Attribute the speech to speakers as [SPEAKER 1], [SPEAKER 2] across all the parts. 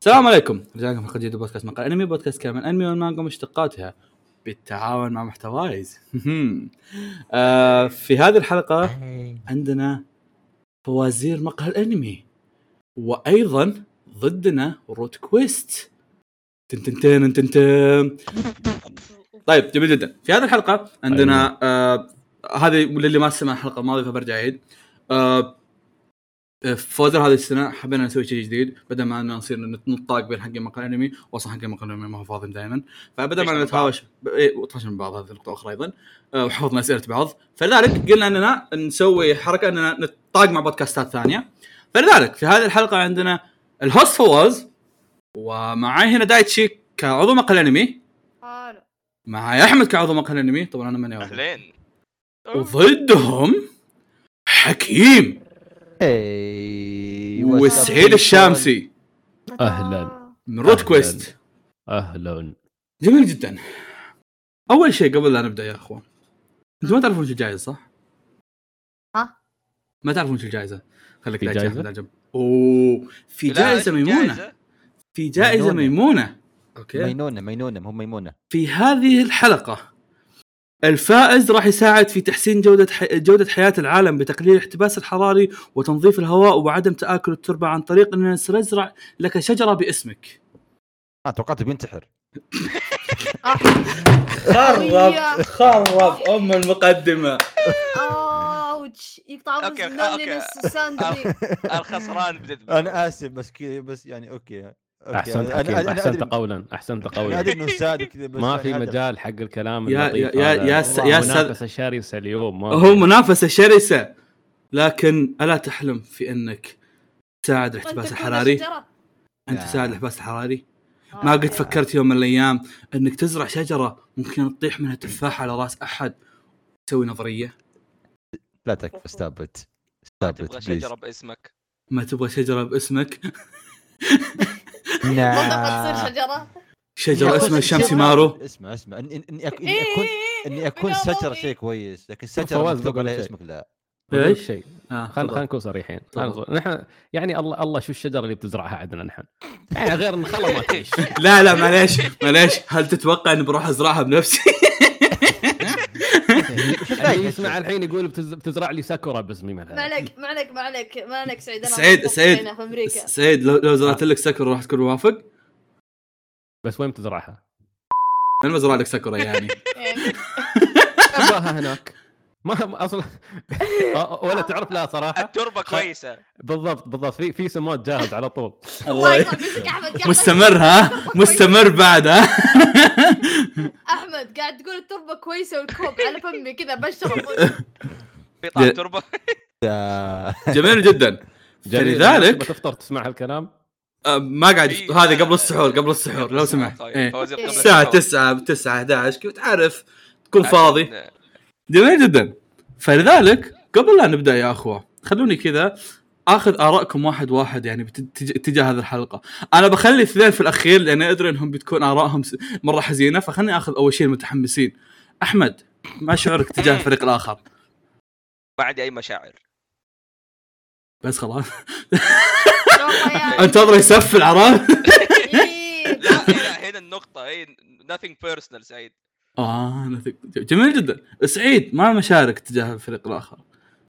[SPEAKER 1] السلام عليكم رجعنا لكم حلقه جديده بودكاست مقال انمي بودكاست كامل انمي والمانجا ومشتقاتها بالتعاون مع محتوايز آه في هذه الحلقه عندنا فوازير مقهى الانمي وايضا ضدنا روت كويست تن تن تن تن تن. طيب جميل جدا في هذه الحلقه عندنا آه هذه للي ما سمع الحلقه الماضيه فبرجع اعيد آه إيه، فوزر هذه السنه حبينا نسوي شيء جديد بدل ما انه نصير نطاق بين حق مقال انمي واصلا حق مقال انمي ما هو فاضي دائما فبدل ما
[SPEAKER 2] طيشنا
[SPEAKER 1] نتهاوش ب- إيه، وطفشنا من بعض هذه نقطه اخرى ايضا آه، وحفظنا اسئله بعض فلذلك قلنا اننا نسوي حركه اننا نتطاق مع بودكاستات ثانيه فلذلك في هذه الحلقه عندنا الهوست فواز ومعي هنا دايتشي كعضو مقال انمي
[SPEAKER 3] حلو
[SPEAKER 1] معي احمد كعضو مقال انمي طبعا انا ماني عضو
[SPEAKER 2] اهلين
[SPEAKER 1] وضدهم حكيم
[SPEAKER 4] Hey, what's up,
[SPEAKER 1] وسعيد
[SPEAKER 4] people?
[SPEAKER 1] الشامسي
[SPEAKER 5] أهلاً.
[SPEAKER 1] من روت
[SPEAKER 5] أهلاً.
[SPEAKER 1] كويست
[SPEAKER 5] اهلا
[SPEAKER 1] جميل جدا اول شيء قبل لا نبدا يا اخوان انتم ما تعرفون شو الجائزه صح؟
[SPEAKER 3] ها؟
[SPEAKER 1] ما تعرفون شو الجائزه خليك
[SPEAKER 5] في
[SPEAKER 1] لا
[SPEAKER 5] جائزة؟
[SPEAKER 1] تاخذ على جنب اوه في
[SPEAKER 2] لا،
[SPEAKER 1] جائزه
[SPEAKER 2] في
[SPEAKER 1] ميمونه
[SPEAKER 2] جائزة.
[SPEAKER 1] في جائزه
[SPEAKER 4] ميمونة.
[SPEAKER 1] ميمونه اوكي
[SPEAKER 4] مينونه مينونه هم ميمونه
[SPEAKER 1] في هذه الحلقه الفائز راح يساعد في تحسين جودة ح... جودة حياة العالم بتقليل الاحتباس الحراري وتنظيف الهواء وعدم تآكل التربة عن طريق أننا سنزرع لك شجرة باسمك.
[SPEAKER 4] اه توقعته بينتحر
[SPEAKER 3] خرب-
[SPEAKER 1] خرب ام المقدمه
[SPEAKER 3] اوتش يقطع
[SPEAKER 2] أوكي،
[SPEAKER 3] اوكي
[SPEAKER 2] أوكي.
[SPEAKER 3] اوكي ساندوي
[SPEAKER 2] الخسران بدت
[SPEAKER 4] انا اسف بس كذا بس يعني اوكي اوكي
[SPEAKER 5] احسنت
[SPEAKER 4] أنا-
[SPEAKER 5] حكيم
[SPEAKER 4] أنا- أنا
[SPEAKER 5] احسنت
[SPEAKER 4] أدري-
[SPEAKER 5] قولا احسنت
[SPEAKER 4] انا
[SPEAKER 5] قولا
[SPEAKER 4] ادري انه ساده كذا بس
[SPEAKER 5] ما
[SPEAKER 4] يعني
[SPEAKER 5] في
[SPEAKER 4] هذا-
[SPEAKER 5] مجال حق الكلام
[SPEAKER 1] يا-
[SPEAKER 5] اللطيف
[SPEAKER 1] يا-
[SPEAKER 5] هذا.
[SPEAKER 1] يا- يا
[SPEAKER 4] س- يا
[SPEAKER 5] منافسه شرسه اليوم ما
[SPEAKER 1] هو
[SPEAKER 5] في.
[SPEAKER 1] منافسه شرسه لكن الا تحلم في انك تساعد الاحتباس الحراري انت
[SPEAKER 4] آه.
[SPEAKER 1] تساعد الاحتباس الحراري ما قد فكرت يوم من الايام انك تزرع شجره ممكن تطيح منها تفاحه على راس احد تسوي نظريه
[SPEAKER 4] لا تكفى ستابت
[SPEAKER 2] ما
[SPEAKER 4] ستابت
[SPEAKER 2] تبغى شجره باسمك
[SPEAKER 1] ما تبغى شجره باسمك
[SPEAKER 3] منطقة تصير شجرة
[SPEAKER 1] شجره اسمها شمسي مارو
[SPEAKER 4] اسمع اسمع إن- إن- اني أك- اني
[SPEAKER 3] إيه،
[SPEAKER 4] اكون
[SPEAKER 3] إيه، إيه،
[SPEAKER 4] اني اكون
[SPEAKER 3] بالله
[SPEAKER 4] ستره
[SPEAKER 3] والله.
[SPEAKER 4] شيء كويس لكن ستره
[SPEAKER 5] فواز
[SPEAKER 4] مكتوب
[SPEAKER 5] بقول
[SPEAKER 4] عليها
[SPEAKER 5] شيء.
[SPEAKER 4] اسمك لا
[SPEAKER 5] بقول لك
[SPEAKER 1] ايش؟
[SPEAKER 5] شيء
[SPEAKER 1] آه،
[SPEAKER 5] خلينا
[SPEAKER 1] تفضل.
[SPEAKER 5] خلينا نكون صريحين
[SPEAKER 1] تفضل.
[SPEAKER 5] خلنا نكون- نحن يعني الله الله شو الشجره اللي بتزرعها عندنا نحن يعني غير ان خلاص ما تعيش
[SPEAKER 1] لا لا معليش معليش هل تتوقع اني بروح ازرعها بنفسي؟
[SPEAKER 5] اللي يعني يسمع الحين يقول بتز- بتزرع لي ساكورا باسمي
[SPEAKER 3] ما
[SPEAKER 5] مثلا
[SPEAKER 3] عليك ما عليك ما عليك ما عليك سعيد أنا
[SPEAKER 1] سعيد-
[SPEAKER 3] مطبخ
[SPEAKER 1] سعيد.
[SPEAKER 3] هنا في امريكا
[SPEAKER 1] سعيد لو لو زرعت لك سكر راح تكون موافق؟
[SPEAKER 5] بس وين بتزرعها؟
[SPEAKER 1] انا بزرع لك سكره يعني
[SPEAKER 3] يعني
[SPEAKER 5] ابغاها هناك ما ما- اصلا ولا تعرف لا صراحه
[SPEAKER 2] التربه كويسه
[SPEAKER 5] بالضبط بالضبط في في سمات جاهز على طول
[SPEAKER 3] الله يخليك احمد قاعد-
[SPEAKER 1] مستمر ها مستمر بعد ها
[SPEAKER 3] احمد قاعد تقول التربه كويسه والكوب على فمي كذا بشرب
[SPEAKER 2] في طعم
[SPEAKER 1] لا.
[SPEAKER 2] تربه
[SPEAKER 1] جميل جدا
[SPEAKER 5] جميل.
[SPEAKER 1] فلذلك-
[SPEAKER 5] تبغى تفطر تسمع هالكلام
[SPEAKER 1] أه، ما قاعد
[SPEAKER 2] إيه،
[SPEAKER 1] هذه
[SPEAKER 2] لا،
[SPEAKER 1] قبل السحور قبل السحور لو
[SPEAKER 2] طيب،
[SPEAKER 1] سمحت
[SPEAKER 2] طيب،
[SPEAKER 1] إيه.
[SPEAKER 2] فوزي قبل
[SPEAKER 3] الساعة
[SPEAKER 1] الساعة 9
[SPEAKER 2] السحور.
[SPEAKER 1] ب 9 11 كنت عارف تكون
[SPEAKER 2] عشان-
[SPEAKER 1] فاضي جميل جدا فلذلك قبل لا نبدا يا اخوه خلوني كذا اخذ ارائكم واحد واحد يعني بت- تج- تجاه هذه الحلقه انا بخلي اثنين في الاخير لان ادري انهم بتكون ارائهم س- مره حزينه فخلني اخذ اول شيء المتحمسين احمد ما شعورك تجاه الفريق الاخر
[SPEAKER 2] ما عندي اي مشاعر
[SPEAKER 1] بس خلاص
[SPEAKER 3] والله يعني.
[SPEAKER 1] انتظر يسفل عرفت
[SPEAKER 3] إيه.
[SPEAKER 2] لا هنا هنا النقطه هي nothing personal سعيد
[SPEAKER 1] اه أنا ثق- جميل جدا سعيد ما مشارك تجاه الفريق الاخر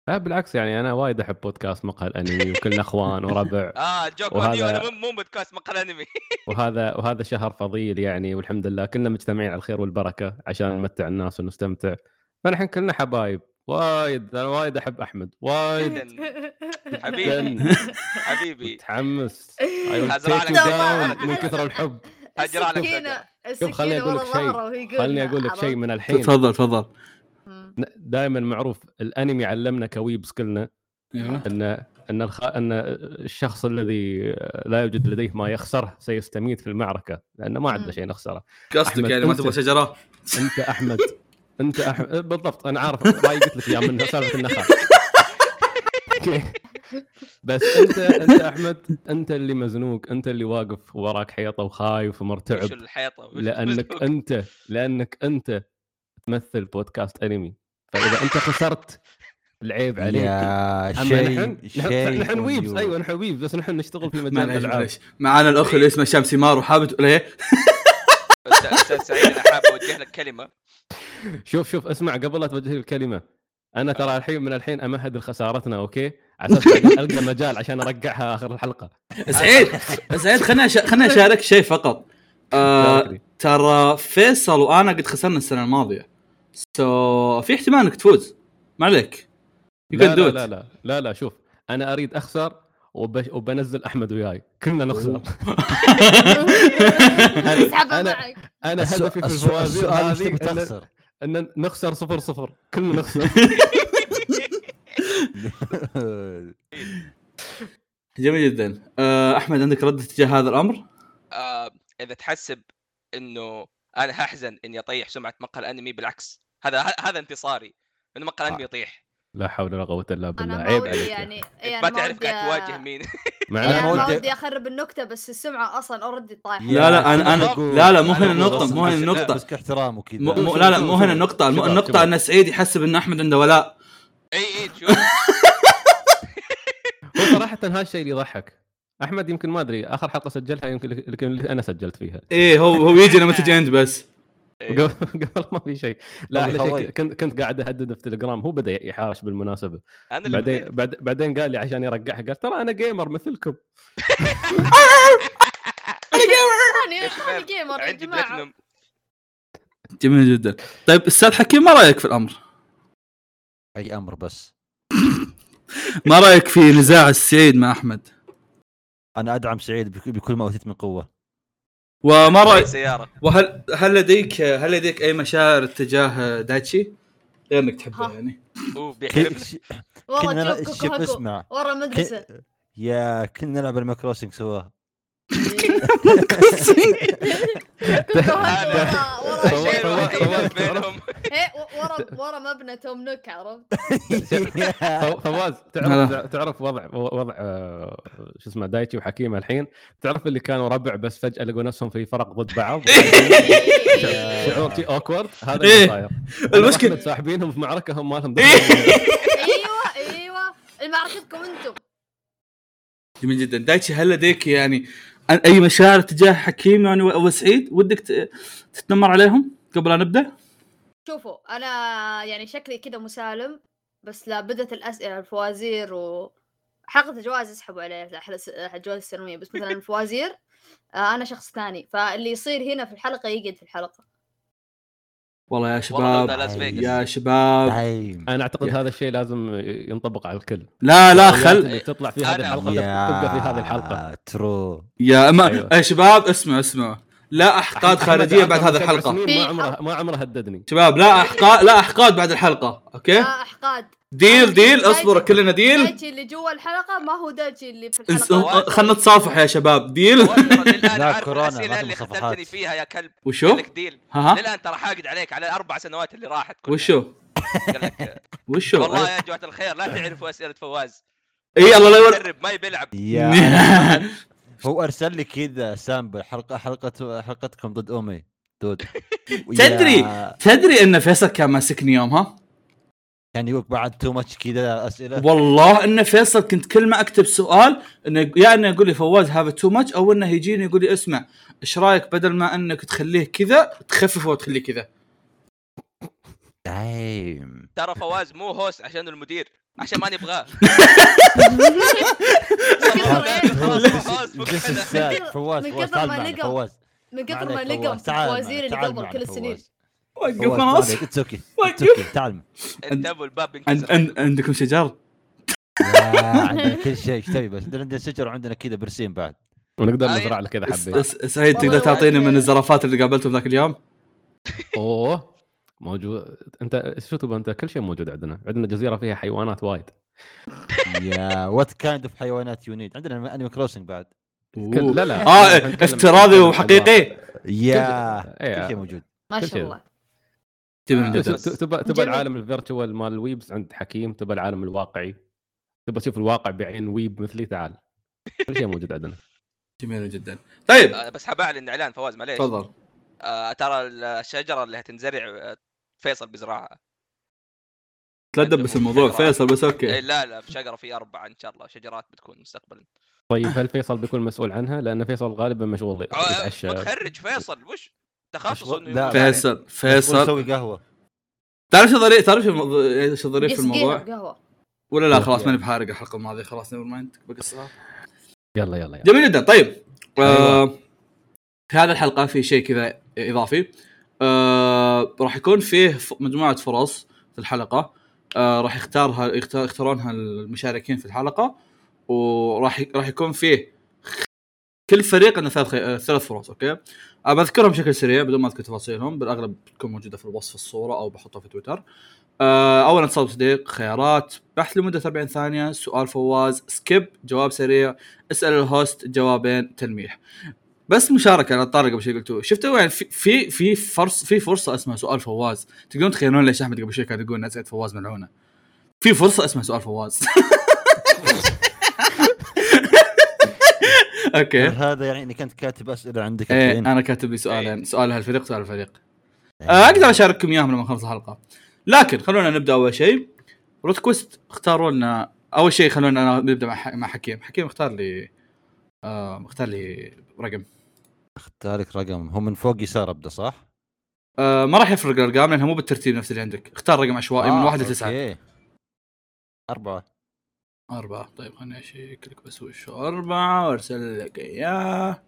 [SPEAKER 5] لا بالعكس يعني انا وايد احب بودكاست مقهى الانمي وكلنا اخوان وربع
[SPEAKER 2] اه الجوك
[SPEAKER 5] وهذا-
[SPEAKER 2] وهذا... انا مو- مو بودكاست مقال انمي
[SPEAKER 5] وهذا وهذا شهر فضيل يعني والحمد لله كلنا مجتمعين على الخير والبركه عشان نمتع الناس ونستمتع فنحن كلنا حبايب وايد انا وايد احب احمد
[SPEAKER 1] طيب.
[SPEAKER 5] وايد
[SPEAKER 2] حبيبي
[SPEAKER 5] جداً
[SPEAKER 2] حبيبي
[SPEAKER 5] متحمس
[SPEAKER 2] هزرع لك
[SPEAKER 3] ساكورا.
[SPEAKER 5] داون من كثر الحب
[SPEAKER 2] هجر على
[SPEAKER 3] السكينة-
[SPEAKER 5] شوف، خليني
[SPEAKER 3] السكينة
[SPEAKER 5] أقول لك
[SPEAKER 3] ورا
[SPEAKER 5] شيء.
[SPEAKER 3] ظهره وهي يقول
[SPEAKER 5] خلني اقول لك شيء من الحين
[SPEAKER 1] تفضل تفضل
[SPEAKER 3] مم.
[SPEAKER 5] دائما معروف الانمي علمنا كويبس كلنا
[SPEAKER 1] ايوه
[SPEAKER 5] ان ان الخ... ان الشخص الذي آه، لا يوجد لديه ما يخسره سيستميت في المعركه لانه ما
[SPEAKER 3] مم.
[SPEAKER 5] عندنا شيء نخسره
[SPEAKER 1] قصدك
[SPEAKER 5] أحمد،
[SPEAKER 1] يعني ما
[SPEAKER 5] أنت.
[SPEAKER 1] تبغى شجره
[SPEAKER 5] انت احمد انت احمد أه، بالضبط انا عارف راي قلت لك يا من سالفه النخاع أوكي. بس انت انت احمد انت اللي مزنوق انت اللي واقف وراك حيطه وخايف ومرتعب
[SPEAKER 2] وش الحيطه وش-
[SPEAKER 5] لانك انت لانك انت تمثل بودكاست انمي فاذا انت خسرت العيب عليك
[SPEAKER 4] يا
[SPEAKER 5] أما نحن
[SPEAKER 4] شيء
[SPEAKER 5] نحن-
[SPEAKER 4] شيء أيوه،
[SPEAKER 5] نحن
[SPEAKER 4] on
[SPEAKER 5] ويبز
[SPEAKER 4] you.
[SPEAKER 5] ايوه نحن ويبز بس نحن نشتغل في مجال
[SPEAKER 1] معليش
[SPEAKER 5] الالعاب
[SPEAKER 1] معليش معانا الاخ اللي اسمه شمس مار وحابب ليه؟
[SPEAKER 2] أستاذ- استاذ سعيد انا حاب اوجه لك كلمه
[SPEAKER 5] شوف شوف اسمع قبل لا توجه لي الكلمه انا
[SPEAKER 4] آه.
[SPEAKER 5] ترى الحين من الحين امهد لخسارتنا اوكي على اساس القى مجال عشان ارجعها اخر الحلقه
[SPEAKER 1] سعيد سعيد خليني أش... خليني اشارك شيء فقط آه،
[SPEAKER 5] لا أدري.
[SPEAKER 1] ترى فيصل وانا قد خسرنا السنه الماضيه سو في احتمال انك تفوز ما عليك You
[SPEAKER 5] لا
[SPEAKER 1] can do
[SPEAKER 5] لا,
[SPEAKER 1] it.
[SPEAKER 5] لا لا لا لا شوف انا اريد اخسر وبش... وبنزل احمد وياي كلنا نخسر
[SPEAKER 3] اسحبها
[SPEAKER 5] أنا-
[SPEAKER 3] معك
[SPEAKER 5] انا
[SPEAKER 4] السؤ-
[SPEAKER 5] هدفي في
[SPEAKER 4] السؤ-
[SPEAKER 5] الفوازير
[SPEAKER 4] السؤال مش
[SPEAKER 5] هذه
[SPEAKER 4] تبي
[SPEAKER 5] إن-
[SPEAKER 4] تخسر
[SPEAKER 5] ان نخسر صفر صفر كلنا نخسر
[SPEAKER 1] جميل جدا آه، احمد عندك رد تجاه هذا الامر؟
[SPEAKER 2] آه، اذا تحسب انه انا هحزن اني اطيح سمعه مقهى الانمي بالعكس هذا ه- هذا انتصاري انه مقهى الانمي يطيح
[SPEAKER 5] لا حول ولا قوه الا بالله
[SPEAKER 3] انا ما
[SPEAKER 5] عيب
[SPEAKER 3] ودي
[SPEAKER 5] عليك
[SPEAKER 3] يعني إيه،
[SPEAKER 2] ما
[SPEAKER 3] أنا
[SPEAKER 2] تعرف
[SPEAKER 3] ودي
[SPEAKER 2] قاعد
[SPEAKER 3] أ-
[SPEAKER 2] تواجه مين
[SPEAKER 5] مع
[SPEAKER 4] أنا
[SPEAKER 3] أنا
[SPEAKER 5] أنه-
[SPEAKER 3] ما
[SPEAKER 4] ودي-
[SPEAKER 3] ودي اخرب النكته بس السمعه اصلا اوريدي طايحه
[SPEAKER 1] لا لا انا انا
[SPEAKER 2] أقول-
[SPEAKER 1] لا لا مو
[SPEAKER 2] أنا
[SPEAKER 1] هنا
[SPEAKER 2] أقول
[SPEAKER 1] النقطه مو هنا
[SPEAKER 2] أصلاً.
[SPEAKER 1] النقطه
[SPEAKER 4] بس احترام وكذا
[SPEAKER 1] مو مو- لا لا مو هنا النقطه الم-
[SPEAKER 5] شباب،
[SPEAKER 1] النقطه
[SPEAKER 5] شباب.
[SPEAKER 1] ان سعيد يحسب ان احمد عنده ولاء
[SPEAKER 2] اي اي تشوف
[SPEAKER 5] هو صراحه هذا الشيء اللي يضحك احمد يمكن ما ادري اخر حلقه سجلتها يمكن لكن اللي انا سجلت فيها
[SPEAKER 1] ايه هو هو يجي لما تجي انت بس
[SPEAKER 2] إيه.
[SPEAKER 5] قبل قبل ما في شيء لا
[SPEAKER 4] والله
[SPEAKER 5] أحلى شيء
[SPEAKER 4] خوي.
[SPEAKER 5] كنت كنت قاعد اهدده في تليجرام هو بدا يحاش بالمناسبه
[SPEAKER 2] انا اللي
[SPEAKER 5] بعدين
[SPEAKER 2] بديت.
[SPEAKER 5] بعد- بعدين قال لي عشان يرجعها قال ترى انا جيمر مثلكم
[SPEAKER 2] يا
[SPEAKER 3] انا
[SPEAKER 2] شباب،
[SPEAKER 3] أنا جيمر يا
[SPEAKER 2] عندي
[SPEAKER 3] جماعه
[SPEAKER 2] بلاتنم
[SPEAKER 1] جميل جدا طيب استاذ حكيم ما رايك في الامر؟
[SPEAKER 4] اي امر بس
[SPEAKER 1] ما رايك في نزاع السعيد مع احمد؟
[SPEAKER 4] انا ادعم سعيد بك- بكل ما اوتيت من قوه
[SPEAKER 1] وما رايك
[SPEAKER 2] سياره
[SPEAKER 1] وهل هل لديك هل لديك اي مشاعر تجاه دايتشي؟ غير انك تحبه
[SPEAKER 3] ها.
[SPEAKER 1] يعني
[SPEAKER 2] اوف
[SPEAKER 4] كن-
[SPEAKER 2] بيحلبنا
[SPEAKER 4] ش- كنا
[SPEAKER 3] والله
[SPEAKER 4] نلعب-
[SPEAKER 3] تشوف
[SPEAKER 4] شوف
[SPEAKER 3] كوكوهاكو
[SPEAKER 4] اسمع
[SPEAKER 3] ورا المدرسه
[SPEAKER 4] كن- يا كنا نلعب المكروسنج سوا
[SPEAKER 3] كوكوهاكو ورا- ورا
[SPEAKER 5] سوا-
[SPEAKER 2] الشيء
[SPEAKER 5] سوا-
[SPEAKER 2] الوحيد
[SPEAKER 5] سوا-
[SPEAKER 2] اللي بينهم
[SPEAKER 3] إيه، ورا ورا مبنى توم نوك عرفت؟
[SPEAKER 5] فو- فواز
[SPEAKER 1] هلا.
[SPEAKER 5] تعرف تعرف وضع وضع آه، شو اسمه دايتشي وحكيمه الحين تعرف اللي كانوا ربع بس فجاه لقوا نفسهم في فرق ضد بعض شعور- شعور شي اوكورد هذا
[SPEAKER 1] إيه.
[SPEAKER 5] اللي صاير
[SPEAKER 1] المشكلة-
[SPEAKER 5] أحمد ساحبينهم في معركه هم ما لهم
[SPEAKER 1] إيه.
[SPEAKER 5] دخل
[SPEAKER 3] ايوه ايوه معركتكم انتم
[SPEAKER 1] جميل جدا دايتشي هل لديك يعني اي مشاعر تجاه حكيم يعني وسعيد ودك ت- تتنمر عليهم قبل ان نبدا؟
[SPEAKER 3] شوفوا انا يعني شكلي كذا مسالم بس لا بدت الاسئله الفوازير و حلقه الجوائز اسحبوا عليه لا، حلقة الجوائز السنويه بس مثلا الفوازير آه، انا شخص ثاني فاللي يصير هنا في الحلقه يقعد في الحلقه
[SPEAKER 1] والله يا
[SPEAKER 2] والله
[SPEAKER 1] شباب
[SPEAKER 2] بدأ لاس فيغاس.
[SPEAKER 1] يا شباب
[SPEAKER 4] دايم
[SPEAKER 5] انا اعتقد هذا الشيء لازم ينطبق على الكل
[SPEAKER 1] لا لا
[SPEAKER 5] الروايات
[SPEAKER 1] خل
[SPEAKER 5] اللي تطلع في هذه
[SPEAKER 2] أنا-
[SPEAKER 5] الحلقه تبقى في هذه الحلقه
[SPEAKER 4] ترو
[SPEAKER 1] يا ما
[SPEAKER 5] أيوة.
[SPEAKER 1] يا شباب اسمعوا اسمعوا لا احقاد خارجيه بعد هذه الحلقه
[SPEAKER 5] ما عمره ما عمره هددني
[SPEAKER 1] شباب لا احقاد لا احقاد بعد الحلقه
[SPEAKER 3] آه،
[SPEAKER 1] اوكي
[SPEAKER 3] احقاد
[SPEAKER 1] ديل ديل اصبروا كلنا ديل
[SPEAKER 3] دايتشي اللي جوا الحلقه ما هو دايتشي اللي في
[SPEAKER 1] انس-
[SPEAKER 3] الحلقه
[SPEAKER 1] آه، خلنا نتصافح يا شباب ديل
[SPEAKER 2] والله للان
[SPEAKER 4] لا،
[SPEAKER 2] عارف
[SPEAKER 4] كورونا،
[SPEAKER 2] الاسئله
[SPEAKER 4] ما
[SPEAKER 2] اللي
[SPEAKER 4] تبغى
[SPEAKER 2] خذلتني
[SPEAKER 4] صفحات.
[SPEAKER 2] فيها يا كلب
[SPEAKER 1] وشو؟
[SPEAKER 2] قال لك ديل
[SPEAKER 1] ها ها
[SPEAKER 2] للان ترى حاقد عليك على الاربع سنوات اللي راحت كلها.
[SPEAKER 1] وشو؟
[SPEAKER 2] قال لك
[SPEAKER 1] وشو؟ إيه،
[SPEAKER 2] والله يا جماعه الخير لا تعرفوا اسئله فواز
[SPEAKER 1] اي الله لا يورد
[SPEAKER 2] يجرب ما بيلعب
[SPEAKER 1] نعم.
[SPEAKER 4] يا هو ارسل لي كذا سامبل حلقه حلقه حلقتكم ضد امي دود ويا-
[SPEAKER 1] تدري. تدري ان فيصل كان ماسكني يومها؟
[SPEAKER 4] كان يقول بعد تو ماتش كذا اسئله
[SPEAKER 1] والله ان فيصل كنت كل ما اكتب سؤال انه يا انه يقول لي فواز هاف تو ماتش او انه يجيني يقول لي اسمع ايش رايك بدل ما انك تخليه كذا تخففه وتخليه كذا
[SPEAKER 4] دايم
[SPEAKER 2] ترى فواز مو هوس عشان المدير عشان ما نبغاه
[SPEAKER 4] This is sad. فواز فواز
[SPEAKER 3] من كثر
[SPEAKER 4] تعال
[SPEAKER 3] ما
[SPEAKER 4] معنا
[SPEAKER 3] لقوا-
[SPEAKER 4] فواز
[SPEAKER 3] من
[SPEAKER 4] ما
[SPEAKER 3] كثر ما
[SPEAKER 4] عليك
[SPEAKER 3] لقوا
[SPEAKER 4] فواز. تعال
[SPEAKER 3] الفوازير اللي
[SPEAKER 4] معنا، تعال
[SPEAKER 3] قبل
[SPEAKER 4] معنا
[SPEAKER 3] كل
[SPEAKER 4] فواز.
[SPEAKER 3] السنين
[SPEAKER 1] وقف
[SPEAKER 4] فواز، ما
[SPEAKER 1] خلاص
[SPEAKER 4] عليك. It's okay.
[SPEAKER 1] وقف.
[SPEAKER 4] It's okay. تعال معنا.
[SPEAKER 2] انتبهوا الباب
[SPEAKER 1] عند-
[SPEAKER 2] انكسر
[SPEAKER 1] عند- عندكم شجر؟
[SPEAKER 4] يا، عندنا كل شيء ايش تبي بس عندنا شجر وعندنا كذا برسيم بعد
[SPEAKER 5] ونقدر نزرع له كذا
[SPEAKER 1] س-
[SPEAKER 5] حبيت
[SPEAKER 1] س- سعيد تقدر
[SPEAKER 3] والله
[SPEAKER 1] تعطيني
[SPEAKER 3] وعندنا-
[SPEAKER 1] من الزرافات اللي قابلتهم ذاك اليوم؟
[SPEAKER 5] اوه موجود انت شو تبغى انت كل شيء موجود عندنا عندنا جزيره فيها حيوانات وايد
[SPEAKER 4] يا وات كايند اوف حيوانات يونيد عندنا انيمال كروسنج بعد
[SPEAKER 5] كل- لا لا
[SPEAKER 1] اه
[SPEAKER 5] إحنا نتكلم-
[SPEAKER 1] افتراضي وحقيقي
[SPEAKER 4] يا
[SPEAKER 5] إيه.
[SPEAKER 4] كل شيء موجود
[SPEAKER 3] ما
[SPEAKER 5] كل
[SPEAKER 3] شاء
[SPEAKER 5] شيء.
[SPEAKER 3] الله
[SPEAKER 1] جميل
[SPEAKER 5] ت-
[SPEAKER 1] جدا
[SPEAKER 5] ت- تبى تبى
[SPEAKER 3] جميل.
[SPEAKER 5] العالم الفيرتشوال مال الويبز عند حكيم تبى العالم الواقعي تبى تشوف الواقع بعين ويب مثلي تعال كل شيء موجود عندنا
[SPEAKER 1] جميل جدا طيب
[SPEAKER 2] آه، بس حبعلن اعلان فواز معليش
[SPEAKER 1] تفضل
[SPEAKER 2] آه، ترى الشجره اللي هتنزرع آه، فيصل بزراعه
[SPEAKER 1] لا تدبس الموضوع فيصل بس اوكي
[SPEAKER 2] إيه، لا لا في شجره في اربعه ان شاء الله شجرات بتكون مستقبلا
[SPEAKER 5] طيب هل فيصل بيكون مسؤول عنها؟ لان فيصل غالبا مشغول يتعشى
[SPEAKER 2] آه، متخرج فيصل وش تخصص
[SPEAKER 4] مشغول؟
[SPEAKER 2] انه
[SPEAKER 4] لا. يعني
[SPEAKER 2] يقول-
[SPEAKER 1] فيصل فيصل
[SPEAKER 4] سوي قهوه
[SPEAKER 1] تعرف شو ظريف تعرف شو الموضوع- شو الظريف في
[SPEAKER 3] يسقينا
[SPEAKER 1] الموضوع؟
[SPEAKER 3] بقهوه
[SPEAKER 1] ولا لا خلاص ماني بحارق الحلقه الماضيه خلاص نيفر مايند بقصها
[SPEAKER 5] يلا يلا يلا
[SPEAKER 1] جميل جدا طيب آه
[SPEAKER 4] أيوة.
[SPEAKER 1] في هذه الحلقه في شيء كذا اضافي آه راح يكون فيه ف- مجموعه فرص في الحلقه آه راح يختارها يختار يختارونها المشاركين في الحلقه وراح ي- راح يكون فيه خ- كل فريق عنده ثلاث خي- آه، ثلاث فرص اوكي آه بذكرهم بشكل سريع بدون ما اذكر تفاصيلهم بالاغلب بتكون موجوده في الوصف الصوره او بحطها في تويتر آه اولا اتصال صديق خيارات بحث لمده 40 ثانيه سؤال فواز سكيب جواب سريع اسال الهوست جوابين تلميح بس مشاركه على طارق قبل شوي قلتوا شفتوا يعني في في في فرص في فرصه اسمها سؤال فواز تقدرون تخيلون ليش احمد قبل شوي كان يقول ان اسئله فواز ملعونه في فرصه اسمها سؤال فواز اوكي
[SPEAKER 4] هذا يعني انك انت كاتب اسئله عندك
[SPEAKER 1] ايه
[SPEAKER 4] الحين
[SPEAKER 1] انا كاتب لي سؤالين سؤال هالفريق سؤال الفريق
[SPEAKER 4] إيه.
[SPEAKER 1] آه، اقدر اشارككم اياهم لما نخلص الحلقه لكن خلونا نبدا اول شيء روتكوست اختاروا لنا اول شيء خلونا نبدا مع ح- مع حكيم حكيم اختار لي آه اختار لي رقم
[SPEAKER 4] اختار لك رقم هو من فوق يسار ابدا صح؟
[SPEAKER 1] آه ما راح يفرق الارقام لانها مو بالترتيب نفس اللي عندك اختار رقم عشوائي من
[SPEAKER 4] آه،
[SPEAKER 1] واحد لتسعه
[SPEAKER 4] أوكي. اربعه
[SPEAKER 1] اربعه طيب خليني اشيك لك بس وش هو اربعه وارسل لك اياه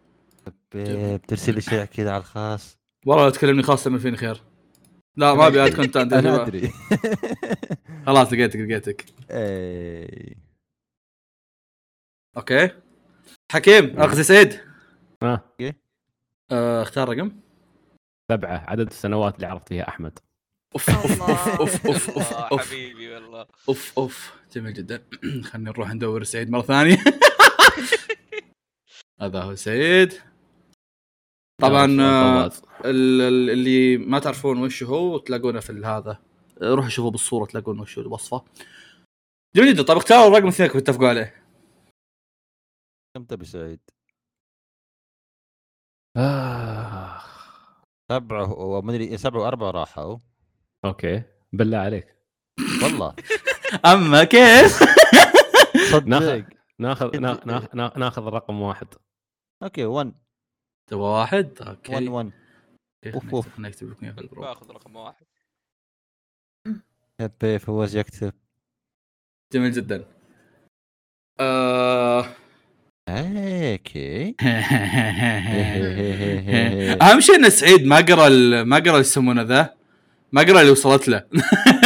[SPEAKER 4] ب- بترسل طيب، لي شيء كذا على الخاص
[SPEAKER 1] والله لو تكلمني خاص تعمل فيني خير لا ما ابي اد كنت
[SPEAKER 4] انا ادري
[SPEAKER 1] خلاص لقيتك لقيتك
[SPEAKER 4] إيه.
[SPEAKER 1] اوكي حكيم اخزي سعيد
[SPEAKER 5] آه.
[SPEAKER 1] آه اختار رقم
[SPEAKER 5] سبعه عدد السنوات اللي عرفت فيها احمد
[SPEAKER 1] اوف اوف
[SPEAKER 3] الله.
[SPEAKER 1] اوف اوف اوف
[SPEAKER 2] والله
[SPEAKER 1] اوف
[SPEAKER 2] آه، حبيبي والله
[SPEAKER 1] اوف اوف جميل جدا خلينا نروح ندور سعيد مره ثانيه هذا هو سعيد طبعا آه،
[SPEAKER 5] فواز.
[SPEAKER 1] ال- ال- اللي ما تعرفون وش هو تلاقونه في ال- هذا آه، روحوا شوفوا بالصوره تلاقون وش هو الوصفه جميل جدا طب اختاروا الرقم اللي اثنينكم اتفقوا عليه
[SPEAKER 4] كم تبي سعيد؟
[SPEAKER 5] آه.
[SPEAKER 4] سبعه وما ادري سبعه واربعه إيه، راحوا
[SPEAKER 5] اوكي بالله عليك
[SPEAKER 4] والله
[SPEAKER 1] اما كيف
[SPEAKER 4] صدق
[SPEAKER 5] ناخذ ناخذ نا- نا- نا- ناخذ رقم واحد
[SPEAKER 4] اوكي 1
[SPEAKER 1] تبغى واحد اوكي
[SPEAKER 4] 1 1
[SPEAKER 1] أوكي،
[SPEAKER 4] أوف، أوف.
[SPEAKER 1] خلنا نكتب لكم اياه في الجروب.
[SPEAKER 2] باخذ رقم واحد
[SPEAKER 4] هبي فواز يكتب
[SPEAKER 1] جميل جدا آه...
[SPEAKER 4] اوكي
[SPEAKER 1] آه.
[SPEAKER 4] إيه.
[SPEAKER 1] اهم شيء ان سعيد ما قرا ال- ما قرا يسمونه ذا ما قرا اللي وصلت له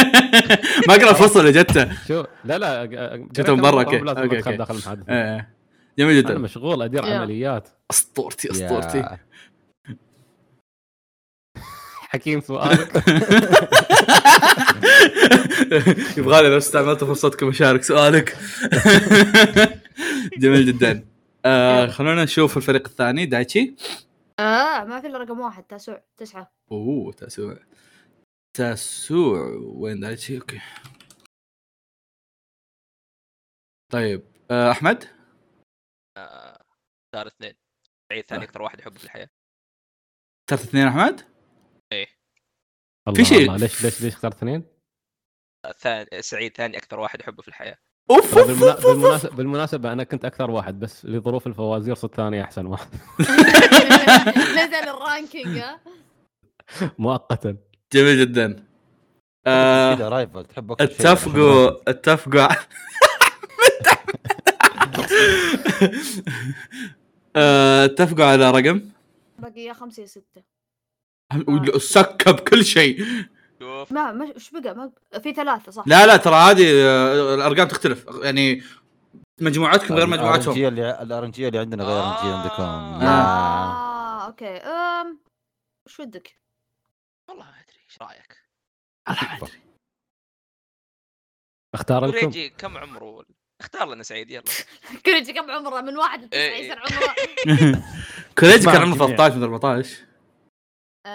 [SPEAKER 1] ما قرا الفصل اللي جته
[SPEAKER 5] شو لا لا أ- أ-
[SPEAKER 1] جت من برا،
[SPEAKER 5] قريت
[SPEAKER 1] أوكي.
[SPEAKER 5] لازم
[SPEAKER 1] أوكي،
[SPEAKER 5] أدخل
[SPEAKER 1] أوكي.
[SPEAKER 5] داخل المحادثه
[SPEAKER 1] إيه. جميل
[SPEAKER 5] انا
[SPEAKER 1] جدا
[SPEAKER 5] مشغول ادير
[SPEAKER 3] يا.
[SPEAKER 5] عمليات
[SPEAKER 1] اسطورتي
[SPEAKER 4] يا.
[SPEAKER 1] اسطورتي
[SPEAKER 5] حكيم سؤالك
[SPEAKER 1] يبغالي لو استعملت فرصتكم اشارك سؤالك جميل جدا آه خلونا نشوف الفريق الثاني دايتشي
[SPEAKER 3] اه ما في الا رقم واحد تسع تسعه
[SPEAKER 1] اوه تاسوع تاسوع وين دايتشي اوكي طيب آه احمد
[SPEAKER 2] صار اثنين سعيد
[SPEAKER 1] آه.
[SPEAKER 2] ثاني اكثر واحد يحبه في الحياه
[SPEAKER 1] اخترت اثنين احمد
[SPEAKER 5] الله
[SPEAKER 1] شيء.
[SPEAKER 5] الله، ليش ليش ليش اخترت اثنين؟
[SPEAKER 2] ثاني آه، سعيد ثاني اكثر واحد يحبه في الحياه
[SPEAKER 1] اوف
[SPEAKER 5] ترى بالمنا- بالمناسبة, بالمناسبة أنا كنت أكثر واحد بس لظروف الفوازير صرت ثاني أحسن واحد
[SPEAKER 3] نزل الرانكينج ها؟
[SPEAKER 5] مؤقتا
[SPEAKER 1] جميل جدا آه،
[SPEAKER 4] كذا رايفل تحب أكثر شيء.
[SPEAKER 1] اتفقوا اتفقوا على- آه، اتفقوا على رقم
[SPEAKER 3] باقي يا خمسه يا سته
[SPEAKER 1] سكب كل شيء
[SPEAKER 2] شوف
[SPEAKER 3] ما ما وش بقى ما في ثلاثه صح
[SPEAKER 1] لا لا ترى عادي آه، الارقام تختلف يعني مجموعاتكم غير آه. مجموعاتهم
[SPEAKER 4] الارنجيه اللي الارنجيه اللي عندنا غير الارنجيه عندكم يا.
[SPEAKER 3] اه اوكي أم... وش ودك؟
[SPEAKER 2] والله ما ادري ايش رايك
[SPEAKER 5] اختار لكم
[SPEAKER 2] وريجي كم عمره ولا- اختار لنا سعيد يلا
[SPEAKER 3] كريجي كم عمره من واحد لتسعه
[SPEAKER 2] إيه.
[SPEAKER 3] يصير عمره
[SPEAKER 1] كوريجي كان
[SPEAKER 5] معهم
[SPEAKER 1] عمره
[SPEAKER 5] جميع.
[SPEAKER 1] 13 من 14
[SPEAKER 3] آه،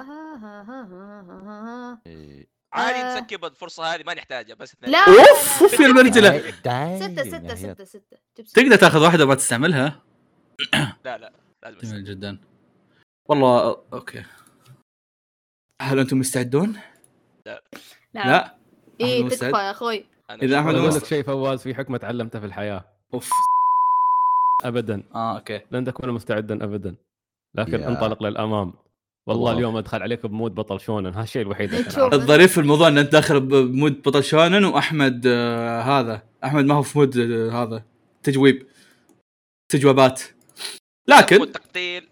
[SPEAKER 3] ها- ها- ها- ها- ها- ها.
[SPEAKER 4] إيه.
[SPEAKER 2] عادي
[SPEAKER 3] آه.
[SPEAKER 2] نسكب الفرصه هذه ما نحتاجها بس اثنين
[SPEAKER 3] لا
[SPEAKER 1] اوف اوف يا المرجله
[SPEAKER 4] داي- إيه، داي-
[SPEAKER 3] ستة ستة
[SPEAKER 4] يا.
[SPEAKER 3] ستة ستة جيب ستة.
[SPEAKER 1] تقدر تاخذ واحده وما تستعملها
[SPEAKER 2] لا لا لازم نسكب.
[SPEAKER 1] جميل جدا والله آه، اوكي هل انتم مستعدون؟
[SPEAKER 3] لا
[SPEAKER 1] لا
[SPEAKER 3] اي
[SPEAKER 1] أحمد
[SPEAKER 3] تكفى
[SPEAKER 1] مسعد؟
[SPEAKER 3] يا اخوي
[SPEAKER 2] أنا
[SPEAKER 1] إذا
[SPEAKER 2] مش-
[SPEAKER 1] أحمد
[SPEAKER 5] أنا اقول
[SPEAKER 1] مست-
[SPEAKER 5] لك شيء فواز في حكمه تعلمتها في الحياه
[SPEAKER 1] اوف
[SPEAKER 5] ابدا
[SPEAKER 1] اه اوكي
[SPEAKER 5] لن تكون مستعدا ابدا لكن
[SPEAKER 4] يا.
[SPEAKER 5] انطلق للامام والله
[SPEAKER 4] الله.
[SPEAKER 5] اليوم ادخل عليك بمود بطل شونن هذا الشيء الوحيد اللي
[SPEAKER 3] شوف.
[SPEAKER 5] أنا أعرفه.
[SPEAKER 1] الظريف في الموضوع ان انت داخل بمود بطل شونن واحمد آه هذا احمد ما هو في مود آه هذا تجويب تجوابات لكن
[SPEAKER 2] والتقتيل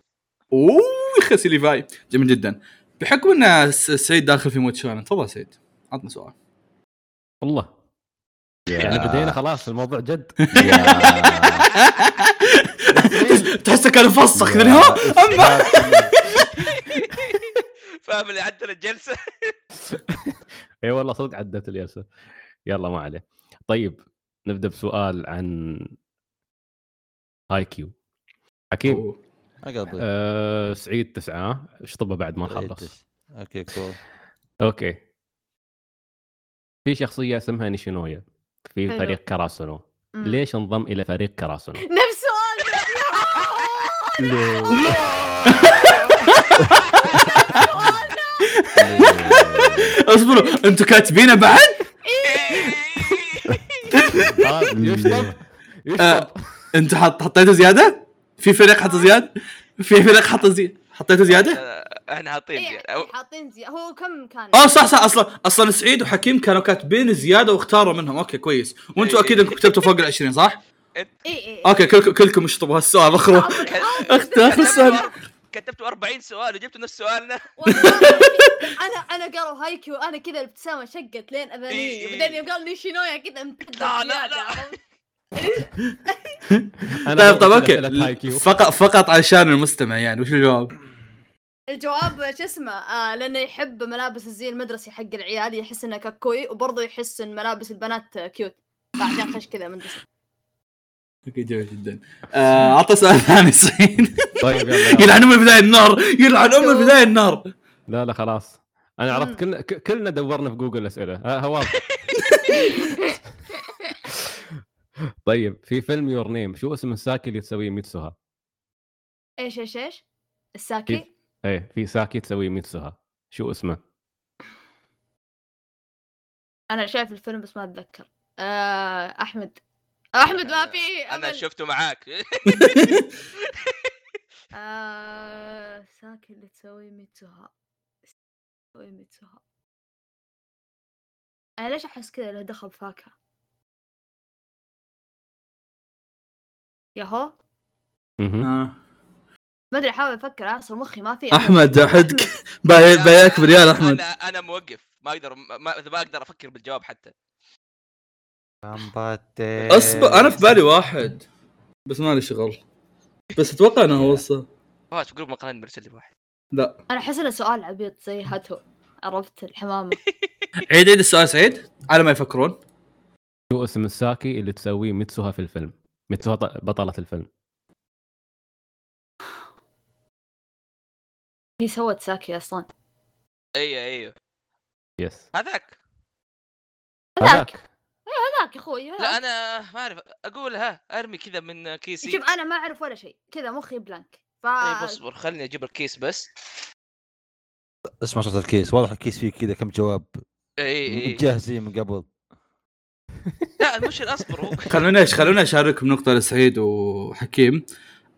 [SPEAKER 1] اوه يخسي ليفاي جميل جدا بحكم ان س- سعيد داخل في مود شونن تفضل سعيد عطنا سؤال
[SPEAKER 5] والله يعني بدينا خلاص الموضوع جد
[SPEAKER 1] تحسه كان مفسخ كذا ها اما
[SPEAKER 2] فاهم اللي عدل الجلسه
[SPEAKER 5] اي والله صدق عدت اليسة يلا ما عليه طيب نبدا بسؤال عن هاي كيو حكيم
[SPEAKER 1] أوه.
[SPEAKER 4] طيب.
[SPEAKER 5] آه سعيد تسعه شطبه بعد ما
[SPEAKER 4] إيه،
[SPEAKER 5] نخلص
[SPEAKER 4] اوكي كول
[SPEAKER 5] اوكي في شخصيه اسمها نيشينويا في
[SPEAKER 3] حلو.
[SPEAKER 5] فريق كراسونو
[SPEAKER 3] مم.
[SPEAKER 5] ليش انضم الى فريق كراسونو
[SPEAKER 3] نفس سؤال
[SPEAKER 1] اصبروا انتم كاتبينه بعد
[SPEAKER 5] يشطب
[SPEAKER 1] آه، انتم حط حطيتوا زياده في فريق حط زياده في فريق حط زياده حطيتوا زياده
[SPEAKER 2] احنا حاطين
[SPEAKER 3] إيه،
[SPEAKER 2] زيادة. أو-
[SPEAKER 3] حاطين زي هو كم كان؟
[SPEAKER 1] اه صح صح اصلا اصلا سعيد وحكيم كانوا كاتبين زياده واختاروا منهم اوكي كويس وانتم
[SPEAKER 2] إيه.
[SPEAKER 1] اكيد انكم كتبتوا فوق ال 20 صح؟
[SPEAKER 3] اي اي
[SPEAKER 1] اوكي كلكم كلكم اشطبوا هالسؤال اخروا اختار السؤال
[SPEAKER 2] كتبتوا 40 سؤال وجبتوا نفس سؤالنا
[SPEAKER 3] إيه، انا انا قالوا هايكيو انا كذا الابتسامه شقت لين
[SPEAKER 2] إيه،
[SPEAKER 3] اذاني
[SPEAKER 2] إيه.
[SPEAKER 3] بعدين يوم قال لي شينويا كذا امتدت
[SPEAKER 2] لا، لا، لا.
[SPEAKER 3] زيادة، عرفت؟
[SPEAKER 1] طيب طيب اوكي فقط فقط عشان المستمع يعني وش الجواب؟
[SPEAKER 3] الجواب شو اسمه آه لانه يحب ملابس الزي المدرسي حق العيال يحس انها كاكوي وبرضه يحس ان ملابس البنات كيوت فعشان خش كذا مدرسه
[SPEAKER 1] اوكي جميل جدا آه، عطى سؤال ثاني سعيد
[SPEAKER 5] طيب يلا يلا.
[SPEAKER 1] يلعن ام البدايه النار يلعن ام البدايه النار
[SPEAKER 5] لا لا خلاص انا
[SPEAKER 3] مم.
[SPEAKER 5] عرفت كلنا ك- كلنا دورنا في جوجل اسئله ها ها واضح طيب في فيلم يور نيم شو اسم الساكي اللي تسويه ميتسوها؟
[SPEAKER 3] ايش ايش ايش؟ الساكي؟
[SPEAKER 5] ايه في ساكي تسويه ميتسوها شو اسمه؟
[SPEAKER 3] انا شايف الفيلم بس ما اتذكر آه احمد احمد ما في
[SPEAKER 2] انا
[SPEAKER 3] أمل.
[SPEAKER 2] شفته معاك
[SPEAKER 3] آه ساكي اللي تسوي ميتسوها تسوي ميتسوها أنا ليش أحس كذا له دخل فاكهة ياهو
[SPEAKER 5] مهم.
[SPEAKER 1] آه.
[SPEAKER 3] ما أدري أحاول أفكر أصلا مخي ما في
[SPEAKER 1] احمد احد
[SPEAKER 3] أحمد.
[SPEAKER 1] بايعك بريال احمد
[SPEAKER 2] انا انا موقف ما اقدر ما, ما اقدر افكر بالجواب حتى
[SPEAKER 1] اصبر انا في بالي واحد بس مالي شغل بس اتوقع انه هو الصح.
[SPEAKER 2] فواز في جروب مقالين مرسل لي واحد
[SPEAKER 1] لا
[SPEAKER 3] أنا أحس إنه سؤال عبيط زي هاتو عرفت الحمامة
[SPEAKER 1] عيد عيد السؤال سعيد على ما يفكرون
[SPEAKER 5] شو اسم الساكي اللي تسويه ميتسوها في الفيلم؟ ميتسوها ط- بطلة الفيلم
[SPEAKER 3] هي سوت ساكي أصلا
[SPEAKER 2] ايوه ايوه
[SPEAKER 5] يس
[SPEAKER 2] هذاك
[SPEAKER 3] هذاك إيه، هذاك يا أخوي
[SPEAKER 2] لا
[SPEAKER 3] هذاك.
[SPEAKER 2] انا ما اعرف اقولها ارمي كذا من كيسي
[SPEAKER 3] شوف آه. أنا ما أعرف ولا شيء كذا مخي بلانك ف
[SPEAKER 2] طيب اصبر خليني اجيب الكيس بس
[SPEAKER 4] اسمع صوت الكيس واضح الكيس فيه كذا كم جواب
[SPEAKER 2] اي اي
[SPEAKER 4] متجهزين من قبل
[SPEAKER 2] إيه، لا المشكل اصبر هو-
[SPEAKER 1] خلونا ايش خلونا اشارككم نقطه لسعيد وحكيم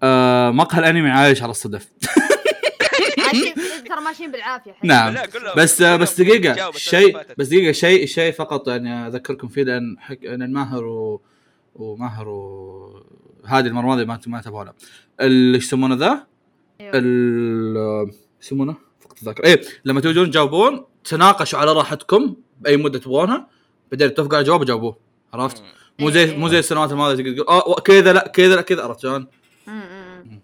[SPEAKER 1] آه مقهى الانمي عايش على الصدف
[SPEAKER 3] عايشين- ترى ماشيين بالعافية حس.
[SPEAKER 1] نعم.
[SPEAKER 2] لا، قول لهم-
[SPEAKER 1] بس
[SPEAKER 2] قول لهم
[SPEAKER 1] بس دقيقه
[SPEAKER 2] جاوب السنة
[SPEAKER 1] شيء
[SPEAKER 2] اللي فاتت.
[SPEAKER 1] بس دقيقه شيء شيء فقط يعني اذكركم فيه لان حك... لان ماهر و... وماهر و... هذه المره الماضيه ما ما تابعونا ال- ايش يسمونه ذا؟
[SPEAKER 3] أيوة.
[SPEAKER 1] ال يسمونه فقط الذاكره ايه لما تجون تجاوبون تناقشوا على راحتكم باي مده تبغونها بعدين تتفقوا على جواب وجاوبوه عرفت؟ مو
[SPEAKER 3] إيه،
[SPEAKER 1] زي مو زي السنوات الماضيه تقدر تقول اه كذا لا كذا لا كذا عرفت شلون؟
[SPEAKER 3] أمم، أمم.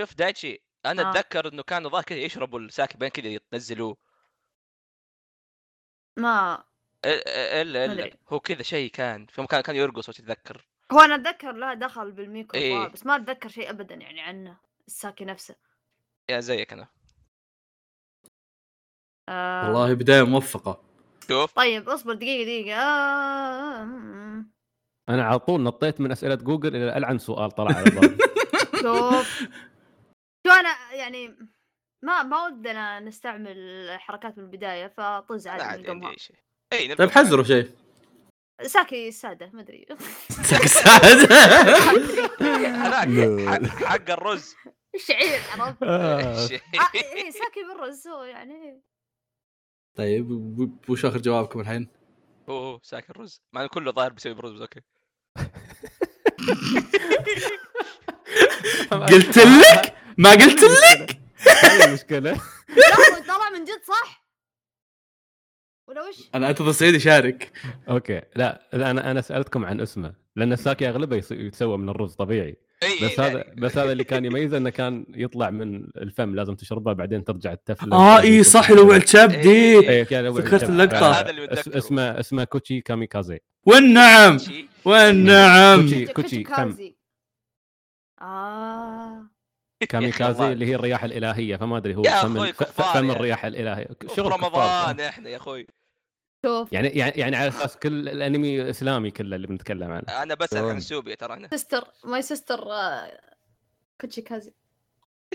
[SPEAKER 2] شوف دايتشي انا
[SPEAKER 3] آه.
[SPEAKER 2] اتذكر انه كانوا ظاهر كذا يشربوا الساكي بعدين كذا يتنزلوه
[SPEAKER 3] ما
[SPEAKER 2] الا الا
[SPEAKER 3] مدري.
[SPEAKER 2] الا هو كذا شيء كان في مكان كان يرقص وتتذكر
[SPEAKER 3] هو انا اتذكر لا دخل بالميكرو
[SPEAKER 2] إيه.
[SPEAKER 3] إيه؟ بس ما اتذكر شيء ابدا يعني عنه الساكي نفسه
[SPEAKER 2] يا زيك انا
[SPEAKER 3] آه
[SPEAKER 1] والله بدايه موفقه
[SPEAKER 2] شوف
[SPEAKER 3] طيب اصبر دقيقه دقيقه آه... أمم.
[SPEAKER 5] انا على طول نطيت من اسئله جوجل الى العن سؤال طلع على بالي
[SPEAKER 3] شوف شو انا يعني ما ما ودنا نستعمل حركات من البدايه فطز
[SPEAKER 2] لا
[SPEAKER 3] عادي
[SPEAKER 2] عاد
[SPEAKER 3] نقمها
[SPEAKER 2] عندي شيء اي نبدأ
[SPEAKER 1] طيب حزروا شيء
[SPEAKER 3] ساكي الساده ما ادري
[SPEAKER 2] هذاك
[SPEAKER 4] لا.
[SPEAKER 2] حق- حق الرز
[SPEAKER 3] شعير عرفت
[SPEAKER 5] آه،
[SPEAKER 3] آه، إيه، ساكي بالرز هو يعني
[SPEAKER 1] طيب و- وش اخر جوابكم الحين؟
[SPEAKER 2] هو هو ساكن رز مع انه كله ظاهر بيسوي برز بس اوكي
[SPEAKER 1] قلت لك ما قلت لك
[SPEAKER 5] هذه المشكله
[SPEAKER 3] لا هو طلع من جد صح ولا وش؟
[SPEAKER 1] انا انتظر سعيد يشارك
[SPEAKER 5] اوكي لا لا، انا انا سالتكم عن اسمه لان الساكي اغلبه يس- يتسوى من الرز طبيعي
[SPEAKER 2] اي
[SPEAKER 5] بس هذا
[SPEAKER 2] يعني.
[SPEAKER 5] بس هذا اللي كان يميزه انه كان يطلع من الفم لازم تشربه بعدين ترجع التفله
[SPEAKER 1] اه اي صح لو
[SPEAKER 2] دي.
[SPEAKER 1] الشبدي
[SPEAKER 5] إيه، كان أول-
[SPEAKER 1] فكرت
[SPEAKER 5] كان-
[SPEAKER 1] اللقطة.
[SPEAKER 5] هذا-
[SPEAKER 2] هذا اللي
[SPEAKER 5] اس-
[SPEAKER 2] متذكره.
[SPEAKER 5] اسمه اسمه كوتشي كاميكازي
[SPEAKER 1] والنعم
[SPEAKER 2] شيء
[SPEAKER 1] والنعم
[SPEAKER 5] كوتشي كوتشي فم
[SPEAKER 3] كارزي. اه
[SPEAKER 5] كاميكازي اللي هي الرياح الالهيه فما ادري هو
[SPEAKER 2] يا
[SPEAKER 5] فم
[SPEAKER 2] أخوي،
[SPEAKER 5] ال- ف-
[SPEAKER 2] كفار
[SPEAKER 5] فم
[SPEAKER 2] يا.
[SPEAKER 5] الرياح الالهيه
[SPEAKER 2] شغل
[SPEAKER 5] شغل كفار.
[SPEAKER 2] رمضان احنا يا اخوي
[SPEAKER 3] شوف
[SPEAKER 5] يعني يعني يعني على اساس كل الانمي الاسلامي كله اللي بنتكلم عنه
[SPEAKER 2] انا بسال
[SPEAKER 4] تمام.
[SPEAKER 2] عن سوبيا ترى انا
[SPEAKER 3] سيستر ماي سيستر كوتشي كازي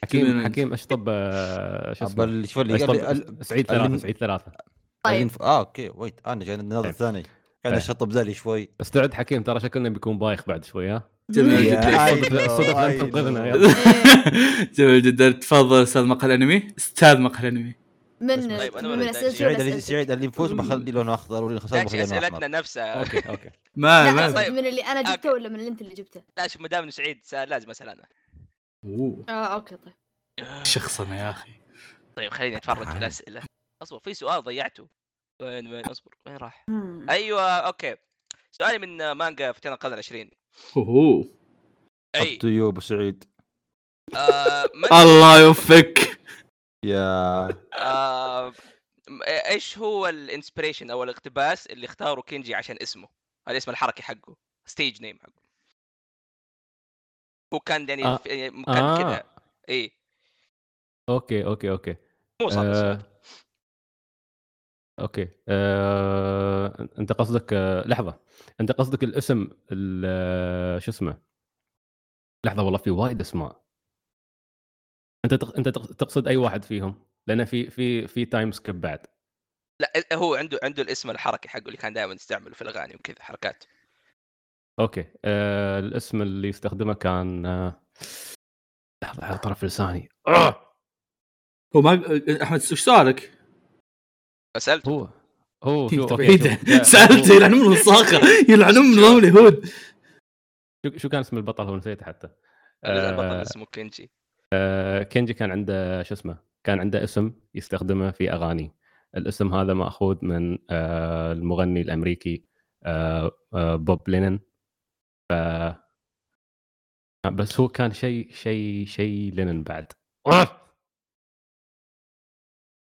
[SPEAKER 5] حكيم
[SPEAKER 1] كلنا-
[SPEAKER 5] حكيم اشطب آه، شو اسمه
[SPEAKER 4] بل شو اللي قال لي-
[SPEAKER 5] اشطب سعيد ثلاثه
[SPEAKER 4] اللي-
[SPEAKER 5] سعيد ثلاثه
[SPEAKER 3] طيب
[SPEAKER 4] الانف- اه اوكي ويت انا جاي النظر الثاني قاعد
[SPEAKER 5] طيب.
[SPEAKER 4] اشطب بالي شوي
[SPEAKER 5] استعد حكيم ترى شكلنا بيكون بايخ بعد شوي ها
[SPEAKER 1] جميل
[SPEAKER 3] طيب،
[SPEAKER 1] جدا
[SPEAKER 4] يا-
[SPEAKER 5] صدف صدف لن
[SPEAKER 4] أيوه.
[SPEAKER 5] تنقذنا يلا.
[SPEAKER 3] إيه،
[SPEAKER 1] جميل جدا تفضل استاذ مقهى الانمي استاذ مقهى الانمي
[SPEAKER 3] من
[SPEAKER 2] طيب، أنا
[SPEAKER 3] من
[SPEAKER 2] ولا
[SPEAKER 3] الاسئله
[SPEAKER 4] سعيد
[SPEAKER 3] اللي
[SPEAKER 4] اللي سعيد اللي يفوز بخلي لونه اخضر واللي خسر
[SPEAKER 2] داش
[SPEAKER 4] بخلي لونه
[SPEAKER 2] اسئلتنا
[SPEAKER 4] احمر
[SPEAKER 2] نفسها
[SPEAKER 5] اوكي اوكي
[SPEAKER 2] آه،
[SPEAKER 1] ما
[SPEAKER 3] لا
[SPEAKER 1] ما
[SPEAKER 3] أقصد من اللي انا جبته ولا من اللي انت اللي جبته؟
[SPEAKER 2] لا شوف ما دام إنه سعيد سأل لازم اسال انا
[SPEAKER 1] أوه،
[SPEAKER 3] اه اوكي طيب
[SPEAKER 1] شخصنا يا اخي
[SPEAKER 2] طيب خليني
[SPEAKER 5] آه.
[SPEAKER 2] اتفرج في الاسئله اصبر في سؤال ضيعته وين وين اصبر وين راح
[SPEAKER 3] مم.
[SPEAKER 2] ايوه اوكي سؤالي من آه، مانجا فتيان القرن العشرين
[SPEAKER 1] أوه.
[SPEAKER 2] اي
[SPEAKER 4] تو يو ابو سعيد
[SPEAKER 2] آه من
[SPEAKER 1] الله يوفقك
[SPEAKER 4] يا
[SPEAKER 2] آه م- ايش هو الانسبريشن او الاقتباس اللي اختاره كينجي عشان اسمه؟ هذا اسم الحركي حقه ستيج نيم حقه هو كان يعني
[SPEAKER 5] آه،
[SPEAKER 2] في يعني مكان
[SPEAKER 5] آه.
[SPEAKER 2] كذا اي
[SPEAKER 5] اوكي اوكي اوكي
[SPEAKER 2] إيه، مو صعب السؤال.
[SPEAKER 5] آه، اوكي آه، انت قصدك آه، لحظه انت قصدك الاسم ال- آه، شو اسمه لحظه والله في وايد اسماء انت تق- انت تق- تقصد اي واحد فيهم لان في في في تايم سكيب بعد
[SPEAKER 2] لا هو عنده عنده الاسم الحركي حقه اللي كان دائما يستعمله في الاغاني وكذا حركات
[SPEAKER 5] اوكي آه، الاسم اللي استخدمه كان آه، لحظه على طرف لساني آه،
[SPEAKER 1] هو ما احمد ايش سؤالك؟
[SPEAKER 2] سالته
[SPEAKER 5] هو هو شو اوكي شو-
[SPEAKER 1] بعيده سالته يلعنون من الصاخه يلعنون من نظام اليهود
[SPEAKER 5] شو- شو كان اسم البطل هو نسيت حتى
[SPEAKER 2] آه البطل
[SPEAKER 5] آه،
[SPEAKER 2] اسمه كينجي
[SPEAKER 5] آه، كينجي كان عنده شو اسمه كان عنده اسم يستخدمه في اغاني الاسم هذا ماخوذ من آه، المغني الامريكي آه، آه، بوب لينن ف بس هو كان شيء شيء شيء لينن بعد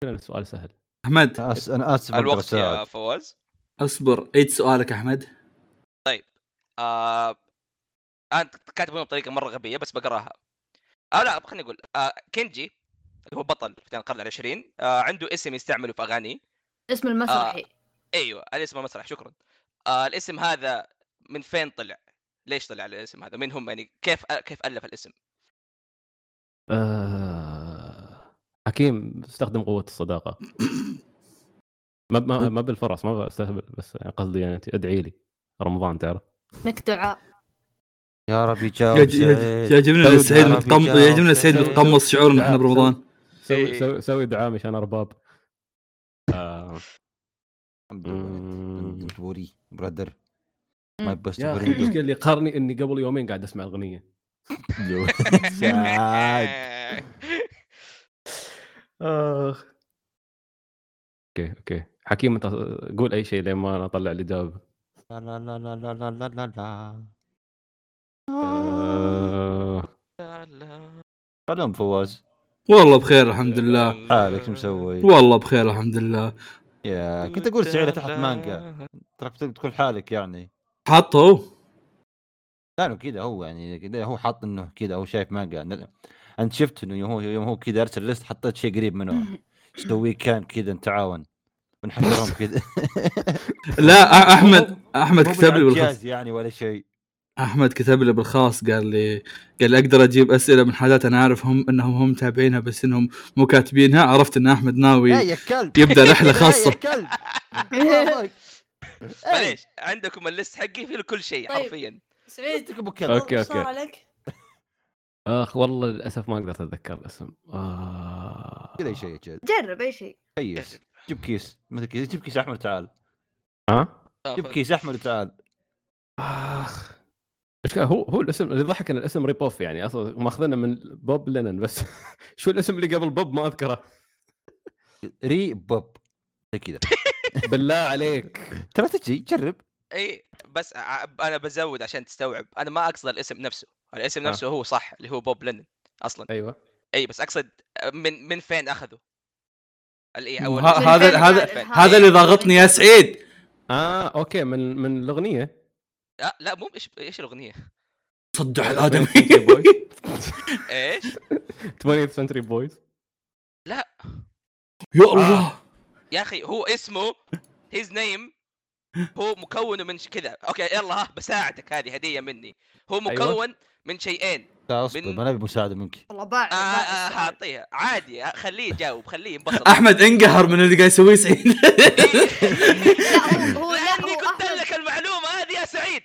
[SPEAKER 5] كان السؤال سهل
[SPEAKER 1] احمد
[SPEAKER 4] أنا آس- انا اسف أبو
[SPEAKER 2] الوقت يا
[SPEAKER 4] سعيد.
[SPEAKER 2] فواز
[SPEAKER 1] اصبر عيد سؤالك احمد
[SPEAKER 2] آه انا كاتبهم بطريقه مره غبيه بس بقراها آه لا خليني اقول آه كينجي اللي هو بطل في القرن العشرين آه عنده اسم يستعمله في اغانيه
[SPEAKER 3] اسم المسرحي
[SPEAKER 2] ايوه الاسم مسرح شكرا آه الاسم هذا من فين طلع؟ ليش طلع الاسم هذا؟ من هم يعني كيف كيف الف الاسم؟
[SPEAKER 5] آه، حكيم استخدم قوه الصداقه ما ما, ما بالفرص ما بستهبل بس قصدي يعني ادعي لي رمضان تعرف
[SPEAKER 3] لك دعاء
[SPEAKER 4] يا رب يجاوب سعيد.
[SPEAKER 1] يعجبنا إن سعيد
[SPEAKER 4] يا رب
[SPEAKER 1] متقم
[SPEAKER 4] يجاوب
[SPEAKER 1] يعجبنا سعيد
[SPEAKER 4] سعيد.
[SPEAKER 1] متقمص شعورنا احنا برمضان
[SPEAKER 5] سوي
[SPEAKER 2] إيه.
[SPEAKER 5] سوي سوي دعاء مشان ارباب آه،
[SPEAKER 4] الحمد لله.
[SPEAKER 5] Mm.
[SPEAKER 4] مجبوري برادر
[SPEAKER 3] Mm.
[SPEAKER 4] ماي بيست
[SPEAKER 5] يا اخي
[SPEAKER 4] فريند
[SPEAKER 5] المشكله اللي قهرني اني قبل يومين قاعد اسمع اغنيه
[SPEAKER 4] سعيد
[SPEAKER 5] اخ اوكي اوكي حكيم انت قول اي شيء لين ما انا اطلع اللي جاوب
[SPEAKER 4] لا لا لا لا لا لا لا لا لا
[SPEAKER 5] آه،
[SPEAKER 4] سلام فواز
[SPEAKER 1] والله بخير الحمد لله
[SPEAKER 4] حالك شو مسوي؟
[SPEAKER 1] والله بخير الحمد لله
[SPEAKER 4] يا كنت اقول سعيد تحت مانجا تراك تقول حالك يعني
[SPEAKER 1] حاطه هو
[SPEAKER 4] لا كذا هو يعني كذا هو حاط انه كذا هو شايف مانجا أنا- انت شفت انه هو يوم هو كذا ارسل ليست حطيت شيء قريب منه
[SPEAKER 3] آه،
[SPEAKER 4] سوي كان كذا نتعاون ونحضرهم كذا
[SPEAKER 1] لا أ- احمد
[SPEAKER 4] مو-
[SPEAKER 1] احمد
[SPEAKER 4] مو
[SPEAKER 1] كتب لي بالخط
[SPEAKER 4] بالعكاز يعني ولا شيء
[SPEAKER 1] احمد كتب لي بالخاص قال لي قال لي اقدر اجيب اسئله من حاجات انا عارف هم انهم هم متابعينها بس انهم مو كاتبينها عرفت ان احمد ناوي
[SPEAKER 4] إيه، يا يا كلب إيه،
[SPEAKER 1] يبدا رحله
[SPEAKER 4] يا
[SPEAKER 1] خاصه
[SPEAKER 4] كلب إيه.
[SPEAKER 2] معليش عندكم الليست حقي فيه كل شيء
[SPEAKER 3] طيب.
[SPEAKER 2] حرفيا
[SPEAKER 3] سعيد
[SPEAKER 4] ابو كلب
[SPEAKER 5] أوكي،
[SPEAKER 3] صار
[SPEAKER 5] أوكي.
[SPEAKER 3] عليك
[SPEAKER 5] اخ والله للاسف ما اقدر اتذكر الاسم آه.
[SPEAKER 4] كذا شيء كذا
[SPEAKER 3] جرب اي شيء
[SPEAKER 2] إيه،
[SPEAKER 4] كيس جيب كيس مثل كيس جيب كيس احمر تعال
[SPEAKER 5] ها
[SPEAKER 2] طيب.
[SPEAKER 4] جيب كيس احمر تعال
[SPEAKER 5] اخ إيش كان- هو هو الاسم اللي ضحك ان الاسم ريبوف يعني اصلا ماخذنا من بوب لينن بس شو الاسم اللي قبل بوب ما اذكره
[SPEAKER 4] ري بوب زي كذا
[SPEAKER 5] بالله عليك
[SPEAKER 4] ترى تجي جرب
[SPEAKER 2] اي إيه، بس ع- انا بزود عشان تستوعب انا ما اقصد الاسم نفسه الاسم
[SPEAKER 5] آه.
[SPEAKER 2] نفسه هو صح اللي هو بوب لينن اصلا
[SPEAKER 5] ايوه
[SPEAKER 2] اي بس اقصد من من فين اخذه؟ ال- إيه،
[SPEAKER 1] ه-
[SPEAKER 2] أول إيه.
[SPEAKER 1] هذا-
[SPEAKER 2] من
[SPEAKER 1] هذا-
[SPEAKER 2] فين؟
[SPEAKER 1] هذا-
[SPEAKER 2] فين؟
[SPEAKER 1] هذا اللي ضاغطني يا سعيد
[SPEAKER 5] اه اوكي من من الاغنيه
[SPEAKER 2] لا آه، لا مو ايش ايش الاغنيه؟
[SPEAKER 1] صدع
[SPEAKER 5] 20th
[SPEAKER 1] الادمي
[SPEAKER 5] Century Boys.
[SPEAKER 2] ايش؟
[SPEAKER 5] 20th Century Boys
[SPEAKER 2] لا
[SPEAKER 1] يا
[SPEAKER 4] آه.
[SPEAKER 1] الله
[SPEAKER 2] يا اخي هو اسمه هيز نيم هو مكون من ش- كذا اوكي يلا ها بساعدك هذه هديه مني هو
[SPEAKER 5] أيوة.
[SPEAKER 2] مكون من شيئين
[SPEAKER 4] لا اصبر
[SPEAKER 2] من-
[SPEAKER 4] انا ابي مساعده منك
[SPEAKER 3] والله باع
[SPEAKER 2] آه، آه،
[SPEAKER 3] باع السؤال.
[SPEAKER 2] حاعطيها عادي آه، خليه يجاوب خليه ينبسط
[SPEAKER 1] احمد انقهر من اللي قاعد يسويه سعيد
[SPEAKER 3] لا هو هو لا
[SPEAKER 2] لاني
[SPEAKER 3] هو
[SPEAKER 2] قلت
[SPEAKER 3] احمد
[SPEAKER 2] لك المعلومه هذه يا سعيد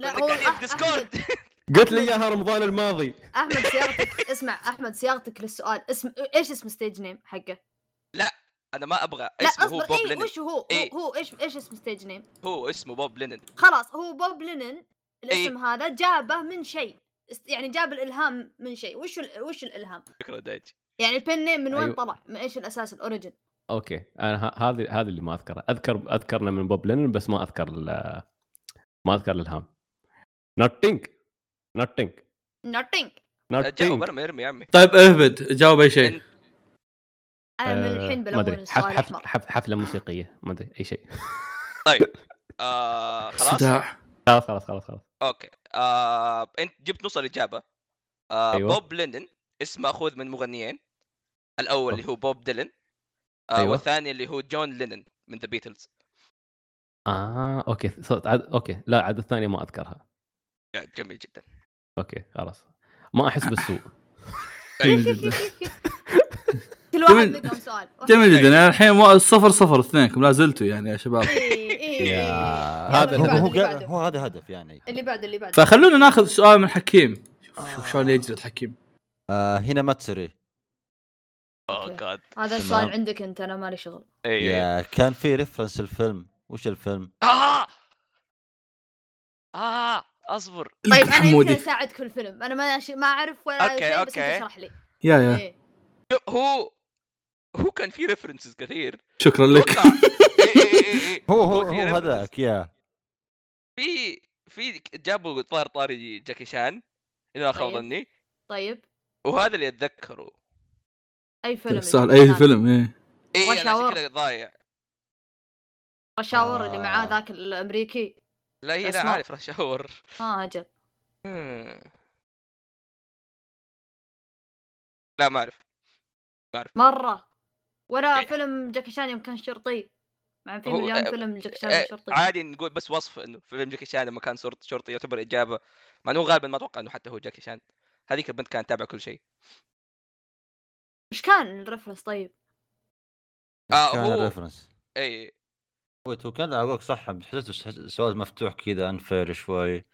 [SPEAKER 3] لا
[SPEAKER 2] إنك
[SPEAKER 3] هو
[SPEAKER 2] قاعدين في
[SPEAKER 3] أح- أحمد-
[SPEAKER 2] ديسكورد
[SPEAKER 5] قلت لي اياها رمضان الماضي
[SPEAKER 3] احمد صياغتك اسمع احمد صياغتك للسؤال اسم ايش اسم ستيج نيم حقه؟
[SPEAKER 2] انا ما ابغى
[SPEAKER 3] لا
[SPEAKER 2] اسمه هو
[SPEAKER 3] اصبر
[SPEAKER 2] بوب
[SPEAKER 3] اي
[SPEAKER 2] لينن
[SPEAKER 3] وش هو؟ هو-
[SPEAKER 2] إيه.
[SPEAKER 3] هو ايش ايش اسم ستيج نيم؟
[SPEAKER 2] هو اسمه بوب لينن
[SPEAKER 3] خلاص هو بوب لينن الاسم هذا جابه من شيء است- يعني جاب الالهام من شيء وش ال- وش الالهام؟
[SPEAKER 2] شكرا دايتش
[SPEAKER 3] يعني البن نيم من وين
[SPEAKER 5] أيوة.
[SPEAKER 3] طلع؟ من ايش الاساس الاوريجن؟
[SPEAKER 5] اوكي انا ه- هذه هذه اللي ما اذكرها اذكر اذكرنا من بوب لينن بس ما اذكر ال- ما اذكر الالهام نوتينج نوتينج
[SPEAKER 3] نوتينج
[SPEAKER 2] جاوب
[SPEAKER 5] نوتينج
[SPEAKER 2] انا مرمي يا عمي
[SPEAKER 1] طيب اهبد جاوب اي شيء
[SPEAKER 2] إن-
[SPEAKER 3] انا من الحين
[SPEAKER 5] آه، ما
[SPEAKER 3] بلون
[SPEAKER 5] ادري حف-
[SPEAKER 3] السؤال
[SPEAKER 5] حف-
[SPEAKER 3] الاحمر
[SPEAKER 5] حف- حفله موسيقيه ما ادري اي شيء
[SPEAKER 2] آه، خلاص
[SPEAKER 1] صداع
[SPEAKER 5] خلاص خلاص خلاص خلاص
[SPEAKER 2] اوكي آه، انت جبت نص الاجابه آه،
[SPEAKER 5] أيوة.
[SPEAKER 2] بوب لينن اسم ماخوذ من مغنيين الاول اللي هو بوب ديلن آه،
[SPEAKER 5] أيوة.
[SPEAKER 2] والثاني اللي هو جون لينن من ذا بيتلز
[SPEAKER 5] اه اوكي صوت عد... اوكي لا عاد الثانيه ما اذكرها
[SPEAKER 2] جميل جدا
[SPEAKER 5] اوكي خلاص ما احس بالسوء
[SPEAKER 1] جميل جدا
[SPEAKER 3] كل واحد
[SPEAKER 1] جميل.
[SPEAKER 3] منكم سؤال واحد.
[SPEAKER 1] جميل جدا يعني الحين مو- صفر صفر اثنينكم لا زلتوا يعني يا شباب
[SPEAKER 3] إيه، إيه، إيه.
[SPEAKER 5] هذا
[SPEAKER 4] هو
[SPEAKER 3] اللي
[SPEAKER 4] هو
[SPEAKER 3] بعده، اللي
[SPEAKER 4] قال-
[SPEAKER 3] بعده.
[SPEAKER 4] هو هذا هدف يعني
[SPEAKER 3] اللي بعده اللي بعده
[SPEAKER 1] فخلونا ناخذ سؤال من حكيم شوف شوف شلون يجلد حكيم
[SPEAKER 4] آه، هنا ما تسري
[SPEAKER 2] اوه
[SPEAKER 3] أوكي.
[SPEAKER 2] جاد
[SPEAKER 3] هذا
[SPEAKER 4] تمام.
[SPEAKER 3] السؤال عندك انت انا مالي شغل
[SPEAKER 2] اي
[SPEAKER 4] يا كان في ريفرنس الفيلم وش الفيلم؟
[SPEAKER 2] اه اه اصبر
[SPEAKER 3] طيب انا يمكن
[SPEAKER 1] حمودي
[SPEAKER 3] اساعدك في الفيلم انا ما أش- ما اعرف ولا
[SPEAKER 2] أوكي،
[SPEAKER 3] شيء بس
[SPEAKER 2] أوكي.
[SPEAKER 3] انت اشرح لي
[SPEAKER 1] يا يا
[SPEAKER 3] إيه.
[SPEAKER 2] هو هو كان في ريفرنسز كثير
[SPEAKER 1] شكرا لك
[SPEAKER 2] أتوقع- إيه، إيه، إيه، إيه.
[SPEAKER 4] هو هو
[SPEAKER 2] في
[SPEAKER 4] هو
[SPEAKER 2] references.
[SPEAKER 4] هذاك يا
[SPEAKER 2] في في جابوا طار طاري جاكي شان اذا ما خاب
[SPEAKER 3] طيب.
[SPEAKER 2] ظني
[SPEAKER 3] طيب
[SPEAKER 2] وهذا اللي اتذكره
[SPEAKER 3] اي فيلم
[SPEAKER 1] طيب، سؤال اي فيلم ايه
[SPEAKER 2] اي انا إيه، عشان
[SPEAKER 3] وشاور.
[SPEAKER 2] كذا ضايع
[SPEAKER 3] الشاور اللي معاه
[SPEAKER 4] آه.
[SPEAKER 3] ذاك الامريكي
[SPEAKER 2] لا هي انا
[SPEAKER 3] أسمع.
[SPEAKER 2] عارف راح اشاور
[SPEAKER 3] ها اجل
[SPEAKER 2] مم. لا ما اعرف
[SPEAKER 3] مره ولا
[SPEAKER 2] إيه.
[SPEAKER 3] فيلم جاكي شان يوم كان شرطي مع إن في
[SPEAKER 2] هو-
[SPEAKER 3] مليون
[SPEAKER 2] آه،
[SPEAKER 3] فيلم جاكي شان
[SPEAKER 2] آه،
[SPEAKER 3] يوم شرطي
[SPEAKER 2] عادي نقول بس وصف انه فيلم جاكي شان لما كان صورت شرطي يعتبر اجابه مع انه غالبا ما اتوقع انه حتى هو جاكي شان هذيك البنت كانت تتابع كل شيء
[SPEAKER 3] ايش كان الرفرنس طيب
[SPEAKER 2] آه،
[SPEAKER 4] كان
[SPEAKER 2] هو-
[SPEAKER 4] الريفرنس
[SPEAKER 2] اي
[SPEAKER 4] هو هو كان اقولك صح حسيت الس- السؤال مفتوح كذا انفير شوي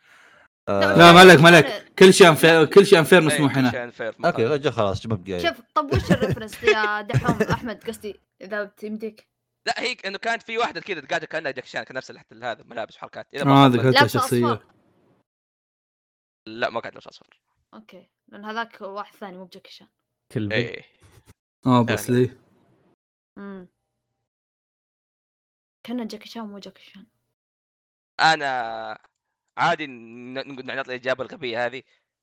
[SPEAKER 1] آه. لا،
[SPEAKER 3] بس-
[SPEAKER 1] مالك- مالك. كل شيء انفير كل شيء
[SPEAKER 2] إيه،
[SPEAKER 1] انفير مسموح هنا
[SPEAKER 4] اوكي رجع خلاص مبقى
[SPEAKER 3] شوف طب وش الرفرنس يا دحوم احمد قصدي اذا بتمديك
[SPEAKER 2] لا هيك انه كانت في واحده كذا قاعده كانها جاكي شان كان نفس اللي حتى هذا ملابس وحركات إذا ما
[SPEAKER 1] آه،
[SPEAKER 2] خاب ظني.
[SPEAKER 1] ذكرت. حتى
[SPEAKER 3] لابسه
[SPEAKER 1] شخصية.
[SPEAKER 3] اصفر
[SPEAKER 2] لا ما كانت لابسه اصفر
[SPEAKER 3] اوكي لان هذاك واحد ثاني مو بجاكي شان
[SPEAKER 5] كلبي
[SPEAKER 2] اي
[SPEAKER 1] اه بس لي
[SPEAKER 3] امم كان جاكي شان مو جاكي شان
[SPEAKER 2] انا عادي ن- ن- نعطي الاجابه الغبيه هذه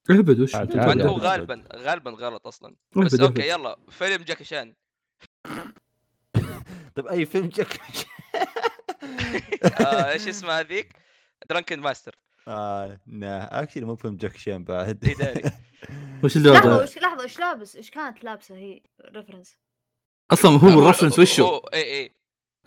[SPEAKER 1] اهبد وش
[SPEAKER 5] عاد-
[SPEAKER 2] مع
[SPEAKER 5] عادي،
[SPEAKER 2] انه هو
[SPEAKER 5] عادي.
[SPEAKER 2] غالبا غالبا غلط اصلا
[SPEAKER 1] اهبد
[SPEAKER 2] بس اوكي
[SPEAKER 1] اهبد
[SPEAKER 2] يلا فيلم جاكي شان
[SPEAKER 4] طيب اي فيلم جاك
[SPEAKER 2] آه، ايش اسمه هذيك درانكن ماستر
[SPEAKER 4] آه نا اكشلي مو فيلم جاك شين بعد
[SPEAKER 2] إداري.
[SPEAKER 1] وش اللي
[SPEAKER 3] لحظه
[SPEAKER 1] هذا
[SPEAKER 3] وش لحظه ايش لابس ايش كانت لابسه هي ريفرنس
[SPEAKER 1] اصلا هو الرفرنس وشو
[SPEAKER 2] اي اي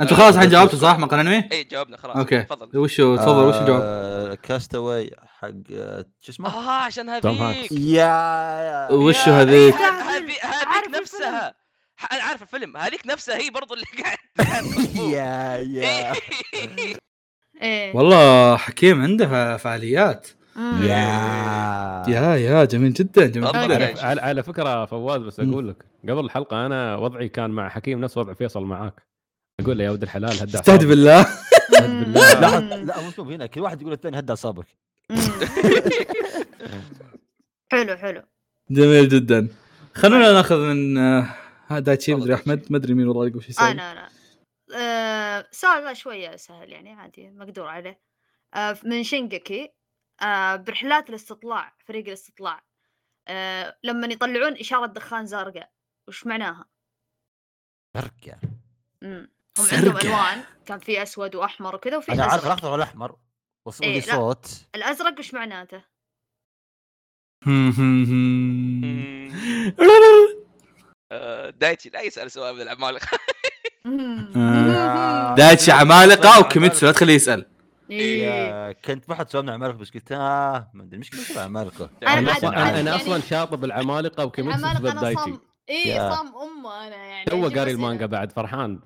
[SPEAKER 1] انتم خلاص الحين جاوبتوا صح مقال انمي؟
[SPEAKER 2] اي إيه، جاوبنا خلاص
[SPEAKER 1] اوكي.
[SPEAKER 2] تفضل
[SPEAKER 1] وشو تفضل وش الجواب؟
[SPEAKER 4] آه. كاستاوي حق آه، شو اسمه؟
[SPEAKER 2] اه عشان
[SPEAKER 5] توم هانكس.
[SPEAKER 2] هذيك
[SPEAKER 4] يا
[SPEAKER 1] وش
[SPEAKER 2] يا-
[SPEAKER 1] هذيك؟
[SPEAKER 2] هذي- هذي- هذيك
[SPEAKER 3] عارف
[SPEAKER 2] نفسها ح- انا عارف الفيلم هذيك نفسها هي برضو اللي قاعد
[SPEAKER 4] يا يا
[SPEAKER 2] إيه.
[SPEAKER 3] ايه
[SPEAKER 1] والله حكيم عنده فا- فعاليات
[SPEAKER 3] مم.
[SPEAKER 4] يا
[SPEAKER 1] يا يا جميل جدا جميل
[SPEAKER 2] والله
[SPEAKER 1] جدا
[SPEAKER 2] جميل.
[SPEAKER 5] على, على- على فكره فواز بس اقول لك قبل الحلقه انا وضعي كان مع حكيم نفس وضع فيصل معاك اقول له يا ولد الحلال هدع
[SPEAKER 1] استهد بالله
[SPEAKER 5] أستهد بالله.
[SPEAKER 4] لا
[SPEAKER 3] مم.
[SPEAKER 4] لا مو شوف هنا كل واحد يقول الثاني هدى اعصابك
[SPEAKER 3] مم. حلو حلو آه،
[SPEAKER 1] جميل جدا خلونا ناخذ من آه، ها دايتشي مدري احمد ما ادري مين والله يقول شو يسوي
[SPEAKER 3] انا انا آه، سؤال لا شويه سهل يعني عادي مقدور عليه آه، من شينجكي آه، برحلات الاستطلاع فريق الاستطلاع آه، لما يطلعون اشاره دخان زرقاء وش معناها؟
[SPEAKER 4] بركة
[SPEAKER 3] مم. هم عندهم
[SPEAKER 1] زرقاء.
[SPEAKER 3] الوان كان في اسود واحمر وكذا وفي
[SPEAKER 4] انا عارف
[SPEAKER 3] ازرق
[SPEAKER 4] الاخضر والاحمر وص-
[SPEAKER 3] إيه،
[SPEAKER 4] ودي
[SPEAKER 3] لا.
[SPEAKER 4] صوت
[SPEAKER 3] الازرق وش معناته؟
[SPEAKER 2] آه، دايتشي لا يسال سؤال من العمالقه
[SPEAKER 1] آه. دايتشي عمالقه وكيميتسو لا تخليه يسال
[SPEAKER 3] إيه.
[SPEAKER 4] يا كنت بحث سؤال من عمالقه بس قلت اه ما ادري مشكله سؤال عمالقه
[SPEAKER 2] أنا
[SPEAKER 5] انا
[SPEAKER 2] ما
[SPEAKER 5] اصلا
[SPEAKER 2] أدري.
[SPEAKER 5] انا, أنا
[SPEAKER 3] يعني-
[SPEAKER 5] اصلا شاطب العمالقه وكيميتسو
[SPEAKER 3] العمالقه
[SPEAKER 5] سبب
[SPEAKER 3] انا
[SPEAKER 5] دايتشي
[SPEAKER 3] صام اي
[SPEAKER 4] يا.
[SPEAKER 3] صام امه انا يعني
[SPEAKER 5] تو
[SPEAKER 3] أجيب
[SPEAKER 5] قاري
[SPEAKER 3] أسئلة.
[SPEAKER 5] المانجا بعد فرحان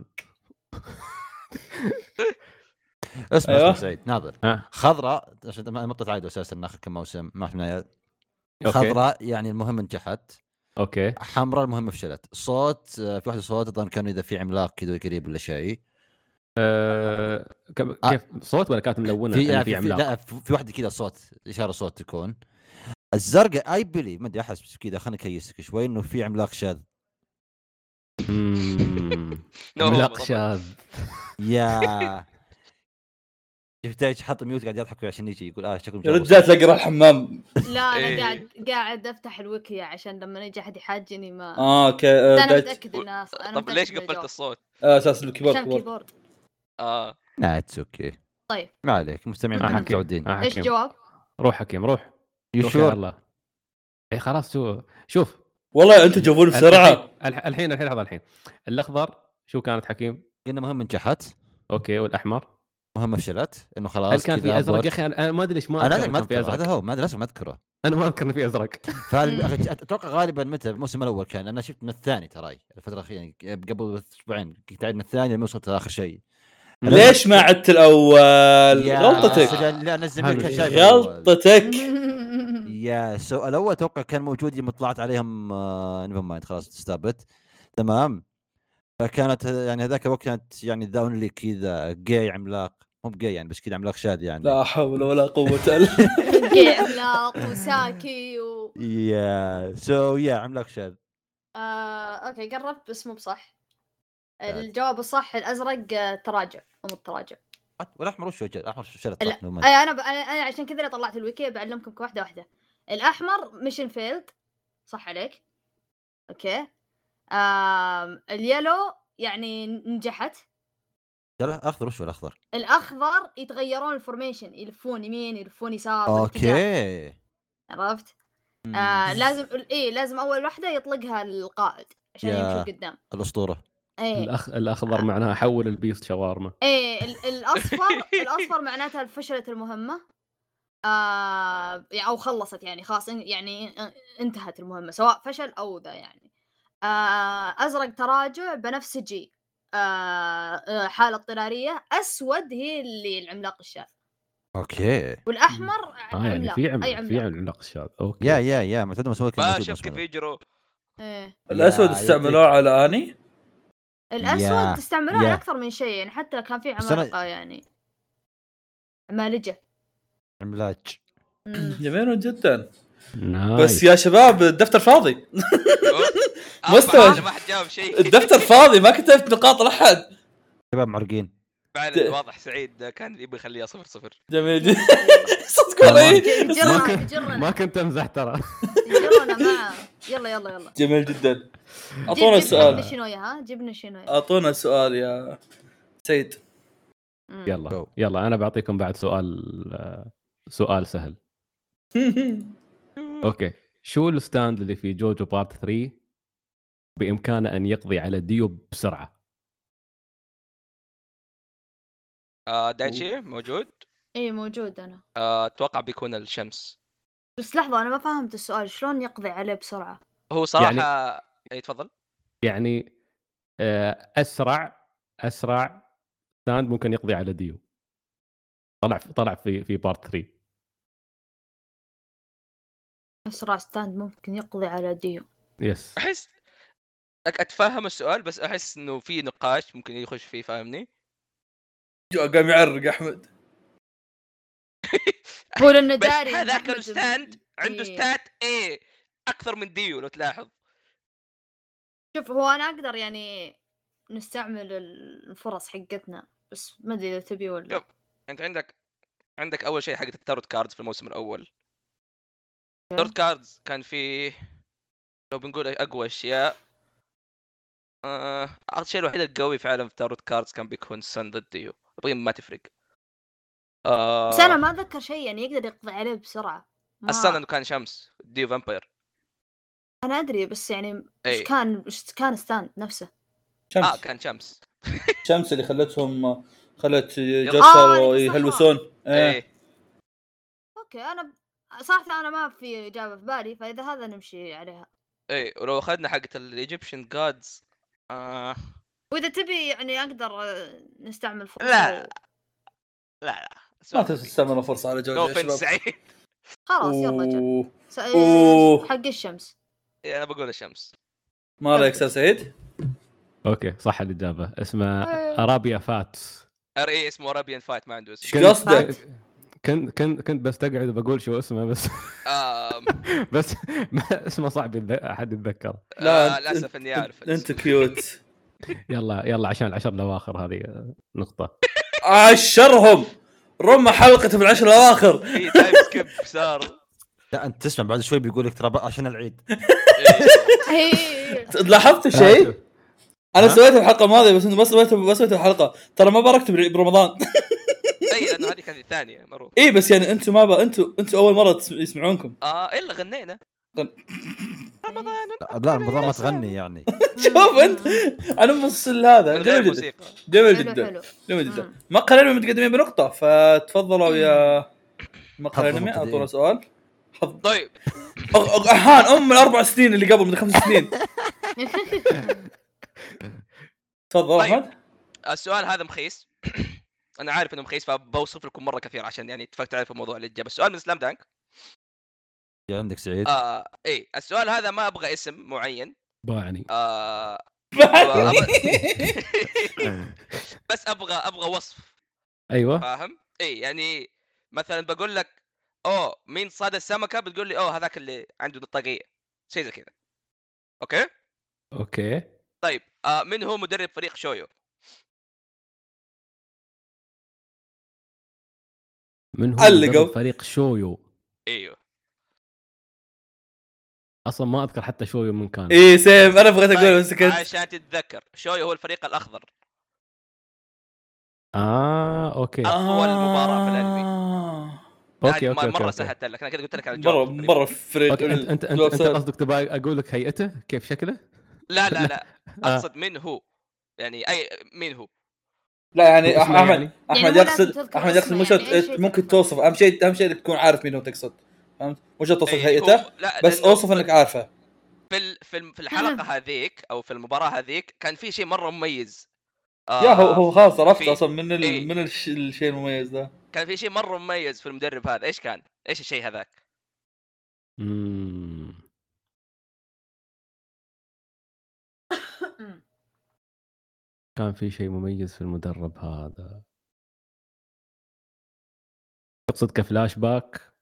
[SPEAKER 4] اسمع
[SPEAKER 1] أيوة.
[SPEAKER 4] أيوه. سعيد ناظر
[SPEAKER 5] ها.
[SPEAKER 4] خضراء عشان ما ما بتتعادل اساسا ناخذ كم موسم ما احنا عيال.
[SPEAKER 5] أوكي.
[SPEAKER 4] خضراء يعني المهم نجحت
[SPEAKER 5] اوكي
[SPEAKER 4] حمراء المهم فشلت صوت آه، في واحده صوت اظن كان اذا في عملاق كذا قريب ولا شيء
[SPEAKER 5] أه كم-
[SPEAKER 4] آه.
[SPEAKER 5] كيف صوت ولا كانت ملونه
[SPEAKER 4] في
[SPEAKER 5] في,
[SPEAKER 4] يعني
[SPEAKER 5] نعم،
[SPEAKER 4] في,
[SPEAKER 5] في
[SPEAKER 4] في
[SPEAKER 5] عملاق
[SPEAKER 4] لا في في واحده كذا صوت اشاره صوت تكون الزرقاء اي بلي ما ادري احس كذا خليني اكيسك شوي انه في عملاق شاذ
[SPEAKER 5] مم.
[SPEAKER 2] No
[SPEAKER 5] عملاق
[SPEAKER 2] homo.
[SPEAKER 5] شاذ
[SPEAKER 4] يا شفت ايش حط ميوت قاعد يضحك عشان يجي يقول اه شكله
[SPEAKER 1] يا رجال اقرا الحمام
[SPEAKER 3] لا انا
[SPEAKER 2] إيه.
[SPEAKER 3] قاعد قاعد افتح الويكيا عشان لما يجي احد يحاجني ما
[SPEAKER 1] اه اوكي
[SPEAKER 3] بس
[SPEAKER 1] آه،
[SPEAKER 3] انا
[SPEAKER 1] دايتشي-
[SPEAKER 3] متاكد انها ص- انا
[SPEAKER 2] طب
[SPEAKER 3] متأكد
[SPEAKER 2] ليش
[SPEAKER 3] إنها
[SPEAKER 2] قفلت
[SPEAKER 3] جواب.
[SPEAKER 2] الصوت؟
[SPEAKER 1] آه، اساس الكيبورد
[SPEAKER 3] عشان
[SPEAKER 1] كيبورد.
[SPEAKER 3] كيبورد
[SPEAKER 2] اه
[SPEAKER 4] لا اتس اوكي
[SPEAKER 3] طيب
[SPEAKER 4] ما عليك مستمعين
[SPEAKER 5] آه،
[SPEAKER 4] آه
[SPEAKER 5] حكيم.
[SPEAKER 4] متعودين
[SPEAKER 5] آه،
[SPEAKER 3] ايش
[SPEAKER 5] حكيم.
[SPEAKER 3] جواب؟
[SPEAKER 5] روح حكيم روح
[SPEAKER 4] يو
[SPEAKER 5] روح يا
[SPEAKER 4] شور
[SPEAKER 5] الله اي إيه، خلاص شو شوف
[SPEAKER 1] والله انتم تجاوبون بسرعه
[SPEAKER 5] الحين الحين الحين لحظه الحين الاخضر شو كانت حكيم
[SPEAKER 4] قلنا مهم نجحت
[SPEAKER 5] اوكي والاحمر
[SPEAKER 4] مهمه فشلت انه خلاص
[SPEAKER 5] هل كان
[SPEAKER 4] كذا
[SPEAKER 5] في ازرق
[SPEAKER 4] أبوت.
[SPEAKER 5] يا اخي انا أنا ما ادري ليش ما
[SPEAKER 4] انا
[SPEAKER 5] أذكر
[SPEAKER 4] لازم ما
[SPEAKER 5] كان في
[SPEAKER 4] اذكره هذا
[SPEAKER 5] ازرق
[SPEAKER 4] هو ما لازم ما اذكره
[SPEAKER 5] انا ما اذكر انه في ازرق
[SPEAKER 4] فال- أخي، اتوقع غالبا متى الموسم الاول كان انا شفت من الثاني تراي الفتره الاخيره يعني قبل اسبوعين كنت قاعد من الثاني لما وصلت اخر شيء
[SPEAKER 1] ليش ما عدت الاول؟
[SPEAKER 4] يا-
[SPEAKER 1] غلطتك
[SPEAKER 4] سجل- لا انا الزميل كان شايف الأول.
[SPEAKER 1] غلطتك
[SPEAKER 4] يا سو الاول اتوقع كان موجود يوم طلعت عليهم آه، نيفر مايند خلاص استابت تمام فكانت ه- يعني هذاك الوقت كانت يعني ذا اونلي كذا جاي عملاق مو بجاي يعني بس كذا عملاق شاذ يعني
[SPEAKER 1] لا حول ولا قوه الا
[SPEAKER 3] عملاق وساكي و
[SPEAKER 4] يا سو يا عملاق شاذ
[SPEAKER 3] آه، اوكي قربت بس مو بصح الجواب الصح الازرق آه، تراجع ام التراجع
[SPEAKER 4] والاحمر وش وجه الاحمر شو
[SPEAKER 3] لا.
[SPEAKER 4] شرط
[SPEAKER 3] أي، انا ب... انا أنا عشان كذا اللي طلعت الويكي بعلمكم واحده واحده الاحمر ميشن فيلد صح عليك اوكي آم... اليلو يعني نجحت
[SPEAKER 4] الاخضر وش هو الاخضر
[SPEAKER 3] الاخضر يتغيرون الفورميشن يلفون يمين يلفون يسار بالاتجاه،
[SPEAKER 4] اوكي
[SPEAKER 3] عرفت آه لازم اي لازم اول واحده يطلقها القائد عشان
[SPEAKER 4] يا.
[SPEAKER 3] يمشي إيه، قدام
[SPEAKER 4] الاسطوره
[SPEAKER 3] اي
[SPEAKER 5] الاخ الاخضر معناها حول البيست شاورما
[SPEAKER 3] ايه ال- الاصفر الاصفر معناتها فشلت المهمه آه يعني- او خلصت يعني خلاص ان- يعني ان- انتهت المهمه سواء فشل او ذا يعني آه ازرق تراجع بنفسجي آه آه، حاله اضطراريه اسود هي اللي العملاق الشاذ
[SPEAKER 4] اوكي
[SPEAKER 3] والاحمر
[SPEAKER 5] اه يعني
[SPEAKER 3] عملاق،
[SPEAKER 5] في
[SPEAKER 3] اي
[SPEAKER 5] عملاق في
[SPEAKER 3] عملاق
[SPEAKER 5] عملاق شاذ اوكي
[SPEAKER 4] يا يا يا معتاد مسوي كان
[SPEAKER 2] ما
[SPEAKER 4] موجود
[SPEAKER 2] شوف
[SPEAKER 4] الموسم
[SPEAKER 2] كيف
[SPEAKER 4] الأول.
[SPEAKER 2] يجروا
[SPEAKER 3] إيه.
[SPEAKER 1] الاسود
[SPEAKER 4] يا
[SPEAKER 1] استعملوه على اني
[SPEAKER 4] يا-
[SPEAKER 3] الاسود تستعملوه على
[SPEAKER 4] يا.
[SPEAKER 3] اكثر من شيء يعني حتى كان في
[SPEAKER 4] بس أنا-
[SPEAKER 3] عمالقه يعني عمالجه
[SPEAKER 4] عملاج
[SPEAKER 3] مم.
[SPEAKER 1] جميل جدا بس
[SPEAKER 5] نايس.
[SPEAKER 1] يا شباب الدفتر فاضي
[SPEAKER 2] أربعة،
[SPEAKER 1] مستوى.
[SPEAKER 2] أنا آه، ما حد جاوب شيء
[SPEAKER 1] الدفتر فاضي ما كتبت نقاط لاحد
[SPEAKER 4] شباب معرقين
[SPEAKER 2] فعلا واضح سعيد كان يبي يخليها صفر صفر
[SPEAKER 1] جميل جدا صدق والله إيه.
[SPEAKER 3] ج-
[SPEAKER 5] ما
[SPEAKER 3] جرنا
[SPEAKER 5] كنت- ما
[SPEAKER 3] جرنا
[SPEAKER 5] كنت امزح ترى
[SPEAKER 3] جرنا معه يلا يلا يلا
[SPEAKER 1] جميل جدا
[SPEAKER 3] جيب-
[SPEAKER 1] اعطونا
[SPEAKER 3] جيب
[SPEAKER 1] السؤال
[SPEAKER 3] لنا شنويا ها جبنا
[SPEAKER 2] أه،
[SPEAKER 3] شنويا
[SPEAKER 1] اعطونا السؤال يا سيد
[SPEAKER 3] مم.
[SPEAKER 5] يلا
[SPEAKER 4] Go.
[SPEAKER 5] يلا انا بعطيكم بعد سؤال آه، سؤال سهل اوكي شو الستاند اللي في جوجو بارت 3 بامكانه ان يقضي على ديو بسرعه
[SPEAKER 2] آه دايتشي موجود
[SPEAKER 3] اي موجود انا
[SPEAKER 2] آه، اتوقع بيكون الشمس
[SPEAKER 3] بس لحظه انا ما فهمت السؤال شلون يقضي عليه بسرعه
[SPEAKER 2] هو صراحه اي تفضل
[SPEAKER 5] يعني آه، اسرع اسرع ساند ممكن يقضي على ديو طلع طلع في في بارت 3
[SPEAKER 3] اسرع ستاند ممكن يقضي على ديو
[SPEAKER 5] يس
[SPEAKER 2] احس أك- اتفهم السؤال بس احس انه في نقاش ممكن يخش فيه فاهمني
[SPEAKER 1] قام يعرق احمد
[SPEAKER 3] هو لانه
[SPEAKER 2] بس
[SPEAKER 3] داري إن
[SPEAKER 2] هذاك
[SPEAKER 3] أحمد-
[SPEAKER 2] الستاند عنده
[SPEAKER 3] إيه.
[SPEAKER 2] ستات اي اكثر من ديو لو تلاحظ
[SPEAKER 3] شوف هو انا اقدر يعني نستعمل الفرص حقتنا بس ما ادري اذا تبي ولا
[SPEAKER 2] شوف. انت يعني عندك عندك اول شيء حق التارت كاردز في الموسم الاول
[SPEAKER 3] إيه.
[SPEAKER 2] التارت كاردز كان فيه لو بنقول اقوى اشياء آه، الشيء الوحيد القوي فعلا في تاروت كاردز كان بيكون سن ضد ديو باقي ما تفرق آه
[SPEAKER 3] بس انا ما اتذكر شيء يعني يقدر يقضي عليه بسرعه ما...
[SPEAKER 2] السن انه كان شمس ديو فامباير
[SPEAKER 3] انا ادري بس يعني
[SPEAKER 2] إيه.
[SPEAKER 3] ايش كان ايش كان ستاند نفسه
[SPEAKER 1] شمس
[SPEAKER 3] آه،
[SPEAKER 2] اه كان شمس
[SPEAKER 1] شمس اللي خلتهم خلت
[SPEAKER 3] آه،
[SPEAKER 1] جسر
[SPEAKER 3] اللي في
[SPEAKER 1] يهلوسون إيه.
[SPEAKER 2] ايه
[SPEAKER 3] اوكي انا صراحه انا ما في اجابه في بالي فاذا هذا نمشي عليها
[SPEAKER 2] ايه ولو اخذنا حقت الايجيبشن جادز آه
[SPEAKER 3] واذا تبي يعني اقدر آه، نستعمل فرصه
[SPEAKER 2] لا.
[SPEAKER 3] و-
[SPEAKER 2] لا لا
[SPEAKER 1] ما تستمر فرصه على
[SPEAKER 2] نو
[SPEAKER 1] جوده
[SPEAKER 2] اوفنس سعيد
[SPEAKER 3] خلاص يلا جل.
[SPEAKER 1] أوه.
[SPEAKER 3] س- إيه،
[SPEAKER 1] أوه.
[SPEAKER 3] حق الشمس
[SPEAKER 2] إيه، انا بقول الشمس
[SPEAKER 1] ما رايك استاذ سعيد؟
[SPEAKER 5] اوكي صح الاجابه اسمه
[SPEAKER 3] إيه.
[SPEAKER 5] ارابيا فاتس
[SPEAKER 2] ار اي إيه، اسمه ارابيان فايت ما عنده اسم
[SPEAKER 1] ايش قصدك؟
[SPEAKER 5] كنت كنت كنت بستقعد بقول شو اسمه بس
[SPEAKER 2] آم،
[SPEAKER 5] بس ما اسمه صعب يتذ- احد يتذكره
[SPEAKER 2] آه،
[SPEAKER 1] أنت-
[SPEAKER 2] للاسف اني اعرف
[SPEAKER 1] انت كيوت
[SPEAKER 5] يلا يلا عشان العشر الاواخر هذه آه، نقطه
[SPEAKER 1] عشرهم رمى حلقته في العشر الاواخر
[SPEAKER 2] في تايم سكيب إيه، صار
[SPEAKER 4] لا انت تسمع بعد شوي بيقول لك ترى بقى عشان العيد
[SPEAKER 2] إيه.
[SPEAKER 3] إيه.
[SPEAKER 1] لاحظت شيء؟
[SPEAKER 5] طيب،
[SPEAKER 1] انا
[SPEAKER 5] ها؟
[SPEAKER 1] سويته الحلقه الماضيه بس انت ما سويته ما سويته الحلقه ترى ما باركت بر- برمضان
[SPEAKER 2] اي لانه هذه كانت الثانيه مره
[SPEAKER 1] اي بس يعني انتم ما با... انتم انتم اول مره تس- يسمعونكم
[SPEAKER 2] اه الا غنينا
[SPEAKER 4] لا رمضان ما تغني يعني
[SPEAKER 1] شوف انت انا مفصل هذا
[SPEAKER 2] من غير
[SPEAKER 1] طيب، جميل جدا جميل
[SPEAKER 2] موسيقى
[SPEAKER 3] حلو
[SPEAKER 1] جدا
[SPEAKER 3] حلو
[SPEAKER 1] جميل
[SPEAKER 3] مم.
[SPEAKER 1] جدا مقهى الانمي متقدمين بنقطه فتفضلوا يا مقهى
[SPEAKER 4] تفضل
[SPEAKER 1] الانمي
[SPEAKER 4] مبتدئين.
[SPEAKER 1] اعطونا سؤال حظ-
[SPEAKER 2] طيب
[SPEAKER 1] أغ- أغ- اهان ام الاربع سنين اللي قبل من خمس سنين تفضل
[SPEAKER 2] طيب.
[SPEAKER 1] احمد
[SPEAKER 2] السؤال هذا مخيس انا عارف انه مخيس فبوصف لكم مره كثير عشان يعني تفك- تعرفوا موضوع الاجابه السؤال من سلام دانك
[SPEAKER 4] يا عندك
[SPEAKER 1] إيه.
[SPEAKER 4] سعيد
[SPEAKER 2] آه اي السؤال هذا ما ابغى اسم معين
[SPEAKER 5] باعني
[SPEAKER 2] آه
[SPEAKER 1] بعد.
[SPEAKER 2] بس ابغى ابغى وصف
[SPEAKER 5] ايوه
[SPEAKER 2] فاهم؟ اي يعني مثلا بقول لك اوه مين صاد السمكه بتقول لي اوه هذاك اللي عنده نطاقيه شيء زي كذا اوكي
[SPEAKER 5] اوكي
[SPEAKER 2] طيب آه من هو مدرب فريق شويو
[SPEAKER 5] من هو
[SPEAKER 1] علقوا.
[SPEAKER 5] مدرب فريق شويو
[SPEAKER 2] ايوه
[SPEAKER 5] اصلا ما اذكر حتى شويو من كان
[SPEAKER 1] اي سيم انا بغيت اقول بس
[SPEAKER 2] طيب،
[SPEAKER 1] كنت
[SPEAKER 2] عشان تتذكر شويو هو الفريق الاخضر
[SPEAKER 5] اه اوكي
[SPEAKER 1] آه.
[SPEAKER 2] أطول مباراة في الأنمي.
[SPEAKER 1] الانمي
[SPEAKER 5] اوكي
[SPEAKER 2] هذه مره
[SPEAKER 5] اوكي اوكي أوكي.
[SPEAKER 2] يعني سهلت لك انا كده قلت لك على
[SPEAKER 1] مره
[SPEAKER 2] الجواب طيب. تقريباً.
[SPEAKER 1] مره فريد
[SPEAKER 5] اوكي انت انت انت, انت قصدك تبغى اقول لك هيئته كيف شكله؟
[SPEAKER 2] لا لا لا
[SPEAKER 5] آه.
[SPEAKER 2] اقصد من هو يعني اي مين هو
[SPEAKER 1] لا يعني
[SPEAKER 5] اسمه
[SPEAKER 1] احمد
[SPEAKER 5] يعني؟
[SPEAKER 1] احمد
[SPEAKER 3] مو لازم
[SPEAKER 1] يقصد
[SPEAKER 3] تذكر
[SPEAKER 1] احمد يقصد
[SPEAKER 3] اسمه
[SPEAKER 1] مش
[SPEAKER 3] يعني، أي شيء
[SPEAKER 1] ممكن
[SPEAKER 3] تذكره.
[SPEAKER 1] توصف اهم شيء اهم شيء تكون عارف مين هو تقصد فهمت؟ مش شرط توصف
[SPEAKER 2] إيه،
[SPEAKER 1] هيئته
[SPEAKER 2] هو- لا،
[SPEAKER 1] بس
[SPEAKER 2] لأنه
[SPEAKER 1] اوصف انك عارفه
[SPEAKER 2] في ال- في الم- في الحلقه هذيك او في المباراه هذيك كان في شيء مره مميز آه
[SPEAKER 1] يا هو هو خلاص عرفت
[SPEAKER 2] في-
[SPEAKER 1] اصلا من
[SPEAKER 2] إيه.
[SPEAKER 1] ال... من الش- الشيء المميز ذا
[SPEAKER 2] كان في شيء مره مميز في المدرب هذا ايش كان؟ ايش الشيء هذاك؟
[SPEAKER 5] مم. كان في شيء مميز في المدرب هذا تقصد كفلاش باك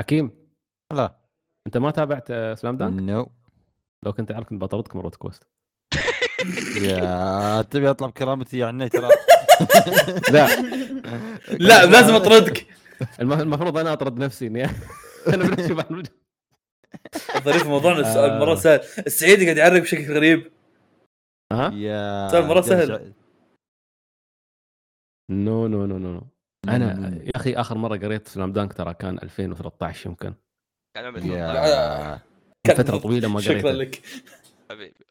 [SPEAKER 5] حكيم
[SPEAKER 4] لا
[SPEAKER 5] انت ما تابعت آه، سلام دانك؟
[SPEAKER 4] نو
[SPEAKER 5] لو كنت عارف كنت بطردك من روت كوست
[SPEAKER 4] يا تبي اطلب كرامتي يعني ترى
[SPEAKER 5] لا
[SPEAKER 1] لا لازم اطردك
[SPEAKER 5] الم- المفروض انا اطرد نفسي اني انا بنفسي بعمل-
[SPEAKER 1] الظريف موضوعنا السؤال
[SPEAKER 5] آه.
[SPEAKER 1] مره سهل السعيدي قاعد يعرق بشكل غريب
[SPEAKER 5] ها؟
[SPEAKER 4] يا
[SPEAKER 1] سهل، مرة
[SPEAKER 4] جل
[SPEAKER 1] سهل.
[SPEAKER 4] سعيد.
[SPEAKER 5] نو نو نو نو نو انا
[SPEAKER 4] مم.
[SPEAKER 5] يا اخي اخر مره قريت سلام دانك ترى كان 2013 يمكن
[SPEAKER 2] كان عمري 13
[SPEAKER 4] يا
[SPEAKER 1] كان-
[SPEAKER 5] فتره طويله ما
[SPEAKER 1] شكرا
[SPEAKER 5] قريت
[SPEAKER 1] لك
[SPEAKER 2] حبيبي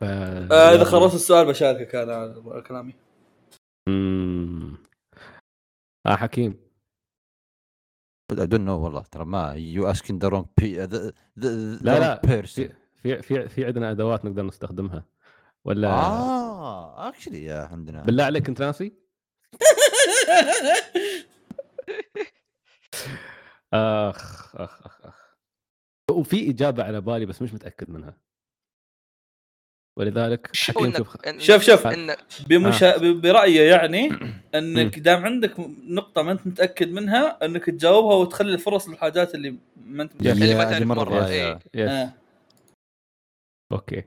[SPEAKER 5] ف...
[SPEAKER 1] آه، اذا خلصت السؤال بشاركك انا على كلامي
[SPEAKER 5] اه إمم. حكيم
[SPEAKER 4] I don't know والله ترى ما يو asking the wrong pe- the, the, the
[SPEAKER 5] لا، لا.
[SPEAKER 4] wrong person.
[SPEAKER 5] في في في, في عندنا ادوات نقدر نستخدمها ولا
[SPEAKER 2] آه.
[SPEAKER 4] اه اكشلي يا عندنا
[SPEAKER 5] بالله عليك انت ناسي؟ اخ اخ اخ اخ وفي اجابه على بالي بس مش متاكد منها ولذلك
[SPEAKER 2] شوف
[SPEAKER 5] حكيم شوف
[SPEAKER 2] إنك-
[SPEAKER 1] شوف- شوف.
[SPEAKER 2] إنك-
[SPEAKER 1] بمش... ب- برايه يعني انك
[SPEAKER 5] مم.
[SPEAKER 1] دام عندك نقطه ما انت متاكد منها انك تجاوبها وتخلي الفرص للحاجات اللي ما انت
[SPEAKER 5] يا
[SPEAKER 1] متاكد
[SPEAKER 2] اللي ما
[SPEAKER 4] هذه
[SPEAKER 2] تعرف مرة،
[SPEAKER 4] مرة
[SPEAKER 2] إيه.
[SPEAKER 5] يس
[SPEAKER 1] آه.
[SPEAKER 5] اوكي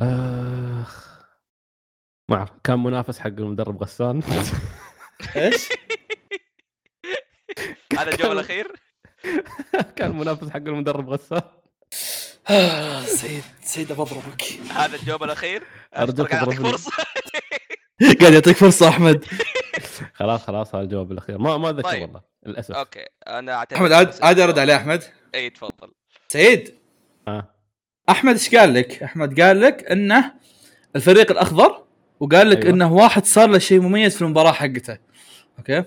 [SPEAKER 5] اخ ما اعرف كان منافس حق المدرب غسان
[SPEAKER 1] ايش؟
[SPEAKER 2] هذا الجوله الاخير
[SPEAKER 5] كان منافس حق المدرب غسان
[SPEAKER 1] سعيد سعيد بضربك
[SPEAKER 2] هذا الجوله الاخير
[SPEAKER 5] أرجوك
[SPEAKER 2] قاعد أعطيك
[SPEAKER 5] اضربني.
[SPEAKER 2] فرصه
[SPEAKER 1] قاعد يعطيك فرصه احمد
[SPEAKER 5] خلاص خلاص هذا الجواب الاخير ما ما اتذكر
[SPEAKER 2] طيب.
[SPEAKER 5] والله للاسف
[SPEAKER 2] اوكي انا اعتبر
[SPEAKER 1] احمد عاد عاد ارد عليه احمد
[SPEAKER 2] اي إيه، تفضل
[SPEAKER 1] سعيد
[SPEAKER 5] آه.
[SPEAKER 1] احمد ايش قال لك؟ احمد قال لك انه الفريق الاخضر وقال لك
[SPEAKER 5] أيوة.
[SPEAKER 1] أيوة. انه واحد صار له شيء مميز في المباراه حقته اوكي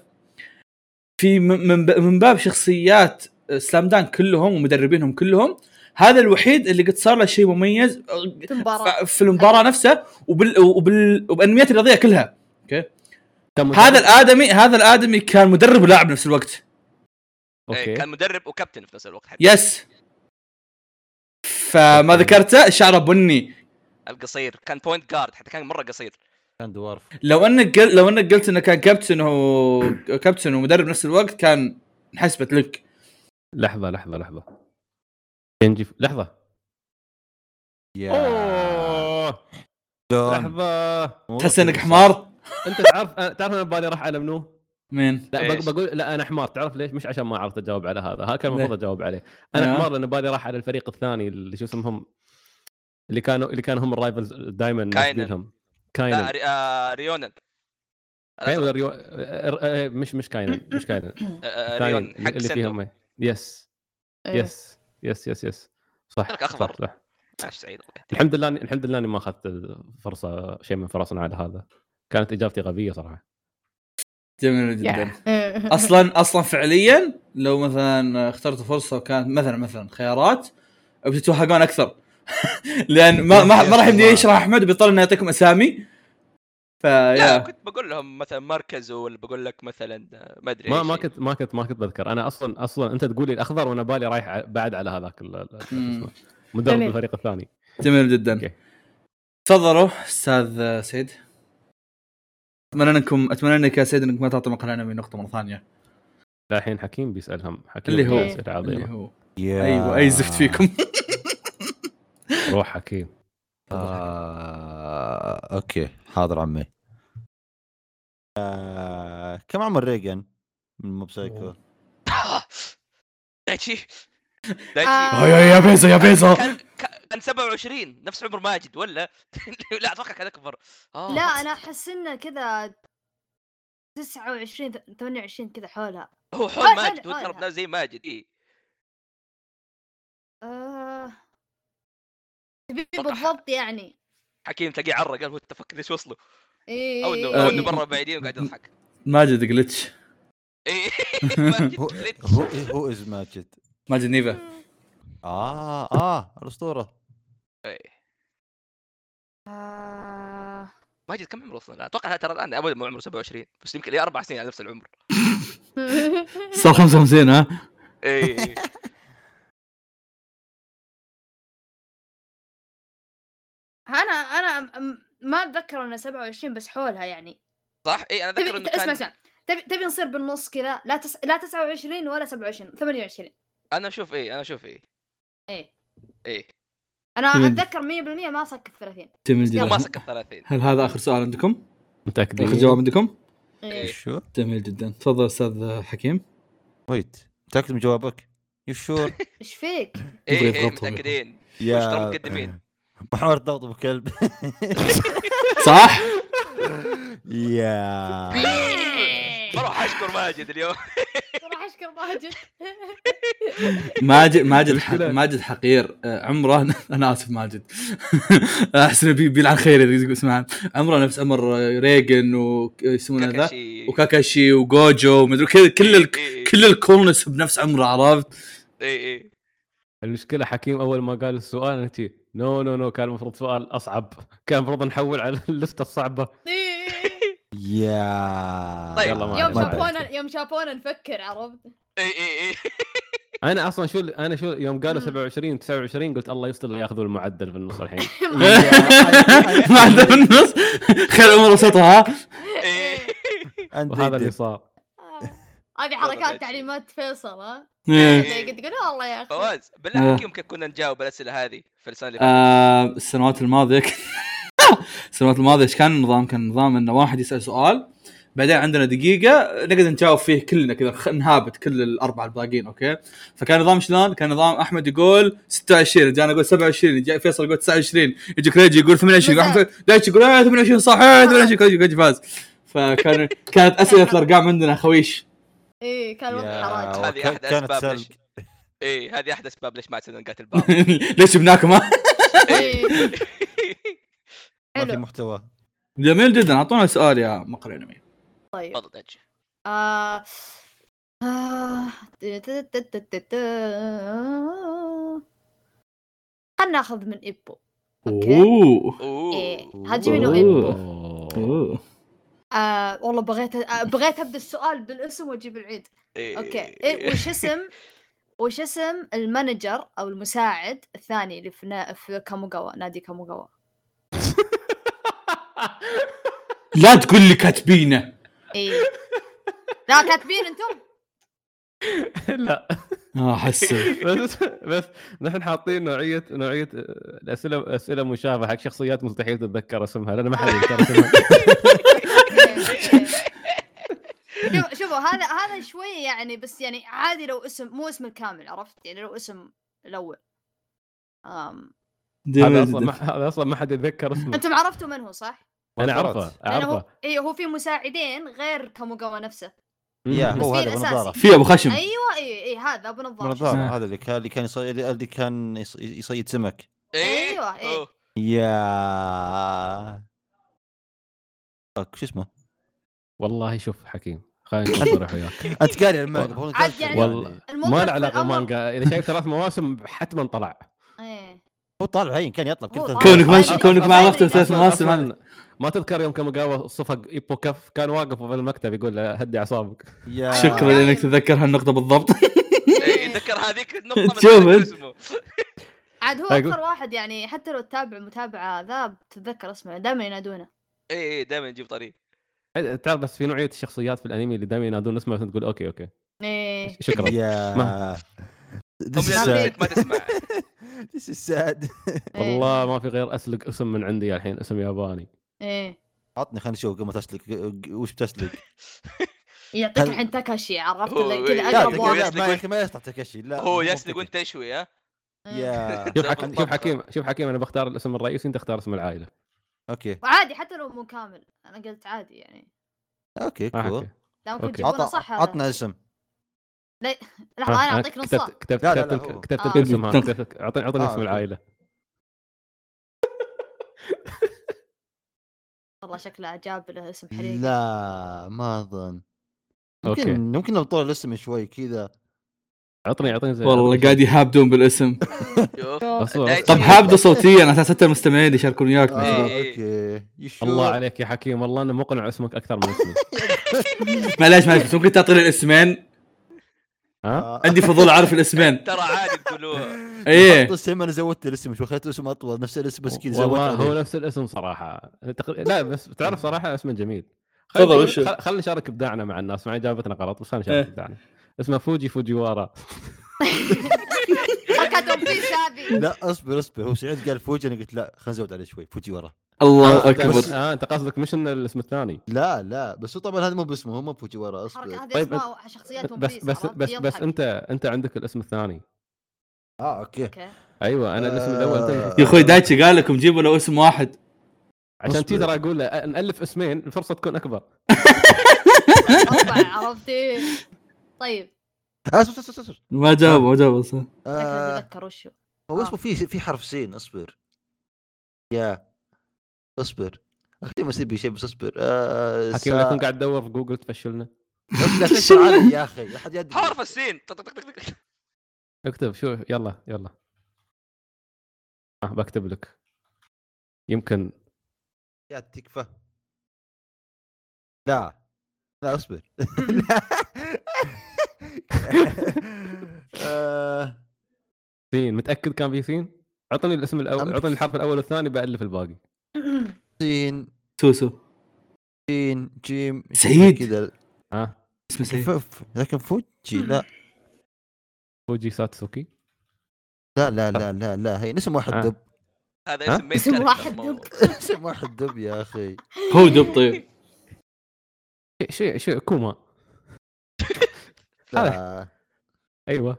[SPEAKER 1] في من- من ب- من باب شخصيات سلام دان كلهم ومدربينهم كلهم هذا الوحيد اللي قد صار له شيء مميز
[SPEAKER 3] في المباراة
[SPEAKER 1] ف- في المباراه نفسها وبال وبال وبانميات الرياضيه كلها
[SPEAKER 5] كان مدرب-
[SPEAKER 1] هذا الادمي هذا الادمي كان مدرب ولاعب بنفس الوقت
[SPEAKER 5] اوكي
[SPEAKER 2] إيه، كان مدرب وكابتن في نفس الوقت حتى
[SPEAKER 1] يس فما ذكرته شعره بني
[SPEAKER 2] القصير كان بوينت جارد حتى كان مره قصير
[SPEAKER 4] كان دوارف
[SPEAKER 1] لو انك قل... لو انك قلت انه كان كابتن و... كابتن ومدرب نفس الوقت كان انحسبت لك
[SPEAKER 5] لحظه لحظه لحظه كينجي لحظه
[SPEAKER 4] يا
[SPEAKER 5] أوه،
[SPEAKER 4] دون
[SPEAKER 5] لحظه
[SPEAKER 1] تحس انك حمار
[SPEAKER 5] انت تعرف أه، تعرف انا ببالي راح على منو؟
[SPEAKER 1] مين
[SPEAKER 5] لا
[SPEAKER 2] إيش؟
[SPEAKER 5] بق- بقول لا انا حمار تعرف ليش؟ مش عشان ما عرفت اجاوب على هذا، ها كان
[SPEAKER 1] ليه؟
[SPEAKER 5] المفروض اجاوب عليه. انا
[SPEAKER 2] أه.
[SPEAKER 1] آه.
[SPEAKER 5] حمار لان بالي راح على الفريق الثاني اللي شو اسمهم اللي كانوا اللي كانوا هم الرايفلز دائما
[SPEAKER 2] كاينن.
[SPEAKER 5] نسبيلهم
[SPEAKER 2] لا
[SPEAKER 1] أيوه.
[SPEAKER 5] كاينن
[SPEAKER 2] ري... آه ريونن
[SPEAKER 5] كاينن ولا ريو... آه، آه، مش مش كاينن مش كاينن
[SPEAKER 2] آه،
[SPEAKER 5] الثاني
[SPEAKER 1] أيوه.
[SPEAKER 2] ريون
[SPEAKER 5] اللي
[SPEAKER 2] حق
[SPEAKER 5] اللي
[SPEAKER 2] سنتر
[SPEAKER 5] فيهم يس
[SPEAKER 3] إيه.
[SPEAKER 5] يس يس يس يس صح
[SPEAKER 2] ترك أخضر.
[SPEAKER 5] صح صح
[SPEAKER 2] ماشي سعيد الله يهديك.
[SPEAKER 5] الحمد لله إني- الحمد لله اني ما اخذت فرصه شيء من فرصنا على هذا كانت اجابتي غبيه صراحه
[SPEAKER 1] جميل
[SPEAKER 5] Yeah.
[SPEAKER 1] جدا
[SPEAKER 3] إيه.
[SPEAKER 1] اصلا اصلا فعليا لو مثلا اخترت فرصه وكانت مثلا مثلا خيارات بتتوهقون اكثر لان ما ما, ما راح يمدي يشرح احمد بيضطر انه يعطيكم اسامي
[SPEAKER 2] لا
[SPEAKER 1] فيا
[SPEAKER 2] كنت بقول لهم مثلا مركز ولا بقول لك مثلا آه، ما ادري
[SPEAKER 5] ما
[SPEAKER 2] أي
[SPEAKER 5] ما
[SPEAKER 2] شيء.
[SPEAKER 5] كنت ما كنت ما كنت بذكر انا اصلا اصلا انت تقول لي الاخضر وانا بالي رايح ع- بعد على هذاك ال- ال- شو
[SPEAKER 1] مم.
[SPEAKER 5] اسمه، مدرب
[SPEAKER 3] جميل.
[SPEAKER 5] الفريق الثاني
[SPEAKER 1] جميل جدا
[SPEAKER 5] Okay.
[SPEAKER 1] تفضلوا استاذ سعيد اتمنى انكم اتمنى انك يا سعيد انك ما تعطي مقال نقطه مره ثانيه
[SPEAKER 5] لا، الحين حكيم بيسالهم حكيم
[SPEAKER 1] اللي
[SPEAKER 3] هو-
[SPEAKER 5] بيسأل أسئلة
[SPEAKER 1] اللي
[SPEAKER 5] عظيمه
[SPEAKER 1] هو
[SPEAKER 4] يا
[SPEAKER 1] ايوه اي زفت فيكم
[SPEAKER 5] روح حكيم
[SPEAKER 4] آه، اوكي حاضر عمي آه، كم عمر ريجن من موب سايكو
[SPEAKER 2] دايتشي
[SPEAKER 3] آه.
[SPEAKER 2] دايتشي
[SPEAKER 1] يا يا بيزا يا بيزا
[SPEAKER 2] كان كان- كان 27 نفس عمر ماجد ولا لا اتوقع كان اكبر آه.
[SPEAKER 3] لا انا احس انه كذا 29 28 كذا حولها
[SPEAKER 2] هو
[SPEAKER 3] آه،
[SPEAKER 2] حول ماجد
[SPEAKER 3] حول-
[SPEAKER 2] هو ترى
[SPEAKER 3] حولها.
[SPEAKER 2] زي ماجد إيه. اي
[SPEAKER 3] آه، تبي
[SPEAKER 2] أتوقع ح-
[SPEAKER 3] بالضبط يعني
[SPEAKER 2] حكيم تلاقيه عرق قال هو انت فكر ليش وصلوا
[SPEAKER 3] اي
[SPEAKER 2] او انه
[SPEAKER 3] إي-
[SPEAKER 2] او
[SPEAKER 3] إي.
[SPEAKER 2] انه برا بعيدين وقاعد يضحك
[SPEAKER 1] ماجد جلتش
[SPEAKER 2] اي ماجد
[SPEAKER 4] هو
[SPEAKER 2] glitch.
[SPEAKER 4] هو هو از ماجد
[SPEAKER 1] ماجد نيفا
[SPEAKER 4] اه اه الاسطوره
[SPEAKER 2] إيه.
[SPEAKER 3] آه،
[SPEAKER 2] ماجد كم عمره اصلا؟ اتوقع ترى الان ابدا مو عمره 27 بس يمكن لي اربع سنين على نفس العمر
[SPEAKER 1] صار 55 ها
[SPEAKER 2] اي
[SPEAKER 3] انا انا م- ما اتذكر انه 27 بس حولها يعني
[SPEAKER 2] صح؟ إيه، اي انا
[SPEAKER 3] تبي
[SPEAKER 2] اذكر انه
[SPEAKER 3] إيه، اسمع
[SPEAKER 2] كان
[SPEAKER 3] اسمع تبي تبي نصير بالنص كذا لا تس... لا 29 ولا 27 28
[SPEAKER 2] انا اشوف اي انا اشوف اي
[SPEAKER 3] ايه
[SPEAKER 2] اي
[SPEAKER 3] انا
[SPEAKER 1] تمام.
[SPEAKER 3] اتذكر 100% ما سك 30
[SPEAKER 1] جميل
[SPEAKER 2] هو ما
[SPEAKER 1] جدا
[SPEAKER 2] سكت 30
[SPEAKER 1] هل هذا اخر سؤال عندكم؟ اخر
[SPEAKER 5] متاكدين
[SPEAKER 1] جواب عندكم؟
[SPEAKER 2] إيه.
[SPEAKER 4] شو
[SPEAKER 1] جميل جدا تفضل استاذ حكيم
[SPEAKER 4] ويت متاكد من جوابك يو شور
[SPEAKER 3] ايش فيك؟
[SPEAKER 2] اي
[SPEAKER 1] يبغى
[SPEAKER 2] اي
[SPEAKER 1] يضغطهم.
[SPEAKER 2] متاكدين وش ترى
[SPEAKER 4] يا
[SPEAKER 2] متقدمين؟
[SPEAKER 4] محور ضغط ابو كلب
[SPEAKER 1] صح؟
[SPEAKER 4] يا
[SPEAKER 2] بروح اشكر ماجد اليوم
[SPEAKER 3] راح اشكر ماجد
[SPEAKER 1] ماجد ماجد حق-
[SPEAKER 5] مشكلة.
[SPEAKER 1] ماجد حقير آه، عمره انا اسف ماجد احسن بي- بيلعن خير اذا يقول- اسمع عمره نفس عمر آه، ريجن ويسمونه ذا
[SPEAKER 2] كاكاشي
[SPEAKER 1] وكاكاشي وجوجو ومدري كذا
[SPEAKER 2] إيه،
[SPEAKER 1] كل ال...
[SPEAKER 2] إي- إي-
[SPEAKER 1] كل الكولنس بنفس عمره عرفت
[SPEAKER 2] اي اي
[SPEAKER 5] المشكله حكيم اول ما قال السؤال انت نو نو نو كان المفروض سؤال اصعب كان المفروض نحول على اللسته الصعبه
[SPEAKER 3] إيه،
[SPEAKER 4] يا
[SPEAKER 2] طيب،
[SPEAKER 5] يلا ما
[SPEAKER 3] يوم
[SPEAKER 5] ما
[SPEAKER 4] عليك.
[SPEAKER 3] شافونا يوم شافونا نفكر عرفت
[SPEAKER 2] اي اي اي
[SPEAKER 5] انا اصلا شو انا شو يوم قالوا
[SPEAKER 3] مم.
[SPEAKER 5] 27 29 قلت الله يستر اللي ياخذون المعدل في النص الحين
[SPEAKER 1] ما عنده في النص خير عمر وسطها ها؟
[SPEAKER 2] إيه. إي.
[SPEAKER 3] إيه.
[SPEAKER 4] انت
[SPEAKER 5] وهذا اللي صار
[SPEAKER 3] هذه حركات تعليمات فيصل ها
[SPEAKER 1] إيه.
[SPEAKER 3] اللي قد تقول والله يا اخي
[SPEAKER 2] فواز بالله حكيم كيف كنا نجاوب الاسئله هذه في السنه اللي فاتت
[SPEAKER 1] آه، السنوات الماضيه السنوات الماضيه ايش كان النظام؟ كان النظام انه واحد يسال سؤال بعدين عندنا دقيقة نقدر نجاوب فيه كلنا كذا خ- نهابت كل الأربعة الباقيين أوكي؟ فكان نظام شلون؟ كان نظام أحمد يقول 26 جانا يقول 27 جاء فيصل يقول 29 يجيك ريجي يقول 28
[SPEAKER 3] بالضبط.
[SPEAKER 1] أحمد دايتش يقول آه، 28 صح آه، 28 كوجي كوجي فاز فكان كانت أسئلة الأرقام عندنا خويش
[SPEAKER 3] اي كان وضع حراج
[SPEAKER 2] هذه
[SPEAKER 4] وكا-
[SPEAKER 2] أحد
[SPEAKER 4] كانت
[SPEAKER 2] أسباب ليش-
[SPEAKER 4] سلق
[SPEAKER 2] اي إيه، هذه احد اسباب ليش ما عدنا نقاتل بعض
[SPEAKER 1] ليش جبناكم ها؟
[SPEAKER 3] إي.
[SPEAKER 4] ما في
[SPEAKER 3] حلو
[SPEAKER 4] محتوى
[SPEAKER 1] جميل جدا أعطونا سؤال يا مقر انمي
[SPEAKER 3] طيب
[SPEAKER 2] تفضل دج
[SPEAKER 3] آه... آه... خلنا ناخذ من ايبو أوكي.
[SPEAKER 1] Oh. اوه
[SPEAKER 2] اوه
[SPEAKER 3] إيه، هاجمي نو
[SPEAKER 1] أوه.
[SPEAKER 3] ايبو
[SPEAKER 1] اوه
[SPEAKER 3] آه... والله بغيت آه... بغيت ابدا السؤال بالاسم واجيب العيد
[SPEAKER 2] إيه.
[SPEAKER 3] اوكي إيه وش اسم وش اسم المانجر او المساعد الثاني اللي في, نا... في كاموغاوا نادي كاموغاوا
[SPEAKER 1] لا تقول لي كاتبينه
[SPEAKER 3] اي لا كاتبين انتم
[SPEAKER 5] لا
[SPEAKER 1] اه احس
[SPEAKER 5] بس بس نحن حاطين نوعيه نوعيه آه، الاسئله اسئله مشابهه حق شخصيات مستحيل تتذكر اسمها لان ما حد يتذكر اسمها
[SPEAKER 3] إيه، إيه. شوف- شوفوا هذا هذا شوي يعني بس يعني عادي لو اسم مو اسم الكامل عرفت يعني لو اسم الاول أم.
[SPEAKER 5] هذا اصلا ما هذا اصلا ما حد يتذكر اسمه
[SPEAKER 3] انتم عرفتوا من هو صح؟
[SPEAKER 5] انا
[SPEAKER 4] منظرات.
[SPEAKER 5] اعرفه
[SPEAKER 3] لانه هو
[SPEAKER 5] اعرفه
[SPEAKER 3] اي هو في مساعدين غير كاموغاوا نفسه
[SPEAKER 4] يا
[SPEAKER 5] مم.
[SPEAKER 4] هو
[SPEAKER 3] في
[SPEAKER 4] هذا
[SPEAKER 3] الأساسي.
[SPEAKER 4] بنظاره
[SPEAKER 1] في ابو خشم
[SPEAKER 3] ايوه اي اي هذا ابو نظاره
[SPEAKER 4] بنظاره هذا اللي كان اللي كان يصيد اللي كان يص- يصيد سمك
[SPEAKER 2] إيه.
[SPEAKER 3] أيوة، إيه.
[SPEAKER 2] أوه.
[SPEAKER 4] يا أك- شو اسمه؟
[SPEAKER 5] والله شوف حكيم خلينا نصرح وياك
[SPEAKER 4] انت قاري المانجا بقول لك
[SPEAKER 3] عاد
[SPEAKER 4] قاري
[SPEAKER 3] يعني-
[SPEAKER 5] والله ما له علاقه
[SPEAKER 3] مانجا
[SPEAKER 5] بالمانجا اذا شايف ثلاث مواسم حتما طلع
[SPEAKER 4] هو طالع عين كان يطلب كل
[SPEAKER 3] هو
[SPEAKER 4] ثلاث
[SPEAKER 3] طالع.
[SPEAKER 1] كونك
[SPEAKER 4] مرات.
[SPEAKER 1] ما كونك ما عرفته ثلاث
[SPEAKER 5] أصلاً-
[SPEAKER 1] مواسم
[SPEAKER 5] أصلاً
[SPEAKER 1] هذا
[SPEAKER 5] ما تذكر يوم كاموغاوا صفق ايبو كف كان واقف في المكتب يقول له هدي اعصابك
[SPEAKER 4] يا
[SPEAKER 1] شكرا انك تتذكر هالنقطه بالضبط
[SPEAKER 2] إيه، اتذكر هذيك النقطه بس
[SPEAKER 1] شوف
[SPEAKER 2] ما أتذكر
[SPEAKER 1] أنت.
[SPEAKER 2] اسمه
[SPEAKER 3] عاد هو
[SPEAKER 5] أقول-
[SPEAKER 3] اكثر واحد يعني حتى لو تتابع متابعه ذا بتتذكر اسمه دائما ينادونه
[SPEAKER 2] اي دائما إيه، نجيب طريق
[SPEAKER 5] تعرف بس في نوعيه الشخصيات في الانمي اللي دائما ينادون اسمه عشان تقول اوكي اوكي
[SPEAKER 3] ايه
[SPEAKER 5] شكرا
[SPEAKER 4] يا
[SPEAKER 5] ما-
[SPEAKER 2] هم
[SPEAKER 4] This is
[SPEAKER 2] لأن
[SPEAKER 4] sad.
[SPEAKER 2] أنت ما تسمع
[SPEAKER 4] This is sad.
[SPEAKER 3] إيه.
[SPEAKER 5] والله ما في غير اسلق اسم من عندي الحين اسم ياباني
[SPEAKER 3] ايه
[SPEAKER 4] عطني خلينا نشوف قبل ما تسلك وش بتسلك
[SPEAKER 3] يعطيك
[SPEAKER 4] هل-
[SPEAKER 3] الحين تاكاشي عرفت
[SPEAKER 2] هو-
[SPEAKER 3] اللي كذا
[SPEAKER 2] إيه.
[SPEAKER 4] لا
[SPEAKER 3] اقرب
[SPEAKER 2] تقول-
[SPEAKER 4] تقول
[SPEAKER 3] واحد
[SPEAKER 4] لا
[SPEAKER 2] يسلك
[SPEAKER 4] ما
[SPEAKER 2] وين؟
[SPEAKER 4] يا اخي ما يسلق تكشي لا
[SPEAKER 2] هو
[SPEAKER 4] مو
[SPEAKER 2] يسلق
[SPEAKER 4] منطقي.
[SPEAKER 2] وانت تشوي ها
[SPEAKER 3] إيه.
[SPEAKER 4] يا
[SPEAKER 5] شوف حكيم شوف حكيم شوف حكيم انا بختار الاسم الرئيسي انت اختار اسم العائله
[SPEAKER 4] اوكي
[SPEAKER 3] وعادي حتى لو مو كامل انا قلت عادي يعني
[SPEAKER 4] اوكي
[SPEAKER 5] ما
[SPEAKER 4] كول
[SPEAKER 5] حكي.
[SPEAKER 3] لا ممكن
[SPEAKER 5] أوكي.
[SPEAKER 3] تجيبونه صح هذا
[SPEAKER 4] عطنا اسم
[SPEAKER 3] آه، لا
[SPEAKER 5] ها،
[SPEAKER 3] انا اعطيك
[SPEAKER 5] كتبت-
[SPEAKER 3] نصها
[SPEAKER 5] كتبت
[SPEAKER 4] لا، لا،
[SPEAKER 5] كتبت
[SPEAKER 4] لا،
[SPEAKER 5] الك-
[SPEAKER 4] هو.
[SPEAKER 5] كتبت
[SPEAKER 3] آه.
[SPEAKER 5] الاسم ها،
[SPEAKER 1] كتبت.
[SPEAKER 5] كتبت- اعطيني اعطيني
[SPEAKER 4] آه،
[SPEAKER 5] اسم
[SPEAKER 4] أوكي.
[SPEAKER 5] العائله
[SPEAKER 3] والله شكله جاب له اسم حريق
[SPEAKER 4] لا ما اظن
[SPEAKER 5] أوكي.
[SPEAKER 4] ممكن ممكن لو طول الاسم شوي كذا
[SPEAKER 5] اعطني اعطني زي-
[SPEAKER 1] والله قاعد يهابدون بالاسم
[SPEAKER 2] شوف
[SPEAKER 5] أصلاً-
[SPEAKER 2] دايتشي.
[SPEAKER 1] طب هابده صوتيا على اساس حتى المستمعين يشاركون وياك
[SPEAKER 4] آه،
[SPEAKER 2] إيه، إيه.
[SPEAKER 4] اوكي يشو
[SPEAKER 5] الله عليك يا حكيم والله انا مقنع اسمك اكثر من اسمي
[SPEAKER 1] معليش معليش بس ممكن تعطيني الاسمين
[SPEAKER 5] ها
[SPEAKER 4] آه.
[SPEAKER 1] عندي فضول ااعرف الاسمين
[SPEAKER 2] ترى عادي تقولوه
[SPEAKER 1] ايه
[SPEAKER 4] حط اسم انا زودت الاسم شوي خليت الاسم اطول نفس الاسم بس كذا زودت
[SPEAKER 5] والله هو
[SPEAKER 4] عليه.
[SPEAKER 5] نفس الاسم صراحه تق- لا بس تعرف صراحه اسمه جميل
[SPEAKER 1] تفضل، وش-
[SPEAKER 5] خلينا نشارك ابداعنا مع الناس مع اجابتنا غلط بس خلينا
[SPEAKER 1] إيه.
[SPEAKER 5] نشارك ابداعنا اسمه فوجي فوجيوارا
[SPEAKER 3] كاتب في شابي
[SPEAKER 4] لا اصبر اصبر هو سعيد قال فوجي انا قلت لا خلينا نزود عليه شوي فوجي ورا
[SPEAKER 1] الله
[SPEAKER 5] بس-
[SPEAKER 1] اكبر
[SPEAKER 5] اه انت قصدك مش إن الاسم الثاني
[SPEAKER 4] لا لا بس هو طبعا هذا مو باسمه هو مو فوجي ورا
[SPEAKER 3] الحركه
[SPEAKER 4] اصبر
[SPEAKER 3] هذه
[SPEAKER 5] طيب،
[SPEAKER 3] اسماء شخصيات ون
[SPEAKER 5] بس
[SPEAKER 3] بيس
[SPEAKER 5] بس
[SPEAKER 3] عرفت؟
[SPEAKER 5] بس بس
[SPEAKER 3] يضحك.
[SPEAKER 5] انت انت عندك الاسم الثاني
[SPEAKER 4] اه اوكي
[SPEAKER 3] اوكي
[SPEAKER 5] ايوه انا الاسم الاول
[SPEAKER 4] آه.
[SPEAKER 5] أنت-
[SPEAKER 1] يا اخوي دايتشي قال لكم جيبوا له اسم واحد
[SPEAKER 5] عشان تي
[SPEAKER 4] أصبر.
[SPEAKER 5] ترى اقول له نالف اسمين الفرصه تكون اكبر
[SPEAKER 3] أربعة، عرفتي طيب
[SPEAKER 4] اصبر اصبر اصبر
[SPEAKER 1] ما جاوب ما جاوب اصلا
[SPEAKER 3] شكله
[SPEAKER 4] آه،
[SPEAKER 3] اتذكر وشو
[SPEAKER 4] هو
[SPEAKER 3] آه.
[SPEAKER 4] اسمه في في حرف سين اصبر يا اصبر اختي ما سيبي شيء بس اصبر آه،
[SPEAKER 5] حكيم
[SPEAKER 4] سا-
[SPEAKER 5] لا تكون قاعد تدور في جوجل تفشلنا
[SPEAKER 4] لا تسأل علي يا اخي لا حد يدري
[SPEAKER 2] حرف السين طق- طق- طق- طق.
[SPEAKER 5] اكتب شو يلا يلا آه بكتب لك يمكن
[SPEAKER 4] يا تكفى لا لا اصبر لا. آه،
[SPEAKER 5] سين متاكد كان في سين اعطني الاسم الاول
[SPEAKER 4] أم-
[SPEAKER 5] اعطني الحرف الاول والثاني بالف الباقي
[SPEAKER 4] سين
[SPEAKER 1] سوسو
[SPEAKER 4] جين جيم شيء
[SPEAKER 1] سعيد.
[SPEAKER 4] كذا
[SPEAKER 5] ها
[SPEAKER 1] اسمه سعيد
[SPEAKER 4] ف- ف- لكن فوجي لا
[SPEAKER 5] فوجي ساتسوكي
[SPEAKER 4] لا لا لا لا لا هي اسم واحد
[SPEAKER 5] آه.
[SPEAKER 4] دب
[SPEAKER 2] هذا
[SPEAKER 5] ها؟
[SPEAKER 2] اسم ميت
[SPEAKER 3] اسم
[SPEAKER 2] كاركتر،
[SPEAKER 3] واحد
[SPEAKER 2] ما هو-
[SPEAKER 3] دق.
[SPEAKER 4] اسم واحد دب يا اخي
[SPEAKER 1] هو دب طيب
[SPEAKER 5] شيء- شيء شيء كوما
[SPEAKER 4] لا.
[SPEAKER 5] ايوه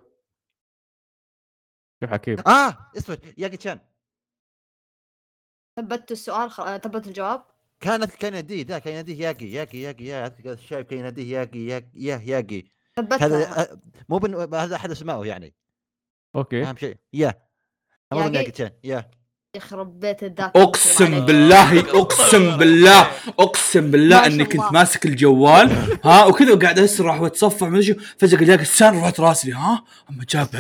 [SPEAKER 5] شوف حكيم
[SPEAKER 4] اه اصبر ياكي تشان
[SPEAKER 3] ثبتت السؤال خ... آه، ثبت الجواب
[SPEAKER 4] كانت كان يناديه ذا كان يناديه ياكي ياكي ياكي يا هذا الشايب كان يناديه ياكي ياكي يا ياكي
[SPEAKER 3] ثبت
[SPEAKER 4] هذا آه، مو بن... هذا احد اسمائه يعني
[SPEAKER 5] اوكي
[SPEAKER 4] اهم شيء يا
[SPEAKER 3] ياكي.
[SPEAKER 4] المفروض ياكي تشان يا
[SPEAKER 3] يخرب بيت الذاكره
[SPEAKER 1] اقسم بالله اقسم بالله اقسم بالله
[SPEAKER 3] ما شاء
[SPEAKER 1] اني كنت
[SPEAKER 3] الله.
[SPEAKER 1] ماسك الجوال ها وكذا وقاعد اسرح واتصفح ما ادري شو، فجاه جاك السان رفعت راسي ها اما جابه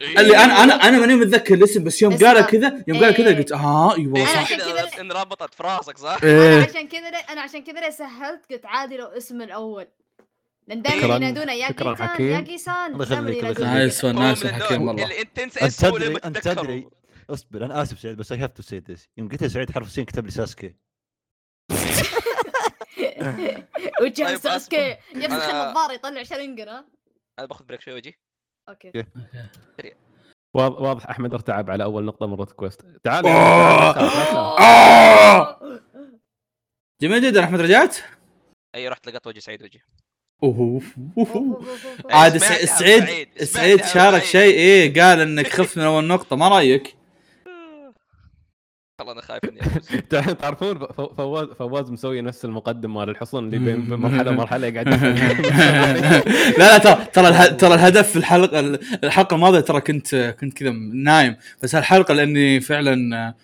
[SPEAKER 3] إيه.
[SPEAKER 2] إيه.
[SPEAKER 1] اللي انا انا انا ماني متذكر الاسم بس يوم
[SPEAKER 3] اسمع.
[SPEAKER 1] قالها كذا يوم قالها كذا
[SPEAKER 3] إيه.
[SPEAKER 1] قلت اه اي والله
[SPEAKER 3] أنا
[SPEAKER 1] صح
[SPEAKER 3] عشان كذا-
[SPEAKER 2] كذا انربطت في راسك صح؟
[SPEAKER 3] انا
[SPEAKER 4] إيه.
[SPEAKER 1] ايه
[SPEAKER 3] عشان كذا ليه- انا عشان كذا ليه سهلت قلت عادي لو اسم الاول لان دائما
[SPEAKER 5] شكراً-
[SPEAKER 3] ينادونا ياكي
[SPEAKER 5] شكراً
[SPEAKER 3] سان
[SPEAKER 5] حكيم.
[SPEAKER 3] ياكي سان
[SPEAKER 4] الله يخليك،
[SPEAKER 3] دائما
[SPEAKER 4] الله
[SPEAKER 3] ينادونا
[SPEAKER 4] يخليك.
[SPEAKER 1] نايس ون نايس
[SPEAKER 2] هو من
[SPEAKER 1] آه، الحكيم
[SPEAKER 2] النوع
[SPEAKER 1] والله
[SPEAKER 2] اللي انت تنسى
[SPEAKER 4] أنت
[SPEAKER 2] اسمه
[SPEAKER 4] تدري-
[SPEAKER 2] لما
[SPEAKER 4] أنت
[SPEAKER 2] تتذكره.
[SPEAKER 4] تدري. اصبر انا اسف سعيد بس اي هاف تو سي ذس يوم قلت لي سعيد حرف سين كتب لي ساسكي
[SPEAKER 3] وجه
[SPEAKER 2] طيب،
[SPEAKER 3] ساسكي يمسك
[SPEAKER 2] أنا-
[SPEAKER 3] النظاره يطلع شرنقنا
[SPEAKER 2] انا باخذ بريك شوي واجي
[SPEAKER 3] اوكي
[SPEAKER 5] واض- واضح احمد ارتعب على اول نقطه من روت كويست تعال
[SPEAKER 1] أوه. آه. جميل جدا احمد رجعت
[SPEAKER 2] اي رحت لقيت وجه سعيد وجهي
[SPEAKER 1] اوه اوه
[SPEAKER 2] آه.
[SPEAKER 3] أوه.
[SPEAKER 1] عاد
[SPEAKER 2] سمعت
[SPEAKER 1] السع-
[SPEAKER 2] يا أبو
[SPEAKER 1] السعيد
[SPEAKER 2] سعيد، سمعت
[SPEAKER 1] السعيد
[SPEAKER 2] يا أبو
[SPEAKER 1] شارك
[SPEAKER 2] سعيد.
[SPEAKER 1] شيء ايه قال انك خفت من اول نقطه ما رايك؟
[SPEAKER 2] والله انا خايف اني أفوز.
[SPEAKER 5] تعرفون ف- ف- فواز فواز مسوي نفس المقدم مال الحصن اللي بين بين مرحله ومرحله قاعد يحكي.
[SPEAKER 1] لا لا ترى ترى الح- ترى الهدف في الحلقه الحلقه الماضيه ترى كنت كنت كذا نايم بس هالحلقه لاني فعلا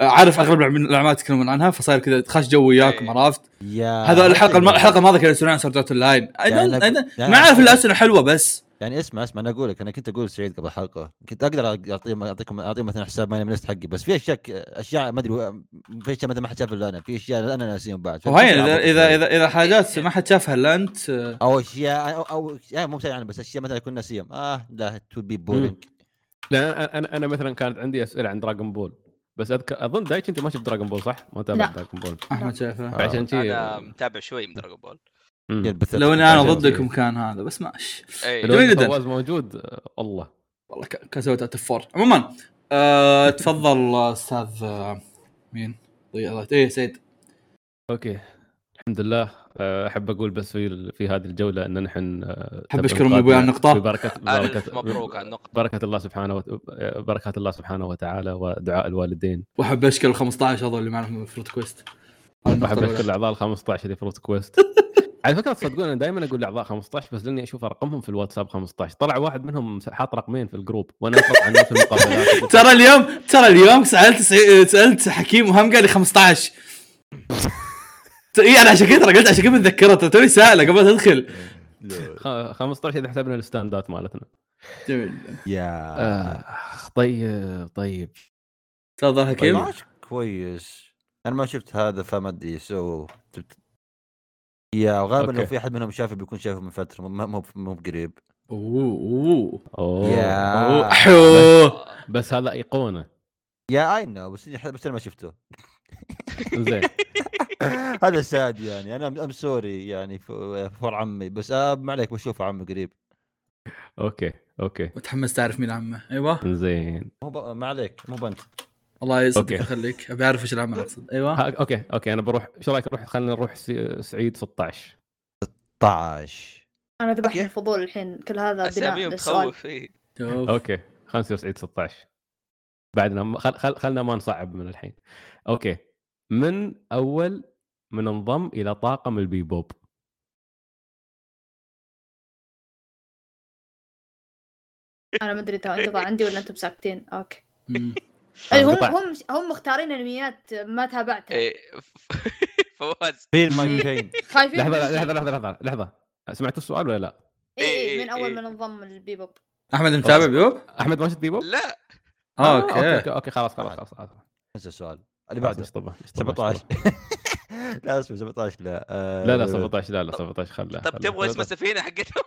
[SPEAKER 1] آه، عارف اغلب الأعم- الاعمال تتكلمون عنها فصاير كذا خش جو وياكم
[SPEAKER 2] إيه.
[SPEAKER 1] عرفت؟
[SPEAKER 4] يا
[SPEAKER 1] هذا الحلقه الم- الحلقه الماضيه كانوا يسولون عن سردات اللاين I
[SPEAKER 4] يعني
[SPEAKER 1] don't- I
[SPEAKER 4] أنا-
[SPEAKER 1] don't-
[SPEAKER 4] يعني
[SPEAKER 1] ما
[SPEAKER 4] أنا
[SPEAKER 1] اعرف
[SPEAKER 4] أقول-
[SPEAKER 1] الا اسئله حلوه بس
[SPEAKER 4] يعني اسمع اسمع انا اقول لك انا كنت اقول سعيد قبل الحلقه كنت اقدر اعطيكم اعطيكم اعطيكم مثلا حساب ماي ليست حقي بس في اشياء اشياء ما ادري في اشياء مثلا ما حد شافها الا انا في اشياء انا ناسيهم بعد
[SPEAKER 1] وهين اذا اذا اذا, إذا حاجات ما حد شافها الا انت آه،
[SPEAKER 4] او اشياء او, أو يعني مو مسألة عنها بس اشياء مثلا كنا ناسيهم اه لا تو بي بولينج
[SPEAKER 5] لا أنا- انا انا مثلا كانت عندي اسئله عن دراغون بول بس اذكر اظن دايتش انت ما شفت دراغون بول صح؟ ما تابع
[SPEAKER 3] لا.
[SPEAKER 5] دراغون بول
[SPEAKER 1] احمد شافها
[SPEAKER 5] عشان كذي
[SPEAKER 2] انا متابع شوي من دراجون بول
[SPEAKER 5] مم.
[SPEAKER 1] لو اني انا
[SPEAKER 5] عشان
[SPEAKER 1] ضدكم
[SPEAKER 5] كذي.
[SPEAKER 1] كان هذا بس ماشي
[SPEAKER 2] اي
[SPEAKER 5] لو إن
[SPEAKER 1] جدا.
[SPEAKER 5] فواز موجود آه، والله
[SPEAKER 1] والله ك- كان سويت اوت فور عموما آه تفضل استاذ آه، مين؟ ضيعت ايه سيد
[SPEAKER 5] اوكي الحمد لله آه، احب اقول بس في في هذه الجوله ان نحن آه،
[SPEAKER 1] أحب
[SPEAKER 5] تم
[SPEAKER 1] أشكرهم
[SPEAKER 5] إنقاذنا
[SPEAKER 1] أبوي على النقطة.
[SPEAKER 5] ببركه
[SPEAKER 2] الف
[SPEAKER 5] ببركه
[SPEAKER 2] مبروك على النقطة
[SPEAKER 5] بركة الله سبحانه وت... بركات الله سبحانه وتعالى ودعاء الوالدين
[SPEAKER 1] واحب اشكر ال 15 هذول اللي معنا في فروت كويست
[SPEAKER 5] احب اشكر الاعضاء ال 15 اللي في روت كويست على فكره تصدقون انا دائما اقول الاعضاء 15 بس لاني اشوف ارقامهم في الواتساب 15 طلع واحد منهم حاط رقمين في الجروب وانا اقرا عنه في المقابلات
[SPEAKER 1] ترى اليوم ترى اليوم سالت سعي- سالت حكيم وهم قال لي 15 ت- اي انا عشان كذا ترى قلت عشان كذا متذكرها ترى توني سائله قبل لا تدخل
[SPEAKER 5] خ- 15 اذا حسبنا الستاندات مالتنا
[SPEAKER 1] جميل
[SPEAKER 4] يا
[SPEAKER 5] آه طيب طيب
[SPEAKER 1] تفضل
[SPEAKER 4] طيب،
[SPEAKER 1] حكيم
[SPEAKER 4] ماشي كويس انا ما شفت هذا فما ادري سو يا غالبا لو
[SPEAKER 5] أوكي.
[SPEAKER 4] في احد منهم شافه بيكون شافه من فتره مو مو مو بقريب
[SPEAKER 1] اوه اوه
[SPEAKER 5] اوه
[SPEAKER 4] يا
[SPEAKER 1] اوه أحوه.
[SPEAKER 5] بس هذا ايقونه
[SPEAKER 4] يا اي نو بس إني- بس انا ما شفته
[SPEAKER 5] زين
[SPEAKER 4] هذا ساد يعني انا ام سوري يعني ف- فور عمي بس آه ما عليك بشوفه عمي قريب
[SPEAKER 5] اوكي اوكي
[SPEAKER 1] متحمس تعرف مين عمه ايوه
[SPEAKER 5] زين
[SPEAKER 4] مو ب... ما عليك مو بنت
[SPEAKER 1] الله يصدق
[SPEAKER 5] أوكي.
[SPEAKER 1] يخليك ابي اعرف ايش العمل اقصد ايوه
[SPEAKER 5] ها- اوكي اوكي انا بروح ايش رايك نروح خلينا نروح س- سعيد 16
[SPEAKER 4] طاش
[SPEAKER 3] انا ذبحني
[SPEAKER 4] أوكي.
[SPEAKER 3] الفضول الحين كل هذا بناء
[SPEAKER 2] اساميهم
[SPEAKER 3] للسؤال
[SPEAKER 2] تخوف إي.
[SPEAKER 1] شوف.
[SPEAKER 5] اوكي خلنا نصير سعيد 16 بعدنا ما- خل خل خلنا ما نصعب من الحين اوكي من اول من انضم الى طاقم البيبوب
[SPEAKER 3] انا ما ادري انت انطباع عندي ولا انتم ساكتين اوكي
[SPEAKER 1] مم.
[SPEAKER 3] أي هم
[SPEAKER 4] انقطع.
[SPEAKER 3] هم هم مختارين انميات ما تابعتها
[SPEAKER 2] إيه، ف- فواز
[SPEAKER 4] في المايك تشين
[SPEAKER 3] خايفين
[SPEAKER 5] لحظه
[SPEAKER 3] من-
[SPEAKER 5] لحظه لحظه لحظه لحظه سمعت السؤال ولا لا؟
[SPEAKER 3] إي إي، إيه، من
[SPEAKER 2] إي
[SPEAKER 3] اول
[SPEAKER 2] إي.
[SPEAKER 3] ما انضم البيبوب
[SPEAKER 1] احمد متابع بيوب؟
[SPEAKER 5] احمد ما شفت ديبو؟
[SPEAKER 4] إيه.
[SPEAKER 2] لا
[SPEAKER 1] آه،
[SPEAKER 5] اوكي
[SPEAKER 1] اوكي
[SPEAKER 5] اوكي, أوكي خلاص خلاص خلاص خلاص.
[SPEAKER 4] نفس السؤال اللي بعده
[SPEAKER 5] يشطبه، يشطبه،
[SPEAKER 4] 17
[SPEAKER 5] يشطبه.
[SPEAKER 4] لا اسمه 17 لا آه،
[SPEAKER 5] لا لا 17 لا لا 17 خله
[SPEAKER 2] طب تبغى اسم السفينه حقتهم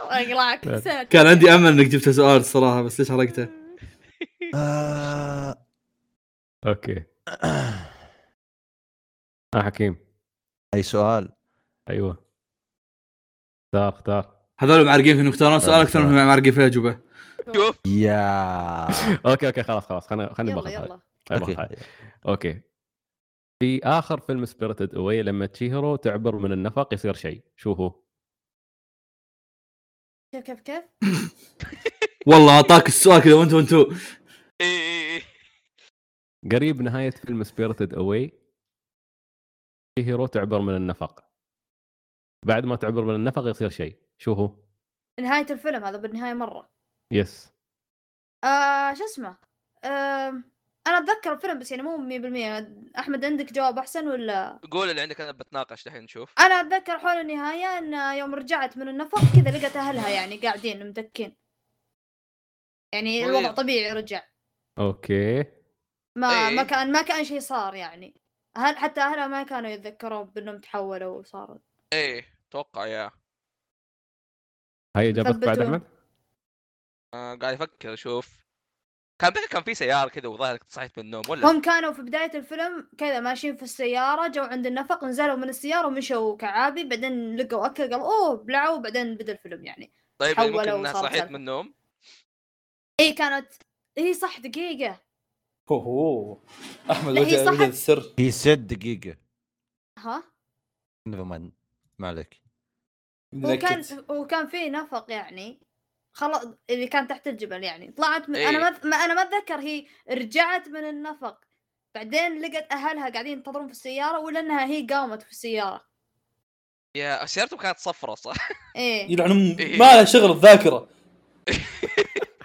[SPEAKER 3] اقلعك
[SPEAKER 5] لا.
[SPEAKER 3] ساتر.
[SPEAKER 1] كان عندي امل انك جبت سؤال الصراحه بس ليش حرقته؟
[SPEAKER 4] آه،
[SPEAKER 5] اوكي اه حكيم
[SPEAKER 4] اي سؤال
[SPEAKER 5] ايوه اختار اختار
[SPEAKER 1] هذول معرقين في انهم يختارون سؤال اكثر منهم معرقين في الاجوبه
[SPEAKER 2] شوف
[SPEAKER 4] يا
[SPEAKER 5] اوكي اوكي خلاص خلاص خلينا خلينا
[SPEAKER 3] يلا
[SPEAKER 5] باخذ هاي.
[SPEAKER 3] يلا
[SPEAKER 2] طيب،
[SPEAKER 5] خلينا
[SPEAKER 4] أوكي.
[SPEAKER 5] باخذ هاي. اوكي في اخر فيلم سبيريتد اواي لما تشيهرو تعبر من النفق يصير شيء شو هو؟
[SPEAKER 3] كيف كيف كيف
[SPEAKER 1] والله اعطاك السؤال كذا وانتو وانتو
[SPEAKER 2] إيه، إيه، إيه.
[SPEAKER 5] قريب نهايه فيلم سبيريتد اواي تشيهرو تعبر من النفق بعد ما تعبر من النفق يصير شيء شو هو؟
[SPEAKER 3] نهاية الفيلم هذا بالنهاية مرة
[SPEAKER 5] يس
[SPEAKER 3] آه شو اسمه آه أنا أتذكر الفيلم بس يعني مو 100% أحمد عندك جواب أحسن ولا
[SPEAKER 2] قول اللي عندك انا بتناقش دحين نشوف
[SPEAKER 3] أنا أتذكر حول النهاية أن يوم رجعت من النفق كذا لقيت أهلها يعني قاعدين مدكين يعني
[SPEAKER 2] طيب.
[SPEAKER 3] الوضع طبيعي رجع
[SPEAKER 5] اوكي
[SPEAKER 3] ما
[SPEAKER 2] إيه.
[SPEAKER 3] ما كان ما كان شيء صار يعني هل حتى أهلها ما كانوا يتذكرون بأنهم تحولوا وصاروا
[SPEAKER 2] ايه اتوقع يا
[SPEAKER 5] هاي اجابتك بعد
[SPEAKER 3] ثبتوا.
[SPEAKER 5] احمد؟
[SPEAKER 2] آه، قاعد افكر اشوف كان بينك كان في سياره كذا وظاهر صحيت من النوم ولا
[SPEAKER 3] هم كانوا في بداية الفيلم كذا ماشيين في السيارة جو عند النفق نزلوا من السيارة ومشوا كعابي بعدين لقوا أكل قالوا أوه بلعوا بعدين بدأ الفيلم يعني
[SPEAKER 2] طيب يعني
[SPEAKER 3] تحولوا
[SPEAKER 2] ممكن انها
[SPEAKER 3] وصارت
[SPEAKER 2] صحيت
[SPEAKER 3] سالفة.
[SPEAKER 2] من النوم
[SPEAKER 3] اي كانت هي صح دقيقة
[SPEAKER 1] اوه احمد
[SPEAKER 3] لا، هي وجد- صح. وجد
[SPEAKER 1] السر
[SPEAKER 4] هي ست دقيقه
[SPEAKER 3] ها
[SPEAKER 4] نيفر مايند ما عليك
[SPEAKER 3] هو كان هو كان في نفق يعني خلاص اللي كان تحت الجبل يعني طلعت من انا ما ما- انا ما اتذكر هي رجعت من النفق بعدين لقت اهلها قاعدين ينتظرون في السيارة ولا انها هي قامت في السيارة
[SPEAKER 2] يا سيارته كانت صفرة صح؟
[SPEAKER 3] ايه
[SPEAKER 1] يلعن
[SPEAKER 2] إيه. ما
[SPEAKER 1] له شغل الذاكره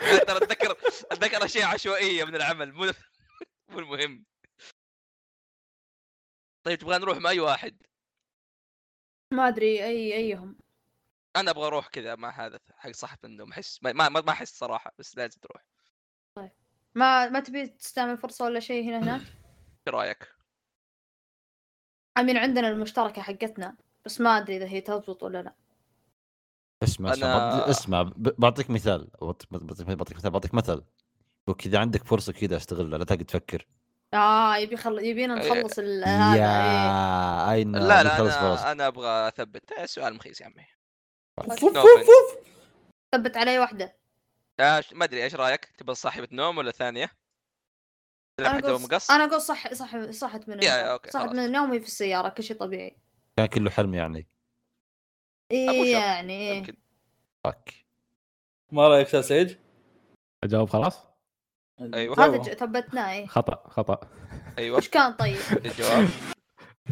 [SPEAKER 2] أنا ترى اتذكر اتذكر اشياء عشوائية من العمل مو مو المهم طيب تبغى نروح مع اي واحد؟
[SPEAKER 3] ما ادري اي ايهم
[SPEAKER 2] انا ابغى اروح كذا مع هذا حق صاحب النوم احس ما ما ما احس صراحة بس لازم تروح
[SPEAKER 3] ما ما تبي تستعمل فرصة ولا شيء هنا هناك
[SPEAKER 2] ايش رايك؟
[SPEAKER 3] امين عندنا المشتركة حقتنا بس ما ادري اذا هي تزبط ولا لا
[SPEAKER 4] اسمع اسمع
[SPEAKER 2] أنا-
[SPEAKER 4] بعطي- اسمع ب- بعطيك مثال بعطيك بعطيك بعطيك مثال بعطيك مثل وكذا عندك فرصه كذا استغلها لا تقعد تفكر
[SPEAKER 3] اه يبي خل... يبينا
[SPEAKER 2] إيه.
[SPEAKER 3] نخلص ال- هذا إيه.
[SPEAKER 4] يا اين
[SPEAKER 2] لا لا
[SPEAKER 4] بيخلص فرص.
[SPEAKER 2] انا انا ابغى اثبت آه، سؤال مخيس يا عمي
[SPEAKER 3] ثبت علي واحدة
[SPEAKER 2] آه، ش- ما ادري ايش رايك؟ تبغى صاحبة نوم ولا ثانية؟ تلعب
[SPEAKER 3] أنا
[SPEAKER 2] حتى
[SPEAKER 3] أقول
[SPEAKER 2] مقص؟
[SPEAKER 3] أنا أقول صح صح صحت من
[SPEAKER 2] يا- يا،
[SPEAKER 3] النوم.
[SPEAKER 2] أوكي،
[SPEAKER 3] صحت
[SPEAKER 2] خلاص.
[SPEAKER 3] من النوم وهي في السيارة كل شيء طبيعي
[SPEAKER 4] كان كله حلم يعني
[SPEAKER 2] أبو
[SPEAKER 3] إيه
[SPEAKER 2] شر.
[SPEAKER 3] يعني إيه
[SPEAKER 2] يمكن
[SPEAKER 4] فك
[SPEAKER 1] ما رايك يا سعيد؟
[SPEAKER 5] اجاوب خلاص؟
[SPEAKER 2] ايوه
[SPEAKER 3] هذا ج- ثبتناه إيه
[SPEAKER 5] خطا خطا
[SPEAKER 2] ايوه
[SPEAKER 3] وش كان طيب؟
[SPEAKER 2] الجواب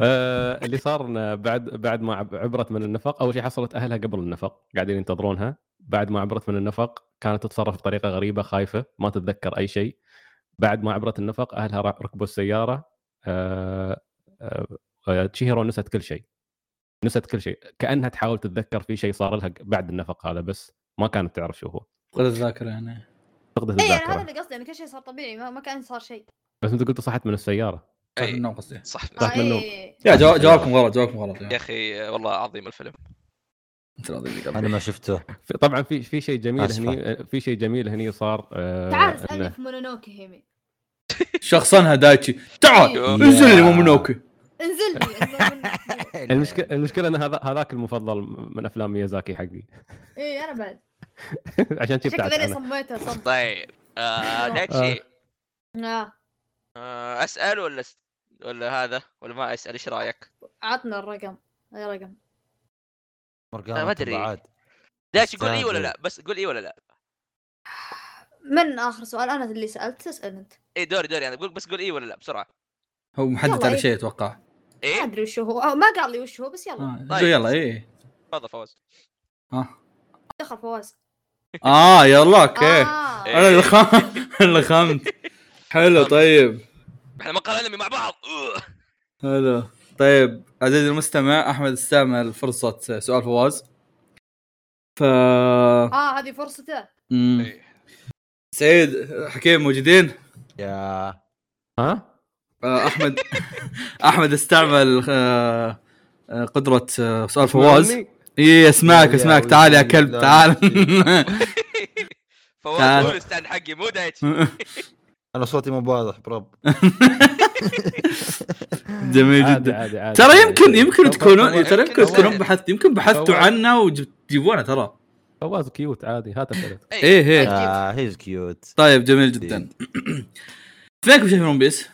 [SPEAKER 5] آه، اللي صار إن بعد بعد ما عب- عبرت من النفق اول شيء حصلت اهلها قبل النفق قاعدين ينتظرونها بعد ما عبرت من النفق كانت تتصرف بطريقه غريبه خايفه ما تتذكر اي شيء بعد ما عبرت النفق اهلها را- ركبوا السياره آه، آه، آه، تشيهيرو نسيت كل شيء نسيت كل شيء كانها تحاول تتذكر في شيء صار لها بعد النفق هذا بس ما كانت تعرف شو هو
[SPEAKER 1] خذ الذاكره يعني
[SPEAKER 5] فقدت
[SPEAKER 3] إيه أنا هذا
[SPEAKER 5] الذاكره
[SPEAKER 3] اللي قصدي أن كل شيء صار طبيعي ما, ما كان صار شيء
[SPEAKER 5] بس انت قلت صحت من السياره
[SPEAKER 1] صح
[SPEAKER 2] أي،
[SPEAKER 1] النوم قصدي
[SPEAKER 2] صح
[SPEAKER 5] صح.
[SPEAKER 3] آه
[SPEAKER 5] من النوم.
[SPEAKER 3] إيه
[SPEAKER 1] يا جوا- جوابكم غلط جوابكم غلط
[SPEAKER 3] طيب.
[SPEAKER 2] يا
[SPEAKER 1] يا
[SPEAKER 2] اخي والله عظيم الفيلم
[SPEAKER 1] انت راضي اللي
[SPEAKER 4] انا
[SPEAKER 1] قبل
[SPEAKER 4] ما شفته
[SPEAKER 5] في- طبعا في في شيء جميل
[SPEAKER 4] آسفة.
[SPEAKER 5] هني في شيء جميل هني صار آه،
[SPEAKER 3] تعال
[SPEAKER 5] إنه-
[SPEAKER 3] اسألني في مونونوكي هيمي
[SPEAKER 1] شخصنها دايتشي تعال
[SPEAKER 2] يا.
[SPEAKER 1] انزل لي مومونوكي
[SPEAKER 3] انزل لي انزل منك.
[SPEAKER 5] المشكله المشكله ان هذا هذاك المفضل من افلام ميازاكي حقي
[SPEAKER 3] إيه أنا بعد
[SPEAKER 5] عشان كذا
[SPEAKER 3] شكلي
[SPEAKER 5] ابتعدت
[SPEAKER 3] ذلي
[SPEAKER 5] عنه.
[SPEAKER 3] صميته صم
[SPEAKER 2] طيب آه، دايتشي
[SPEAKER 3] آه
[SPEAKER 2] آه، اسال ولا س- ولا هذا ولا ما اسال ايش رايك؟
[SPEAKER 3] عطنا الرقم أي رقم
[SPEAKER 4] أنا
[SPEAKER 2] أنا طيب، ما أدري. دايتشي قول اي ولا
[SPEAKER 4] استاذ.
[SPEAKER 2] لا بس قول اي ولا لا
[SPEAKER 3] من آخر سؤال أنا اللي سألت اسأل أنت
[SPEAKER 2] اي دوري دوري انا قول بس قول اي ولا لا بسرعه
[SPEAKER 1] هو محدد
[SPEAKER 3] يلا،
[SPEAKER 1] على
[SPEAKER 3] إيه.
[SPEAKER 1] شيء اتوقع
[SPEAKER 3] ما
[SPEAKER 2] ايه
[SPEAKER 1] إيه.
[SPEAKER 3] أدري وش هو أو ما قال لي وش هو بس يلا
[SPEAKER 1] آه،
[SPEAKER 2] طيب.
[SPEAKER 1] يلا ايه
[SPEAKER 2] تفضل فوز
[SPEAKER 1] ها
[SPEAKER 3] دخل فواز
[SPEAKER 1] اه يلا اوكي
[SPEAKER 3] آه.
[SPEAKER 1] انا اللي خم- اللي خمت حلو طيب
[SPEAKER 2] احنا ما قرأنا انمي مع بعض أوه.
[SPEAKER 1] حلو طيب عزيزي المستمع احمد استعمل فرصه سؤال فواز ف
[SPEAKER 3] اه هذه فرصته
[SPEAKER 1] مم.
[SPEAKER 2] إيه.
[SPEAKER 1] سعيد حكيم موجودين
[SPEAKER 4] يا
[SPEAKER 5] ها؟
[SPEAKER 1] آه، احمد احمد استعمل آه، آه، قدره آه، سؤال فواز
[SPEAKER 5] تسمعني؟
[SPEAKER 1] اي اسمعك
[SPEAKER 4] يا
[SPEAKER 1] اسمعك
[SPEAKER 4] ويلي،
[SPEAKER 1] تعال يا كلب
[SPEAKER 4] لا،
[SPEAKER 1] تعال تعال.
[SPEAKER 2] فواز قول استعن حقي مو دايتش
[SPEAKER 4] انا صوتي مو واضح برب
[SPEAKER 1] جميل
[SPEAKER 5] عادي
[SPEAKER 1] جدا
[SPEAKER 5] عادي عادي
[SPEAKER 1] ترى
[SPEAKER 5] عادي.
[SPEAKER 1] يمكن يمكن
[SPEAKER 5] فواز-
[SPEAKER 1] تكونون
[SPEAKER 5] فواز-
[SPEAKER 1] ترى يمكن
[SPEAKER 5] فواز-
[SPEAKER 1] تكونون بحثت يمكن بحثتوا
[SPEAKER 5] فواز.
[SPEAKER 1] عنه وتجيبونه ترى
[SPEAKER 5] فواز كيوت عادي هات الثلاث
[SPEAKER 1] ايه ايه
[SPEAKER 4] اه هيز كيوت
[SPEAKER 1] طيب جميل جدا اثنينكم شايفين ون بيس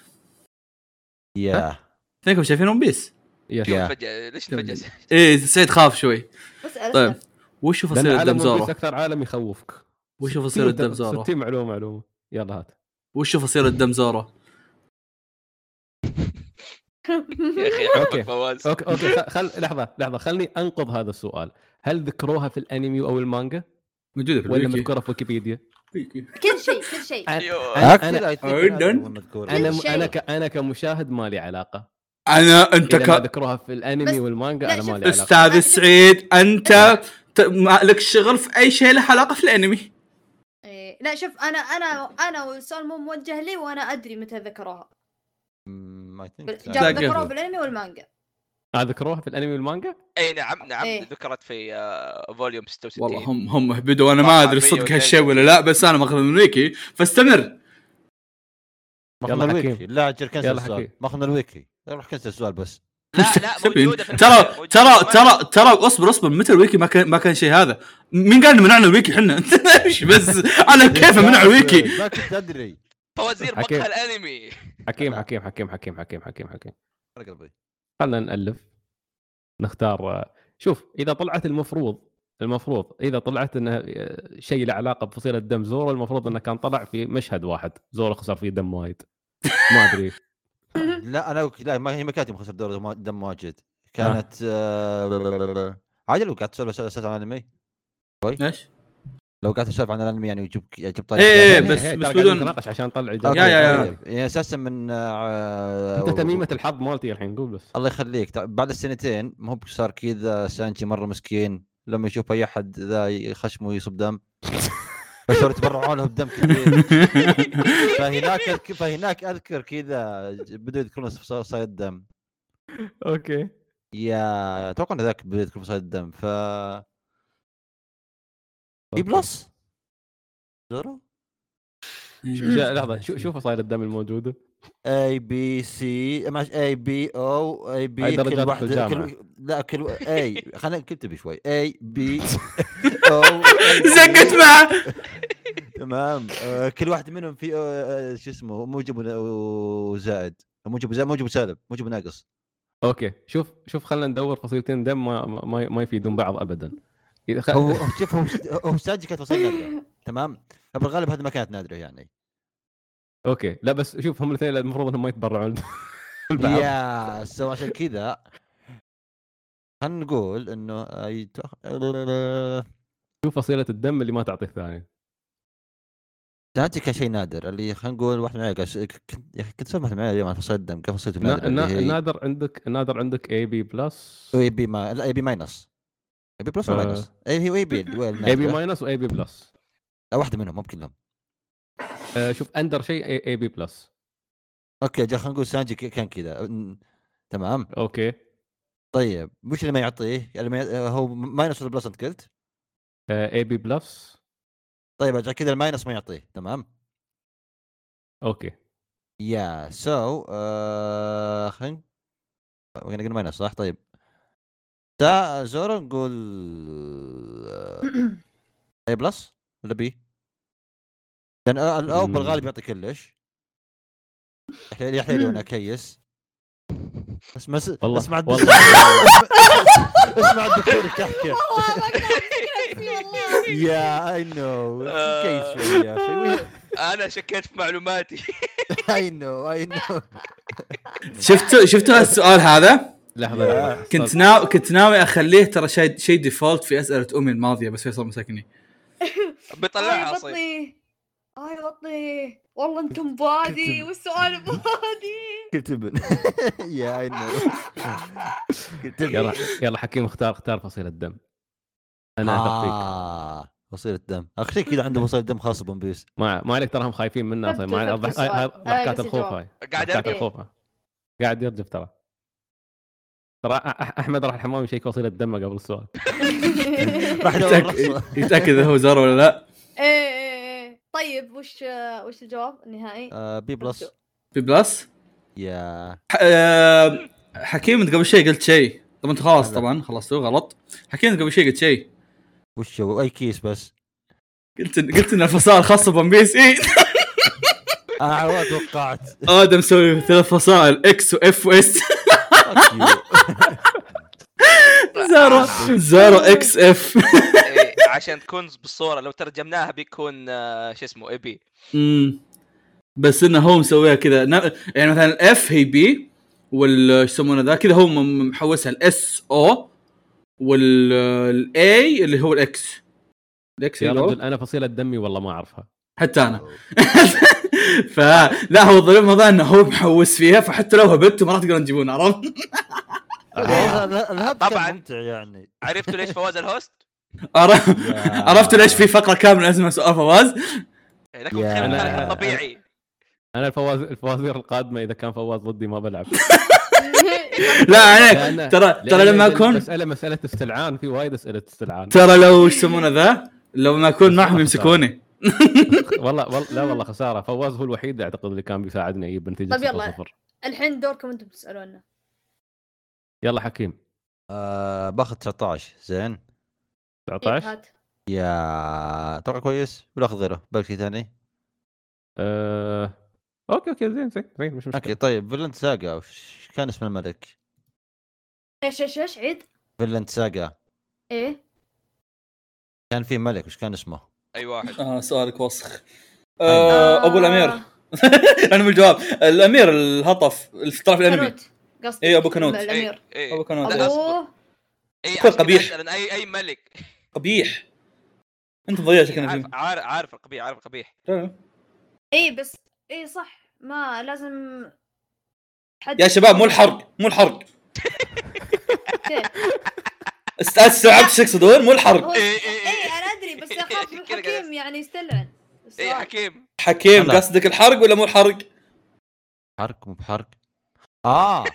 [SPEAKER 4] يا
[SPEAKER 1] اثنينكم شايفين ون بيس
[SPEAKER 5] يا
[SPEAKER 4] يا
[SPEAKER 2] فجأة ليش تفجأ
[SPEAKER 1] ايه سعيد خاف شوي
[SPEAKER 3] بس أسأل.
[SPEAKER 1] طيب وش هو
[SPEAKER 5] لان
[SPEAKER 1] فصيل
[SPEAKER 5] عالم
[SPEAKER 1] الدم
[SPEAKER 5] One Piece
[SPEAKER 1] زارو؟
[SPEAKER 5] اكثر عالم يخوفك
[SPEAKER 1] وش هو فصيل الدم زارو؟
[SPEAKER 5] 60 معلومه معلومه يلا هات
[SPEAKER 1] وش هو فصيل الدم زارو؟
[SPEAKER 2] يا اخي احبك
[SPEAKER 5] أوكي.
[SPEAKER 2] فواز
[SPEAKER 5] اوكي اوكي خ- خل لحظه لحظه خلني انقض هذا السؤال هل ذكروها في الانمي او المانجا
[SPEAKER 1] موجوده في
[SPEAKER 5] ولا
[SPEAKER 1] الويكي
[SPEAKER 5] مذكوره في ويكيبيديا
[SPEAKER 3] كل شيء كل شيء
[SPEAKER 2] أيوه.
[SPEAKER 5] أنا-
[SPEAKER 4] Actually, I think
[SPEAKER 1] أردن.
[SPEAKER 4] هذا هو المذكور.
[SPEAKER 5] انا م...
[SPEAKER 3] شيء.
[SPEAKER 5] انا ك... انا كمشاهد ما لي علاقه
[SPEAKER 1] انا انت
[SPEAKER 5] اذا ما
[SPEAKER 1] ك...
[SPEAKER 5] ذكروها في
[SPEAKER 3] بس-
[SPEAKER 5] الانمي والمانجا
[SPEAKER 3] لا،
[SPEAKER 5] انا
[SPEAKER 3] شوف-
[SPEAKER 5] ما لي علاقه
[SPEAKER 1] استاذ سعيد انت ت... ما لك شغل في اي شيء له علاقه في الانمي
[SPEAKER 3] إيه. لا شوف انا انا انا والسؤال مو موجه لي وانا ادري متى ذكروها
[SPEAKER 4] Mm, I think so.
[SPEAKER 3] جاب
[SPEAKER 1] لا،
[SPEAKER 3] ذكروها
[SPEAKER 1] قبل.
[SPEAKER 3] بالانمي والمانجا
[SPEAKER 5] آه، ذكروها في الانمي والمانجا
[SPEAKER 2] اي نعم نعم
[SPEAKER 3] إيه.
[SPEAKER 2] ذكرت في آه، فوليوم 66
[SPEAKER 1] والله هم هم هبدوا انا ما
[SPEAKER 2] طبعاً
[SPEAKER 1] ادري صدق
[SPEAKER 2] مية
[SPEAKER 1] هالشيء ولا لا بس انا ماخذ من ويكي فاستمر
[SPEAKER 4] ماخذنا
[SPEAKER 5] يلا
[SPEAKER 4] الويكي
[SPEAKER 5] حكيم.
[SPEAKER 4] لا اجل كنسل
[SPEAKER 5] يلا
[SPEAKER 4] السؤال
[SPEAKER 5] حكيم.
[SPEAKER 4] ماخذنا الويكي روح كنسل السؤال بس
[SPEAKER 2] لا لا موجوده في
[SPEAKER 1] ترى
[SPEAKER 2] المانجا، موجودة
[SPEAKER 1] ترى
[SPEAKER 2] في المانجا.
[SPEAKER 1] ترى ترى اصبر اصبر متى الويكي ما كان ما كان شيء هذا مين قال إن منعنا الويكي احنا ايش بس على كيف منع الويكي
[SPEAKER 4] ما كنت ادري
[SPEAKER 2] فوازير
[SPEAKER 5] حكيم.
[SPEAKER 2] مقهى الانمي
[SPEAKER 5] حكيم حكيم حكيم حكيم حكيم حكيم حكيم
[SPEAKER 4] على قلبي
[SPEAKER 5] خلنا نالف نختار آه، شوف اذا طلعت المفروض المفروض اذا طلعت انه آه، شيء له علاقه بفصيله دم زورو المفروض انه كان طلع في مشهد واحد زورو خسر فيه دم وايد ما ادري
[SPEAKER 4] لا انا لا ما هي ما كانت مخسر دور دم- دم واجد كانت آه، عادي لو قعدت تسولف اساسا عن الانمي
[SPEAKER 1] ايش؟
[SPEAKER 4] لو قعدت تسولف عن الانمي يعني وجيب جيب طريقه
[SPEAKER 1] إيه،
[SPEAKER 4] يعني-
[SPEAKER 1] بس- بس
[SPEAKER 5] هي- ترى
[SPEAKER 1] بدون-
[SPEAKER 5] قاعدين نتناقش عشان طلع
[SPEAKER 4] أوكي،
[SPEAKER 5] الجواب.
[SPEAKER 1] يا- يا- يا.
[SPEAKER 4] طيب. يعني اساسا من آه،
[SPEAKER 5] انت تميمه الحظ مالتي الحين قول بس
[SPEAKER 4] الله يخليك طيب، بعد السنتين ما هو صار كذا سانجي مره مسكين لما يشوف اي احد ذا خشمه يصب دم فصاروا يتبرعون له بدم كثير فهناك أذكر فهناك اذكر كذا بدوا يذكرون فص- فصائل الدم
[SPEAKER 5] اوكي
[SPEAKER 4] يا اتوقع ان ذاك بدوا يذكرون فصائل الدم ف اي بلس زورو
[SPEAKER 5] لا، لحظه شو- شوف فصائل الدم الموجوده
[SPEAKER 4] اي بي سي ماش اي بي او اي بي
[SPEAKER 5] هاي درجات في
[SPEAKER 4] واحدة-
[SPEAKER 5] الجامعة.
[SPEAKER 4] كل... لا كل و- اي خلينا نكتب شوي اي بي او
[SPEAKER 1] زقت معه
[SPEAKER 4] تمام آه، كل واحد منهم في آه، آه، شو اسمه موجب ون- وزائد موجب زائد موجب سالب موجب ناقص
[SPEAKER 5] اوكي شوف شوف خلينا ندور فصيلتين دم ما ما, ما يفيدون بعض ابدا إذا خ...
[SPEAKER 4] هو هو شوف هو هو ساجي كانت وصل نادره تمام فبالغالب هذه ما كانت نادره يعني
[SPEAKER 5] اوكي لا بس شوف هم الاثنين المفروض انهم ما يتبرعون البعض
[SPEAKER 4] يا سو عشان كذا خلينا نقول انه آه، يتوخ-
[SPEAKER 5] شوف فصيله الدم اللي ما تعطي الثاني
[SPEAKER 4] ساعتي كان شيء نادر اللي خلينا نقول واحد معي قال ش- كنت يا اخي كنت سولف مع واحد معي اليوم عن فصل الدم كان فصلته
[SPEAKER 5] نا-
[SPEAKER 4] نادر
[SPEAKER 5] نا-
[SPEAKER 4] اللي هي إيه؟
[SPEAKER 5] نادر عندك نادر عندك اي بي بلس
[SPEAKER 4] اي بي ما لا اي بي ماينس اي بي بلس ولا
[SPEAKER 5] آه.
[SPEAKER 4] ماينس؟ اي هي اي بي اللي هو
[SPEAKER 5] اي بي
[SPEAKER 4] النادرة.
[SPEAKER 5] ماينس واي بي بلس
[SPEAKER 4] لا واحده منهم مو كلهم
[SPEAKER 5] آه، شوف اندر شيء اي بي بلس
[SPEAKER 4] اوكي جا خلينا نقول سانجي ك- كان كذا ن- تمام
[SPEAKER 5] اوكي
[SPEAKER 4] طيب وش اللي ما يعطيه؟ اللي ما ي- هو ماينس ولا بلس انت قلت؟
[SPEAKER 5] اي بي بلس
[SPEAKER 4] طيب عشان كذا الماينس ما يعطيه تمام؟
[SPEAKER 5] اوكي
[SPEAKER 4] يا سو آه، خلينا نقول ماينس صح طيب تا زورو نقول اي بلس آه، ولا بي؟ لان آه، الاو
[SPEAKER 5] مم.
[SPEAKER 4] بالغالب يعطي كلش يحليل يحليل وانا كيس بس بس
[SPEAKER 5] والله-
[SPEAKER 4] اسمع الدكتور
[SPEAKER 5] والله.
[SPEAKER 4] اسمع الدكتور يحكي
[SPEAKER 3] والله ما أقدر أمسك نفسي والله
[SPEAKER 4] يا اي نو
[SPEAKER 2] آه.
[SPEAKER 4] كيس شوي يا اخي
[SPEAKER 2] انا شكيت في معلوماتي
[SPEAKER 4] اي نو اي نو
[SPEAKER 1] شفتوا شفتوا هالسؤال هذا؟
[SPEAKER 5] لحظه لحظة.
[SPEAKER 1] كنت ناوي كنت ناوي اخليه ترى شيء شيء ديفولت في اسئله امي الماضيه بس فيصل مسكني
[SPEAKER 2] بيطلعها
[SPEAKER 3] آي
[SPEAKER 2] عصير
[SPEAKER 3] آه، بطني آي بطني والله انتم بادي والسؤال بادي
[SPEAKER 4] كنت ابن يا عيني كنت
[SPEAKER 5] يلا يلا حكيم اختار اختار فصيل الدم انا اثق فيك
[SPEAKER 4] آه وصيلة دم اخشي كذا عنده وصيلة دم خاص بون بيس
[SPEAKER 5] ما ما عليك تراهم خايفين منا اصلا ما
[SPEAKER 3] ثبتوا-
[SPEAKER 5] عليك
[SPEAKER 3] ثبتوا
[SPEAKER 5] الضحك- هاي- هاي
[SPEAKER 3] السؤال. هاي
[SPEAKER 5] ضحكات
[SPEAKER 3] بس
[SPEAKER 5] الخوف
[SPEAKER 3] الجواب.
[SPEAKER 5] هاي
[SPEAKER 2] قاعد
[SPEAKER 5] ضحكات
[SPEAKER 3] أرجع.
[SPEAKER 5] الخوف هاي. قاعد يرجف ترى ترى أح- أح- احمد راح الحمام يشيك وصيلة دمه قبل السؤال
[SPEAKER 3] إيه،
[SPEAKER 4] راح يدور
[SPEAKER 1] يتاكد
[SPEAKER 4] رخصة.
[SPEAKER 1] يتاكد اذا هو زار ولا لا
[SPEAKER 3] ايه ايه ايه طيب وش وش الجواب النهائي؟
[SPEAKER 4] آه، بي بلس
[SPEAKER 1] بي بلس
[SPEAKER 4] يا
[SPEAKER 1] ح- آه، حكيم انت قبل شيء قلت شيء طب انت خلاص طبعا خلصتوا غلط حكيم انت قبل شيء قلت شيء
[SPEAKER 4] وش هو اي كيس بس
[SPEAKER 1] قلت قلت ان الفصائل خاصه بون بيس إيه. اي
[SPEAKER 4] انا ما آه، توقعت
[SPEAKER 1] ادم مسوي ثلاث فصائل اكس واف واس
[SPEAKER 4] Fuck you.
[SPEAKER 1] زارو زارو اكس اف
[SPEAKER 2] إيه، عشان تكون بالصوره لو ترجمناها بيكون آه، شو اسمه اي بي
[SPEAKER 1] مم. بس انه هو مسويها كذا نا- يعني مثلا الاف هي بي وال ايش يسمونه ذا كذا هو م- محوسها الاس او والاي اللي هو الاكس الاكس
[SPEAKER 5] يا
[SPEAKER 4] أيوه.
[SPEAKER 1] هي
[SPEAKER 5] رجل انا فصيلة دمي والله ما اعرفها
[SPEAKER 1] حتى انا فلا هو ظلم الموضوع انه هو محوس فيها فحتى لو هبتوا ما راح تقدرون تجيبون عرفت؟
[SPEAKER 4] والله ال- الهب
[SPEAKER 2] طبعاً.
[SPEAKER 4] كان ممتع يعني
[SPEAKER 2] عرفتوا ليش فواز الهوست؟
[SPEAKER 1] عرف-
[SPEAKER 4] يا-
[SPEAKER 1] عرفتوا ليش في فقره كامله اسمها سؤال فواز؟
[SPEAKER 2] إيه، لكم
[SPEAKER 4] يا-
[SPEAKER 2] تخيلوا
[SPEAKER 5] أنا-
[SPEAKER 2] الخلق طبيعي
[SPEAKER 5] انا الفواز الفوازير القادمه اذا كان فواز ضدي ما بلعب
[SPEAKER 1] لا عليك
[SPEAKER 5] لأن-
[SPEAKER 1] يعني ترى ترى
[SPEAKER 5] لأن
[SPEAKER 1] لما اكون
[SPEAKER 5] مساله مساله استلعان في وايد اسئله استلعان
[SPEAKER 1] ترى لو ايش يسمونه ذا لما اكون معهم يمسكوني
[SPEAKER 5] والله والله لا والله خساره فواز هو الوحيد اعتقد اللي كان بيساعدنا يجيب نتيجه
[SPEAKER 3] طب طيب، يلا.
[SPEAKER 5] 0-0.
[SPEAKER 3] الحين دوركم انتم تسالونا
[SPEAKER 5] يلا حكيم
[SPEAKER 4] آه، باخذ 19 زين
[SPEAKER 3] إيه،
[SPEAKER 5] 19
[SPEAKER 4] يا توقع كويس ولا اخذ غيره باقي شيء ثاني
[SPEAKER 5] آه... اوكي اوكي زين زين زين مش مشكله
[SPEAKER 4] اوكي طيب فيلنت ساقا وش كان اسم الملك؟
[SPEAKER 3] ايش ايش ايش عيد؟
[SPEAKER 4] فيلنت ساقا
[SPEAKER 3] ايه
[SPEAKER 4] كان في ملك وش كان اسمه؟
[SPEAKER 2] اي واحد
[SPEAKER 1] اه سؤالك وسخ
[SPEAKER 3] آه،
[SPEAKER 1] ابو الامير انا من الجواب الامير الهطف في طرف الانمي
[SPEAKER 3] كنوت قصدي
[SPEAKER 1] إيه، أبو كنوت.
[SPEAKER 3] الامير
[SPEAKER 2] إيه.
[SPEAKER 1] ابو كنوت
[SPEAKER 2] لا، أبو-
[SPEAKER 3] ابوه
[SPEAKER 2] إيه،
[SPEAKER 1] كل
[SPEAKER 2] عشان كذا
[SPEAKER 1] قبيح.
[SPEAKER 2] أسأل عن اي اي ملك إيه،
[SPEAKER 1] قبيح انت مضيع شكلنا
[SPEAKER 2] عارف
[SPEAKER 1] فيه
[SPEAKER 2] عارف عارف القبيح عارف القبيح
[SPEAKER 1] تمام.
[SPEAKER 3] ايه بس ايه صح ما لازم حد
[SPEAKER 1] يا شباب مو الحرق مو الحرق
[SPEAKER 3] كيف؟
[SPEAKER 1] است- استوعبت شو يقصدون مو
[SPEAKER 3] هو-
[SPEAKER 1] الحرق
[SPEAKER 2] إيه، إيه، إيه.
[SPEAKER 3] ايه انا ادري بس اخاف من
[SPEAKER 2] كذا قاعد
[SPEAKER 3] حكيم يعني يستلعن
[SPEAKER 2] اي إيه، حكيم
[SPEAKER 1] حكيم
[SPEAKER 4] لا.
[SPEAKER 1] قصدك الحرق ولا مو الحرق؟
[SPEAKER 4] حرق مو بحرق اه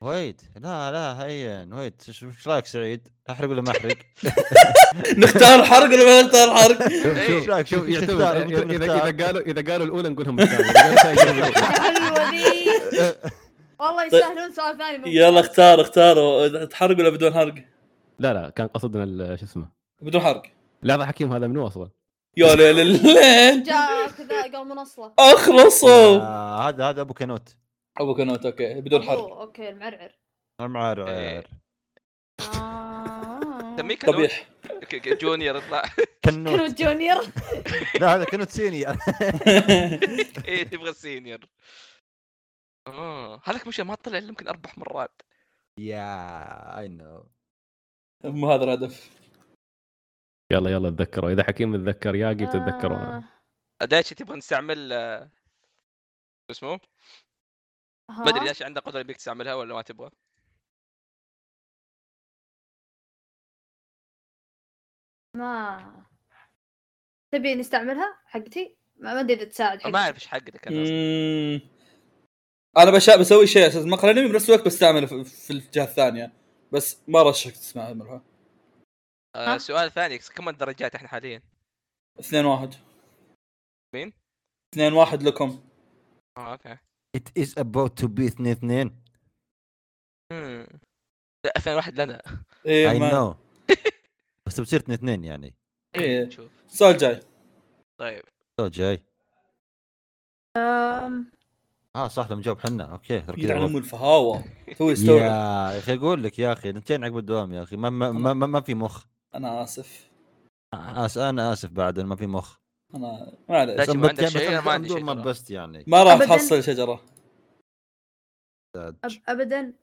[SPEAKER 4] ويد لا لا هين ويد إيش- ايش رايك سعيد؟ احرق ولا ما احرق؟
[SPEAKER 1] نختار الحرق ولا ما نختار الحرق؟
[SPEAKER 4] ايش رايك؟
[SPEAKER 5] شوف
[SPEAKER 4] إيش
[SPEAKER 5] يعتمد
[SPEAKER 4] تختار؟
[SPEAKER 5] إذا-
[SPEAKER 4] ممكن
[SPEAKER 5] اذا
[SPEAKER 4] نختار.
[SPEAKER 5] اذا قالوا اذا قالوا الاولى نقول لهم الثانية. إذا قالوا الثانية نقول لهم الأولى.
[SPEAKER 3] حلوه ذي والله يستاهلون سؤال ثاني من-
[SPEAKER 1] طيب. يلا اختار اختاروا تحرق ولا بدون حرق؟
[SPEAKER 5] لا لا كان قصدنا ال- شو اسمه
[SPEAKER 1] بدون حرق
[SPEAKER 5] لحظه حكيم هذا منو اصلا
[SPEAKER 1] يا ليل الليل
[SPEAKER 3] جاء كذا قال منصله
[SPEAKER 1] اخلصوا
[SPEAKER 4] آه، هذا هذا ابو كنوت
[SPEAKER 1] ابو كنوت اوكي بدون حرق
[SPEAKER 3] أوه، اوكي المعرعر
[SPEAKER 4] المعرعر
[SPEAKER 3] آه.
[SPEAKER 2] سميه كنوت
[SPEAKER 1] قبيح
[SPEAKER 2] ك- ك- جونيور اطلع
[SPEAKER 4] كنوت
[SPEAKER 3] كنوت آه. جونيور
[SPEAKER 4] لا هذا كنوت صيني
[SPEAKER 2] ايه تبغى السينيور اه هذاك مش ما طلع الا يمكن اربع مرات
[SPEAKER 4] يا اي نو
[SPEAKER 1] مو هذا الهدف
[SPEAKER 5] يلا يلا تذكروا اذا حكيم تذكر ياقي
[SPEAKER 3] آه.
[SPEAKER 5] بتتذكرون
[SPEAKER 2] دايتشي تبغى نستعمل آه، شو اسمه ما
[SPEAKER 3] آه.
[SPEAKER 2] ادري دايتشي عنده قدره بيك تستعملها ولا ما تبغى
[SPEAKER 3] ما تبي نستعملها حقتي؟ ما ما ادري اذا تساعد
[SPEAKER 2] ما
[SPEAKER 3] حقتي
[SPEAKER 2] اعرف ايش حقتك انا أصلاً.
[SPEAKER 1] مم. انا بشا بسوي شيء اساس مقهى الانمي بنفس الوقت بستعمله في- في الجهه الثانيه بس ما رشحك تستعملها
[SPEAKER 2] آه،
[SPEAKER 3] ها؟
[SPEAKER 2] سؤال ثاني كم الدرجات احنا حاليا؟
[SPEAKER 1] اثنين واحد
[SPEAKER 2] مين؟
[SPEAKER 1] اثنين واحد لكم
[SPEAKER 2] اه اوكي
[SPEAKER 4] It is about to be اثنين اثنين
[SPEAKER 2] مم. لا 2001 لنا
[SPEAKER 1] ايه
[SPEAKER 4] اي
[SPEAKER 1] ما
[SPEAKER 4] نو بس بتصير اثنين اثنين يعني
[SPEAKER 1] إيه.
[SPEAKER 2] شوف
[SPEAKER 1] السؤال جاي
[SPEAKER 2] طيب
[SPEAKER 4] تو جاي
[SPEAKER 3] أم،
[SPEAKER 4] اه صح لما جاوب حنا اوكي ترى كذا
[SPEAKER 1] يلعن
[SPEAKER 4] غلط.
[SPEAKER 1] ام الفهاوه تو يستوعب
[SPEAKER 4] يا اخي اقول لك يا اخي نتين عقب الدوام يا اخي ما ما ما, ما, ما في مخ
[SPEAKER 1] انا اسف
[SPEAKER 4] آس انا اسف بعد إن ما في مخ
[SPEAKER 1] انا معليش
[SPEAKER 2] لا، شوف،
[SPEAKER 4] بس-
[SPEAKER 2] عندك شيء؟ أنا ما عندي
[SPEAKER 4] بدون
[SPEAKER 2] شيء
[SPEAKER 4] ما
[SPEAKER 2] ترى.
[SPEAKER 4] بست يعني
[SPEAKER 1] ما راح
[SPEAKER 3] أبداً.
[SPEAKER 1] تحصل شجره
[SPEAKER 3] أب- ابدا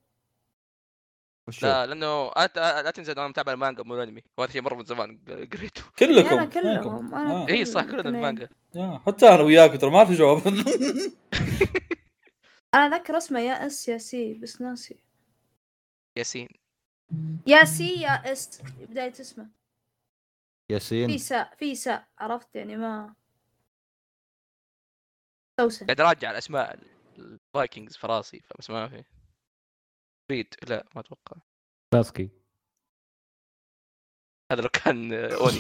[SPEAKER 4] وشو؟
[SPEAKER 2] لا لانه أت... لا تنسى إنه انا متابع المانجا مو الانمي وهذا شيء مره من زمان قريته
[SPEAKER 6] كلكم
[SPEAKER 3] أنا كلهم، أنا
[SPEAKER 6] آه.
[SPEAKER 2] اي صح كلنا
[SPEAKER 3] الاثنين.
[SPEAKER 2] المانجا
[SPEAKER 6] آه. حتى انا وياك ترى ما في جواب
[SPEAKER 3] انا اذكر اسمه يا اس يا سي بس ناسي
[SPEAKER 2] ياسين
[SPEAKER 3] يا سي يا اس بداية اسمه في
[SPEAKER 4] ياسين
[SPEAKER 3] ساء في ساء عرفت يعني ما توسن
[SPEAKER 2] قاعد اراجع الاسماء الفايكنجز في راسي بس ما في ريد لا ما اتوقع
[SPEAKER 5] ساسكي
[SPEAKER 2] هذا لو كان آه، اوني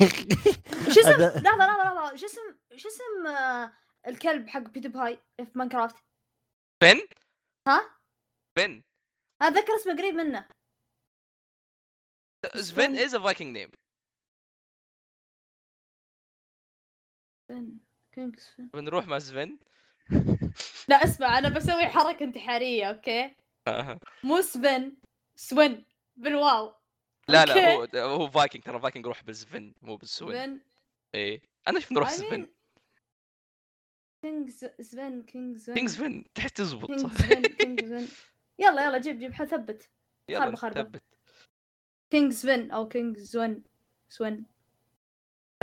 [SPEAKER 3] شو اسم
[SPEAKER 4] هذا-
[SPEAKER 3] لحظة لحظة لحظة شو اسم شو اسم آه، الكلب حق بيتي باي في ماينكرافت
[SPEAKER 2] بن
[SPEAKER 3] ها؟
[SPEAKER 2] بن
[SPEAKER 3] انا اتذكر اسمه قريب منه
[SPEAKER 2] سفن از ا فايكنج نيم
[SPEAKER 3] فين؟ كينجز فين؟
[SPEAKER 2] بنروح مع سفن
[SPEAKER 3] لا اسمع انا بسوي حركة انتحارية اوكي
[SPEAKER 2] آه.
[SPEAKER 3] مو سبن سون بالواو
[SPEAKER 2] لا لا هو
[SPEAKER 3] أوكي.
[SPEAKER 2] هو فايكنج ترى فايكنج روح بالسفن مو بالسون
[SPEAKER 3] سبن
[SPEAKER 2] ايه انا شفت
[SPEAKER 3] طيب.
[SPEAKER 2] نروح سفن
[SPEAKER 3] كينجز سبن كينجز سبن
[SPEAKER 2] كينجز فن تحس تزبط
[SPEAKER 3] كينجز
[SPEAKER 2] صح
[SPEAKER 3] سبن كينجز سبن يلا يلا جيب جيب حل ثبت
[SPEAKER 2] يلا
[SPEAKER 3] خربة- خربة.
[SPEAKER 2] ثبت
[SPEAKER 3] كينجز سبن او كينجز سون سون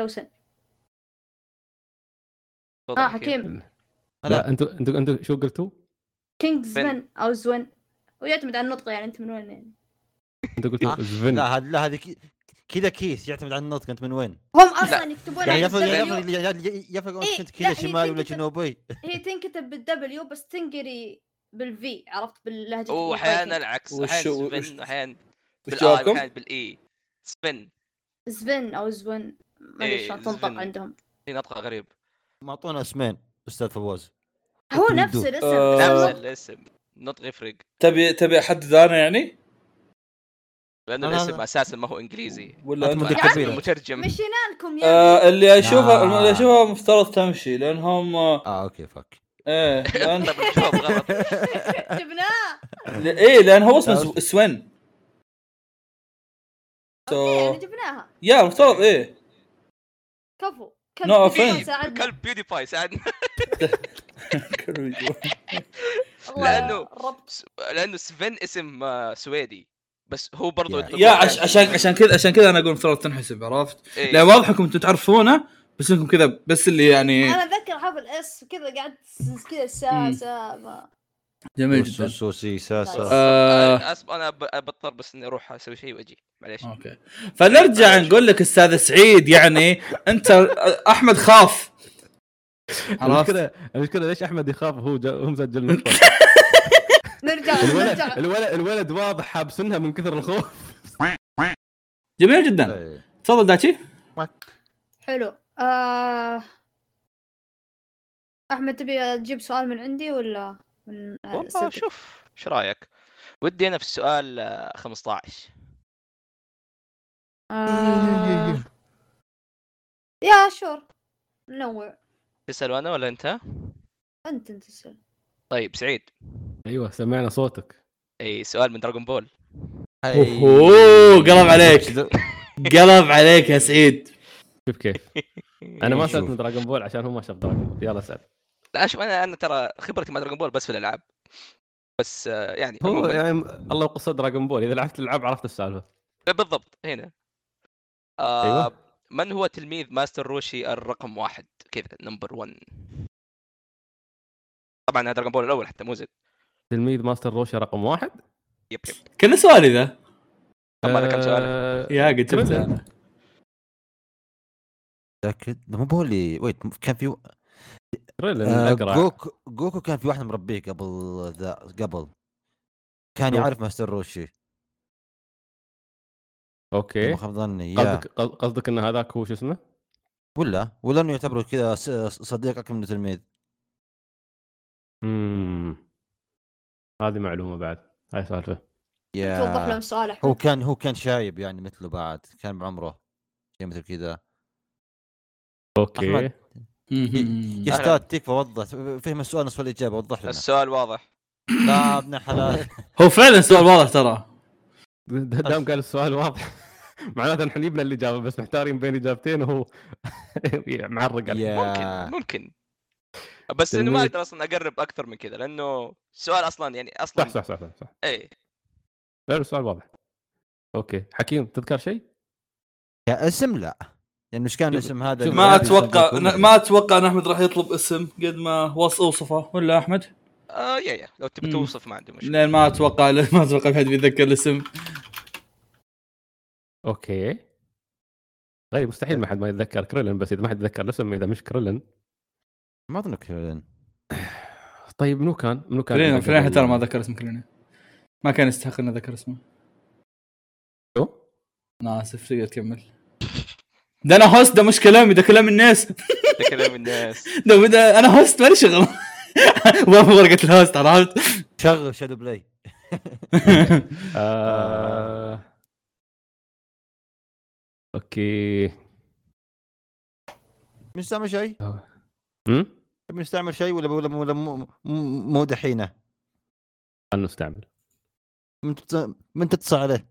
[SPEAKER 3] سوسن
[SPEAKER 2] تفضل
[SPEAKER 3] اه حكيم
[SPEAKER 5] لا انتوا انتوا انتوا شو قلتوا؟
[SPEAKER 3] كينجز
[SPEAKER 2] بن.
[SPEAKER 3] سبن او زون ويعتمد على النطق يعني انت من وين يعني
[SPEAKER 5] انتوا
[SPEAKER 4] آه،
[SPEAKER 5] قلتوا زفن
[SPEAKER 4] لا هذا لا هذه كي- كذا كيس يعتمد على النطق انت من وين؟
[SPEAKER 3] هم اصلا يكتبون
[SPEAKER 4] يعني
[SPEAKER 3] على
[SPEAKER 4] يفرق
[SPEAKER 3] الدبليو
[SPEAKER 4] يفرق يفرق- يفرق
[SPEAKER 3] إيه،
[SPEAKER 4] كنت
[SPEAKER 3] لا،
[SPEAKER 4] كذا
[SPEAKER 3] هي
[SPEAKER 4] شمالي ولا
[SPEAKER 3] تنكتب-
[SPEAKER 4] جنوبي
[SPEAKER 3] هي تنكتب بالدبليو بس تنقري بالفي عرفت باللهجه
[SPEAKER 2] واحيانا العكس
[SPEAKER 6] وش-
[SPEAKER 2] احيانا
[SPEAKER 6] وش-
[SPEAKER 2] سفن احيانا
[SPEAKER 6] وش
[SPEAKER 2] بالاي
[SPEAKER 6] جوابكم؟
[SPEAKER 2] واحيانا بالاي سفن
[SPEAKER 3] زبن او زون ما ادري
[SPEAKER 2] إيه،
[SPEAKER 3] شلون تنطق
[SPEAKER 2] زبن.
[SPEAKER 3] عندهم
[SPEAKER 2] في نطقه غريب
[SPEAKER 4] معطونا اسمين استاذ فواز
[SPEAKER 3] هو
[SPEAKER 4] أكيد.
[SPEAKER 3] نفس الاسم
[SPEAKER 6] آه.
[SPEAKER 2] نفس
[SPEAKER 6] أوه.
[SPEAKER 2] الاسم النطق يفرق
[SPEAKER 6] تبي تبي احدد انا يعني؟
[SPEAKER 2] لانه
[SPEAKER 4] أنا-
[SPEAKER 2] الاسم اساسا ما هو انجليزي
[SPEAKER 6] ولا
[SPEAKER 4] أنت
[SPEAKER 6] أنت؟
[SPEAKER 4] متك-
[SPEAKER 2] فالاسم
[SPEAKER 4] يعني-
[SPEAKER 2] المترجم
[SPEAKER 3] مشينا لكم يعني
[SPEAKER 6] آه اللي اشوفها
[SPEAKER 4] آه.
[SPEAKER 6] اللي اشوفها مفترض تمشي لانهم آه،
[SPEAKER 4] اه اوكي فك
[SPEAKER 6] ايه لان
[SPEAKER 2] طب الجواب غلط
[SPEAKER 3] جبناه
[SPEAKER 6] ل- ايه لان هو اسمه
[SPEAKER 4] لا،
[SPEAKER 6] سو- سوين
[SPEAKER 3] اوكي يعني
[SPEAKER 6] سو
[SPEAKER 3] جبناها
[SPEAKER 6] يا مفترض ايه
[SPEAKER 3] كفو
[SPEAKER 6] No
[SPEAKER 3] كلب
[SPEAKER 6] offense.
[SPEAKER 3] ساعدنا
[SPEAKER 2] كلب بيودي باي ساعدنا
[SPEAKER 3] الله
[SPEAKER 2] لأنه-
[SPEAKER 3] ربط
[SPEAKER 2] لانه سفن اسم آه، سويدي بس هو برضه
[SPEAKER 4] يا-
[SPEAKER 6] يا عش- عشان عشان كذا عشان كذا انا اقول مفترض تنحسب عرفت؟
[SPEAKER 2] إيه.
[SPEAKER 6] لا واضح انكم انتم تعرفونه بس انكم كذا بس اللي
[SPEAKER 1] إيه.
[SPEAKER 6] يعني
[SPEAKER 3] انا اتذكر حفل اس كذا قعدت س- كذا ساعه
[SPEAKER 6] مم.
[SPEAKER 3] ساعه ما-
[SPEAKER 6] جميل جدا
[SPEAKER 4] سوسي ساسا
[SPEAKER 1] طيب.
[SPEAKER 6] آه،
[SPEAKER 2] انا اسف انا ب- بضطر بس اني اروح اسوي شيء واجي معليش
[SPEAKER 6] اوكي فنرجع نقول لك استاذ سعيد يعني انت احمد خاف عرفت؟
[SPEAKER 5] المشكله المشكله ليش احمد يخاف هو جا- هو مسجل نقطه
[SPEAKER 3] نرجع
[SPEAKER 5] الولد
[SPEAKER 3] نرجع
[SPEAKER 5] الولد الولد واضح حابسنها من كثر الخوف
[SPEAKER 6] جميل
[SPEAKER 1] آه،
[SPEAKER 4] طيب.
[SPEAKER 6] جدا تفضل داتشي
[SPEAKER 3] حلو آه... احمد تبي تجيب سؤال من عندي ولا من
[SPEAKER 2] والله
[SPEAKER 3] أسئلتك؟
[SPEAKER 2] شوف ايش رايك ودي انا في السؤال آه، 15
[SPEAKER 3] آه... يا شور نوع
[SPEAKER 2] تسال انا ولا انت؟
[SPEAKER 3] انت انت تسأل
[SPEAKER 2] طيب سعيد
[SPEAKER 5] ايوه سمعنا صوتك
[SPEAKER 2] اي سؤال من دراغون بول
[SPEAKER 6] اوه قلب عليك قلب عليك يا سعيد
[SPEAKER 5] شوف كيف انا ما
[SPEAKER 4] إيه، شوف.
[SPEAKER 5] سالت من دراجون بول عشان هو ما شاف دراجون بول يلا سال
[SPEAKER 2] إيه. لا شوف انا انا ترى خبرتي مع دراغون بول بس في الالعاب بس آه، يعني
[SPEAKER 5] هو
[SPEAKER 2] عموماً.
[SPEAKER 5] يعني الله وقصه دراجون بول اذا لعبت الالعاب عرفت السالفه
[SPEAKER 2] بالضبط هنا آه
[SPEAKER 5] أيوة.
[SPEAKER 2] من هو تلميذ ماستر روشي الرقم واحد كذا نمبر 1 طبعا هذا دراجون بول الاول حتى مو زد
[SPEAKER 5] تلميذ ماستر روشا رقم واحد
[SPEAKER 2] يب يب
[SPEAKER 6] كنا سؤالي ذا
[SPEAKER 2] طب هذا كم سؤال
[SPEAKER 5] آه،
[SPEAKER 6] يا قد
[SPEAKER 5] كمل.
[SPEAKER 6] جبته انا
[SPEAKER 4] متاكد مو هو اللي ويت كان في
[SPEAKER 5] تريلر
[SPEAKER 4] آه،
[SPEAKER 5] الأقرع.
[SPEAKER 4] جوكو جوكو كان في واحد مربيه قبل ذا قبل كان
[SPEAKER 5] جوكو.
[SPEAKER 4] يعرف ماستر روشي إذا
[SPEAKER 5] اوكي
[SPEAKER 4] ما خاب ظني يا.
[SPEAKER 5] قصدك قصد- قصدك ان هذاك هو شو اسمه؟
[SPEAKER 4] ولا ولا انه يعتبره كذا س- صديق اكثر من تلميذ
[SPEAKER 5] امم هذه معلومه بعد هاي سالفه
[SPEAKER 3] توضح لهم
[SPEAKER 4] يا
[SPEAKER 3] السؤال
[SPEAKER 4] هو
[SPEAKER 3] احمد
[SPEAKER 4] كان هو كان شايب يعني مثله بعد كان بعمره شيء مثل كذا
[SPEAKER 5] اوكي
[SPEAKER 4] أحمد. يا
[SPEAKER 2] أهلاً.
[SPEAKER 4] استاذ تكفى وضح فهم السؤال نصف الاجابه وضح لنا
[SPEAKER 2] السؤال واضح
[SPEAKER 4] لا ابن حلال
[SPEAKER 6] هو فعلا سؤال واضح ترى
[SPEAKER 5] د- دام قال السؤال واضح معناته نحن جبنا الاجابه بس محتارين بين اجابتين وهو معرق عليه
[SPEAKER 4] يا
[SPEAKER 2] ممكن ممكن بس انه ما
[SPEAKER 5] تلميذ-
[SPEAKER 2] اقدر اصلا اقرب اكثر من كذا لانه السؤال اصلا يعني اصلا
[SPEAKER 5] صح صح صح صح, صح.
[SPEAKER 2] اي
[SPEAKER 5] لا السؤال واضح اوكي حكيم تذكر شيء؟
[SPEAKER 4] كاسم لا لانه ايش كان
[SPEAKER 5] شوف-
[SPEAKER 4] الاسم هذا
[SPEAKER 5] شوف
[SPEAKER 4] اللي-
[SPEAKER 5] ما
[SPEAKER 1] ما اتوقع
[SPEAKER 5] أدري صدق.
[SPEAKER 1] ما اتوقع ان احمد راح يطلب اسم قد ما وص اوصفه ولا احمد؟
[SPEAKER 2] آه يا يا لو تبي
[SPEAKER 1] مم.
[SPEAKER 2] توصف ما عندي مشكله
[SPEAKER 1] لان ما اتوقع ما اتوقع في حد بيتذكر الاسم
[SPEAKER 5] اوكي طيب مستحيل ما حد ما يتذكر كريلن بس اذا ما حد يتذكر الاسم اذا مش كريلن
[SPEAKER 4] ما اظن كريلين
[SPEAKER 5] طيب منو كان؟ منو كان؟
[SPEAKER 1] فلين
[SPEAKER 5] اللي
[SPEAKER 1] فلين
[SPEAKER 5] قبل-
[SPEAKER 1] ترى ما ذكر اسم كلنا ما كان يستحق اني اذكر اسمه
[SPEAKER 5] شو؟
[SPEAKER 1] انا اسف تقدر تكمل ده انا هوست ده مش كلامي ده كلام الناس
[SPEAKER 2] ده كلام الناس
[SPEAKER 1] ده, ده انا هوست مالي شغل وافق ورقه الهوست عرفت؟
[SPEAKER 4] شغل شادو بلاي
[SPEAKER 5] آه... اوكي
[SPEAKER 4] بنستعمل شيء؟
[SPEAKER 5] امم
[SPEAKER 4] بنستعمل شيء ولا ولا ولا مو- مو- مو دحينه؟
[SPEAKER 5] خلنا نستعمل
[SPEAKER 4] من تتص- من تتصل عليه؟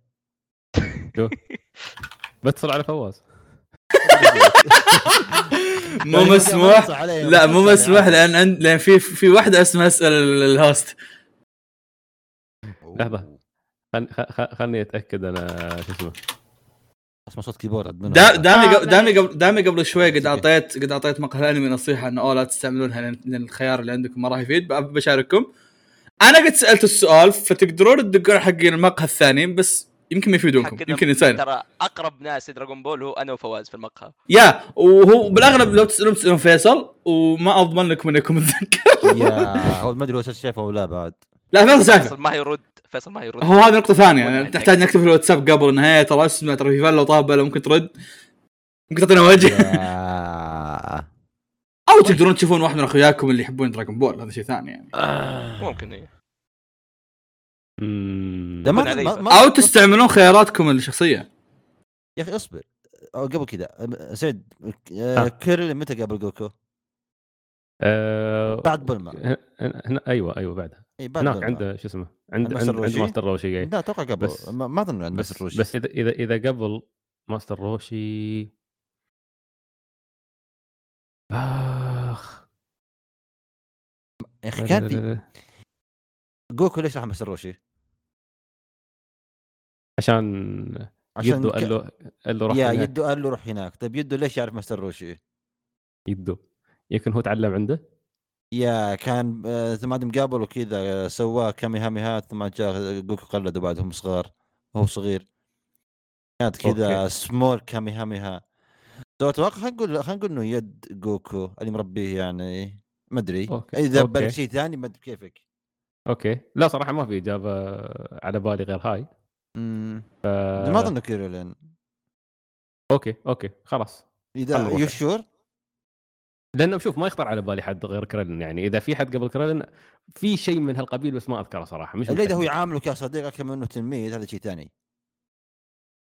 [SPEAKER 5] بتصل على فواز
[SPEAKER 1] مو مسموح لا
[SPEAKER 4] يعني
[SPEAKER 1] مو مسموح لان عند- لان في في واحده اسمها اسال الهوست
[SPEAKER 5] لحظة. خل... خ- خ- خلني اتاكد انا شو اسمه
[SPEAKER 4] اسمع صوت كيبورد عندنا.
[SPEAKER 1] دا- دامي
[SPEAKER 3] آه،
[SPEAKER 1] قبل دامي
[SPEAKER 3] معليش.
[SPEAKER 1] قبل دامي قبل شوي قد اعطيت قد اعطيت مقهى الانمي نصيحه انه اوه لا تستعملونها لان لأن الخيار اللي عندكم ما راح يفيد ب- بشارككم انا قد سالت السؤال فتقدرون تدقون حقين المقهى الثانيين بس يمكن ما يفيدونكم
[SPEAKER 2] حقنا-
[SPEAKER 1] يمكن ينسان
[SPEAKER 2] ترى اقرب ناس لدراغون بول هو انا وفواز في المقهى
[SPEAKER 1] يا وهو بالاغلب لو تسالون تسالون فيصل وما اضمن لكم انكم تتذكر
[SPEAKER 4] يا هو ما ادري هو أساس شايفه ولا لا بعد
[SPEAKER 1] لا ما في سالفه
[SPEAKER 2] فيصل ما يرد فيصل ما يرد
[SPEAKER 1] هو هذه نقطة ثانية يعني
[SPEAKER 2] ولا
[SPEAKER 1] تحتاج نكتب في الواتساب قبل النهاية ترى اسمع ترى في فلة وطابة لو ممكن ترد ممكن تعطينا وجه
[SPEAKER 4] يا.
[SPEAKER 1] او تقدرون تشوفون واحد من اخوياكم اللي يحبون دراجون بول هذا شيء ثاني يعني
[SPEAKER 2] ممكن إيه.
[SPEAKER 5] أمم.
[SPEAKER 4] ده ما-
[SPEAKER 2] علي
[SPEAKER 4] ما-
[SPEAKER 2] بقى.
[SPEAKER 4] ما-
[SPEAKER 1] او تستعملون خياراتكم الشخصية
[SPEAKER 4] يا اخي اصبر أو قبل كذا أم- سعيد
[SPEAKER 5] ها.
[SPEAKER 4] آه، كيرل متى قابل جوكو؟
[SPEAKER 5] آه،
[SPEAKER 4] بعد بلما
[SPEAKER 5] هنا- هنا ايوه ايوه بعدها
[SPEAKER 4] اي بعد
[SPEAKER 5] هناك
[SPEAKER 4] بلما.
[SPEAKER 5] عنده شو اسمه
[SPEAKER 4] عند
[SPEAKER 5] عند عند
[SPEAKER 4] ماستر
[SPEAKER 5] عند
[SPEAKER 4] روشي؟
[SPEAKER 5] ماستر روشي جاي
[SPEAKER 4] لا اتوقع قبل
[SPEAKER 5] بس-
[SPEAKER 4] ما ما اظن عند بس روشي
[SPEAKER 5] بس اذا اذا اذا قبل ماستر روشي اخ
[SPEAKER 4] يا اخي كان في جوكو ليش راح مستر روشي؟
[SPEAKER 5] عشان
[SPEAKER 4] عشان
[SPEAKER 5] يدو
[SPEAKER 4] ك-
[SPEAKER 5] قال له قال له راح
[SPEAKER 4] يا
[SPEAKER 5] هناك.
[SPEAKER 4] يدو قال له روح هناك طيب يدو ليش يعرف مستر روشي؟
[SPEAKER 5] يدو يمكن هو تعلم عنده
[SPEAKER 4] يا كان آه، ثم عاد مقابل وكذا آه، سواه كاميهاميهات ثم جاء جوكو قلده بعد هم صغار وهو صغير كانت كذا سمول كاميهاميها سو اتوقع خلينا نقول خلينا نقول انه يد جوكو اللي مربيه يعني ما ادري
[SPEAKER 5] أوكي،
[SPEAKER 4] اذا
[SPEAKER 5] أوكي.
[SPEAKER 4] بلك شيء ثاني ما ادري كيفك
[SPEAKER 5] اوكي لا صراحه ما في اجابه على بالي غير هاي آه،
[SPEAKER 4] امم ما اظن كيرولين
[SPEAKER 5] اوكي اوكي خلاص خلنا
[SPEAKER 4] اذا
[SPEAKER 5] نروح.
[SPEAKER 4] يو شور
[SPEAKER 5] لانه شوف ما يخطر على بالي حد غير كرلن يعني اذا في حد قبل كرلن في شيء من هالقبيل بس ما اذكره صراحه مش
[SPEAKER 4] الا اذا هو
[SPEAKER 5] متأكد.
[SPEAKER 4] يعامله كصديق اكثر من انه تلميذ هذا شيء ثاني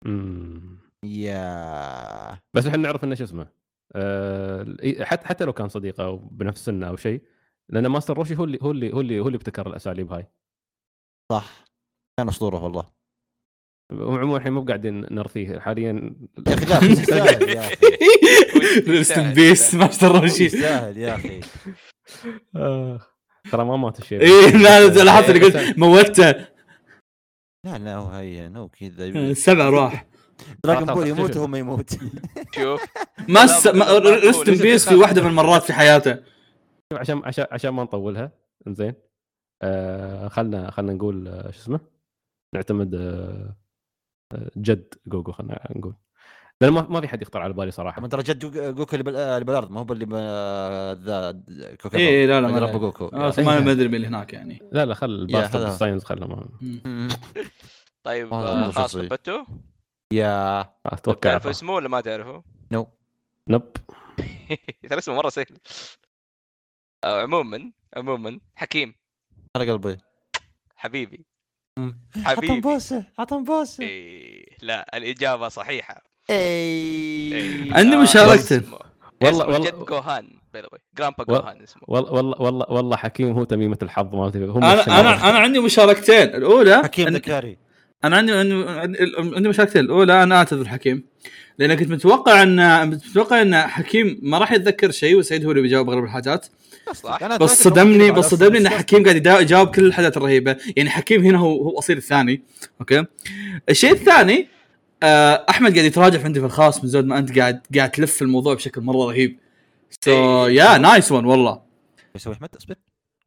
[SPEAKER 5] أمم.
[SPEAKER 4] يا
[SPEAKER 5] بس احنا نعرف انه شو اسمه آه، إي- حتى حتى لو كان صديقه او بنفس السنه او شيء لان ماستر روشي هو اللي هو اللي هو اللي هو اللي ابتكر الاساليب هاي
[SPEAKER 4] صح كان اسطوره والله
[SPEAKER 5] عموما الحين مو قاعدين نرثيه حاليا
[SPEAKER 4] يا اخي لا بس يستاهل يا اخي
[SPEAKER 1] ريست ان بيس ماستر روشي
[SPEAKER 4] يستاهل يا اخي
[SPEAKER 5] آخ، ترى ما مات الشيء
[SPEAKER 1] ايه لا لا، لاحظت اللي قلت موته
[SPEAKER 4] لا لا هو هين هو كذا
[SPEAKER 1] سبع راح
[SPEAKER 4] دراجون
[SPEAKER 5] خلاص،
[SPEAKER 4] بول يموت
[SPEAKER 5] خلاص، شوف.
[SPEAKER 4] وهو ما يموت
[SPEAKER 2] شوف
[SPEAKER 1] ما س- ما- ريست ان بيس في واحدة من المرات في حياته
[SPEAKER 5] شوف عشان عشان عشان ما نطولها زين آه خلنا خلنا نقول آه، شو اسمه نعتمد آه آه، جد جوجو خلنا نقول لان ما ما في حد يخطر على بالي
[SPEAKER 4] طبعا
[SPEAKER 5] صراحه
[SPEAKER 4] ترى جد جو- جوكو اللي بال- اللي بالارض ما هو باللي ب- ذا كوكب
[SPEAKER 1] إيه، إيه، لا، لا، ما
[SPEAKER 4] اللي
[SPEAKER 1] لا.
[SPEAKER 4] ربى جوكو
[SPEAKER 1] آه، ما ما ادري مين اللي هناك يعني
[SPEAKER 5] لا لا خل
[SPEAKER 4] هذا.
[SPEAKER 5] الباستر ساينز خله ما
[SPEAKER 4] مم.
[SPEAKER 2] طيب
[SPEAKER 4] والله
[SPEAKER 2] آه،
[SPEAKER 4] ما
[SPEAKER 2] خلاص
[SPEAKER 4] شخصي.
[SPEAKER 2] ثبتوا
[SPEAKER 4] يا
[SPEAKER 5] اتوقع
[SPEAKER 2] تعرفوا اسمه ولا ما تعرفوا؟
[SPEAKER 4] نو
[SPEAKER 5] نب
[SPEAKER 2] ترى اسمه مره سهل آه، عموما عموما حكيم
[SPEAKER 4] على قلبي
[SPEAKER 2] حبيبي
[SPEAKER 1] مم.
[SPEAKER 4] عطهم
[SPEAKER 2] حبيبي
[SPEAKER 4] بوسه عطهم بوسه
[SPEAKER 2] إيه، لا الاجابه صحيحه
[SPEAKER 4] اي
[SPEAKER 2] إيه.
[SPEAKER 1] عندي
[SPEAKER 2] آه،
[SPEAKER 1] مشاركتين.
[SPEAKER 2] اسمه-
[SPEAKER 5] والله-
[SPEAKER 2] اسمه
[SPEAKER 5] والله-
[SPEAKER 2] جد جوهان باي ذا واي جرامبا
[SPEAKER 5] وال-
[SPEAKER 2] جوهان اسمه
[SPEAKER 5] والله والله والله والله حكيم هو تميمه الحظ مالتي هم
[SPEAKER 1] انا انا انا عندي مشاركتين الاولى
[SPEAKER 4] حكيم
[SPEAKER 1] إن-
[SPEAKER 4] ذكاري
[SPEAKER 1] انا عندي عندي عندي مشاركتين الاولى انا اعتذر حكيم لان كنت متوقع ان متوقع ان حكيم ما راح يتذكر شيء وسعيد هو اللي بيجاوب اغلب الحاجات
[SPEAKER 2] صح
[SPEAKER 4] أنا
[SPEAKER 1] بس
[SPEAKER 4] أتذكر
[SPEAKER 1] صدمني
[SPEAKER 4] بعد
[SPEAKER 1] بس
[SPEAKER 4] أصلاً
[SPEAKER 1] صدمني ان
[SPEAKER 4] الشخص-
[SPEAKER 1] حكيم قاعد يدا- يجاوب كل الحاجات الرهيبه يعني حكيم هنا هو هو اصيل الثاني اوكي الشيء الثاني آه، احمد قاعد يتراجع عندي في الخاص من زود ما انت قاعد قاعد تلف الموضوع بشكل مره رهيب سو يا نايس ون والله
[SPEAKER 4] يسوي احمد اصبر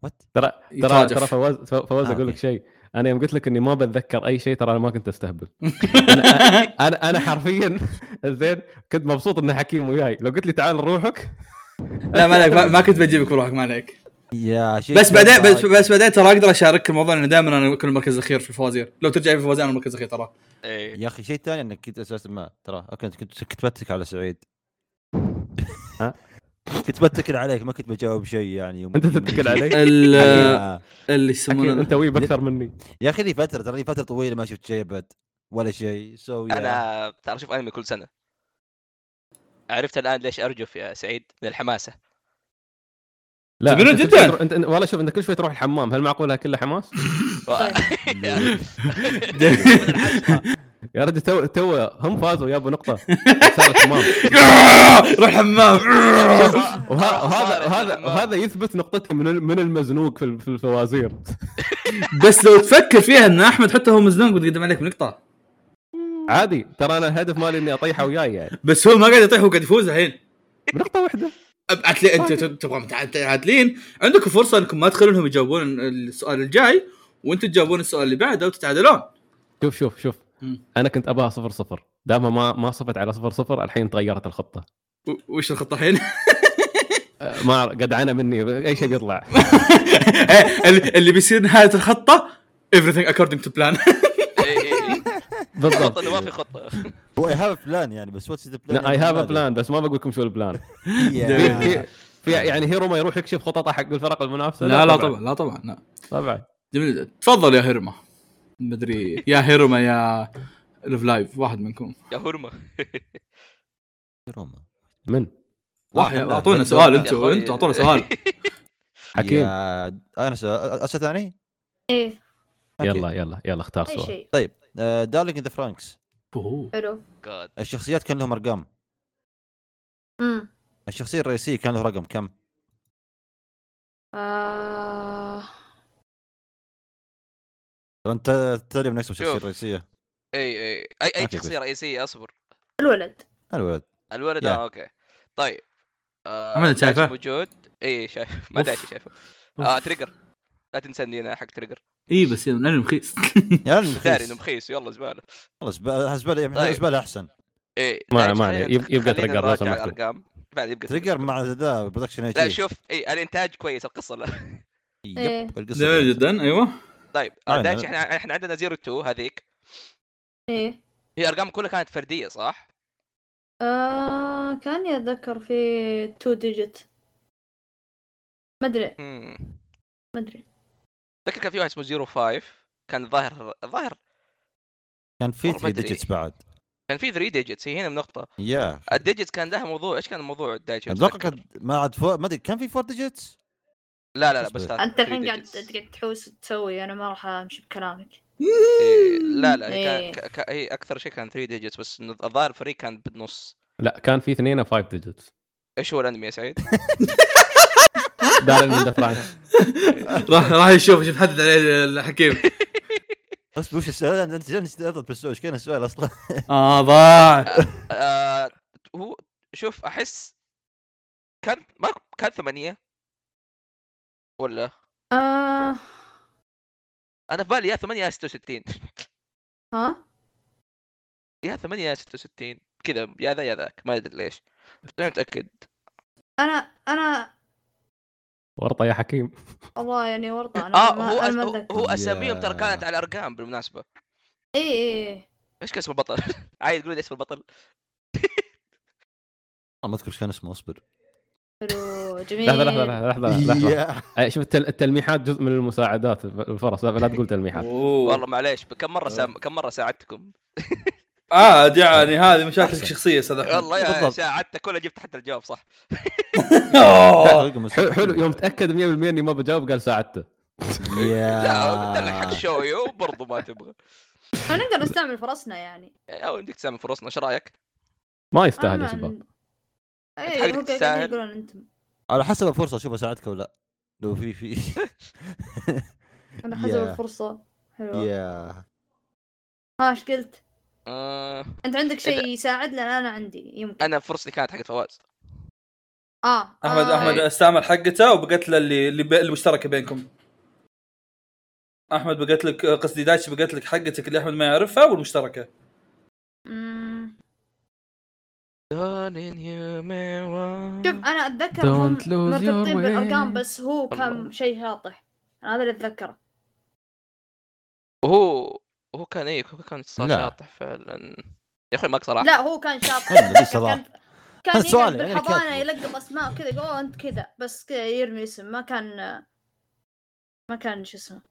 [SPEAKER 4] وات
[SPEAKER 5] ترى ترى
[SPEAKER 1] يتراجع.
[SPEAKER 5] ترى فواز فواز
[SPEAKER 4] آه،
[SPEAKER 5] اقول لك
[SPEAKER 4] أوكي.
[SPEAKER 5] شيء انا يوم قلت لك اني ما بتذكر اي شيء ترى انا ما كنت استهبل أنا- انا انا حرفيا زين كنت مبسوط ان حكيم وياي لو قلت لي تعال نروحك
[SPEAKER 1] لا ما عليك ما- ما كنت بجيبك بروحك ما عليك
[SPEAKER 4] يا شيخ
[SPEAKER 1] بس بعدين بس, بس بعدين ترى اقدر اشارك الموضوع لان دائما انا اكون المركز الاخير في الفوازير لو ترجع في الفوازير انا المركز الاخير ترى
[SPEAKER 2] ايه
[SPEAKER 4] يا اخي شيء ثاني انك كنت اساسا ما ترى أوكي، أنت كنت كنت بتكل على سعيد
[SPEAKER 5] ها؟
[SPEAKER 4] كنت بتكل عليك ما كنت بجاوب شيء يعني يوم
[SPEAKER 5] انت تتكل علي
[SPEAKER 1] ال-
[SPEAKER 4] يا-
[SPEAKER 1] اللي
[SPEAKER 5] حكيم
[SPEAKER 1] يسمونه
[SPEAKER 5] انت ويب اكثر مني
[SPEAKER 4] يا اخي لي فتره ترى لي فتره طويله ما شفت شيء ابد ولا شيء سو يا-
[SPEAKER 2] انا ترى اشوف انمي كل سنه عرفت الان ليش ارجف يا سعيد من الحماسه
[SPEAKER 5] لا
[SPEAKER 1] تقولون
[SPEAKER 5] أنت كل
[SPEAKER 1] جداً؟
[SPEAKER 5] شوي تروح- انت أنت- والله شوف انت كل شوي تروح الحمام هل معقولها كلها حماس؟
[SPEAKER 2] إيه،
[SPEAKER 5] يا رجل تو تو هم فازوا يابوا نقطه صار الحمام
[SPEAKER 1] روح حمام
[SPEAKER 5] وه- وهذا وهذا وهذا يثبت نقطتي من ال- من المزنوق في ال- في الفوازير
[SPEAKER 1] بس لو تفكر فيها ان احمد حتى هو مزنوق وتقدم عليك نقطه
[SPEAKER 5] عادي ترى انا الهدف مالي اني اطيحه وياي يعني
[SPEAKER 1] بس هو ما قاعد يطيح هو قاعد يفوز الحين
[SPEAKER 5] بنقطه واحده
[SPEAKER 1] أب- عتلي انت تبغى متع- متعادلين عندكم فرصه انكم ما تخلونهم يجاوبون السؤال الجاي وانتم تجاوبون السؤال اللي بعده وتتعادلون
[SPEAKER 5] شوف شوف شوف
[SPEAKER 1] مم.
[SPEAKER 5] انا كنت اباها صفر صفر دامها ما ما صفت على صفر صفر الحين تغيرت الخطه
[SPEAKER 1] و- وش الخطه الحين؟
[SPEAKER 5] أه، ما قدعانه مني اي شيء بيطلع
[SPEAKER 1] إيه، اللي- اللي بيصير نهايه الخطه everything according to plan
[SPEAKER 5] بالضبط
[SPEAKER 2] خطه إيه، ما في خطه
[SPEAKER 4] هو اي هاف بلان يعني بس واتس ذا بلان
[SPEAKER 5] اي هاف بلان بس ما بقول لكم شو البلان في في- في يعني هيرو ما يروح يكشف خططه حق الفرق المنافسه
[SPEAKER 1] لا طبعا لا
[SPEAKER 5] طبعا
[SPEAKER 1] جميل جدا تفضل يا هرمه مدري يا هرمه يا لف لايف واحد منكم
[SPEAKER 2] يا هرمه
[SPEAKER 5] من
[SPEAKER 1] واحد اعطونا سؤال انتوا انتوا اعطونا سؤال
[SPEAKER 5] حكيم
[SPEAKER 4] انا سؤال اسال ثاني
[SPEAKER 3] ايه
[SPEAKER 4] أوكي.
[SPEAKER 5] يلا يلا يلا اختار
[SPEAKER 3] اي
[SPEAKER 5] سؤال
[SPEAKER 3] شيء
[SPEAKER 4] طيب دارلينج ذا فرانكس
[SPEAKER 1] أوه.
[SPEAKER 3] حلو
[SPEAKER 2] God.
[SPEAKER 4] الشخصيات كان لهم ارقام
[SPEAKER 3] امم
[SPEAKER 4] الشخصيه الرئيسيه كان له رقم كم؟
[SPEAKER 3] آه...
[SPEAKER 4] طبعا انت تدري من اسم الشخصيه
[SPEAKER 2] شوف.
[SPEAKER 4] الرئيسيه
[SPEAKER 2] اي اي اي اي
[SPEAKER 4] أوكي،
[SPEAKER 2] شخصيه رئيسيه اصبر
[SPEAKER 3] الولد
[SPEAKER 4] الولد
[SPEAKER 2] الولد
[SPEAKER 4] يا.
[SPEAKER 2] اه اوكي طيب آه،
[SPEAKER 1] عمل
[SPEAKER 2] دايتشي
[SPEAKER 1] شايفه؟
[SPEAKER 2] موجود اي شايف ما
[SPEAKER 1] أوف.
[SPEAKER 2] دايتشي شايفه اه تريجر لا تنسني انا حق تريجر
[SPEAKER 1] اي بس يعني الانمي رخيص
[SPEAKER 4] يا
[SPEAKER 2] داري انه
[SPEAKER 4] رجل
[SPEAKER 2] مخيس يلا زباله
[SPEAKER 4] خلاص زباله زباله
[SPEAKER 2] طيب.
[SPEAKER 4] زبالة احسن
[SPEAKER 2] اي
[SPEAKER 5] ما-
[SPEAKER 2] دايتشي،
[SPEAKER 5] ما عليه،
[SPEAKER 2] إيه، خلينا-
[SPEAKER 5] يب- يبقى
[SPEAKER 2] خلينا
[SPEAKER 5] تريجر لازم
[SPEAKER 2] نراجع
[SPEAKER 5] نكتب.
[SPEAKER 2] ارقام بعد يبقى
[SPEAKER 4] تريجر مع ذا برودكشن
[SPEAKER 2] لا شوف اي الانتاج كويس القصه لا
[SPEAKER 3] إيه.
[SPEAKER 4] يب القصه
[SPEAKER 1] جميل جدا ايوه
[SPEAKER 2] طيب
[SPEAKER 4] آه،
[SPEAKER 2] آه، دايتشي
[SPEAKER 4] لا.
[SPEAKER 2] احنا احنا عندنا زيرو تو هذيك
[SPEAKER 3] ايه
[SPEAKER 2] هي ارقام كلها كانت فرديه صح؟
[SPEAKER 3] آه... كان يتذكر في 2 ديجيت مدري
[SPEAKER 2] امم
[SPEAKER 3] مدري
[SPEAKER 2] ذكر كان في واحد اسمه زيرو فايف كان ظاهر ظاهر
[SPEAKER 4] كان في
[SPEAKER 2] والله
[SPEAKER 4] 3
[SPEAKER 2] ما أدري.
[SPEAKER 4] ديجيتس بعد
[SPEAKER 2] كان في 3 ديجيتس هي هنا النقطه
[SPEAKER 4] يا
[SPEAKER 2] الديجيتس كان لها موضوع ايش كان موضوع الدايتشي
[SPEAKER 4] اتوقع كان ما عاد فوق ما ادري كان في 4 ديجيتس
[SPEAKER 2] لا لا لا بس
[SPEAKER 4] أصبر.
[SPEAKER 2] ثلاثة
[SPEAKER 3] انت الحين
[SPEAKER 2] three
[SPEAKER 3] قاعد
[SPEAKER 2] digits.
[SPEAKER 3] قاعد تحوس تسوي انا ما راح امشي بكلامك
[SPEAKER 2] إيه، لا لا كان
[SPEAKER 3] إيه.
[SPEAKER 2] ك- ك- هي اكثر شيء كان 3 ديجيتس بس إنه الظاهر الفريق كان بالنص
[SPEAKER 5] لا كان في اثنين 5 ديجيتس
[SPEAKER 2] ايش هو الانمي يا سعيد؟
[SPEAKER 5] دارين من دفرانس
[SPEAKER 1] راح راح يشوف شوف حدد عليه الحكيم
[SPEAKER 4] بس وش السؤال انت انت جالس تغلط بالسؤال ايش كان السؤال اصلا؟
[SPEAKER 1] اه ضاع
[SPEAKER 2] آه هو شوف احس كان ما كان ثمانية ولا
[SPEAKER 3] آه...
[SPEAKER 2] انا في بالي يا ثمانية يا 66
[SPEAKER 3] ها
[SPEAKER 2] يا ثمانية يا 66 كذا يا ذا يا ذاك ما ادري ليش بس انا متاكد
[SPEAKER 3] انا انا
[SPEAKER 5] ورطه يا حكيم
[SPEAKER 3] والله يعني ورطه انا
[SPEAKER 2] اه
[SPEAKER 3] ما...
[SPEAKER 2] هو
[SPEAKER 3] انا
[SPEAKER 2] أس...
[SPEAKER 3] ما
[SPEAKER 2] هو-
[SPEAKER 3] اتذكر
[SPEAKER 2] هو اساميهم ترى
[SPEAKER 4] يا.
[SPEAKER 2] كانت على ارقام بالمناسبه
[SPEAKER 3] اي اي
[SPEAKER 2] ايش كان اسم البطل؟ عايز تقول لي اسم البطل
[SPEAKER 4] والله ما اذكر ايش كان اسمه اصبر
[SPEAKER 3] حلو جميل
[SPEAKER 5] لحظه لحظه لحظه لحظه, لحظة.
[SPEAKER 4] يا.
[SPEAKER 5] أي، شوف التل- التلميحات جزء من المساعدات الفرص لا لا تقول تلميحات
[SPEAKER 2] والله معليش كم مره سام... كم مره ساعدتكم
[SPEAKER 1] عاد يعني هذه مشاكل شخصيه استاذ احمد
[SPEAKER 2] والله يا
[SPEAKER 4] بالضبط.
[SPEAKER 2] ساعدتك كلها جبت حتى الجواب صح
[SPEAKER 1] أوه.
[SPEAKER 4] رقم
[SPEAKER 5] حلو حلو يوم تاكد 100% اني ما بجاوب قال ساعدته
[SPEAKER 2] لا
[SPEAKER 4] آه.
[SPEAKER 2] قلت لك حق
[SPEAKER 4] يا
[SPEAKER 2] شوي وبرضه ما تبغى
[SPEAKER 3] إحنا نقدر نستعمل فرصنا يعني
[SPEAKER 2] او يمديك تسامح فرصنا ايش رايك؟
[SPEAKER 5] ما يستاهل يا
[SPEAKER 3] أنا-
[SPEAKER 5] شباب
[SPEAKER 3] اي
[SPEAKER 2] حقك
[SPEAKER 3] هو قاعدين
[SPEAKER 2] تستاهل.
[SPEAKER 3] يقولون انتم
[SPEAKER 4] على حسب الفرصه اشوف اساعدك ولا لا لو في في
[SPEAKER 3] انا حسب
[SPEAKER 4] يا.
[SPEAKER 3] الفرصه حلو
[SPEAKER 4] يا
[SPEAKER 3] ها ايش قلت؟
[SPEAKER 2] آه
[SPEAKER 3] انت عندك شيء يساعد لان انا عندي يمكن
[SPEAKER 2] انا فرصتي كانت حقت فواز
[SPEAKER 3] اه
[SPEAKER 1] احمد
[SPEAKER 3] آه.
[SPEAKER 1] احمد استعمل حقته وبقت له اللي اللي بي- المشتركه بينكم احمد بقت لك قصدي دايتش بقت لك حقتك اللي احمد ما يعرفها والمشتركه
[SPEAKER 3] آه. مم.
[SPEAKER 2] Done in you may want.
[SPEAKER 3] شوف انا اتذكر هم
[SPEAKER 5] Don't lose your
[SPEAKER 3] مرتبطين بالارقام
[SPEAKER 5] way.
[SPEAKER 3] بس هو كان
[SPEAKER 2] الله.
[SPEAKER 3] شيء شاطح انا هذا اللي اتذكره
[SPEAKER 2] وهو هو كان ايه هو كان صار
[SPEAKER 4] لا.
[SPEAKER 2] شاطح فعلا يا اخوي ماك صراحه
[SPEAKER 3] لا هو كان شاطح
[SPEAKER 4] حلو،
[SPEAKER 2] إيه،
[SPEAKER 4] ليش
[SPEAKER 3] أتذكر
[SPEAKER 4] صراحة؟
[SPEAKER 3] كان كان
[SPEAKER 4] هذا
[SPEAKER 3] يقعد
[SPEAKER 4] سؤالي،
[SPEAKER 2] يعني
[SPEAKER 4] أنا
[SPEAKER 3] بالحضانه
[SPEAKER 4] كاتبه.
[SPEAKER 3] يلقم اسماء وكذا يقول "أوه، انت كذا بس كذا يرمي اسم ما كان ما كان شو اسمه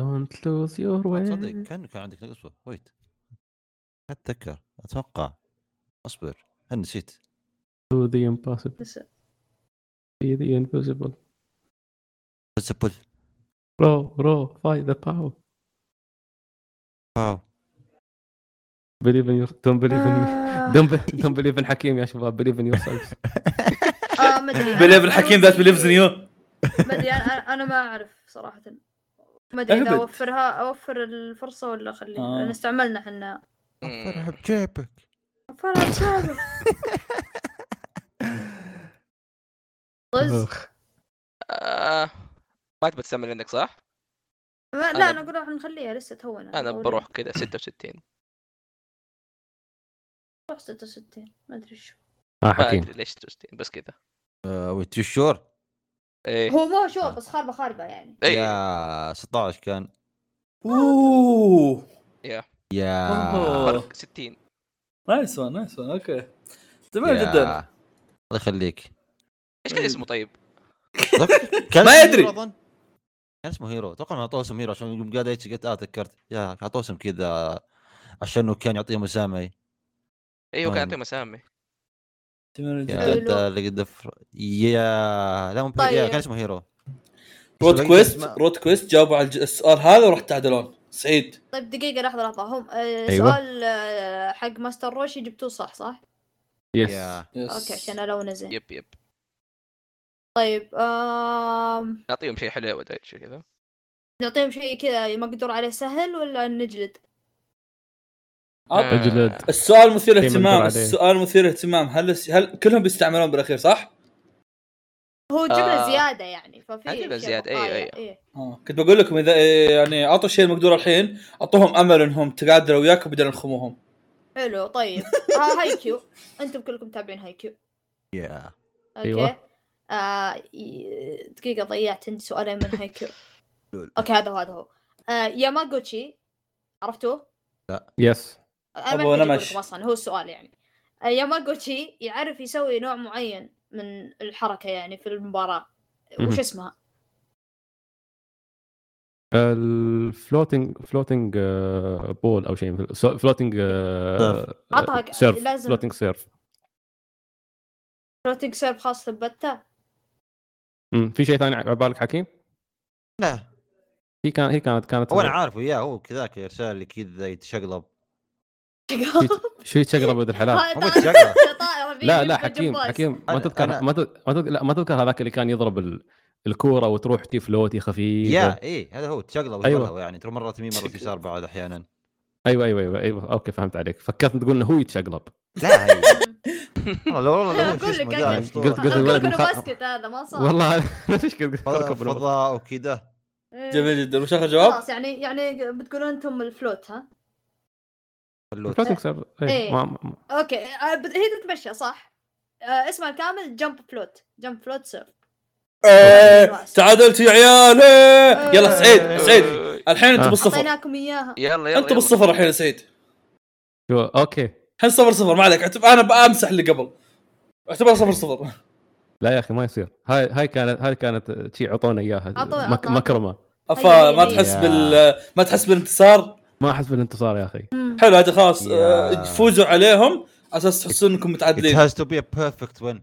[SPEAKER 5] Don't lose your way
[SPEAKER 4] تصدق كان كان عندك نقص ويت اتذكر اتوقع اصبر هل نسيت
[SPEAKER 5] to the impossible
[SPEAKER 3] بس-
[SPEAKER 5] be the invisible
[SPEAKER 4] تسبل
[SPEAKER 5] رو رو fight the power
[SPEAKER 4] واو
[SPEAKER 5] believe in your don't believe in me
[SPEAKER 3] آه.
[SPEAKER 5] don't be- don't believe in حكيم يا شباب believe in yourselves
[SPEAKER 3] آه، ما أدري.
[SPEAKER 1] بليف الحكيم ذات بليفز نيو
[SPEAKER 3] ما ادري انا انا ما اعرف صراحه ما ادري اذا
[SPEAKER 1] أبد.
[SPEAKER 3] اوفرها اوفر الفرصه ولا اخليها
[SPEAKER 1] آه.
[SPEAKER 3] لان استعملنا احنا
[SPEAKER 2] مم.
[SPEAKER 4] فرح بجيبك
[SPEAKER 3] فرح صعبة. طز
[SPEAKER 5] أخ.
[SPEAKER 2] آه، ما تبي تسمي عندك صح؟
[SPEAKER 3] ما-
[SPEAKER 2] أنا-
[SPEAKER 3] لا انا اقول راح نخليها لسه تونا
[SPEAKER 2] انا بروح كذا 66
[SPEAKER 3] بروح 66 ما ادري شو
[SPEAKER 5] اه
[SPEAKER 2] ما
[SPEAKER 5] حكيم
[SPEAKER 2] ادري ليش 66 بس كذا
[SPEAKER 4] آه، ويت يو شور
[SPEAKER 2] ايه
[SPEAKER 3] هو مو شو بس خاربه خاربه يعني
[SPEAKER 1] إيه.
[SPEAKER 2] ايه
[SPEAKER 4] يا 16 كان
[SPEAKER 1] اوه
[SPEAKER 4] يا
[SPEAKER 1] أوه.
[SPEAKER 2] فرق 60
[SPEAKER 1] نايس وان نايس وان اوكي تمام جدا
[SPEAKER 4] الله يخليك
[SPEAKER 2] ايش
[SPEAKER 4] إيه.
[SPEAKER 2] كان اسمه طيب؟
[SPEAKER 4] كان
[SPEAKER 1] ما
[SPEAKER 4] اسمه
[SPEAKER 1] يدري.
[SPEAKER 4] هيرو أظن. كان اسمه هيرو اتوقع انه اعطوه اسم هيرو عشان يوم قاعد ايش قلت اه تذكرت يا اعطوه اسم كذا عشان هو كان يعطيه مسامي
[SPEAKER 2] ايه هو كان
[SPEAKER 4] طيب.
[SPEAKER 2] يعطيه مسامي
[SPEAKER 1] تمام
[SPEAKER 4] يا
[SPEAKER 1] جدا
[SPEAKER 3] هيرو.
[SPEAKER 4] انت اللي قد فر- يا لا مو
[SPEAKER 3] طيب.
[SPEAKER 4] يا كان اسمه هيرو
[SPEAKER 1] رود
[SPEAKER 4] بس
[SPEAKER 1] كويست
[SPEAKER 4] ما-
[SPEAKER 1] رود كويست جاوبوا على الج- السؤال هذا وراح تعدلون سعيد
[SPEAKER 3] طيب دقيقه لحظه لحظه هم آه،
[SPEAKER 4] أيوة.
[SPEAKER 3] سؤال آه، حق ماستر روشي جبتوه صح صح؟
[SPEAKER 5] يس
[SPEAKER 4] يا
[SPEAKER 1] يس.
[SPEAKER 3] اوكي عشان الونه زين
[SPEAKER 2] يب يب
[SPEAKER 3] طيب آم،
[SPEAKER 2] نعطيهم شيء حلو ولا شيء كذا
[SPEAKER 3] نعطيهم شيء كذا مقدور عليه سهل ولا نجلد؟
[SPEAKER 2] آه.
[SPEAKER 1] أب-
[SPEAKER 5] اجلد
[SPEAKER 1] السؤال مثير
[SPEAKER 5] شيء مندور
[SPEAKER 1] اهتمام
[SPEAKER 5] عليه.
[SPEAKER 1] السؤال مثير اهتمام هل هل كلهم بيستعملون بالاخير صح؟
[SPEAKER 3] هو جبله
[SPEAKER 2] آه.
[SPEAKER 3] زياده يعني ففي
[SPEAKER 2] جبله
[SPEAKER 3] أشياء
[SPEAKER 2] زيادة، أيوة،
[SPEAKER 3] بقايا،
[SPEAKER 2] أيوة.
[SPEAKER 3] إيه.
[SPEAKER 1] آه، كنت بقول لكم اذا إيه، يعني اعطوا الشيء المقدور الحين اعطوهم امل انهم تقعدوا وياكم بدل نخموهم
[SPEAKER 3] حلو طيب آه هاي كيو انتم كلكم تابعين هاي كيو
[SPEAKER 4] يا
[SPEAKER 3] اوكي
[SPEAKER 5] أيوة.
[SPEAKER 3] آه ي- دقيقه ضيعت عندي سؤالين من هاي كيو
[SPEAKER 4] لول.
[SPEAKER 3] اوكي هذا هو هذا هو آه ياماغوتشي عرفتوه؟
[SPEAKER 5] يس
[SPEAKER 3] انا
[SPEAKER 1] أبو
[SPEAKER 3] ما أحتاج أقول
[SPEAKER 1] نمش.
[SPEAKER 3] لكم اصلا هو السؤال يعني آه ياماغوتشي يعرف يسوي نوع معين من الحركه يعني في المباراه وش
[SPEAKER 5] مهم.
[SPEAKER 3] اسمها؟
[SPEAKER 5] الفلوتنج فلوتنج بول او uh, شيء uh, فلوتنج
[SPEAKER 3] عطها
[SPEAKER 5] سيرف
[SPEAKER 3] لازم-
[SPEAKER 5] فلوتنج سيرف
[SPEAKER 3] فلوتنج سيرف خاص للبته
[SPEAKER 5] في شيء ثاني على بالك حكيم؟
[SPEAKER 4] لا
[SPEAKER 5] هي كان هي كانت كانت
[SPEAKER 4] هو انا عارفه يا هو كذاك يرسل اللي كذا يتشقلب
[SPEAKER 5] شو يتشقلب ولد الحلال
[SPEAKER 3] هاي
[SPEAKER 4] هو
[SPEAKER 3] طالع-
[SPEAKER 4] يتشقلب
[SPEAKER 3] طائرة بيه
[SPEAKER 5] لا لا
[SPEAKER 3] يبقى
[SPEAKER 5] حكيم
[SPEAKER 3] جمباز.
[SPEAKER 5] حكيم ما
[SPEAKER 4] أنا-
[SPEAKER 5] تذكر
[SPEAKER 4] أنا-
[SPEAKER 5] ما تذ- ما تذ- لا ما تذكر هذاك اللي كان يضرب ال- الكوره وتروح تي فلوتي خفيف
[SPEAKER 4] يا اي هذا هو تشقلب
[SPEAKER 5] أيوة.
[SPEAKER 4] أيوة. يعني ترى مره يمين مره يسار بعد احيانا
[SPEAKER 5] ايوه ايوه ايوه ايوه اوكي فهمت عليك فكرت تقول انه هو يتشقلب
[SPEAKER 4] لا هي- والله لو والله لو
[SPEAKER 3] أقول
[SPEAKER 4] شو اسمه
[SPEAKER 3] لك
[SPEAKER 4] ذا
[SPEAKER 3] أنا.
[SPEAKER 4] الأسطورة.
[SPEAKER 5] قلت- قلت
[SPEAKER 3] أنا
[SPEAKER 5] الولد
[SPEAKER 3] أقول لك
[SPEAKER 5] مخ-
[SPEAKER 3] أنا باسكت هذا ما صار
[SPEAKER 5] والله ايش كنت
[SPEAKER 4] فضاء-
[SPEAKER 5] قلت
[SPEAKER 4] فضاء وكذا
[SPEAKER 3] إيه.
[SPEAKER 1] جميل جدا وش اخر جواب؟
[SPEAKER 3] خلاص يعني يعني بتقولون انتم الفلوت ها؟
[SPEAKER 4] فلوت
[SPEAKER 3] إيه.
[SPEAKER 5] ما
[SPEAKER 3] اوكي آه، بت- هي تتمشى صح؟ آه، اسمها الكامل جمب فلوت جمب فلوت سيرف
[SPEAKER 1] إيه، تعادلت يا عيال إيه. يلا سعيد سعيد
[SPEAKER 2] أوه.
[SPEAKER 1] الحين انت
[SPEAKER 5] آه.
[SPEAKER 1] بالصفر
[SPEAKER 3] اعطيناكم اياها
[SPEAKER 2] يلا يلا
[SPEAKER 1] انت
[SPEAKER 2] يلا.
[SPEAKER 1] بالصفر الحين يا سعيد
[SPEAKER 5] شو اوكي
[SPEAKER 1] الحين صفر صفر ما عليك اعتب- انا بامسح اللي قبل اعتبرها صفر صفر
[SPEAKER 5] لا يا اخي ما يصير هاي هاي كانت هاي كانت شي عطونا اياها
[SPEAKER 3] عطونا-
[SPEAKER 5] مك-
[SPEAKER 3] عطونا.
[SPEAKER 5] مكرمه
[SPEAKER 1] افا ما
[SPEAKER 3] أيوة.
[SPEAKER 1] تحس بال ما تحس بالانتصار
[SPEAKER 5] ما احس بالانتصار يا اخي
[SPEAKER 3] مم.
[SPEAKER 1] حلو هذا خلاص
[SPEAKER 4] يا.
[SPEAKER 1] آه، فوزوا عليهم اساس تحسون انكم
[SPEAKER 4] It
[SPEAKER 1] متعادلين
[SPEAKER 4] has to be a perfect win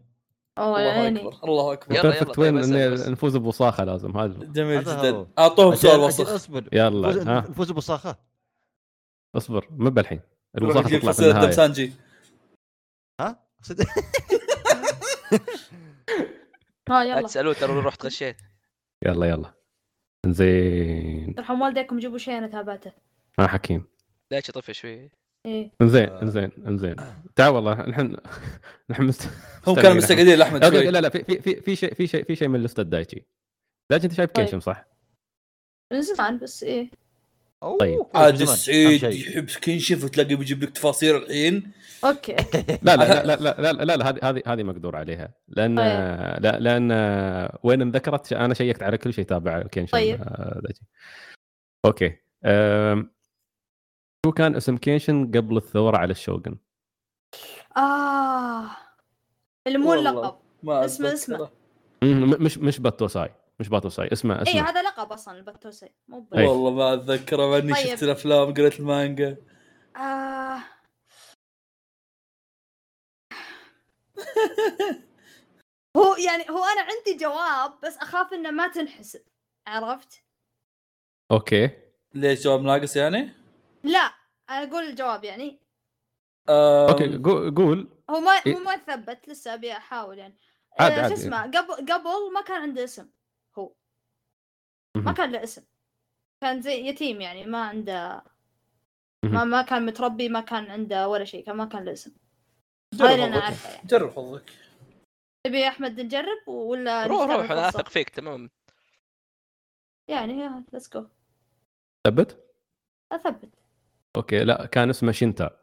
[SPEAKER 3] اوه يا
[SPEAKER 1] الله
[SPEAKER 3] عيني
[SPEAKER 1] اكبر الله اكبر
[SPEAKER 2] يلا،
[SPEAKER 5] بيرفكت
[SPEAKER 2] طيب،
[SPEAKER 5] وين
[SPEAKER 2] اسأل بس.
[SPEAKER 5] ان نفوز بوصاخه لازم هذا
[SPEAKER 1] جميل
[SPEAKER 4] هذا هو.
[SPEAKER 1] جدا اعطوهم
[SPEAKER 4] عشان-
[SPEAKER 1] سؤال
[SPEAKER 4] عشان
[SPEAKER 1] وسخ
[SPEAKER 4] اصبر
[SPEAKER 5] يلا،
[SPEAKER 4] فوز-
[SPEAKER 5] ها.
[SPEAKER 4] نفوز بوصاخه
[SPEAKER 5] اصبر ما بالحين
[SPEAKER 1] روح
[SPEAKER 5] الوصاخه
[SPEAKER 1] نجيب
[SPEAKER 5] تطلع في
[SPEAKER 1] شخصية
[SPEAKER 5] النهايه
[SPEAKER 1] دمسانجي
[SPEAKER 4] صدق.
[SPEAKER 2] لا
[SPEAKER 3] ها يلا
[SPEAKER 2] تسالوه ترى رحت غشيت
[SPEAKER 5] يلا يلا زين
[SPEAKER 3] يرحم والديكم جيبوا شيء انا تابعته
[SPEAKER 5] ما حكيم
[SPEAKER 2] لا شي طفش شوي
[SPEAKER 3] ايه
[SPEAKER 5] زين زين زين تعال والله نحن نحن مست...
[SPEAKER 6] هم كانوا
[SPEAKER 5] مستمعين إحنا.
[SPEAKER 6] مستقلين لاحمد
[SPEAKER 5] أوكي،
[SPEAKER 6] شوي
[SPEAKER 5] لا لا في في في في شيء في شيء في شيء من الاستاذ دايتشي دايتشي انت شايف
[SPEAKER 3] طيب.
[SPEAKER 5] كيشم صح؟
[SPEAKER 3] من زمان بس ايه
[SPEAKER 4] أوه،
[SPEAKER 5] طيب.
[SPEAKER 6] عاد
[SPEAKER 4] زمان.
[SPEAKER 6] السعيد
[SPEAKER 4] أهم شيء.
[SPEAKER 6] يحب سكنشف وتلاقيه بيجيب لك تفاصيل الحين
[SPEAKER 3] اوكي
[SPEAKER 5] لا لا لا لا لا- لا لا لا هذه هذه هذه مقدور عليها لان
[SPEAKER 3] طيب.
[SPEAKER 5] لا لان وين انذكرت انا شيكت على كل شيء تابع كينشن
[SPEAKER 3] طيب.
[SPEAKER 5] آه، دايتشي. اوكي أم، شو كان اسم كينشن قبل الثوره على الشوغن؟
[SPEAKER 3] اه اللي مو
[SPEAKER 6] والله.
[SPEAKER 3] اللقب
[SPEAKER 6] ما
[SPEAKER 3] اسمه-
[SPEAKER 6] أتذكره.
[SPEAKER 3] اسمه.
[SPEAKER 5] مم، مش مش باتوساي مش باتوساي اسمه
[SPEAKER 3] اي
[SPEAKER 5] اسمه
[SPEAKER 3] إيه، هذا لقب اصلا البتوسي مو بل-
[SPEAKER 5] أي.
[SPEAKER 6] والله ما اتذكره مع اني
[SPEAKER 3] طيب.
[SPEAKER 6] شفت الافلام قريت المانجا
[SPEAKER 3] آه. هو يعني هو انا عندي جواب بس اخاف انه ما تنحسب عرفت؟
[SPEAKER 5] اوكي
[SPEAKER 6] ليش جواب ناقص يعني؟
[SPEAKER 3] لا اقول الجواب يعني
[SPEAKER 6] آه،
[SPEAKER 5] اوكي قو- قول
[SPEAKER 3] هو ما
[SPEAKER 5] إيه.
[SPEAKER 3] مو ما تثبت لسه ابي احاول يعني آه،
[SPEAKER 5] عادي عادي
[SPEAKER 3] شو اسمه قبل قبل ما كان عنده اسم هو ما
[SPEAKER 5] مهم.
[SPEAKER 3] كان له اسم كان زي يتيم يعني ما عنده ما
[SPEAKER 5] مهم.
[SPEAKER 3] ما كان متربي ما كان عنده ولا شيء كان ما كان له اسم
[SPEAKER 6] جرب
[SPEAKER 3] هذا انا
[SPEAKER 6] حظك
[SPEAKER 3] عارفه يعني
[SPEAKER 6] جرب حظك
[SPEAKER 3] تبي يا احمد نجرب ولا
[SPEAKER 2] روح
[SPEAKER 3] نختار
[SPEAKER 2] روح انا
[SPEAKER 3] الفرصة؟
[SPEAKER 2] اثق فيك تمام
[SPEAKER 3] يعني ليتس جو
[SPEAKER 5] ثبت
[SPEAKER 3] اثبت
[SPEAKER 5] اوكي لا كان اسمه شينتا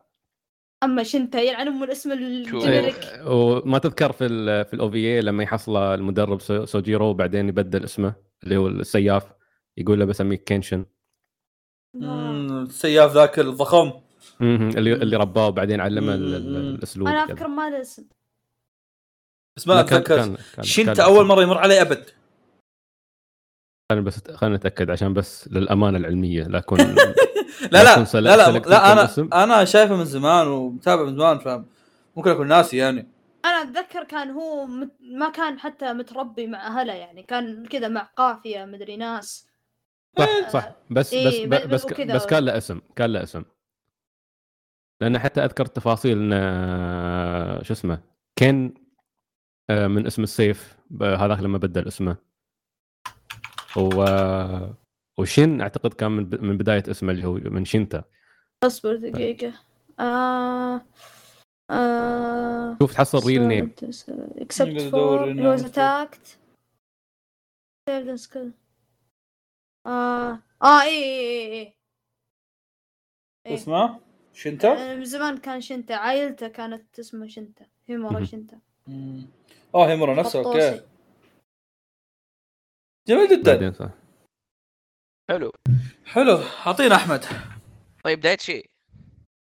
[SPEAKER 3] اما شنتا يلعن ام يعني الاسم
[SPEAKER 2] شو
[SPEAKER 3] الجنريك
[SPEAKER 5] إيه، وما تذكر في ال في الاو في لما يحصل المدرب سو- سوجيرو وبعدين يبدل اسمه اللي هو السياف يقول له بسميك كينشن
[SPEAKER 3] آه.
[SPEAKER 6] مم، السياف ذاك الضخم
[SPEAKER 5] مهم. اللي اللي رباه وبعدين علمه ال- ال-
[SPEAKER 6] مم.
[SPEAKER 5] الاسلوب
[SPEAKER 3] انا
[SPEAKER 5] كذا.
[SPEAKER 3] اذكر ما له اسم
[SPEAKER 6] بس ما
[SPEAKER 5] لا، كان-
[SPEAKER 6] اتذكر
[SPEAKER 5] كان- كان-
[SPEAKER 6] شنت
[SPEAKER 5] كان-
[SPEAKER 6] اول مره يمر علي ابد
[SPEAKER 5] خلينا بس خلينا نتاكد عشان بس للامانه العلميه لا اكون
[SPEAKER 6] لا
[SPEAKER 5] لكن
[SPEAKER 6] لا
[SPEAKER 5] سل-
[SPEAKER 6] لا لا,
[SPEAKER 5] سلكت
[SPEAKER 6] لا انا
[SPEAKER 5] الاسم.
[SPEAKER 6] انا شايفه من زمان ومتابع من زمان فاهم ممكن اكون ناسي يعني
[SPEAKER 3] انا اتذكر كان هو مت... ما كان حتى متربي مع اهله يعني كان كذا مع قافيه مدري ناس
[SPEAKER 5] صح صح بس بس
[SPEAKER 3] آه، إيه،
[SPEAKER 5] بس
[SPEAKER 3] بل-
[SPEAKER 5] بس,
[SPEAKER 3] وكذا.
[SPEAKER 5] بس كان له اسم كان له اسم لان حتى اذكر تفاصيل ان آه، شو اسمه كان آه، من اسم السيف ب- هذاك لما بدل اسمه و وشين اعتقد كان من ب- من بدايه اسمه اللي هو من شينتا
[SPEAKER 3] اصبر دقيقه آه... آه... uh,
[SPEAKER 5] شوف تحصل ريل نيم
[SPEAKER 3] اكسبت
[SPEAKER 6] نقدر
[SPEAKER 3] فور
[SPEAKER 6] ندور إنه
[SPEAKER 3] لوز اتاكت اه اه اي اي اي إيه.
[SPEAKER 6] اسمه شنتا
[SPEAKER 3] آه، من زمان كان شنتا عائلته كانت اسمه شنتا هيمورا
[SPEAKER 5] مهم.
[SPEAKER 3] شنتا
[SPEAKER 6] مم. اه هيمورا نفسه اوكي
[SPEAKER 3] خطوصي.
[SPEAKER 6] جميل جدا
[SPEAKER 5] بعدين صح
[SPEAKER 2] حلو
[SPEAKER 6] حلو اعطينا احمد
[SPEAKER 2] طيب بدايه شيء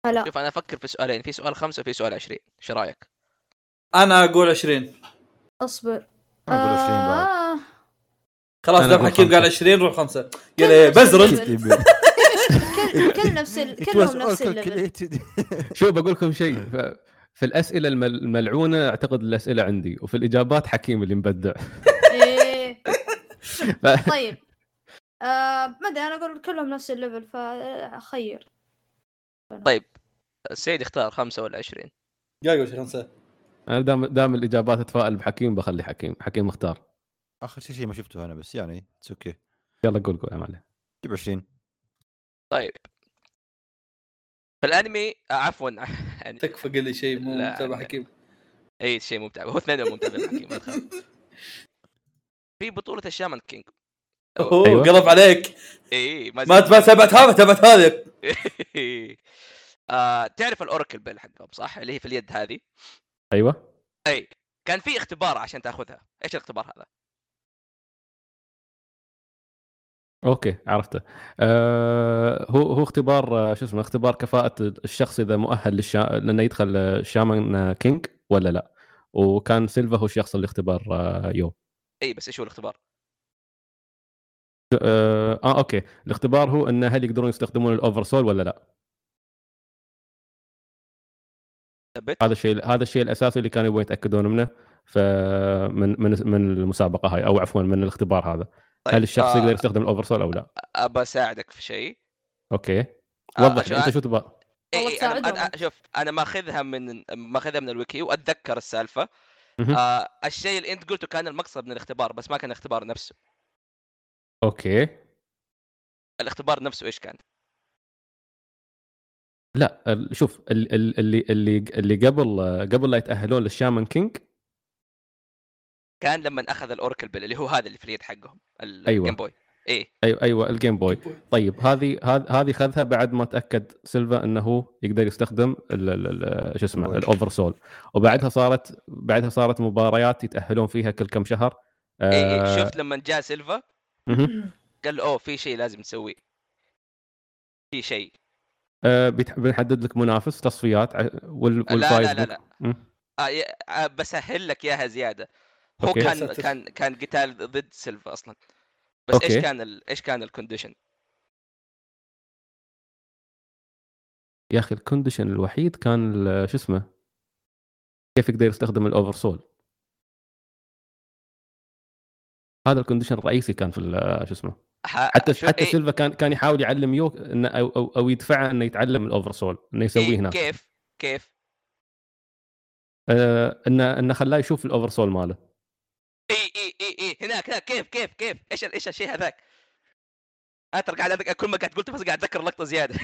[SPEAKER 3] هلا
[SPEAKER 2] شوف انا افكر في سؤالين في سؤال خمسه وفي سؤال 20 ايش رايك؟
[SPEAKER 6] انا اقول 20
[SPEAKER 3] اصبر
[SPEAKER 4] أنا أقول 20 بعد.
[SPEAKER 3] آه،
[SPEAKER 6] خلاص
[SPEAKER 5] أنا
[SPEAKER 6] دام
[SPEAKER 5] أقول
[SPEAKER 6] حكيم
[SPEAKER 5] خمسة.
[SPEAKER 6] قال 20 روح خمسه قال بزرد
[SPEAKER 3] كل كل نفس
[SPEAKER 4] إيه.
[SPEAKER 3] ال... كلهم نفس الليفل
[SPEAKER 5] شوف بقول لكم شيء ف- في الاسئله المل- الملعونه اعتقد الاسئله عندي وفي الاجابات حكيم اللي مبدع
[SPEAKER 3] إيه.
[SPEAKER 5] ف-
[SPEAKER 3] طيب آه ما ادري انا اقول كلهم نفس الليفل فخير
[SPEAKER 2] طيب سعيد اختار خمسه ولا 20
[SPEAKER 6] قال قول خمسه
[SPEAKER 5] انا دام دام الاجابات اتفائل بحكيم بخلي حكيم حكيم اختار
[SPEAKER 4] اخر شيء ما شفته انا بس يعني اتس اوكي
[SPEAKER 5] يلا قول قول امانه
[SPEAKER 4] جيب 20
[SPEAKER 2] طيب فالانمي آه، عفوا يعني
[SPEAKER 6] تكفى قل لي شيء مو
[SPEAKER 2] لا.
[SPEAKER 6] متابع حكيم
[SPEAKER 2] اي شيء ممتع هو اثنين ممتع بالحكي ما تخاف في بطوله الشامان كينج إيه،
[SPEAKER 6] اوه
[SPEAKER 5] أيوة.
[SPEAKER 6] قلب عليك
[SPEAKER 2] اي
[SPEAKER 6] ما ما تابعت هذا تابعت هذا
[SPEAKER 2] آه، تعرف الاوراكل بيل حقهم صح اللي هي في اليد هذه
[SPEAKER 5] ايوه
[SPEAKER 2] اي كان في اختبار عشان تاخذها ايش الاختبار هذا
[SPEAKER 5] اوكي عرفته آه هو هو اختبار آه، شو اسمه اختبار كفاءه الشخص اذا مؤهل للشا... لانه يدخل آه، شامان آه، كينج ولا لا وكان سيلفا هو الشخص اللي اختبر آه، يو
[SPEAKER 2] اي إيه، بس ايش هو الاختبار
[SPEAKER 5] آه, اه اوكي الاختبار هو انه هل يقدرون يستخدمون الاوفر سول ولا لا
[SPEAKER 2] ثبت
[SPEAKER 5] هذا الشيء هذا الشيء الاساسي اللي كانوا يبغون يتاكدون منه فمن من من المسابقه هاي او عفوا من الاختبار هذا هل الشخص
[SPEAKER 2] آه،
[SPEAKER 5] يقدر يستخدم الاوفر سول او لا
[SPEAKER 2] ابى اساعدك في شيء
[SPEAKER 5] اوكي
[SPEAKER 2] آه،
[SPEAKER 5] وضح
[SPEAKER 2] شو-
[SPEAKER 5] انت شو تبغى
[SPEAKER 2] إي
[SPEAKER 3] والله
[SPEAKER 2] إي أنا-
[SPEAKER 3] تساعدهم.
[SPEAKER 2] أنا- شوف انا ماخذها من ماخذها من الويكي واتذكر السالفه
[SPEAKER 5] مهم.
[SPEAKER 2] آه الشيء اللي انت قلته كان المقصد من الاختبار بس ما كان الاختبار نفسه
[SPEAKER 5] اوكي
[SPEAKER 2] الاختبار نفسه ايش كان
[SPEAKER 5] لا ال- شوف ال- ال- اللي اللي اللي قبل قبل لا يتاهلون للشامان كينج
[SPEAKER 2] كان لما اخذ الاوركل بيل اللي هو هذا اللي في اليد حقهم ال-
[SPEAKER 5] أيوة.
[SPEAKER 2] الجيم بوي ايه
[SPEAKER 5] ايوه ايوه الجيم بوي طيب هذه هذ- هذه خذها بعد ما تاكد سيلفا انه يقدر يستخدم ال- ال- ال- شو اسمه
[SPEAKER 4] البوي.
[SPEAKER 5] الاوفر سول وبعدها صارت بعدها صارت مباريات يتاهلون فيها كل كم شهر
[SPEAKER 2] ايه, إيه.
[SPEAKER 5] آه،
[SPEAKER 2] شفت لما جاء سيلفا
[SPEAKER 5] مهم.
[SPEAKER 2] قال له اوه في شيء لازم نسويه في شيء
[SPEAKER 5] آه، بيت- بنحدد لك منافس تصفيات ع- وال-
[SPEAKER 2] لا لا
[SPEAKER 5] والفايز
[SPEAKER 2] لا
[SPEAKER 5] بك.
[SPEAKER 2] لا
[SPEAKER 5] مم.
[SPEAKER 2] آه ي- آه بسهل لك اياها زياده هو
[SPEAKER 5] أوكي.
[SPEAKER 2] كان
[SPEAKER 6] ساتر.
[SPEAKER 2] كان كان قتال ضد سيلفا اصلا بس
[SPEAKER 5] أوكي.
[SPEAKER 2] ايش كان ال... ايش كان الكونديشن
[SPEAKER 5] يا اخي الكونديشن الوحيد كان ال- شو اسمه كيف يقدر يستخدم الاوفر سول هذا الكونديشن الرئيسي كان في ال- شو اسمه حتى حتى
[SPEAKER 2] إيه،
[SPEAKER 5] سيلفا كان كان يحاول يعلم يوك انه او او, أو يدفعه انه يتعلم الاوفر سول انه يسويه هناك
[SPEAKER 2] إيه، كيف كيف
[SPEAKER 5] آه، انه انه خلاه يشوف الاوفر سول ماله
[SPEAKER 2] اي اي اي اي إيه، هناك هناك كيف كيف كيف ايش ال- ايش الشيء هذاك آه، انا ترى قاعد أذك- كل ما قاعد قلت بس قاعد اتذكر لقطه زياده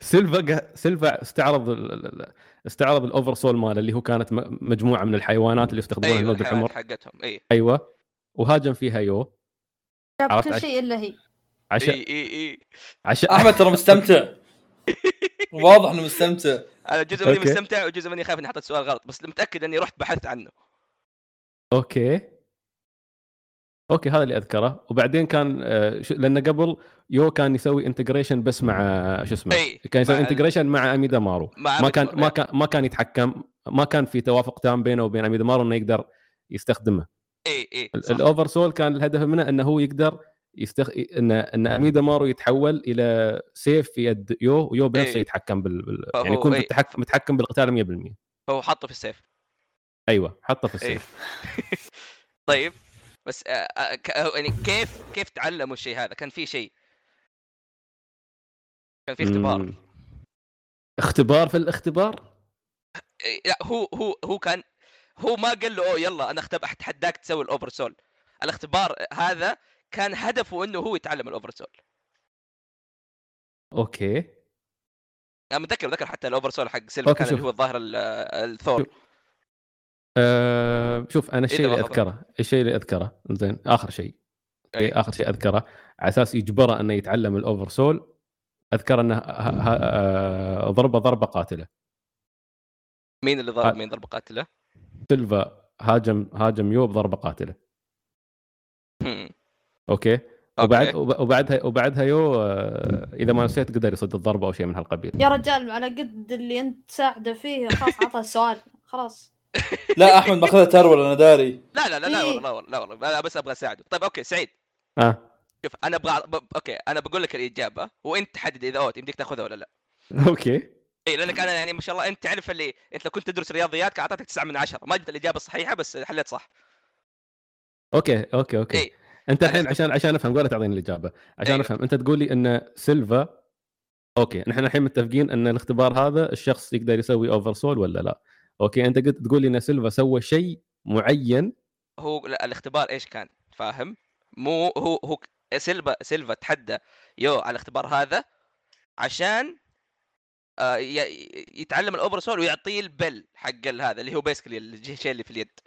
[SPEAKER 5] سيلفا قا- سيلفا استعرض ال- ال- ال- استعرض الاوفر سول ماله اللي هو كانت م- مجموعه من الحيوانات اللي يستخدمونها
[SPEAKER 2] ايوه
[SPEAKER 5] الولد
[SPEAKER 2] الحيوانات
[SPEAKER 5] الحمر
[SPEAKER 2] حقتهم إيه، اي
[SPEAKER 5] ايوه وهاجم فيها يو
[SPEAKER 3] جاب
[SPEAKER 5] عرفت
[SPEAKER 3] كل
[SPEAKER 5] عش-
[SPEAKER 3] شيء الا هي
[SPEAKER 5] عشان
[SPEAKER 2] اي اي اي
[SPEAKER 1] آه،
[SPEAKER 5] عشان
[SPEAKER 6] احمد ترى مستمتع واضح انه مستمتع
[SPEAKER 2] انا جزء مني
[SPEAKER 5] أوكي.
[SPEAKER 2] مستمتع وجزء مني خايف اني حطيت سؤال غلط بس متاكد اني رحت بحثت عنه
[SPEAKER 5] اوكي اوكي هذا اللي اذكره وبعدين كان آه، شو- لان قبل يو كان يسوي انتجريشن بس مع آه، شو اسمه
[SPEAKER 2] اي
[SPEAKER 5] كان يسوي
[SPEAKER 2] مع ال-
[SPEAKER 5] انتجريشن مع اميدا مارو
[SPEAKER 2] مع
[SPEAKER 5] ما
[SPEAKER 2] أبد
[SPEAKER 5] كان ما كان ما كان يتحكم ما كان في توافق تام بينه وبين اميدا مارو انه يقدر يستخدمه
[SPEAKER 2] اي اي
[SPEAKER 5] ال-
[SPEAKER 2] إيه، صح.
[SPEAKER 5] الاوفر سول كان الهدف منه انه هو يقدر يستخ... ان ان اميدا مارو يتحول الى سيف في يد يو ويو بنفسه
[SPEAKER 2] إيه.
[SPEAKER 5] يتحكم بال... بال...
[SPEAKER 2] فهو-
[SPEAKER 5] يعني يكون
[SPEAKER 2] إيه.
[SPEAKER 5] متحكم متحكم بالقتال 100%
[SPEAKER 2] فهو حطه في السيف
[SPEAKER 5] ايوه حطه في
[SPEAKER 2] ايه
[SPEAKER 5] السيف
[SPEAKER 2] طيب بس آه، آه، ك- آه، يعني كيف كيف تعلموا الشيء هذا؟ كان في شيء كان في اختبار
[SPEAKER 5] مم. اختبار في الاختبار
[SPEAKER 2] إيه، لا هو هو هو كان هو ما قال له اوه يلا انا اختب اتحداك تسوي الاوفر سول الاختبار هذا كان هدفه انه هو يتعلم الاوفر سول
[SPEAKER 5] اوكي
[SPEAKER 2] انا متذكر متذكر حتى الاوفر سول حق سيلفا
[SPEAKER 5] أوكي،
[SPEAKER 2] كان اللي
[SPEAKER 5] شوف.
[SPEAKER 2] هو الظاهر ال- آه، الثور
[SPEAKER 5] أه شوف انا الشيء اللي
[SPEAKER 2] لحظة.
[SPEAKER 5] اذكره الشيء اللي اذكره زين اخر شيء
[SPEAKER 2] أي.
[SPEAKER 5] أي. اخر شيء اذكره على اساس يجبره انه يتعلم الاوفر سول اذكر انه ه- ه- آه، ضربه ضربه قاتله
[SPEAKER 2] مين اللي
[SPEAKER 5] آه.
[SPEAKER 2] ضرب مين ضربه قاتله؟
[SPEAKER 5] سيلفا هاجم هاجم يو بضربه قاتله
[SPEAKER 2] هم،
[SPEAKER 5] اوكي وبعد
[SPEAKER 2] أوكي.
[SPEAKER 5] وب- وبعدها وبعدها يو آه، اذا ما نسيت قدر يصد الضربه او شيء من هالقبيل
[SPEAKER 3] يا رجال على قد اللي انت تساعده فيه خلاص عطى السؤال خلاص
[SPEAKER 6] لا احمد ماخذها ترول انا داري
[SPEAKER 2] لا لا لا لا
[SPEAKER 3] إيه.
[SPEAKER 2] والله لا والله لا والله انا بس ابغى اساعده طيب اوكي سعيد
[SPEAKER 5] اه
[SPEAKER 2] شوف انا ابغى أعرف- ب- اوكي انا بقول لك الاجابه وانت تحدد اذا اوت يمديك تاخذها ولا لا
[SPEAKER 5] اوكي
[SPEAKER 2] اي لانك انا يعني ما شاء الله انت تعرف اللي انت لو كنت تدرس رياضيات كان اعطيتك 9 من 10 ما جبت الاجابه الصحيحه بس حليت صح
[SPEAKER 5] اوكي اوكي اوكي
[SPEAKER 2] إيه.
[SPEAKER 5] انت
[SPEAKER 2] أنا
[SPEAKER 5] الحين
[SPEAKER 2] أخت-
[SPEAKER 5] عشان عشان افهم ولا تعطيني الاجابه عشان
[SPEAKER 2] أيوة.
[SPEAKER 5] افهم انت تقول لي ان سيلفا اوكي نحن الحين متفقين ان الاختبار هذا الشخص يقدر يسوي اوفر سول ولا لا اوكي انت قلت تقول لي ان سيلفا سوى شيء معين
[SPEAKER 2] هو لا الاختبار ايش كان فاهم مو هو هو ك- سيلفا سيلفا تحدى يو على الاختبار هذا عشان آه، ي- ي- يتعلم الاوبر سول ويعطيه البل حق ال- هذا اللي هو بيسكلي الشيء اللي في اليد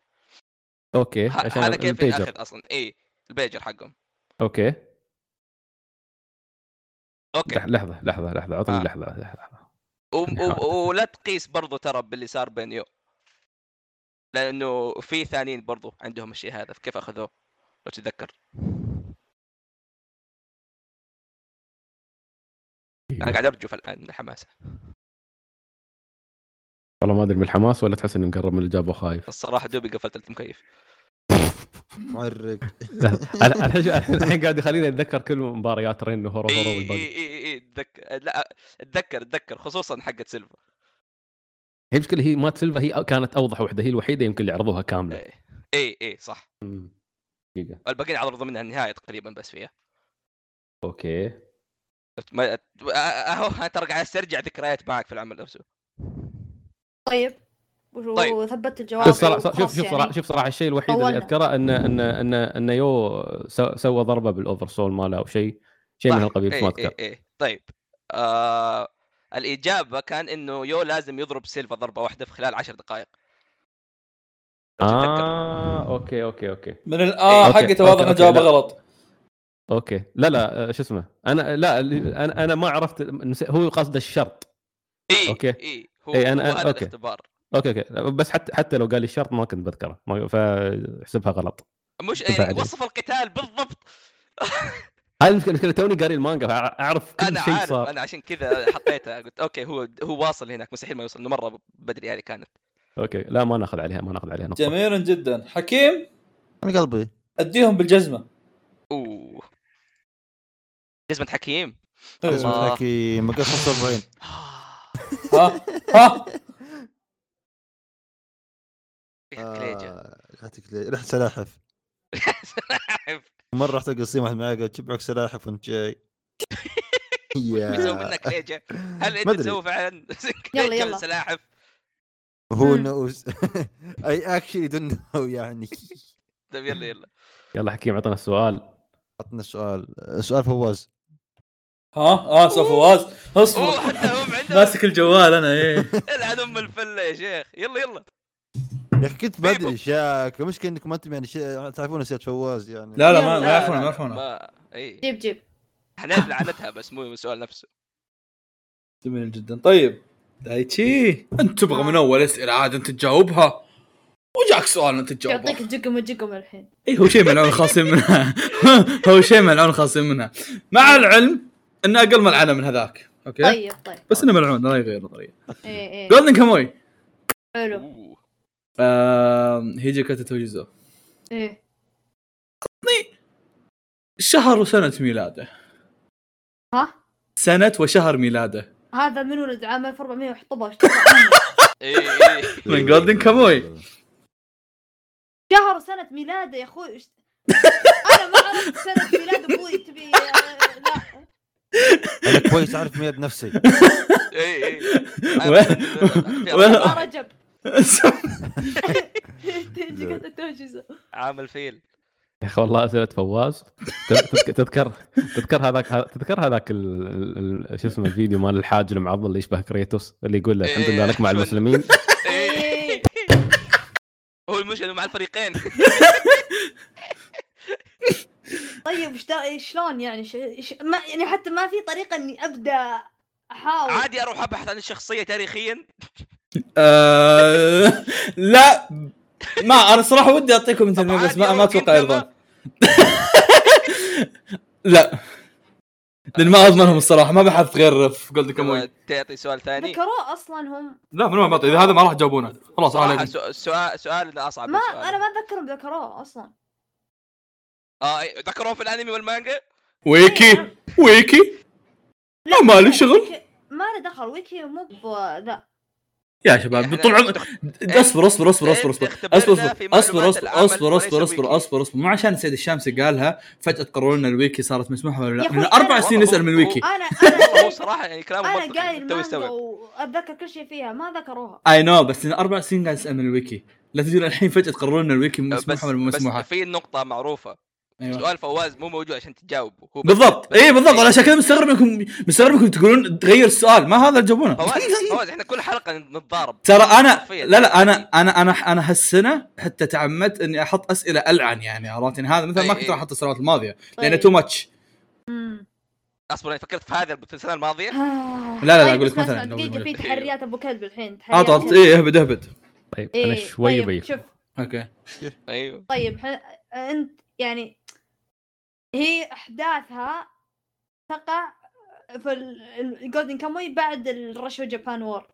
[SPEAKER 5] اوكي
[SPEAKER 2] ه-
[SPEAKER 5] إيه، عشان
[SPEAKER 2] هذا كيف
[SPEAKER 5] البيجر.
[SPEAKER 2] ياخذ اصلا اي البيجر حقهم
[SPEAKER 5] اوكي
[SPEAKER 2] اوكي
[SPEAKER 5] لح- لحظه لحظه لحظه عطني
[SPEAKER 2] آه.
[SPEAKER 5] لحظه لحظه
[SPEAKER 2] وم-
[SPEAKER 5] نحاول.
[SPEAKER 2] و- ولا تقيس برضو ترى باللي صار بين يو لانه في ثانيين برضو عندهم الشيء هذا كيف اخذوه لو تتذكر
[SPEAKER 5] إيه،
[SPEAKER 2] انا قاعد ارجف الان من الحماسه
[SPEAKER 5] والله ما ادري من الحماس ولا تحس اني مقرب من الاجابه وخايف
[SPEAKER 2] الصراحه دوبي قفلت المكيف
[SPEAKER 4] معرق
[SPEAKER 5] لحظة. أنا- أنا الحين الحين قاعد يخليني اتذكر كل مباريات رين هورو
[SPEAKER 2] اي
[SPEAKER 5] هورو
[SPEAKER 2] اي
[SPEAKER 5] والباقي
[SPEAKER 2] اي اي اتذكر لا اتذكر اتذكر خصوصا حقت سيلفا
[SPEAKER 5] هي المشكله هي مات سيلفا هي كانت اوضح وحده هي الوحيده يمكن اللي عرضوها كامله
[SPEAKER 2] اي اي اي صح
[SPEAKER 5] مم. دقيقه
[SPEAKER 2] الباقيين عرضوا منها النهايه تقريبا بس فيها
[SPEAKER 5] اوكي
[SPEAKER 2] ما أ- اهو أه، ترى قاعد استرجع ذكريات معك في العمل نفسه
[SPEAKER 3] طيب و-
[SPEAKER 2] طيب.
[SPEAKER 3] وثبت الجواب يعني.
[SPEAKER 5] شوف صراحه شوف
[SPEAKER 3] وخلاص
[SPEAKER 5] شوف
[SPEAKER 2] يعني.
[SPEAKER 5] صراحه شوف صراحه الشيء الوحيد
[SPEAKER 3] طولنا.
[SPEAKER 5] اللي اذكره ان ان ان ان يو سو- سوى ضربه بالاوفر سول ماله او شيء شيء من
[SPEAKER 2] صح.
[SPEAKER 5] هالقبيل بس
[SPEAKER 2] إيه
[SPEAKER 5] ما
[SPEAKER 2] إيه
[SPEAKER 5] اذكر
[SPEAKER 2] إيه. طيب آه الاجابه كان انه يو لازم يضرب سيلفا ضربه واحده في خلال عشر دقائق
[SPEAKER 5] اه اوكي اوكي اوكي
[SPEAKER 1] من
[SPEAKER 6] آه،
[SPEAKER 1] الاه
[SPEAKER 5] أوكي،
[SPEAKER 1] حقته واضح
[SPEAKER 5] أوكي،
[SPEAKER 1] انه
[SPEAKER 5] أوكي،
[SPEAKER 1] جوابه
[SPEAKER 5] لا.
[SPEAKER 1] غلط
[SPEAKER 5] اوكي لا لا آه، شو اسمه انا لا اللي- انا انا ما عرفت نس- هو قصده الشرط
[SPEAKER 2] اي
[SPEAKER 5] أوكي.
[SPEAKER 2] اي هو
[SPEAKER 5] إيه، أنا-
[SPEAKER 2] هو
[SPEAKER 5] أنا-
[SPEAKER 2] هذا
[SPEAKER 5] أوكي.
[SPEAKER 2] الاختبار
[SPEAKER 5] اوكي اوكي بس حتى حتى لو قال لي الشرط ما كنت بذكره ما- فاحسبها غلط
[SPEAKER 2] مش
[SPEAKER 5] اتفق
[SPEAKER 2] يعني
[SPEAKER 5] عليه.
[SPEAKER 2] وصف القتال بالضبط
[SPEAKER 5] هذه المشكله المشكلة توني قاري المانجا اعرف كل
[SPEAKER 2] انا
[SPEAKER 5] شيء
[SPEAKER 2] عارف
[SPEAKER 5] صار
[SPEAKER 2] انا عشان كذا حطيتها قلت اوكي هو هو واصل هناك مستحيل ما يوصل إنه مره بدري هذه كانت
[SPEAKER 5] اوكي لا ما ناخذ عليها ما ناخذ عليها نقطه
[SPEAKER 1] جميل جدا حكيم
[SPEAKER 4] من قلبي
[SPEAKER 1] اديهم بالجزمه
[SPEAKER 2] اوه جزمة حكيم
[SPEAKER 4] لازم
[SPEAKER 2] الله.
[SPEAKER 4] تحكي مقص 40
[SPEAKER 1] ها ها
[SPEAKER 2] فيها
[SPEAKER 5] آه،
[SPEAKER 2] كليجة
[SPEAKER 4] آه، ريحتك لي- ريحه سلاحف مره رحت القصيم واحد معي قال جيب معك سلاحف وانت جاي
[SPEAKER 2] بيسوي
[SPEAKER 4] يا
[SPEAKER 2] منك كليجة هل
[SPEAKER 4] ما
[SPEAKER 2] انت
[SPEAKER 4] أدري.
[SPEAKER 2] تسوي فعلا
[SPEAKER 3] يلا،
[SPEAKER 2] كليجة من
[SPEAKER 3] يلا.
[SPEAKER 2] سلاحف
[SPEAKER 4] هو نوز اي اكشلي دون نو يعني
[SPEAKER 2] طيب يلا يلا
[SPEAKER 5] يلا حكيم عطنا السؤال
[SPEAKER 4] عطنا سؤال سؤال فواز
[SPEAKER 6] آه،
[SPEAKER 1] ها اه سوف فواز
[SPEAKER 2] اوه
[SPEAKER 1] اصبر
[SPEAKER 2] حتى هم عندهم
[SPEAKER 1] ماسك الجوال انا ايه
[SPEAKER 2] العن ام الفله يا شيخ يلا يلا
[SPEAKER 4] يا اخي كنت
[SPEAKER 2] طيب.
[SPEAKER 4] بدري شاك المشكله انكم انتم يعني شي... تعرفون سيره فواز يعني
[SPEAKER 1] لا لا
[SPEAKER 3] يلا.
[SPEAKER 1] ما ما يعرفونه ما يعرفونه
[SPEAKER 2] ما اي
[SPEAKER 3] جيب جيب
[SPEAKER 2] حنعرف لعنتها بس مو السؤال نفسه
[SPEAKER 1] جميل جدا طيب دايتشي انت تبغى من اول اسئله عاد انت تجاوبها وجاك سؤال انت
[SPEAKER 3] يعطيك
[SPEAKER 1] تجاوبه
[SPEAKER 3] جقم جقم الحين
[SPEAKER 1] اي هو شيء ملعون خاصين منها هو شيء ملعون خاصين منها مع العلم انه اقل ملعنه من هذاك اوكي
[SPEAKER 3] طيب طيب
[SPEAKER 1] بس انه ملعون لا يغير نظريه
[SPEAKER 3] ايه ايه
[SPEAKER 1] جولدن كاموي
[SPEAKER 3] حلو
[SPEAKER 2] أوه.
[SPEAKER 1] آم، هيجي كاتا توجيزو
[SPEAKER 3] ايه
[SPEAKER 1] شهر وسنة ميلاده
[SPEAKER 3] ها
[SPEAKER 1] سنة وشهر ميلاده
[SPEAKER 3] هذا من ولد عام 1400 وحطبه
[SPEAKER 2] اي اي
[SPEAKER 4] إيه.
[SPEAKER 1] من جولدن كاموي.
[SPEAKER 3] شهر سنة ميلاده يا اخوي إيش- انا ما عرفت سنة ميلاد ابوي تبي آه، لا
[SPEAKER 4] انا كويس اعرف ميد نفسي
[SPEAKER 2] اي اي
[SPEAKER 1] وين-
[SPEAKER 3] ما رجب تجي قاعدة توجز.
[SPEAKER 2] عام الفيل
[SPEAKER 5] يا اخي والله اسئله فواز تذكر تذكر تذكر هذاك تذكر هذاك ال- ال- ال- شو اسمه الفيديو مال الحاج المعضل اللي يشبه كريتوس اللي يقول له الحمد لله لك مع المسلمين
[SPEAKER 2] إيه.
[SPEAKER 3] إيه.
[SPEAKER 2] هو المشكله مع الفريقين
[SPEAKER 3] طيب إيش دا- شلون يعني ش... ش... ما يعني حتى ما في طريقة اني ابدا احاول
[SPEAKER 2] عادي اروح ابحث عن الشخصيه تاريخيا
[SPEAKER 1] آه، لا ما انا صراحه ودي اعطيكم
[SPEAKER 2] طب
[SPEAKER 1] انترفيو بس
[SPEAKER 2] عادي
[SPEAKER 1] ما ما
[SPEAKER 2] أروح
[SPEAKER 1] اتوقع
[SPEAKER 2] كنتاما.
[SPEAKER 1] يرضون لا لان ما اضمنهم الصراحه ما بحث غير في جولد كاموي
[SPEAKER 2] تعطي سؤال ثاني
[SPEAKER 3] ذكروه اصلا هم
[SPEAKER 1] لا من وين بعطي اذا هذا ما راح تجاوبونه خلاص
[SPEAKER 2] صراحه
[SPEAKER 1] عليكم
[SPEAKER 2] سؤال سؤال سؤال اصعب
[SPEAKER 3] ما
[SPEAKER 2] من سؤال.
[SPEAKER 3] انا ما اتذكرهم ذكروه اصلا
[SPEAKER 2] اه إيه، ذكروه في الانمي والمانجا
[SPEAKER 1] ويكي ويكي
[SPEAKER 3] لا
[SPEAKER 1] ما لي
[SPEAKER 3] لا،
[SPEAKER 1] شغل.
[SPEAKER 3] إيه، يعني ويكي- ما له دخل ويكي مو ب لا
[SPEAKER 1] يا شباب
[SPEAKER 2] إحنا
[SPEAKER 1] طول عمر
[SPEAKER 2] نخت-
[SPEAKER 1] اصبر اصبر اصبر اصبر اصبر
[SPEAKER 2] اختبرنا
[SPEAKER 1] اصبر
[SPEAKER 2] في معلومات
[SPEAKER 1] اصبر اصبر
[SPEAKER 2] العمل
[SPEAKER 1] اصبر
[SPEAKER 2] وليس
[SPEAKER 1] اصبر اصبر
[SPEAKER 2] الويكي.
[SPEAKER 1] اصبر اصبر مو عشان سيد الشامسي قالها فجاه قرروا ان الويكي صارت مسموحه ولا
[SPEAKER 3] يا
[SPEAKER 1] لا من
[SPEAKER 3] أخوي،
[SPEAKER 1] اربع
[SPEAKER 3] أنا-
[SPEAKER 1] سنين نسال من الويكي
[SPEAKER 3] انا
[SPEAKER 2] والله هو
[SPEAKER 3] انا
[SPEAKER 2] صراحه يعني كلامه
[SPEAKER 3] انا
[SPEAKER 2] منطقي،
[SPEAKER 3] قايل
[SPEAKER 2] توي
[SPEAKER 3] مانجا
[SPEAKER 2] استوعب.
[SPEAKER 3] واتذكر كل شيء فيها ما ذكروها
[SPEAKER 1] اي نو بس انا اربع سنين قاعد اسال من الويكي لا تجون الحين فجاه تقررون ان الويكي مسموحه ولا مو
[SPEAKER 2] بس,
[SPEAKER 1] مسموحه
[SPEAKER 2] بس في نقطه معروفه
[SPEAKER 1] أيوة.
[SPEAKER 2] سؤال فواز مو موجود عشان تجاوبه هو بس-
[SPEAKER 1] بالضبط
[SPEAKER 2] بس- إيه.
[SPEAKER 1] اي بالضبط انا عشان كذا مستغرب انكم مستغرب انكم تقولون تغير السؤال ما هذا اللي جابونه
[SPEAKER 2] فواز فواز احنا كل حلقه نتضارب
[SPEAKER 1] أيوة، ترى انا
[SPEAKER 2] حرفياً.
[SPEAKER 1] لا لا انا انا انا انا هالسنه حتى تعمدت اني احط اسئله العن يعني عرفت يعني هذا مثلا ما
[SPEAKER 2] أي-
[SPEAKER 1] كنت
[SPEAKER 2] أي.
[SPEAKER 1] راح احط السنوات الماضيه لانه
[SPEAKER 3] طيب.
[SPEAKER 1] تو ماتش
[SPEAKER 3] مم.
[SPEAKER 2] اصبر انا فكرت في هذا في السنه الماضيه
[SPEAKER 3] آه.
[SPEAKER 1] لا، لا،
[SPEAKER 3] طيب،
[SPEAKER 1] أقول لك
[SPEAKER 3] اسمع،
[SPEAKER 1] مثلاً،
[SPEAKER 3] اسمع،
[SPEAKER 1] أقول
[SPEAKER 3] دقيقة في
[SPEAKER 2] لك.
[SPEAKER 3] تحريات ابو كلب الحين
[SPEAKER 1] اعط
[SPEAKER 3] تحريات أبو
[SPEAKER 1] اعط
[SPEAKER 3] كلب.
[SPEAKER 1] ايه اهبد اهبد
[SPEAKER 5] طيب
[SPEAKER 3] إيه،
[SPEAKER 5] انا شوي
[SPEAKER 3] طيب،
[SPEAKER 5] بي
[SPEAKER 3] شوف
[SPEAKER 1] اوكي
[SPEAKER 2] ايوه
[SPEAKER 3] طيب ح- انت يعني هي احداثها تقع في الجولدن كاموي بعد الرشو جابان وور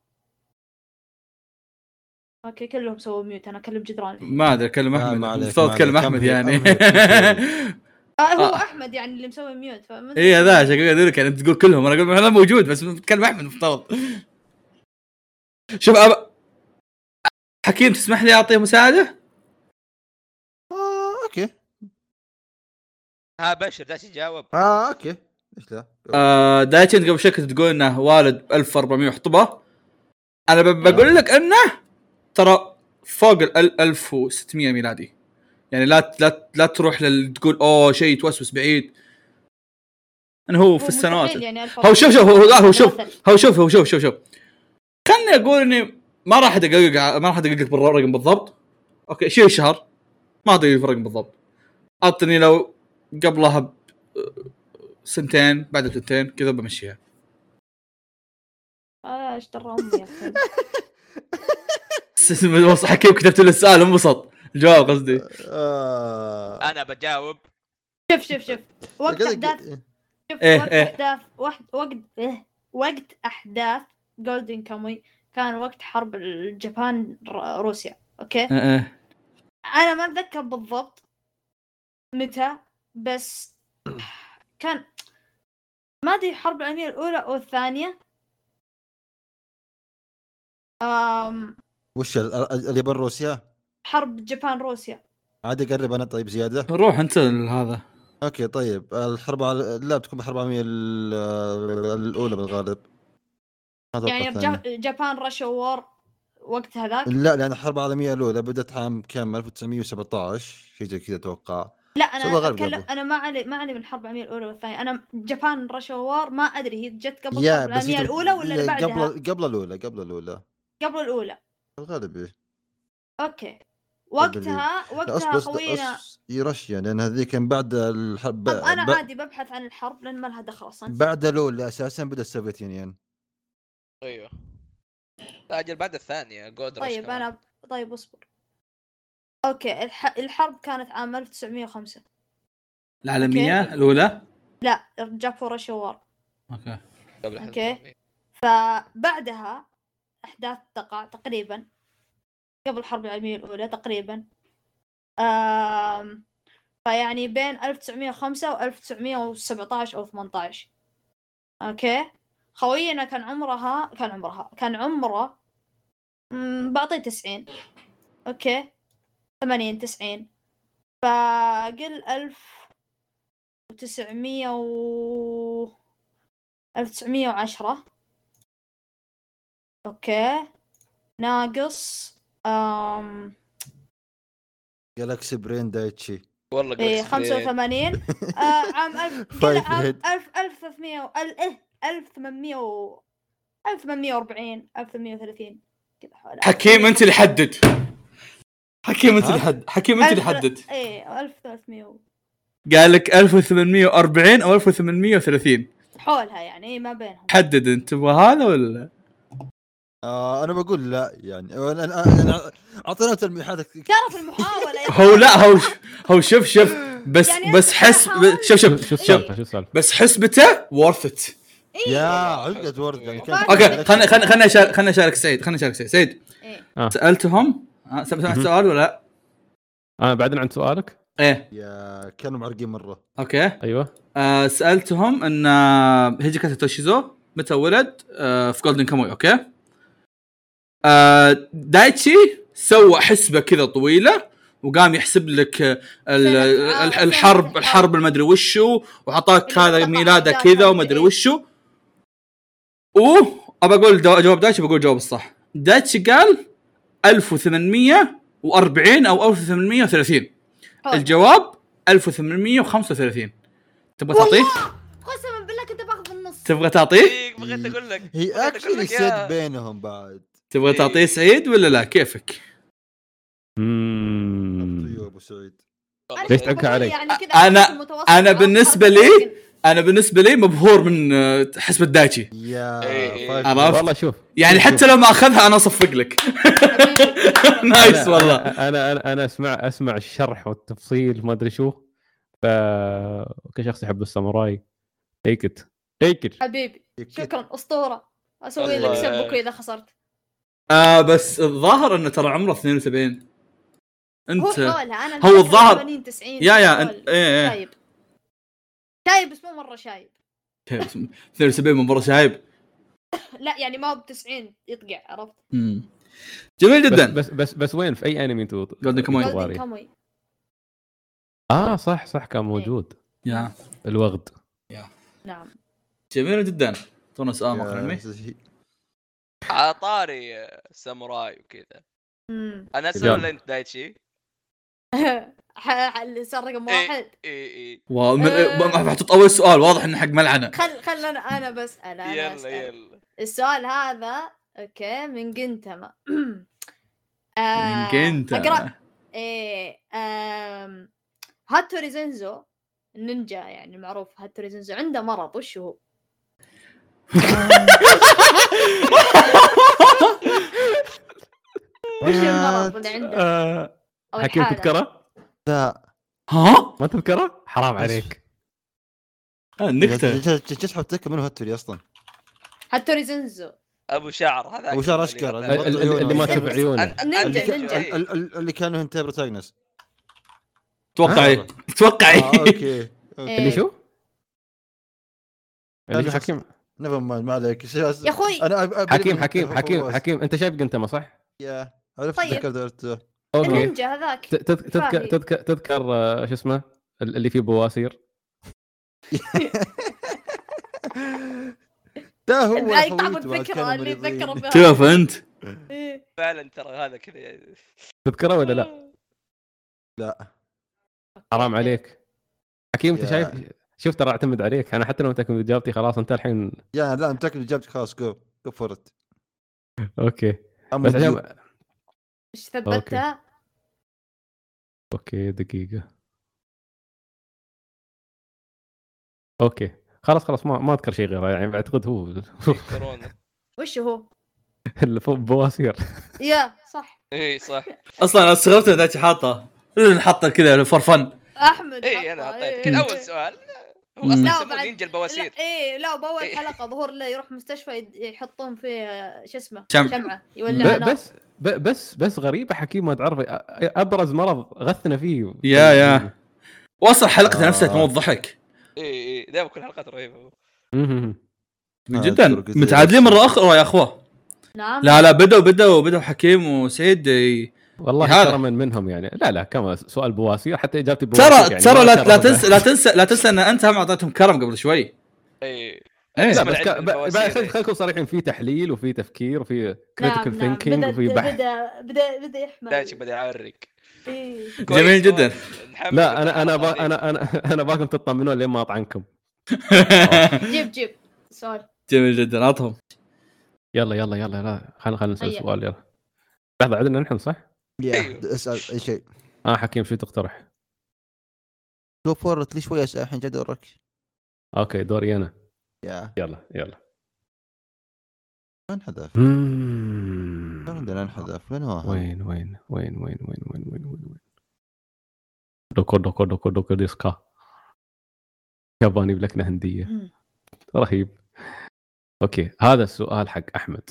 [SPEAKER 3] اوكي كلهم سووا ميوت انا اكلم جدران
[SPEAKER 1] ما ادري اكلم
[SPEAKER 4] لا، ما
[SPEAKER 1] احمد
[SPEAKER 4] عليك،
[SPEAKER 1] صوت
[SPEAKER 4] ما
[SPEAKER 1] كلم
[SPEAKER 4] عليك.
[SPEAKER 1] احمد
[SPEAKER 4] كمل،
[SPEAKER 1] يعني
[SPEAKER 4] كمل.
[SPEAKER 3] آه هو
[SPEAKER 1] آه. إيه،
[SPEAKER 3] احمد يعني اللي مسوي ميوت فما
[SPEAKER 1] اي هذا عشان كذا اقول لك يعني انت تقول كلهم انا اقول انا موجود بس بتكلم احمد مفترض شوف أب... حكيم تسمح لي اعطيه مساعده؟
[SPEAKER 4] آه، اوكي
[SPEAKER 2] ها بشر جالس يجاوب
[SPEAKER 4] اه اوكي ليش لا؟
[SPEAKER 1] آه دايتشن قبل شوي كنت تقول انه والد 1400 حطبه انا ب- بقول لك انه ترى فوق ال 1600 ميلادي يعني لا لا لا تروح لل تقول اوه شيء يتوسوس بعيد انه هو في السنوات
[SPEAKER 3] مستحيل يعني ألف
[SPEAKER 1] هو شوف شوف هو لا هو شوف
[SPEAKER 3] مثلاً.
[SPEAKER 1] هو شوف هو شوف شوف شوف خلني اقول اني ما راح ادقق ع- ما راح ادقق بالرقم بالضبط اوكي شيل شهر ما ادري الرقم بالضبط اعطني لو قبلها ب... سنتين بعد سنتين كذا بمشيها
[SPEAKER 3] آه، ايش درى امي يا اخي
[SPEAKER 1] س- بس حكيم كتبت له السؤال انبسط الجواب قصدي
[SPEAKER 4] آه...
[SPEAKER 2] انا بجاوب
[SPEAKER 3] شوف شوف شوف وقت
[SPEAKER 4] قصدك-
[SPEAKER 3] احداث شوف
[SPEAKER 1] إيه،
[SPEAKER 3] وقت
[SPEAKER 1] إيه.
[SPEAKER 3] احداث واحد وقت إيه. وقت احداث جولدن كاموي كان وقت حرب الجبان ر- روسيا اوكي
[SPEAKER 1] آه، آه.
[SPEAKER 3] انا ما اتذكر بالضبط متى بس كان ما ادري الحرب العالميه الاولى او الثانيه أم
[SPEAKER 4] وش ال- ال- اليابان روسيا؟
[SPEAKER 3] حرب جبان روسيا
[SPEAKER 4] عادي قرب انا طيب زياده
[SPEAKER 1] روح انت هذا
[SPEAKER 4] اوكي طيب الحرب على... لا بتكون بالحرب العالميه ال- الاولى بالغالب ما أتوقع
[SPEAKER 3] يعني
[SPEAKER 4] الثانية.
[SPEAKER 3] جا- جبان رشا وور وقت هذاك
[SPEAKER 4] لا لان الحرب العالميه الاولى بدات عام كم 1917 شيء زي كذا اتوقع
[SPEAKER 3] لا انا
[SPEAKER 4] شغل
[SPEAKER 3] اتكلم
[SPEAKER 4] قبل.
[SPEAKER 3] انا ما علي ما علي من الحرب العالميه الاولى والثانيه انا جبان رشا وور ما ادري هي جت قبل
[SPEAKER 4] يا
[SPEAKER 3] الحرب
[SPEAKER 4] بس
[SPEAKER 3] العالميه
[SPEAKER 4] هي تب-
[SPEAKER 3] الاولى ولا اللي
[SPEAKER 4] لا،
[SPEAKER 3] بعدها قبل,
[SPEAKER 4] قبل قبل الاولى قبل الاولى
[SPEAKER 3] قبل الاولى
[SPEAKER 4] بالغالب إيه.
[SPEAKER 3] اوكي
[SPEAKER 4] قبل
[SPEAKER 3] وقتها
[SPEAKER 4] لا،
[SPEAKER 3] وقتها
[SPEAKER 4] أصبر- أصبر-
[SPEAKER 3] خوينا
[SPEAKER 4] أص- إيه، روسيا لان هذيك كان بعد الحرب
[SPEAKER 3] طب انا
[SPEAKER 4] ب-
[SPEAKER 3] عادي ببحث عن الحرب لان ما لها دخل اصلا
[SPEAKER 4] بعد الاولى اساسا بدا السوفيت يونيون
[SPEAKER 2] ايوه لا اجل بعد الثانيه جود رش
[SPEAKER 3] طيب
[SPEAKER 2] كمان.
[SPEAKER 3] انا طيب اصبر اوكي الح... الحرب كانت عام 1905
[SPEAKER 1] العالميه
[SPEAKER 3] أوكي.
[SPEAKER 1] الاولى
[SPEAKER 3] لا جابوا رشا وور
[SPEAKER 1] اوكي
[SPEAKER 2] قبل الحرب
[SPEAKER 3] أوكي.
[SPEAKER 2] العالمية.
[SPEAKER 3] فبعدها احداث تقع تقريبا قبل الحرب العالميه الاولى تقريبا آم فيعني بين 1905 و 1917 او 18 اوكي خوينا كان عمرها كان عمرها كان عمره مم، بعطيه 90 اوكي 80 90 فقل 1900 و 1910 اوكي ناقص أم...
[SPEAKER 4] جالاكسي برين دايتشي
[SPEAKER 2] والله
[SPEAKER 3] إيه
[SPEAKER 2] قلت
[SPEAKER 3] 85 آه عام 1000
[SPEAKER 1] طيب،
[SPEAKER 4] Five
[SPEAKER 3] عام
[SPEAKER 4] head.
[SPEAKER 3] 1000 1300 و- ال- إيه 1800 و 1840 1830 كذا حوالي
[SPEAKER 1] حكيم انت اللي حدد حكيم انت
[SPEAKER 4] ها؟
[SPEAKER 1] اللي حدد حكيم انت اللي
[SPEAKER 3] ألف-
[SPEAKER 1] حدد
[SPEAKER 3] ايه 1300 و-
[SPEAKER 1] قال لك 1840 او 1830
[SPEAKER 3] حولها يعني إيه ما بينهم
[SPEAKER 1] حدد انت تبغى هذا ولا
[SPEAKER 4] آه انا بقول لا يعني أنا- أنا- أنا- اعطينا تلميحات كثير.
[SPEAKER 3] ترى في المحاولة يا
[SPEAKER 1] هو لا هو هو شوف شوف بس
[SPEAKER 3] يعني
[SPEAKER 1] بس
[SPEAKER 3] أنت
[SPEAKER 1] حس
[SPEAKER 3] حاول.
[SPEAKER 1] شوف شوف
[SPEAKER 5] شوف شو
[SPEAKER 1] شوف
[SPEAKER 5] السالفه شو السالفه
[SPEAKER 1] بس حسبته worth it
[SPEAKER 3] إيه،
[SPEAKER 4] يا
[SPEAKER 2] والله
[SPEAKER 4] عقد
[SPEAKER 2] حسب.
[SPEAKER 4] ورد يعني
[SPEAKER 2] إيه.
[SPEAKER 4] كان-
[SPEAKER 1] اوكي خلنا خلنا خلنا أشار- خلنا اشارك سعيد خلنا اشارك سعيد سعيد
[SPEAKER 3] إيه.
[SPEAKER 1] سالتهم ها، سمعت سمعت
[SPEAKER 5] آه. مهم.
[SPEAKER 1] سؤال ولا لا؟
[SPEAKER 5] انا بعدين عن سؤالك
[SPEAKER 1] ايه
[SPEAKER 4] يا كانوا معرقين مره
[SPEAKER 1] اوكي
[SPEAKER 5] ايوه
[SPEAKER 1] آه، سالتهم ان آه، هيجيكاتا توشيزو متى ولد آه، في جولدن كاموي اوكي آه، دايتشي سوى حسبه كذا طويله وقام يحسب لك آه، ال-
[SPEAKER 3] سنة-
[SPEAKER 1] ال-
[SPEAKER 3] آه،
[SPEAKER 1] الحرب
[SPEAKER 3] سنة-
[SPEAKER 1] الحرب المدري وشو وعطاك
[SPEAKER 3] اللي
[SPEAKER 1] هذا
[SPEAKER 3] طبعاً
[SPEAKER 1] ميلاده
[SPEAKER 3] جاء
[SPEAKER 1] كذا
[SPEAKER 3] كان
[SPEAKER 1] ومدري
[SPEAKER 3] إيه.
[SPEAKER 1] وشو اوه ابى اقول دو- جواب دايتشي بقول جواب الصح دايتشي قال 1840 او 1830
[SPEAKER 3] حولها.
[SPEAKER 1] الجواب 1835 تبغى تعطيه؟
[SPEAKER 3] قسما بالله كنت باخذ النص
[SPEAKER 1] تبغى تعطيه؟
[SPEAKER 2] إيه، بغيت اقول لك
[SPEAKER 4] هي
[SPEAKER 2] بغيت أقول
[SPEAKER 4] اكشلي
[SPEAKER 2] لك
[SPEAKER 4] سيد
[SPEAKER 2] يا-
[SPEAKER 4] بينهم بعد
[SPEAKER 1] تبغى
[SPEAKER 2] إيه.
[SPEAKER 1] تعطيه سعيد ولا لا كيفك؟
[SPEAKER 4] ايوه
[SPEAKER 5] مم.
[SPEAKER 4] ابو طيب سعيد
[SPEAKER 2] والله
[SPEAKER 5] ليش
[SPEAKER 2] سعيد.
[SPEAKER 5] تنكر علي؟
[SPEAKER 3] يعني كذا
[SPEAKER 1] أنا-
[SPEAKER 3] المتوسط
[SPEAKER 1] أنا
[SPEAKER 3] أو
[SPEAKER 1] بالنسبة
[SPEAKER 3] حرب
[SPEAKER 1] لي-
[SPEAKER 3] العالمية.
[SPEAKER 1] انا بالنسبه لي مبهور من آه، حسبه دايتشي
[SPEAKER 4] يا
[SPEAKER 2] إيه، إيه.
[SPEAKER 4] فايف-
[SPEAKER 1] عرفت؟
[SPEAKER 5] والله شوف
[SPEAKER 1] يعني حتى لو ما اخذها انا اصفق لك نايس
[SPEAKER 5] أنا-
[SPEAKER 1] والله
[SPEAKER 5] انا انا انا اسمع اسمع الشرح والتفصيل ما ادري شو ف كشخص يحب الساموراي تيك ات تيك ات
[SPEAKER 3] حبيبي شكرا اسطوره اسوي
[SPEAKER 2] الله
[SPEAKER 3] لك سب
[SPEAKER 2] يعينك.
[SPEAKER 3] بكره اذا خسرت
[SPEAKER 1] آه بس الظاهر انه ترى عمره 72
[SPEAKER 3] هو آه،
[SPEAKER 1] انت
[SPEAKER 3] حولها انا
[SPEAKER 1] هو الظاهر-
[SPEAKER 3] 80 90
[SPEAKER 1] يا يا
[SPEAKER 3] حول.
[SPEAKER 1] انت ايه ايه
[SPEAKER 3] شايب شايب بس مو مره شايب
[SPEAKER 1] كيف اسمه؟ 72 من برا شايب
[SPEAKER 3] لا يعني ما هو ب 90 يطقع عرفت
[SPEAKER 1] مم. جميل
[SPEAKER 5] بس,
[SPEAKER 1] جدا
[SPEAKER 5] بس بس بس وين في اي انمي انتوا
[SPEAKER 1] Golden Kamuy.
[SPEAKER 5] انتوا
[SPEAKER 3] Golden
[SPEAKER 5] طاري؟
[SPEAKER 3] Kamuy.
[SPEAKER 5] آه،
[SPEAKER 3] إيه.
[SPEAKER 5] اه صح صح كان موجود
[SPEAKER 1] يا
[SPEAKER 5] الوغد
[SPEAKER 3] نعم
[SPEAKER 6] جميله جدا تونا
[SPEAKER 1] آه،
[SPEAKER 6] سؤال مقهى
[SPEAKER 4] يا
[SPEAKER 6] انمي
[SPEAKER 4] زي-
[SPEAKER 2] على طاري ساموراي وكذا
[SPEAKER 3] مم.
[SPEAKER 2] انا
[SPEAKER 5] رجال.
[SPEAKER 2] اسال ولا انت دايتشي؟
[SPEAKER 3] ح- ح- اللي صار رقم
[SPEAKER 2] إيه.
[SPEAKER 3] واحد
[SPEAKER 2] اي اي
[SPEAKER 3] آه.
[SPEAKER 6] حطيت اول سؤال واضح انه حق ملعنه
[SPEAKER 3] خل خل انا انا بسال انا
[SPEAKER 2] يلا
[SPEAKER 3] أسأل.
[SPEAKER 2] يلا
[SPEAKER 3] السؤال هذا اوكي من جنتما
[SPEAKER 6] من
[SPEAKER 3] آه، اقرا
[SPEAKER 6] كنت
[SPEAKER 3] ايه آم، هاتوري زنزو النينجا يعني معروف هاتوري زنزو عنده مرض وش هو؟ وش المرض اللي عنده؟
[SPEAKER 5] آه،
[SPEAKER 3] او
[SPEAKER 5] حكيم
[SPEAKER 3] الحالة؟
[SPEAKER 5] تذكره؟
[SPEAKER 4] لا
[SPEAKER 6] ها
[SPEAKER 5] ما تذكره؟ حرام عليك
[SPEAKER 6] آه، نكته
[SPEAKER 4] تسحب تذكر منو هالتوري اصلا
[SPEAKER 3] هاتوري زنزو
[SPEAKER 2] ابو شعر هذا
[SPEAKER 4] أبو شعر أشكر.
[SPEAKER 5] ال- ال- اللي ما
[SPEAKER 3] أنت-
[SPEAKER 5] تشوف عيونه
[SPEAKER 2] أن-
[SPEAKER 3] نينجا،
[SPEAKER 2] أنت-
[SPEAKER 3] نينجا.
[SPEAKER 2] إيه.
[SPEAKER 4] ال- ال- اللي كانوا انت بروتاغنس
[SPEAKER 6] توقعي توقعي
[SPEAKER 4] آه، اوكي
[SPEAKER 3] إيه.
[SPEAKER 5] اللي شو؟ اللي
[SPEAKER 4] هذا
[SPEAKER 5] حكيم
[SPEAKER 4] نيفر مايند ما عليك
[SPEAKER 3] يا اخوي
[SPEAKER 4] انا أب- أب-
[SPEAKER 5] حكيم
[SPEAKER 4] أب-
[SPEAKER 5] حكيم
[SPEAKER 4] أب-
[SPEAKER 5] حكيم
[SPEAKER 4] أب-
[SPEAKER 5] حكيم انت شايف قنتما صح؟
[SPEAKER 4] يا عرفت
[SPEAKER 3] طيب.
[SPEAKER 4] ذكرت عرفت
[SPEAKER 5] اوكي
[SPEAKER 3] النينجا هذاك
[SPEAKER 5] ت- تذك- تذكر
[SPEAKER 3] فاهي.
[SPEAKER 5] تذكر تذكر آه، شو اسمه ال- اللي فيه بواسير
[SPEAKER 4] ده هو
[SPEAKER 3] لا
[SPEAKER 4] أنا
[SPEAKER 3] يقطع
[SPEAKER 4] خويته بعد
[SPEAKER 3] الفكرة
[SPEAKER 4] كانوا
[SPEAKER 3] اللي
[SPEAKER 4] مريضين.
[SPEAKER 3] يتذكر بها
[SPEAKER 6] تعرف انت
[SPEAKER 3] إيه.
[SPEAKER 2] فعلا ترى هذا كذا يعني.
[SPEAKER 5] تذكره ولا لا؟
[SPEAKER 4] لا
[SPEAKER 5] حرام عليك حكيم انت
[SPEAKER 4] يا.
[SPEAKER 5] شايف شوف ترى اعتمد عليك انا حتى لو انت كنت جاوبتي خلاص انت الحين
[SPEAKER 4] يا لا متاكد اجابتك خلاص جو جو فور ات
[SPEAKER 5] اوكي
[SPEAKER 4] اما
[SPEAKER 5] بس
[SPEAKER 4] الديوك-
[SPEAKER 5] عشان
[SPEAKER 3] ايش ثبتها؟
[SPEAKER 5] اوكي دقيقة اوكي خلاص خلاص ما ما اذكر شيء غيره يعني اعتقد هو
[SPEAKER 2] كورونا
[SPEAKER 3] وش هو؟
[SPEAKER 5] البواسير
[SPEAKER 3] يا صح
[SPEAKER 2] اي صح
[SPEAKER 6] اصلا انا استغربت ان دايتشي حاطه حاطه كذا فور فن
[SPEAKER 3] احمد
[SPEAKER 2] اي انا
[SPEAKER 3] حطها،
[SPEAKER 2] اعطيتك
[SPEAKER 3] إيه.
[SPEAKER 2] اول سؤال هو
[SPEAKER 6] لا،
[SPEAKER 2] اصلا يسمونه
[SPEAKER 3] بعد-
[SPEAKER 2] نينجا البواسير
[SPEAKER 3] لا ايه لا باول
[SPEAKER 2] إيه.
[SPEAKER 3] حلقه ظهور له يروح مستشفى يد- يحطون فيه آه، شو اسمه
[SPEAKER 6] شمع.
[SPEAKER 3] شمعه يولع
[SPEAKER 5] ب-
[SPEAKER 3] نار
[SPEAKER 5] بس ب- بس بس غريبة حكيم ما تعرف ابرز مرض غثنا فيه يعني
[SPEAKER 6] يا- يا. واصلا حلقته نفسها
[SPEAKER 4] آه.
[SPEAKER 6] تموت ضحك
[SPEAKER 2] اي اي دائما كل حلقات رهيبه
[SPEAKER 5] مهم.
[SPEAKER 6] من
[SPEAKER 4] آه،
[SPEAKER 6] جدا
[SPEAKER 4] أذكر قلت-
[SPEAKER 6] متعادلين مره اخرى يا اخوه
[SPEAKER 3] نعم
[SPEAKER 6] لا لا بدوا بدوا بدوا حكيم وسعيد ي-
[SPEAKER 5] والله
[SPEAKER 6] هذا.
[SPEAKER 5] ترى من منهم يعني لا لا كما سؤال بواسير حتى اجابتي بواسير
[SPEAKER 6] ترى
[SPEAKER 5] يعني
[SPEAKER 6] ترى
[SPEAKER 5] ما
[SPEAKER 6] لا
[SPEAKER 5] كان
[SPEAKER 6] لا
[SPEAKER 5] رضا.
[SPEAKER 6] تنسى لا تنسى لا تنسى ان انت هم اعطيتهم كرم قبل شوي
[SPEAKER 2] اي
[SPEAKER 6] ايه
[SPEAKER 5] لا
[SPEAKER 2] اسم
[SPEAKER 5] إيه، بس يعني.
[SPEAKER 2] العلم
[SPEAKER 5] كان- ب- ب-
[SPEAKER 2] البواسير،
[SPEAKER 5] عشان خليكم صريحين في تحليل وفي تفكير وفي كريتيكال ثينكينج
[SPEAKER 3] نعم، بدأ-
[SPEAKER 5] وفي بحث
[SPEAKER 3] بدا بدا بدا يحمل
[SPEAKER 2] دايتشي بدا يعرق
[SPEAKER 3] إيه.
[SPEAKER 6] جميل جدا
[SPEAKER 5] لا انا انا با- انا انا انا باكم تطمنون لين ما اطعنكم
[SPEAKER 3] جيب جيب سؤال
[SPEAKER 6] جميل جدا اعطهم
[SPEAKER 5] يلا يلا يلا يلا خلينا خلينا نسال
[SPEAKER 3] هيا.
[SPEAKER 5] سؤال يلا لحظه عدنا نحن صح؟
[SPEAKER 2] أيوه.
[SPEAKER 4] يا اسال اي شيء
[SPEAKER 5] اه حكيم شو تقترح؟
[SPEAKER 4] جو فور ات لي شوي اسال الحين جدورك
[SPEAKER 5] اوكي دوري انا
[SPEAKER 4] يا
[SPEAKER 5] يلا يلا
[SPEAKER 4] انحذف شلون عندنا انحذف من هو هذا؟
[SPEAKER 5] وين وين وين وين وين وين وين وين وين دوكو دوكو دوكو دوكو ديسكا ياباني بلكنه هنديه رهيب اوكي هذا السؤال حق احمد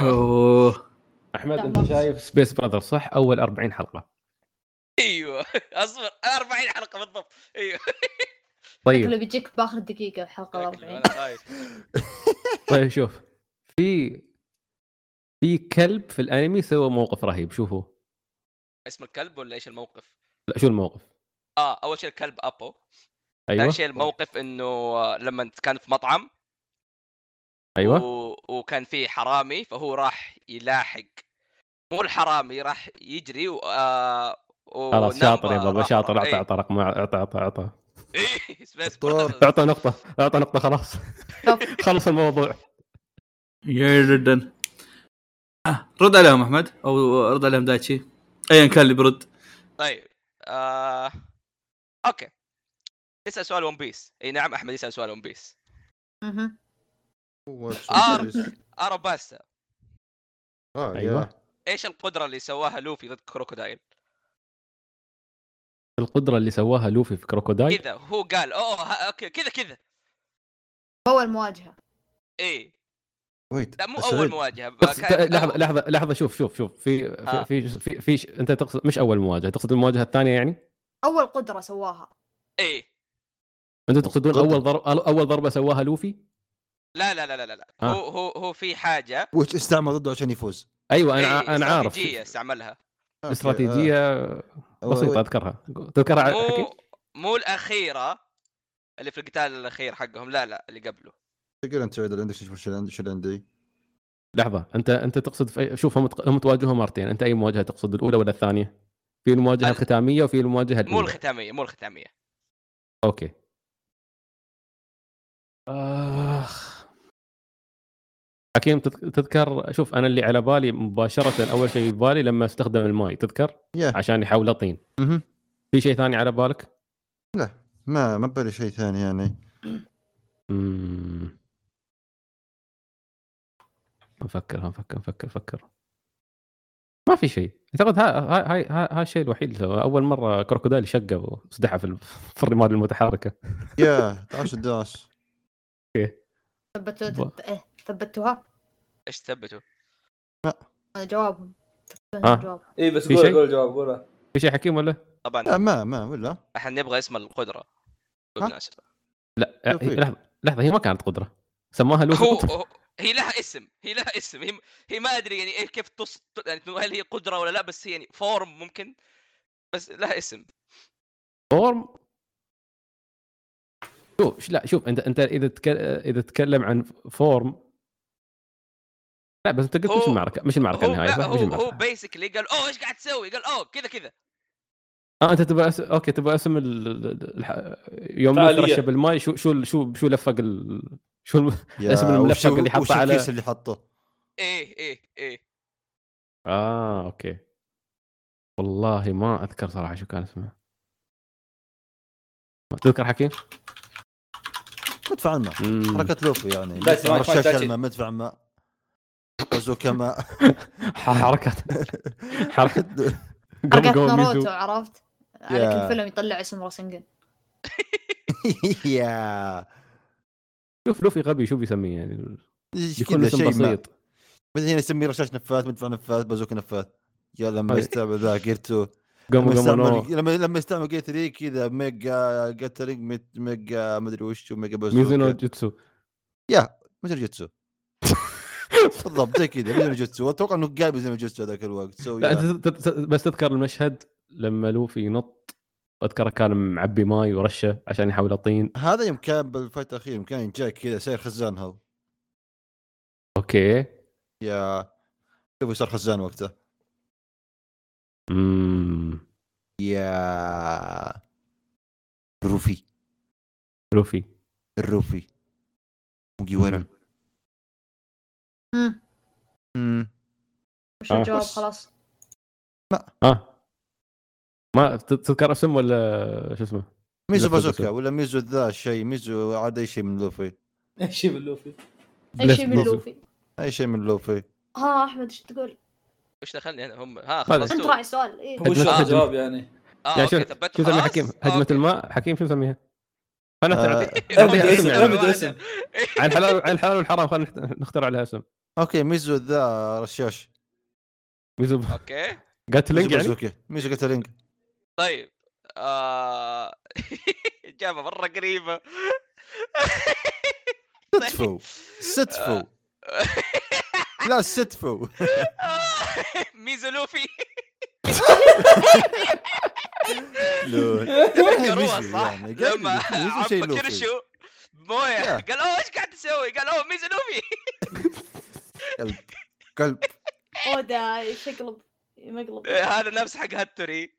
[SPEAKER 6] أوه.
[SPEAKER 5] احمد
[SPEAKER 3] تمام.
[SPEAKER 5] انت شايف سبيس براذر صح اول 40 حلقه
[SPEAKER 2] ايوه اصبر 40 حلقه بالضبط ايوه
[SPEAKER 5] طيب
[SPEAKER 3] شكله بيجيك باخر دقيقه الحلقه 40
[SPEAKER 2] انا خايف
[SPEAKER 5] طيب شوف في في كلب في الانمي سوى موقف رهيب شو هو؟
[SPEAKER 2] اسم الكلب ولا ايش الموقف؟
[SPEAKER 5] لا شو الموقف؟
[SPEAKER 2] اه اول شيء الكلب ابو
[SPEAKER 5] ايوه
[SPEAKER 2] ثاني شيء الموقف انه آه، لما كان في مطعم
[SPEAKER 5] ايوه
[SPEAKER 2] و... وكان في حرامي فهو راح يلاحق مو الحرامي راح يجري و... آه... و...
[SPEAKER 5] خلاص شاطر يا بابا
[SPEAKER 2] رابر.
[SPEAKER 5] شاطر اعطى
[SPEAKER 2] إيه.
[SPEAKER 5] اعطى رقم اعطى اعطى اعطى
[SPEAKER 2] إيه، سبيس
[SPEAKER 4] دكتور.
[SPEAKER 2] براذرز.
[SPEAKER 5] اعطى نقطة اعطى نقطة خلاص
[SPEAKER 3] طب.
[SPEAKER 5] خلص الموضوع
[SPEAKER 6] جميل جدا آه، رد عليهم احمد او رد عليهم دايتشي ايا كان اللي برد
[SPEAKER 2] طيب آه... اوكي تسال سؤال ون بيس اي نعم احمد يسال سؤال ون بيس
[SPEAKER 3] مهم.
[SPEAKER 4] هو شو
[SPEAKER 2] آر.
[SPEAKER 4] بس.
[SPEAKER 2] اراباستا آه.
[SPEAKER 4] اه
[SPEAKER 5] أيوة.
[SPEAKER 4] ايوه
[SPEAKER 2] ايش القدره اللي سواها لوفي ضد كروكودايل
[SPEAKER 5] القدرة اللي سواها لوفي في كروكودايل
[SPEAKER 2] كذا هو قال اوه ها- اوكي كذا كذا
[SPEAKER 3] اول مواجهه
[SPEAKER 2] ايه
[SPEAKER 4] ويت
[SPEAKER 2] لا مو
[SPEAKER 4] سعيد،
[SPEAKER 2] اول مواجهه
[SPEAKER 5] بس ت-
[SPEAKER 2] كان-
[SPEAKER 5] لحظة لحظة لحظة شوف شوف شوف في
[SPEAKER 2] آه.
[SPEAKER 5] في في, في, في انت تقصد مش اول مواجهة تقصد المواجهة الثانية يعني؟
[SPEAKER 3] اول قدره سواها
[SPEAKER 2] ايه
[SPEAKER 5] انتم تقصدون
[SPEAKER 4] قدرة.
[SPEAKER 5] اول ضرب اول ضربة سواها لوفي؟
[SPEAKER 2] لا لا لا لا لا لا
[SPEAKER 5] آه.
[SPEAKER 2] هو هو هو في حاجه
[SPEAKER 4] ويت استعمل ضده عشان يفوز
[SPEAKER 5] ايوه انا
[SPEAKER 2] إيه،
[SPEAKER 5] ع- انا عارف
[SPEAKER 2] استراتيجيه استعملها
[SPEAKER 4] أوكي،
[SPEAKER 5] استراتيجية
[SPEAKER 4] آه.
[SPEAKER 5] بسيطة
[SPEAKER 4] ويت.
[SPEAKER 5] اذكرها تذكرها حكيم؟
[SPEAKER 2] مو مو الاخيره اللي في القتال الاخير حقهم لا لا اللي قبله
[SPEAKER 4] تقول انت سعيد اللي عندك شو شو اللي عندي- شو اللي عندي
[SPEAKER 5] لحظه انت انت تقصد في أي... شوف هم تق- هم تواجهوا مرتين انت اي مواجهه تقصد الاولى ولا الثانيه؟ في المواجهه
[SPEAKER 2] ال-
[SPEAKER 5] الختاميه وفي المواجهه
[SPEAKER 2] مو
[SPEAKER 5] الاولى
[SPEAKER 2] الختاميه مو الختاميه
[SPEAKER 5] اوكي اخ حكيم تذك- تذكر شوف انا اللي على بالي مباشره اول شيء ببالي لما استخدم الماي تذكر
[SPEAKER 4] Yeah.
[SPEAKER 5] عشان يحوله طين
[SPEAKER 4] مهم.
[SPEAKER 5] في شيء ثاني على بالك؟
[SPEAKER 4] ما ما ببالي شيء ثاني يعني
[SPEAKER 5] مم. نفكر نفكر نفكر نفكر ما في شيء اعتقد ها- هاي هاي هاي- هاي الشيء الوحيد اللي سواه. اول مره كروكودايل شقه وسدحه في ال- في الرمال المتحركه
[SPEAKER 4] يا تعاش الداس
[SPEAKER 3] ثبتوا
[SPEAKER 5] ب-
[SPEAKER 3] ثب- إيه، ثبتوها
[SPEAKER 2] ايش ثبته؟
[SPEAKER 3] هذا جوابهم
[SPEAKER 5] آه.
[SPEAKER 3] جواب
[SPEAKER 6] إيه،
[SPEAKER 1] اي بس
[SPEAKER 5] في
[SPEAKER 1] قول
[SPEAKER 5] شيء؟
[SPEAKER 1] قول جواب قول
[SPEAKER 5] في شيء حكيم ولا؟
[SPEAKER 2] طبعا
[SPEAKER 4] لا ما ما ولا
[SPEAKER 2] احنا نبغى اسم القدره
[SPEAKER 4] نعم. ها؟
[SPEAKER 2] بالمناسبه
[SPEAKER 5] لا
[SPEAKER 4] شوف
[SPEAKER 5] هي-
[SPEAKER 4] إيه.
[SPEAKER 5] لحظه لحظه هي ما كانت قدره سماها لوفي
[SPEAKER 2] هو
[SPEAKER 5] قطب
[SPEAKER 2] هو- هي لها اسم هي لها اسم هي, هي ما ادري يعني إيه كيف تص يعني هل هي قدره ولا لا بس هي يعني فورم ممكن بس لها اسم
[SPEAKER 5] فورم شوف ش- لا شوف انت انت اذا تك... اذا تتكلم عن فورم لا بس انت قلت مش
[SPEAKER 2] هو-
[SPEAKER 5] المعركه مش المعركه
[SPEAKER 2] هو
[SPEAKER 5] النهائيه
[SPEAKER 2] لا
[SPEAKER 5] صح؟ مش
[SPEAKER 2] هو هو
[SPEAKER 5] المعركه
[SPEAKER 2] بيسكلي قال اوه ايش قاعد تسوي؟ قال اوه كذا كذا
[SPEAKER 5] اه انت تبغى أس... اوكي تبغى اسم ال... ال- الح... يوم
[SPEAKER 1] فعالية.
[SPEAKER 5] ترشب بالماء شو شو شو شو لفق ال... شو الم...
[SPEAKER 4] يا
[SPEAKER 5] اسم الملفق
[SPEAKER 4] وشو-
[SPEAKER 5] اللي حطه
[SPEAKER 4] وشو
[SPEAKER 5] على-
[SPEAKER 4] الكيس اللي حطه
[SPEAKER 2] ايه ايه ايه
[SPEAKER 5] اه اوكي والله ما اذكر صراحه شو كان اسمه ما تذكر حكيم؟
[SPEAKER 4] مدفع الماء
[SPEAKER 5] مم.
[SPEAKER 4] حركه لوفي يعني
[SPEAKER 1] بس ما- ما
[SPEAKER 4] رشاش
[SPEAKER 1] تحتاج-
[SPEAKER 4] الماء مدفع ماء بازوكا ماء
[SPEAKER 5] حركه حركه
[SPEAKER 3] حركات
[SPEAKER 5] قوم قوم ميزو.
[SPEAKER 3] ناروتو عرفت؟ على
[SPEAKER 4] يا.
[SPEAKER 3] كل فيلم يطلع اسم راسنجن
[SPEAKER 4] يا
[SPEAKER 5] شوف لوفي غبي شو بيسميه يعني
[SPEAKER 4] إيش
[SPEAKER 5] يكون
[SPEAKER 4] كذا
[SPEAKER 5] اسم
[SPEAKER 4] شيء ما
[SPEAKER 5] بسيط
[SPEAKER 4] بعدين يسميه رشاش نفات مدفع نفات بازوكا نفات يا لما
[SPEAKER 5] هاي.
[SPEAKER 4] يستعمل ذا جير 2
[SPEAKER 5] قوم
[SPEAKER 4] لما
[SPEAKER 5] قوم نو
[SPEAKER 4] يستعمل لما لما يستعمل جير 3 كذا ميجا جاترينج ميت- ميجا مدري وش ميجا
[SPEAKER 5] ميزونو
[SPEAKER 4] بازوكا
[SPEAKER 5] جوتسو
[SPEAKER 4] طيب. ميزونو جوتسو بالضبط زي كذا ميزونو جوتسو اتوقع انه قاعد ميزونو جوتسو ذاك الوقت سو
[SPEAKER 5] لا
[SPEAKER 4] يا.
[SPEAKER 5] أنت تت- تت- بس تذكر المشهد لما لوفي ينط اذكره كان معبي ماي ورشه عشان يحاول طين
[SPEAKER 4] هذا يوم كان بالفايت الاخير يوم كان جاي كذا صاير خزان هو
[SPEAKER 5] اوكي
[SPEAKER 4] يا شوف صار خزان وقته
[SPEAKER 5] امم
[SPEAKER 4] يا الروفي
[SPEAKER 5] لوفي
[SPEAKER 4] الروفي مجيورا
[SPEAKER 5] مم.
[SPEAKER 3] مم. وش
[SPEAKER 5] آه.
[SPEAKER 3] الجواب
[SPEAKER 4] بس.
[SPEAKER 3] خلاص
[SPEAKER 5] اه ما تت- تذكر اسم ولا شو اسمه؟
[SPEAKER 4] ميزو
[SPEAKER 5] لفت
[SPEAKER 4] بازوكا
[SPEAKER 5] بسوي.
[SPEAKER 4] ولا ميزو ذا شيء ميزو عاد اي شيء من لوفي
[SPEAKER 1] ايش شي باللوفي
[SPEAKER 3] اي شيء من
[SPEAKER 5] بلف-
[SPEAKER 3] لوفي
[SPEAKER 4] اي شيء من لوفي
[SPEAKER 3] ها احمد ايش تقول؟
[SPEAKER 2] وش دخلني انا هم ها
[SPEAKER 5] ما أدري.
[SPEAKER 2] خلصتوا
[SPEAKER 3] انت راعي السؤال إيه. اي
[SPEAKER 1] وش
[SPEAKER 5] هجمة-
[SPEAKER 1] الجواب يعني؟
[SPEAKER 2] اه
[SPEAKER 5] يعني
[SPEAKER 2] اوكي
[SPEAKER 5] شوف
[SPEAKER 2] ثبتوا
[SPEAKER 5] يعني شو اسمها
[SPEAKER 2] خلاص
[SPEAKER 5] حكيم هجمه
[SPEAKER 2] آه، أوكي.
[SPEAKER 5] الماء حكيم شو نسميها؟ خلنا
[SPEAKER 4] آه،
[SPEAKER 5] نعطي-
[SPEAKER 1] ابدا
[SPEAKER 5] نعطيها
[SPEAKER 1] اسم
[SPEAKER 5] اسم يعني.
[SPEAKER 1] ابدا اسم
[SPEAKER 5] عن حلال عن حلال والحرام خلينا نخت- نخترع لها اسم
[SPEAKER 4] اوكي آه، ميزو ذا رشاش
[SPEAKER 5] ميزو
[SPEAKER 2] اوكي
[SPEAKER 5] قاتلينج
[SPEAKER 4] ميزو
[SPEAKER 5] يعني
[SPEAKER 4] بازوكا ميزو قتلينج
[SPEAKER 2] طيب آه... اجابه مره قريبه
[SPEAKER 4] ستفو ستفو لا ستفو
[SPEAKER 2] ميزو لوفي
[SPEAKER 4] لول
[SPEAKER 2] تذكروها
[SPEAKER 4] ميزو
[SPEAKER 2] صح؟
[SPEAKER 4] إيه، يعني، قال
[SPEAKER 2] لما
[SPEAKER 4] ميزو- ميزو شيء
[SPEAKER 2] عم
[SPEAKER 4] لوفي.
[SPEAKER 2] كرشو مويه
[SPEAKER 4] Yeah.
[SPEAKER 2] قال اوه ايش قاعد تسوي؟ قال اوه ميزو لوفي
[SPEAKER 4] قلب قلب
[SPEAKER 3] اودا يقلب مقلب
[SPEAKER 2] إيه، هذا نفس حق هاتوري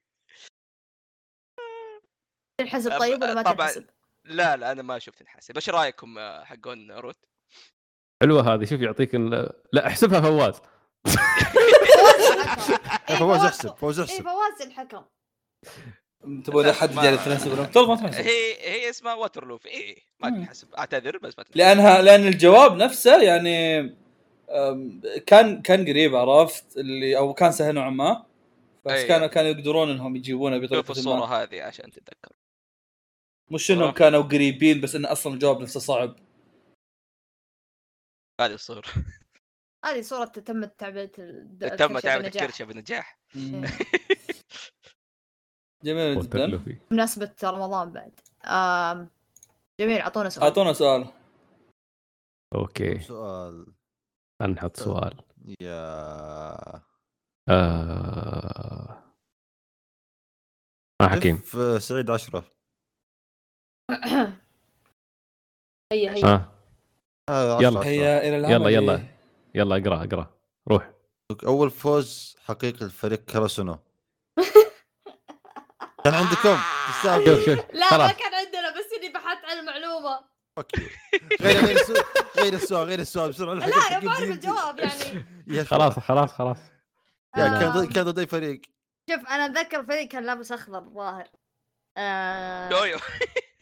[SPEAKER 3] تنحسب طيب ولا ما
[SPEAKER 2] طبعاً.
[SPEAKER 3] تنحسب؟
[SPEAKER 2] لا لا انا ما شفت الحاسب ايش رايكم آه، حقون ناروت؟
[SPEAKER 5] حلوه هذه شوف يعطيك ال- لا احسبها فواز
[SPEAKER 4] يا إيه، فواز احسب فواز
[SPEAKER 3] اي
[SPEAKER 4] احسب
[SPEAKER 3] إيه، فواز الحكم
[SPEAKER 1] تبون احد
[SPEAKER 2] ما-
[SPEAKER 1] جالس تناسب الرقم؟ طول ما تناسب
[SPEAKER 2] هي هي اسمها واتر لوفي اي ما
[SPEAKER 1] مم.
[SPEAKER 2] تنحسب اعتذر بس ما تنحسب
[SPEAKER 1] لانها لان الجواب نفسه يعني أم، كان كان قريب عرفت اللي او كان سهل نوعا ما بس
[SPEAKER 2] أي.
[SPEAKER 1] كانوا كانوا يقدرون انهم يجيبونه
[SPEAKER 2] شوف
[SPEAKER 1] بطريقه
[SPEAKER 2] الصوره
[SPEAKER 1] ما
[SPEAKER 2] هذه عشان تتذكر
[SPEAKER 1] مش انهم
[SPEAKER 2] صراحة.
[SPEAKER 1] كانوا قريبين بس انه اصلا الجواب نفسه صعب
[SPEAKER 2] هذه الصوره
[SPEAKER 3] هذه صورة تم تعبئة الد-
[SPEAKER 2] تم
[SPEAKER 3] الكرشة
[SPEAKER 2] تعمل
[SPEAKER 3] بنجاح.
[SPEAKER 2] الكرشه بنجاح
[SPEAKER 1] مم.
[SPEAKER 3] إيه.
[SPEAKER 1] جميل جدا
[SPEAKER 5] لوفي.
[SPEAKER 3] بمناسبة رمضان بعد آم، جميل اعطونا سؤال
[SPEAKER 1] اعطونا سؤال
[SPEAKER 5] اوكي
[SPEAKER 4] سؤال
[SPEAKER 5] خلينا نحط سؤال
[SPEAKER 4] يا
[SPEAKER 5] آه... آه حكيم
[SPEAKER 4] كيف سعيد عشرة
[SPEAKER 3] هي هي
[SPEAKER 5] آه.
[SPEAKER 4] آه،
[SPEAKER 5] يلا.
[SPEAKER 4] عشرة، عشرة.
[SPEAKER 6] هيا الى العمل
[SPEAKER 5] يلا، يلا. يلا اقرا اقرا روح
[SPEAKER 4] اول فوز حقيقي لفريق كراسونو كان عندكم
[SPEAKER 5] شوف
[SPEAKER 4] تستاهل
[SPEAKER 5] شوف
[SPEAKER 3] لا ما
[SPEAKER 5] خلاص.
[SPEAKER 3] كان عندنا بس اني بحثت على المعلومه
[SPEAKER 4] أوكي. غير غير السؤال غير السؤال غير السؤال بسرعه
[SPEAKER 3] لا انا بعرف الجواب يعني
[SPEAKER 4] يا شباب.
[SPEAKER 5] خلاص خلاص خلاص
[SPEAKER 4] يا
[SPEAKER 3] آه.
[SPEAKER 4] كان ضد- كان ضد اي فريق
[SPEAKER 3] شوف انا اتذكر فريق كان لابس اخضر ظاهر آه...
[SPEAKER 2] يويو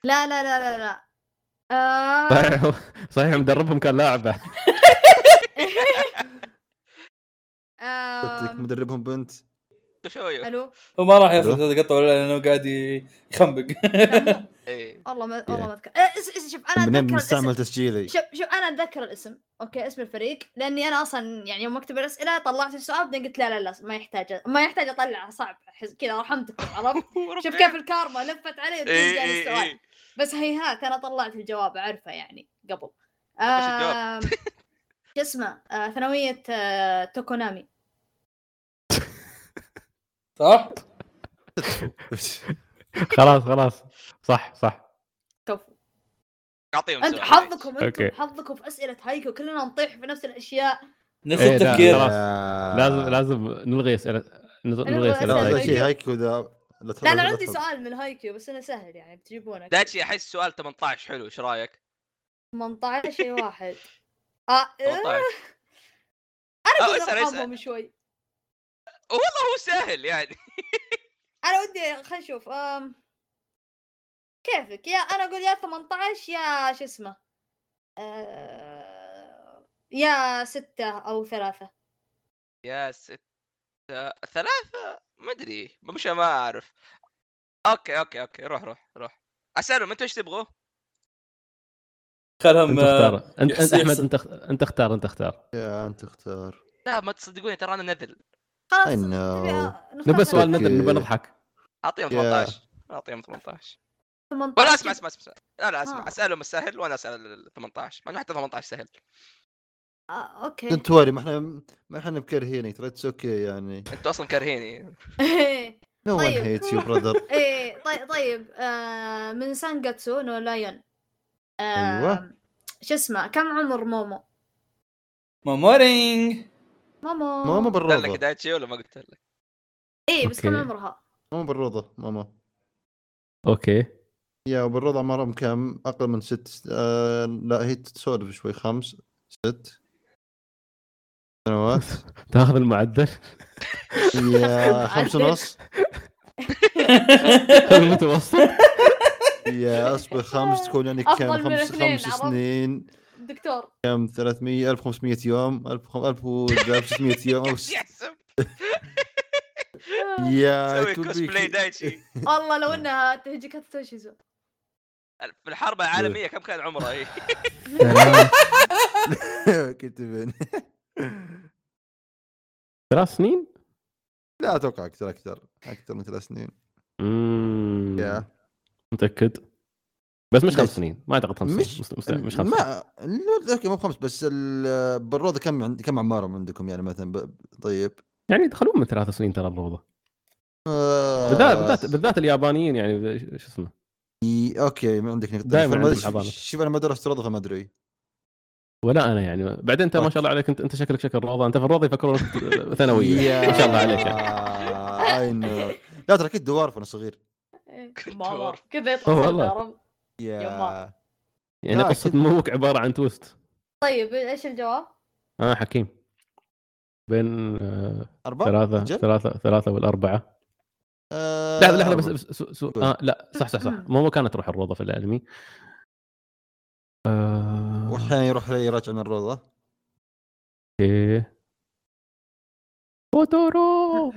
[SPEAKER 3] لا لا لا لا لا آه...
[SPEAKER 5] صحيح صحيح مدربهم كان لاعب بعد.
[SPEAKER 4] قلت لك
[SPEAKER 3] آه...
[SPEAKER 4] مدربهم بنت
[SPEAKER 2] شويو
[SPEAKER 3] الو
[SPEAKER 6] وما راح ياخذ هذا القطه ولا لانه قاعد يخنبق
[SPEAKER 2] إيه.
[SPEAKER 3] والله ما والله ما اذكر آه، اس- اس- شوف انا
[SPEAKER 4] منين
[SPEAKER 3] اتذكر الاسم
[SPEAKER 4] مستعمل تسجيلي
[SPEAKER 3] شوف شوف انا اتذكر الاسم اوكي اسم الفريق لاني انا اصلا يعني يوم اكتب الاسئله طلعت السؤال بعدين قلت لا لا لا ما يحتاج ما يحتاج اطلع صعب أحس- كذا رحمتكم عرفت شوف كيف الكارما لفت علي
[SPEAKER 2] إيه،
[SPEAKER 3] وتجي
[SPEAKER 2] إيه،
[SPEAKER 3] السؤال
[SPEAKER 2] إيه.
[SPEAKER 3] بس هيهات انا طلعت الجواب اعرفه يعني قبل
[SPEAKER 2] إيش الجواب؟
[SPEAKER 3] آم، شو اسمه آه، ثانويه آه، توكونامي
[SPEAKER 6] صح؟
[SPEAKER 5] خلاص خلاص صح صح
[SPEAKER 3] كفو
[SPEAKER 2] اعطيهم
[SPEAKER 3] انت
[SPEAKER 2] سؤال.
[SPEAKER 3] حظكم انتم
[SPEAKER 5] أوكي.
[SPEAKER 3] حظكم في اسئله هايكو كلنا نطيح في نفس الاشياء
[SPEAKER 6] نفس
[SPEAKER 5] إيه، لا،
[SPEAKER 6] التفكير
[SPEAKER 5] خلاص.
[SPEAKER 4] آه.
[SPEAKER 5] لازم لازم نلغي اسئله نلغي
[SPEAKER 3] أسئلة.
[SPEAKER 4] لا
[SPEAKER 5] اسئله
[SPEAKER 4] شيء هايكو ذا
[SPEAKER 3] لا انا عندي سؤال من الهايكيو بس انه سهل يعني بتجيبونه أكيد.
[SPEAKER 2] داتشي احس سؤال 18 حلو ايش رايك؟
[SPEAKER 3] 18 شيء واحد اه إيه،
[SPEAKER 2] 18
[SPEAKER 3] انا
[SPEAKER 2] آه،
[SPEAKER 3] كنت
[SPEAKER 2] اسأل، اسأل.
[SPEAKER 3] ارقامهم شوي
[SPEAKER 2] والله هو سهل يعني
[SPEAKER 3] انا ودي خلينا نشوف أم... كيفك يا انا اقول يا 18 يا شو اسمه أه... يا ستة او ثلاثة
[SPEAKER 2] يا ستة ثلاثة ما ادري مش ما اعرف اوكي اوكي اوكي روح روح روح اسالهم انتوا ايش تبغوا؟
[SPEAKER 6] خلهم
[SPEAKER 5] انت اختار أنت- انت
[SPEAKER 6] يحسن-
[SPEAKER 5] احمد انت اخت- انت اختار انت اختار
[SPEAKER 4] انت اختار
[SPEAKER 2] لا ما تصدقوني ترى انا نذل
[SPEAKER 3] خلاص
[SPEAKER 4] I
[SPEAKER 3] تبي- آه،
[SPEAKER 4] know.
[SPEAKER 3] نختار
[SPEAKER 5] نبى سؤال
[SPEAKER 4] أوكي.
[SPEAKER 5] ندري نبى نضحك
[SPEAKER 2] اعطيهم
[SPEAKER 4] Yeah.
[SPEAKER 2] 18 اعطيهم 18
[SPEAKER 3] 18.
[SPEAKER 2] ولا اسمع اسمع اسمع لا لا اسمع
[SPEAKER 3] آه.
[SPEAKER 2] اسالهم السهل وانا اسال ال 18 ما حتى 18 سهل
[SPEAKER 3] آه، اوكي
[SPEAKER 4] دونت وري ما احنا ما احنا مكرهينك ترى اتس اوكي يعني
[SPEAKER 2] انتوا اصلا كارهيني
[SPEAKER 4] نو ون
[SPEAKER 3] طيب.
[SPEAKER 4] هيت يو براذر
[SPEAKER 3] ايه طيب طيب آه، من سانجاتسو نو لايون آه،
[SPEAKER 4] أيوة.
[SPEAKER 3] شو اسمه كم عمر مومو
[SPEAKER 6] مامورينج
[SPEAKER 3] مومو
[SPEAKER 4] ماما
[SPEAKER 2] قلت لك
[SPEAKER 4] بالروضه
[SPEAKER 2] دايتشي ولا ما قلت لك؟
[SPEAKER 3] ايه بس كم
[SPEAKER 5] أوكي.
[SPEAKER 3] عمرها
[SPEAKER 4] ماما بالروضه ماما
[SPEAKER 5] اوكي
[SPEAKER 4] يا وبالروضه عمرهم كم اقل من ست آه لا هي تسولف شوي خمس ست سنوات
[SPEAKER 5] تاخذ المعدل
[SPEAKER 4] يا خمس ونص
[SPEAKER 5] المتوسط
[SPEAKER 4] يا اصبر خمس تكون يعني
[SPEAKER 3] أفضل
[SPEAKER 4] كم
[SPEAKER 3] من
[SPEAKER 4] خمس
[SPEAKER 3] الاثنين،
[SPEAKER 4] خمس
[SPEAKER 3] عرفت؟
[SPEAKER 4] سنين
[SPEAKER 3] دكتور
[SPEAKER 4] كم 300 1500 يوم 1000 1600 يوم
[SPEAKER 2] يحسب
[SPEAKER 4] يا
[SPEAKER 2] سوي
[SPEAKER 4] it would be
[SPEAKER 2] كوسبلاي
[SPEAKER 4] cute.
[SPEAKER 2] دايتشي
[SPEAKER 3] والله لو انها تهجك هتسوشيزو
[SPEAKER 2] في الحرب العالميه كم كان عمره إيه. هي؟
[SPEAKER 4] كتبين
[SPEAKER 5] ثلاث سنين؟
[SPEAKER 4] لا اتوقع اكثر اكثر اكثر من ثلاث سنين
[SPEAKER 5] مم.
[SPEAKER 4] يا
[SPEAKER 5] متاكد بس مش
[SPEAKER 4] ليش؟
[SPEAKER 5] خمس سنين ما اعتقد خمس
[SPEAKER 4] مش
[SPEAKER 5] سنين مست- مست- مش خمس سنين
[SPEAKER 4] ما لا، اوكي مو بخمس بس ال- بالروضه كم عند كم عمارهم عندكم يعني مثلا ب... طيب
[SPEAKER 5] يعني يدخلون من ثلاث سنين ترى الروضه
[SPEAKER 4] آه،
[SPEAKER 5] بالذات بالذات بالذات اليابانيين يعني شو اسمه
[SPEAKER 4] ي- اوكي ما عندك نقطه
[SPEAKER 5] دايماً
[SPEAKER 4] فما-
[SPEAKER 5] عندهم حضانة.
[SPEAKER 4] شوف انا ما درست روضه فما ادري
[SPEAKER 5] ولا انا يعني بعدين انت ما شاء الله عليك انت انت شكلك شكل روضه انت في الروضه يفكرونك ثانويه
[SPEAKER 4] يا-
[SPEAKER 5] ان شاء الله عليك يعني.
[SPEAKER 4] I
[SPEAKER 3] إيه.
[SPEAKER 4] know. لا ترى كنت دوار وانا صغير
[SPEAKER 3] ماما
[SPEAKER 2] دكتور.
[SPEAKER 3] كذا يطلع
[SPEAKER 5] أوه،
[SPEAKER 3] صوت
[SPEAKER 5] والله.
[SPEAKER 3] الهرم.
[SPEAKER 4] يا
[SPEAKER 3] يما.
[SPEAKER 5] يعني
[SPEAKER 4] لا،
[SPEAKER 5] قصه
[SPEAKER 4] أكيد.
[SPEAKER 5] موك عباره عن تويست
[SPEAKER 3] طيب ايش الجواب؟
[SPEAKER 5] اه حكيم بين آه،
[SPEAKER 4] اربعه
[SPEAKER 5] ثلاثة
[SPEAKER 4] أجل؟
[SPEAKER 5] ثلاثة ثلاثة والأربعة
[SPEAKER 4] آه،
[SPEAKER 5] لحظة لحظة بس
[SPEAKER 4] أربعة.
[SPEAKER 5] بس- سو سو آه لا صح صح صح مو مو كانت تروح الروضة في الأنمي آه،
[SPEAKER 4] واحيانا يروح لي يراجع من الروضه
[SPEAKER 5] اوكي بودورو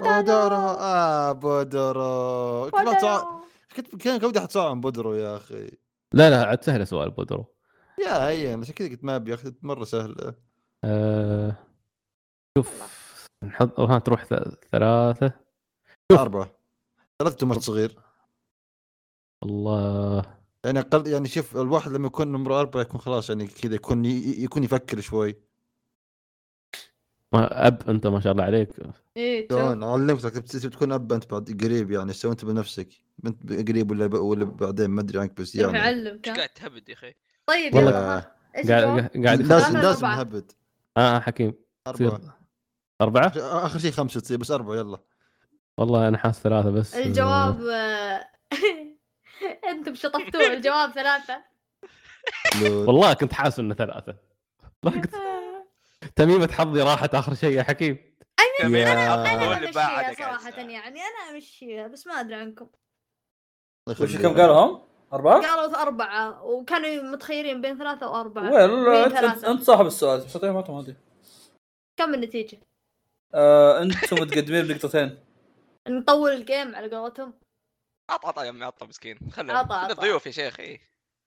[SPEAKER 4] بودرو اه بودرو كنت بطلع- كنت كان كنت بدي احد بودرو يا اخي
[SPEAKER 5] لا لا عاد سهلة سؤال بودورو
[SPEAKER 4] يا هي عشان كذا قلت ما ابي اخذ مره سهله
[SPEAKER 5] آه، شوف نحط ها تروح ث- ثلاثة شوف.
[SPEAKER 4] اربعه ثلاثة مرة صغير
[SPEAKER 5] الله
[SPEAKER 4] يعني اقل يعني شوف الواحد لما يكون عمره اربعه يكون خلاص يعني كذا يكون ي- يكون يفكر شوي
[SPEAKER 5] ما أب أنت ما شاء الله عليك
[SPEAKER 3] ايه شوف.
[SPEAKER 4] شلون علمتك بت- بتكون اب انت بعد قريب يعني سوي انت بنفسك بنت قريب ولا ب... ولا بعدين ما ادري عنك بس
[SPEAKER 3] روح
[SPEAKER 4] يعني
[SPEAKER 3] يعلم
[SPEAKER 2] ايش
[SPEAKER 3] كان
[SPEAKER 2] قاعد تهبد يا اخي
[SPEAKER 3] طيب
[SPEAKER 5] والله
[SPEAKER 3] يلا ايش
[SPEAKER 5] قاعد
[SPEAKER 3] الجواب؟
[SPEAKER 5] قاعد
[SPEAKER 4] لازم
[SPEAKER 3] أربعة.
[SPEAKER 4] لازم نهبد
[SPEAKER 5] اه حكيم تصير
[SPEAKER 4] اربعه
[SPEAKER 5] اربعه؟
[SPEAKER 4] اخر شيء خمسه تصير بس اربعه يلا
[SPEAKER 5] والله انا حاسس ثلاثه بس
[SPEAKER 3] الجواب آه، انتم شطحتوه الجواب ثلاثة
[SPEAKER 4] لول.
[SPEAKER 5] والله كنت حاسس انه ثلاثه والله كنت تميمه حظي راحت اخر شي يا حكيم
[SPEAKER 3] انا
[SPEAKER 2] هو اللي
[SPEAKER 3] بمشيها
[SPEAKER 2] باعدك يا
[SPEAKER 3] صراحة
[SPEAKER 2] زلمة.
[SPEAKER 3] يعني انا امشيها بس ما ادري عنكم
[SPEAKER 4] الله
[SPEAKER 6] وش
[SPEAKER 4] يخليك.
[SPEAKER 6] كم قالوا هم؟
[SPEAKER 1] أه؟
[SPEAKER 6] أربعة؟
[SPEAKER 3] قالوا أربعة وكانوا متخيرين بين ثلاثة وأربعة
[SPEAKER 6] ويل
[SPEAKER 3] مين
[SPEAKER 6] أنت-
[SPEAKER 3] ثلاثة؟
[SPEAKER 6] أنت صاحب السؤال بس أعطيهم رقم عادي.
[SPEAKER 3] كم النتيجة؟
[SPEAKER 6] آه، أنتم متقدمين بنقطتين
[SPEAKER 3] نطول الجيم على قولتهم
[SPEAKER 2] عطى عطى طيب، يا عمي عطى مسكين خلنا
[SPEAKER 3] عطى،
[SPEAKER 2] خلنا
[SPEAKER 3] عطى.
[SPEAKER 2] ضيوف يا شيخ اي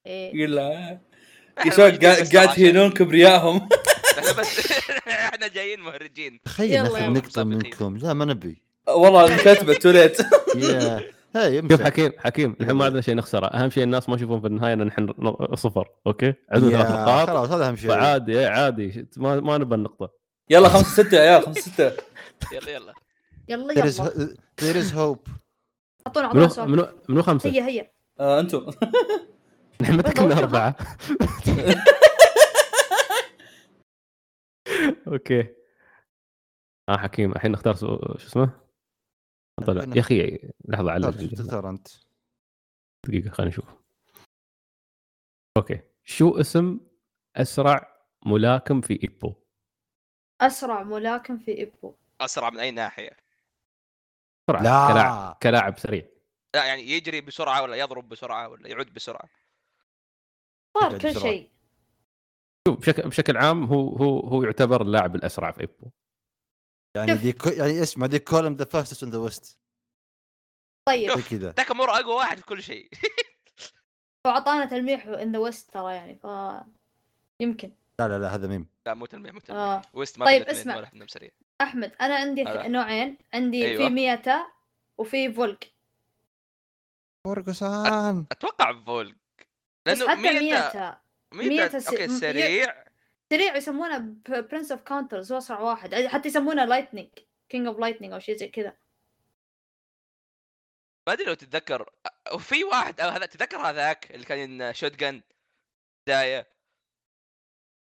[SPEAKER 3] إيه
[SPEAKER 6] يلا
[SPEAKER 2] إحنا
[SPEAKER 6] شلون
[SPEAKER 2] موجودين
[SPEAKER 6] قاعد
[SPEAKER 2] بس
[SPEAKER 6] قاعد
[SPEAKER 2] عشان-
[SPEAKER 6] يهينون كبريائهم
[SPEAKER 2] احنا بس احنا جايين مهرجين
[SPEAKER 4] تخيل
[SPEAKER 3] يلا
[SPEAKER 4] ناخذ
[SPEAKER 3] يا
[SPEAKER 4] نقطه
[SPEAKER 2] مصدقين.
[SPEAKER 4] منكم لا ما نبي
[SPEAKER 6] والله انكتبت توليت
[SPEAKER 4] يا هاي
[SPEAKER 5] شوف
[SPEAKER 4] امشي
[SPEAKER 5] حكيم حكيم الحين ما عندنا شيء نخسره اهم شيء الناس ما يشوفون في النهايه ان احنا ن- صفر اوكي عندنا
[SPEAKER 4] يا،
[SPEAKER 5] ثلاث نقاط
[SPEAKER 4] خلاص هذا اهم شيء
[SPEAKER 5] فعادي إيه، عادي شت- ما ما نبى النقطه
[SPEAKER 6] يلا خمسة ستة يا عيال خمسة ستة
[SPEAKER 2] يلا يلا
[SPEAKER 3] يلا
[SPEAKER 4] there is,
[SPEAKER 3] يلا
[SPEAKER 4] there is hope
[SPEAKER 3] أعطونا أعطونا
[SPEAKER 5] منو
[SPEAKER 3] سؤال
[SPEAKER 5] منو منو خمسه؟
[SPEAKER 4] طيب.
[SPEAKER 3] هيا هيا
[SPEAKER 6] آه، أنتم
[SPEAKER 5] نحن متى كنا
[SPEAKER 3] والله.
[SPEAKER 5] اربعه
[SPEAKER 4] طيب.
[SPEAKER 5] اوكي اه حكيم الحين نختار سو- شو اسمه؟ طلع يا اخي لحظه على
[SPEAKER 4] تختار انت
[SPEAKER 5] دقيقه خلينا نشوف اوكي شو اسم اسرع ملاكم في ايبو؟
[SPEAKER 3] أسرع ملاكم في إبو
[SPEAKER 2] اسرع من اي ناحيه
[SPEAKER 5] بسرعه كلاعب
[SPEAKER 4] لا
[SPEAKER 5] كلاعب سريع
[SPEAKER 2] لا يعني يجري بسرعه ولا يضرب بسرعه ولا يعود بسرعه
[SPEAKER 3] صار
[SPEAKER 4] يبعد
[SPEAKER 3] كل
[SPEAKER 4] بسرعة.
[SPEAKER 3] شيء
[SPEAKER 5] شوف بشكل بشكل عام هو هو هو يعتبر اللاعب الاسرع في ايبو
[SPEAKER 4] يعني
[SPEAKER 3] شوف.
[SPEAKER 4] دي كو... يعني اسمع دي كولم ذا فاستست ان ذا ويست
[SPEAKER 3] طيب
[SPEAKER 2] شوف.
[SPEAKER 4] كذا
[SPEAKER 2] تاكامورا اقوى واحد في كل شيء
[SPEAKER 3] وأعطانا تلميح إن ذا ويست ترى يعني ف يمكن
[SPEAKER 4] لا لا لا هذا ميم
[SPEAKER 2] لا مو تلميح مو تلميح
[SPEAKER 3] آه
[SPEAKER 2] ويست ما
[SPEAKER 3] طيب،
[SPEAKER 2] في الاثنين
[SPEAKER 3] اسمع.
[SPEAKER 2] ولا احنا سريع
[SPEAKER 3] أحمد أنا عندي
[SPEAKER 2] هلا.
[SPEAKER 3] نوعين عندي
[SPEAKER 2] أيوة.
[SPEAKER 3] في ميتا وفي فولك
[SPEAKER 4] فورغسان
[SPEAKER 2] اتوقع فولك
[SPEAKER 3] بس
[SPEAKER 2] لانه
[SPEAKER 3] حتى
[SPEAKER 2] ميتا
[SPEAKER 3] ميتا ميتا
[SPEAKER 2] ميتا
[SPEAKER 3] س-
[SPEAKER 2] اوكي
[SPEAKER 3] م- ي-
[SPEAKER 2] سريع
[SPEAKER 3] سريع يسمونه برنس اوف كاونترز هو اسرع واحد حتى يسمونه لايتنينج كينج اوف لايتنينج او شيء زي كذا
[SPEAKER 2] ما ادري لو تتذكر أ- وفي واحد أو هذا تذكر هذاك اللي كان شوت جن بدايه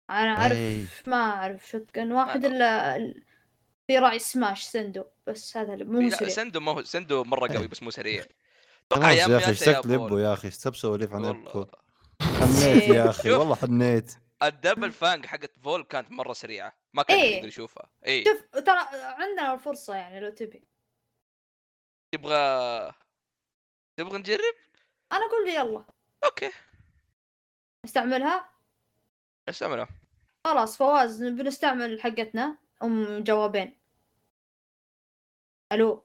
[SPEAKER 3] انا اعرف
[SPEAKER 6] إيه.
[SPEAKER 3] ما اعرف شو كان واحد
[SPEAKER 2] أنا-
[SPEAKER 3] الا ال- في راعي سماش سندو بس هذا اللي مو
[SPEAKER 2] إيه، لا،
[SPEAKER 3] سريع إيه.
[SPEAKER 2] سندو ما هو سندو مره قوي بس مو سريع اتوقع
[SPEAKER 4] خلاص يا اخي
[SPEAKER 2] مياتا
[SPEAKER 4] اشتقت
[SPEAKER 2] فولك.
[SPEAKER 4] لابو يا اخي استبسوا ليف عن ابو
[SPEAKER 2] والله
[SPEAKER 4] حنيت يا اخي والله حنيت
[SPEAKER 2] الدبل فانج حقت فول كانت مره سريعه ما كان
[SPEAKER 3] إيه.
[SPEAKER 2] إيه؟ يقدر يشوفها اي
[SPEAKER 3] شوف ترى عندنا الفرصه يعني لو تبي
[SPEAKER 2] تبغى تبغى نجرب
[SPEAKER 3] انا اقول يلا
[SPEAKER 2] اوكي
[SPEAKER 3] نستعملها
[SPEAKER 2] استعملها
[SPEAKER 3] خلاص فواز بنستعمل حقتنا ام جوابين الو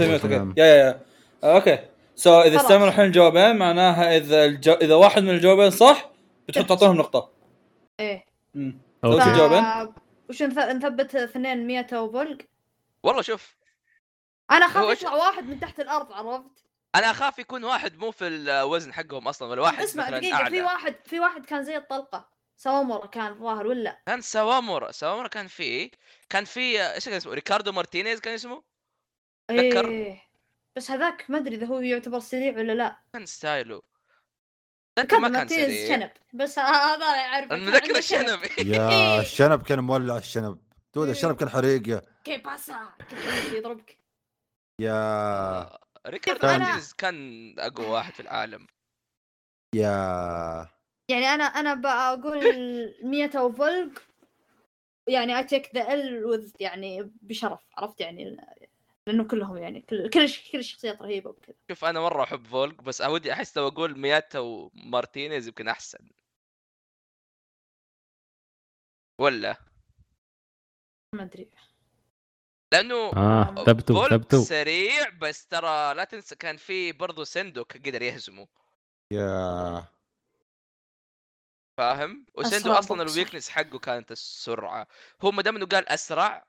[SPEAKER 6] سمعت أوكي. يا يا يا آه، اوكي سو اذا
[SPEAKER 3] خلاص.
[SPEAKER 6] استعملوا الحين الجوابين معناها اذا الجو... اذا واحد من الجوابين صح بتحط تعطونهم نقطة
[SPEAKER 3] ايه
[SPEAKER 6] مم.
[SPEAKER 3] ف-
[SPEAKER 5] اوكي
[SPEAKER 6] أوكي. جوابين؟
[SPEAKER 3] وش نث- نثبت اثنين ميتا وفولك
[SPEAKER 2] والله شوف
[SPEAKER 3] انا اخاف
[SPEAKER 2] هو إيش-
[SPEAKER 3] يطلع واحد من تحت الارض عرفت
[SPEAKER 2] انا اخاف يكون واحد مو في الوزن حقهم اصلا ولا واحد
[SPEAKER 3] اسمع
[SPEAKER 2] مثلا
[SPEAKER 3] دقيقة في
[SPEAKER 2] اعلى
[SPEAKER 3] واحد في واحد كان زي الطلقة سوامورا كان ظاهر ولا
[SPEAKER 2] كان سوامورا سوامورا كان فيه كان فيه ايش كان اسمه ريكاردو مارتينيز كان اسمه أتذكر.
[SPEAKER 3] إيه. بس هذاك ما ادري اذا هو يعتبر سريع ولا لا
[SPEAKER 2] كان ستايله انت
[SPEAKER 3] كان
[SPEAKER 2] ما كان
[SPEAKER 3] مارتينيز
[SPEAKER 2] سريع
[SPEAKER 3] شنب بس ه- هذا اعرف
[SPEAKER 2] انا متذكر الشنب
[SPEAKER 4] يا الشنب كان مولع الشنب
[SPEAKER 2] إيه.
[SPEAKER 4] دود الشنب كان حريق يا-
[SPEAKER 3] كيف باسا يضربك
[SPEAKER 4] يا
[SPEAKER 2] ريكاردو
[SPEAKER 3] كان-
[SPEAKER 2] مارتينيز آه، كان اقوى واحد في العالم
[SPEAKER 4] يا
[SPEAKER 3] يعني انا انا بقول ميتا وفولك يعني اتيك ذا ال يعني بشرف عرفت يعني لانه كلهم يعني كل كل الش- كل الشخصيات رهيبه وكذا
[SPEAKER 2] شوف انا مره احب فولك بس انا ودي احس لو اقول مياتا ومارتينيز يمكن احسن ولا
[SPEAKER 3] ما ادري
[SPEAKER 2] لانه
[SPEAKER 5] اه ثبتوا
[SPEAKER 2] فولك
[SPEAKER 5] ثبتوا
[SPEAKER 2] سريع بس ترى لا تنسى كان في برضه سندوك قدر يهزمه
[SPEAKER 4] يا
[SPEAKER 2] فاهم وسندو
[SPEAKER 3] أسرع
[SPEAKER 2] اصلا
[SPEAKER 3] بوكسر.
[SPEAKER 2] الويكنس حقه كانت السرعه هو ما دام انه قال اسرع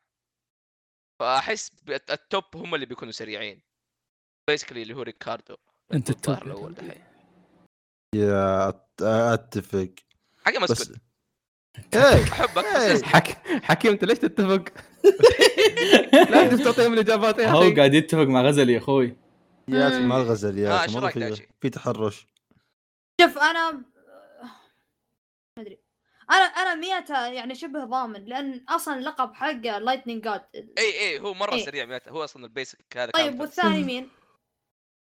[SPEAKER 2] فاحس بت- التوب هم اللي بيكونوا سريعين بيسكلي اللي هو ريكاردو
[SPEAKER 1] انت
[SPEAKER 2] الظاهر
[SPEAKER 1] التوب.
[SPEAKER 2] الاول دحين
[SPEAKER 4] يا أت- اتفق
[SPEAKER 2] حقي
[SPEAKER 4] بس
[SPEAKER 2] مسكت
[SPEAKER 4] ايه
[SPEAKER 2] احبك
[SPEAKER 4] إيه.
[SPEAKER 2] بس اسمع.
[SPEAKER 5] حك... حكيم انت ليش تتفق؟ لا انت تعطيهم الاجابات يا
[SPEAKER 6] هو
[SPEAKER 5] اخي
[SPEAKER 6] قاعد يتفق مع غزلي يا اخوي
[SPEAKER 4] يا مع الغزل
[SPEAKER 2] آه،
[SPEAKER 4] يا
[SPEAKER 2] إيش
[SPEAKER 4] مرة
[SPEAKER 2] رأيك
[SPEAKER 4] في-
[SPEAKER 2] دايتشي؟
[SPEAKER 4] في تحرش
[SPEAKER 3] شوف انا ما ادري انا انا مياتا يعني شبه ضامن لان اصلا لقب حقه لايتنينج جاد
[SPEAKER 2] اي اي هو مره
[SPEAKER 3] إيه.
[SPEAKER 2] سريع معناته هو اصلا البيسك هذا
[SPEAKER 3] طيب
[SPEAKER 2] كان-
[SPEAKER 3] والثاني مين؟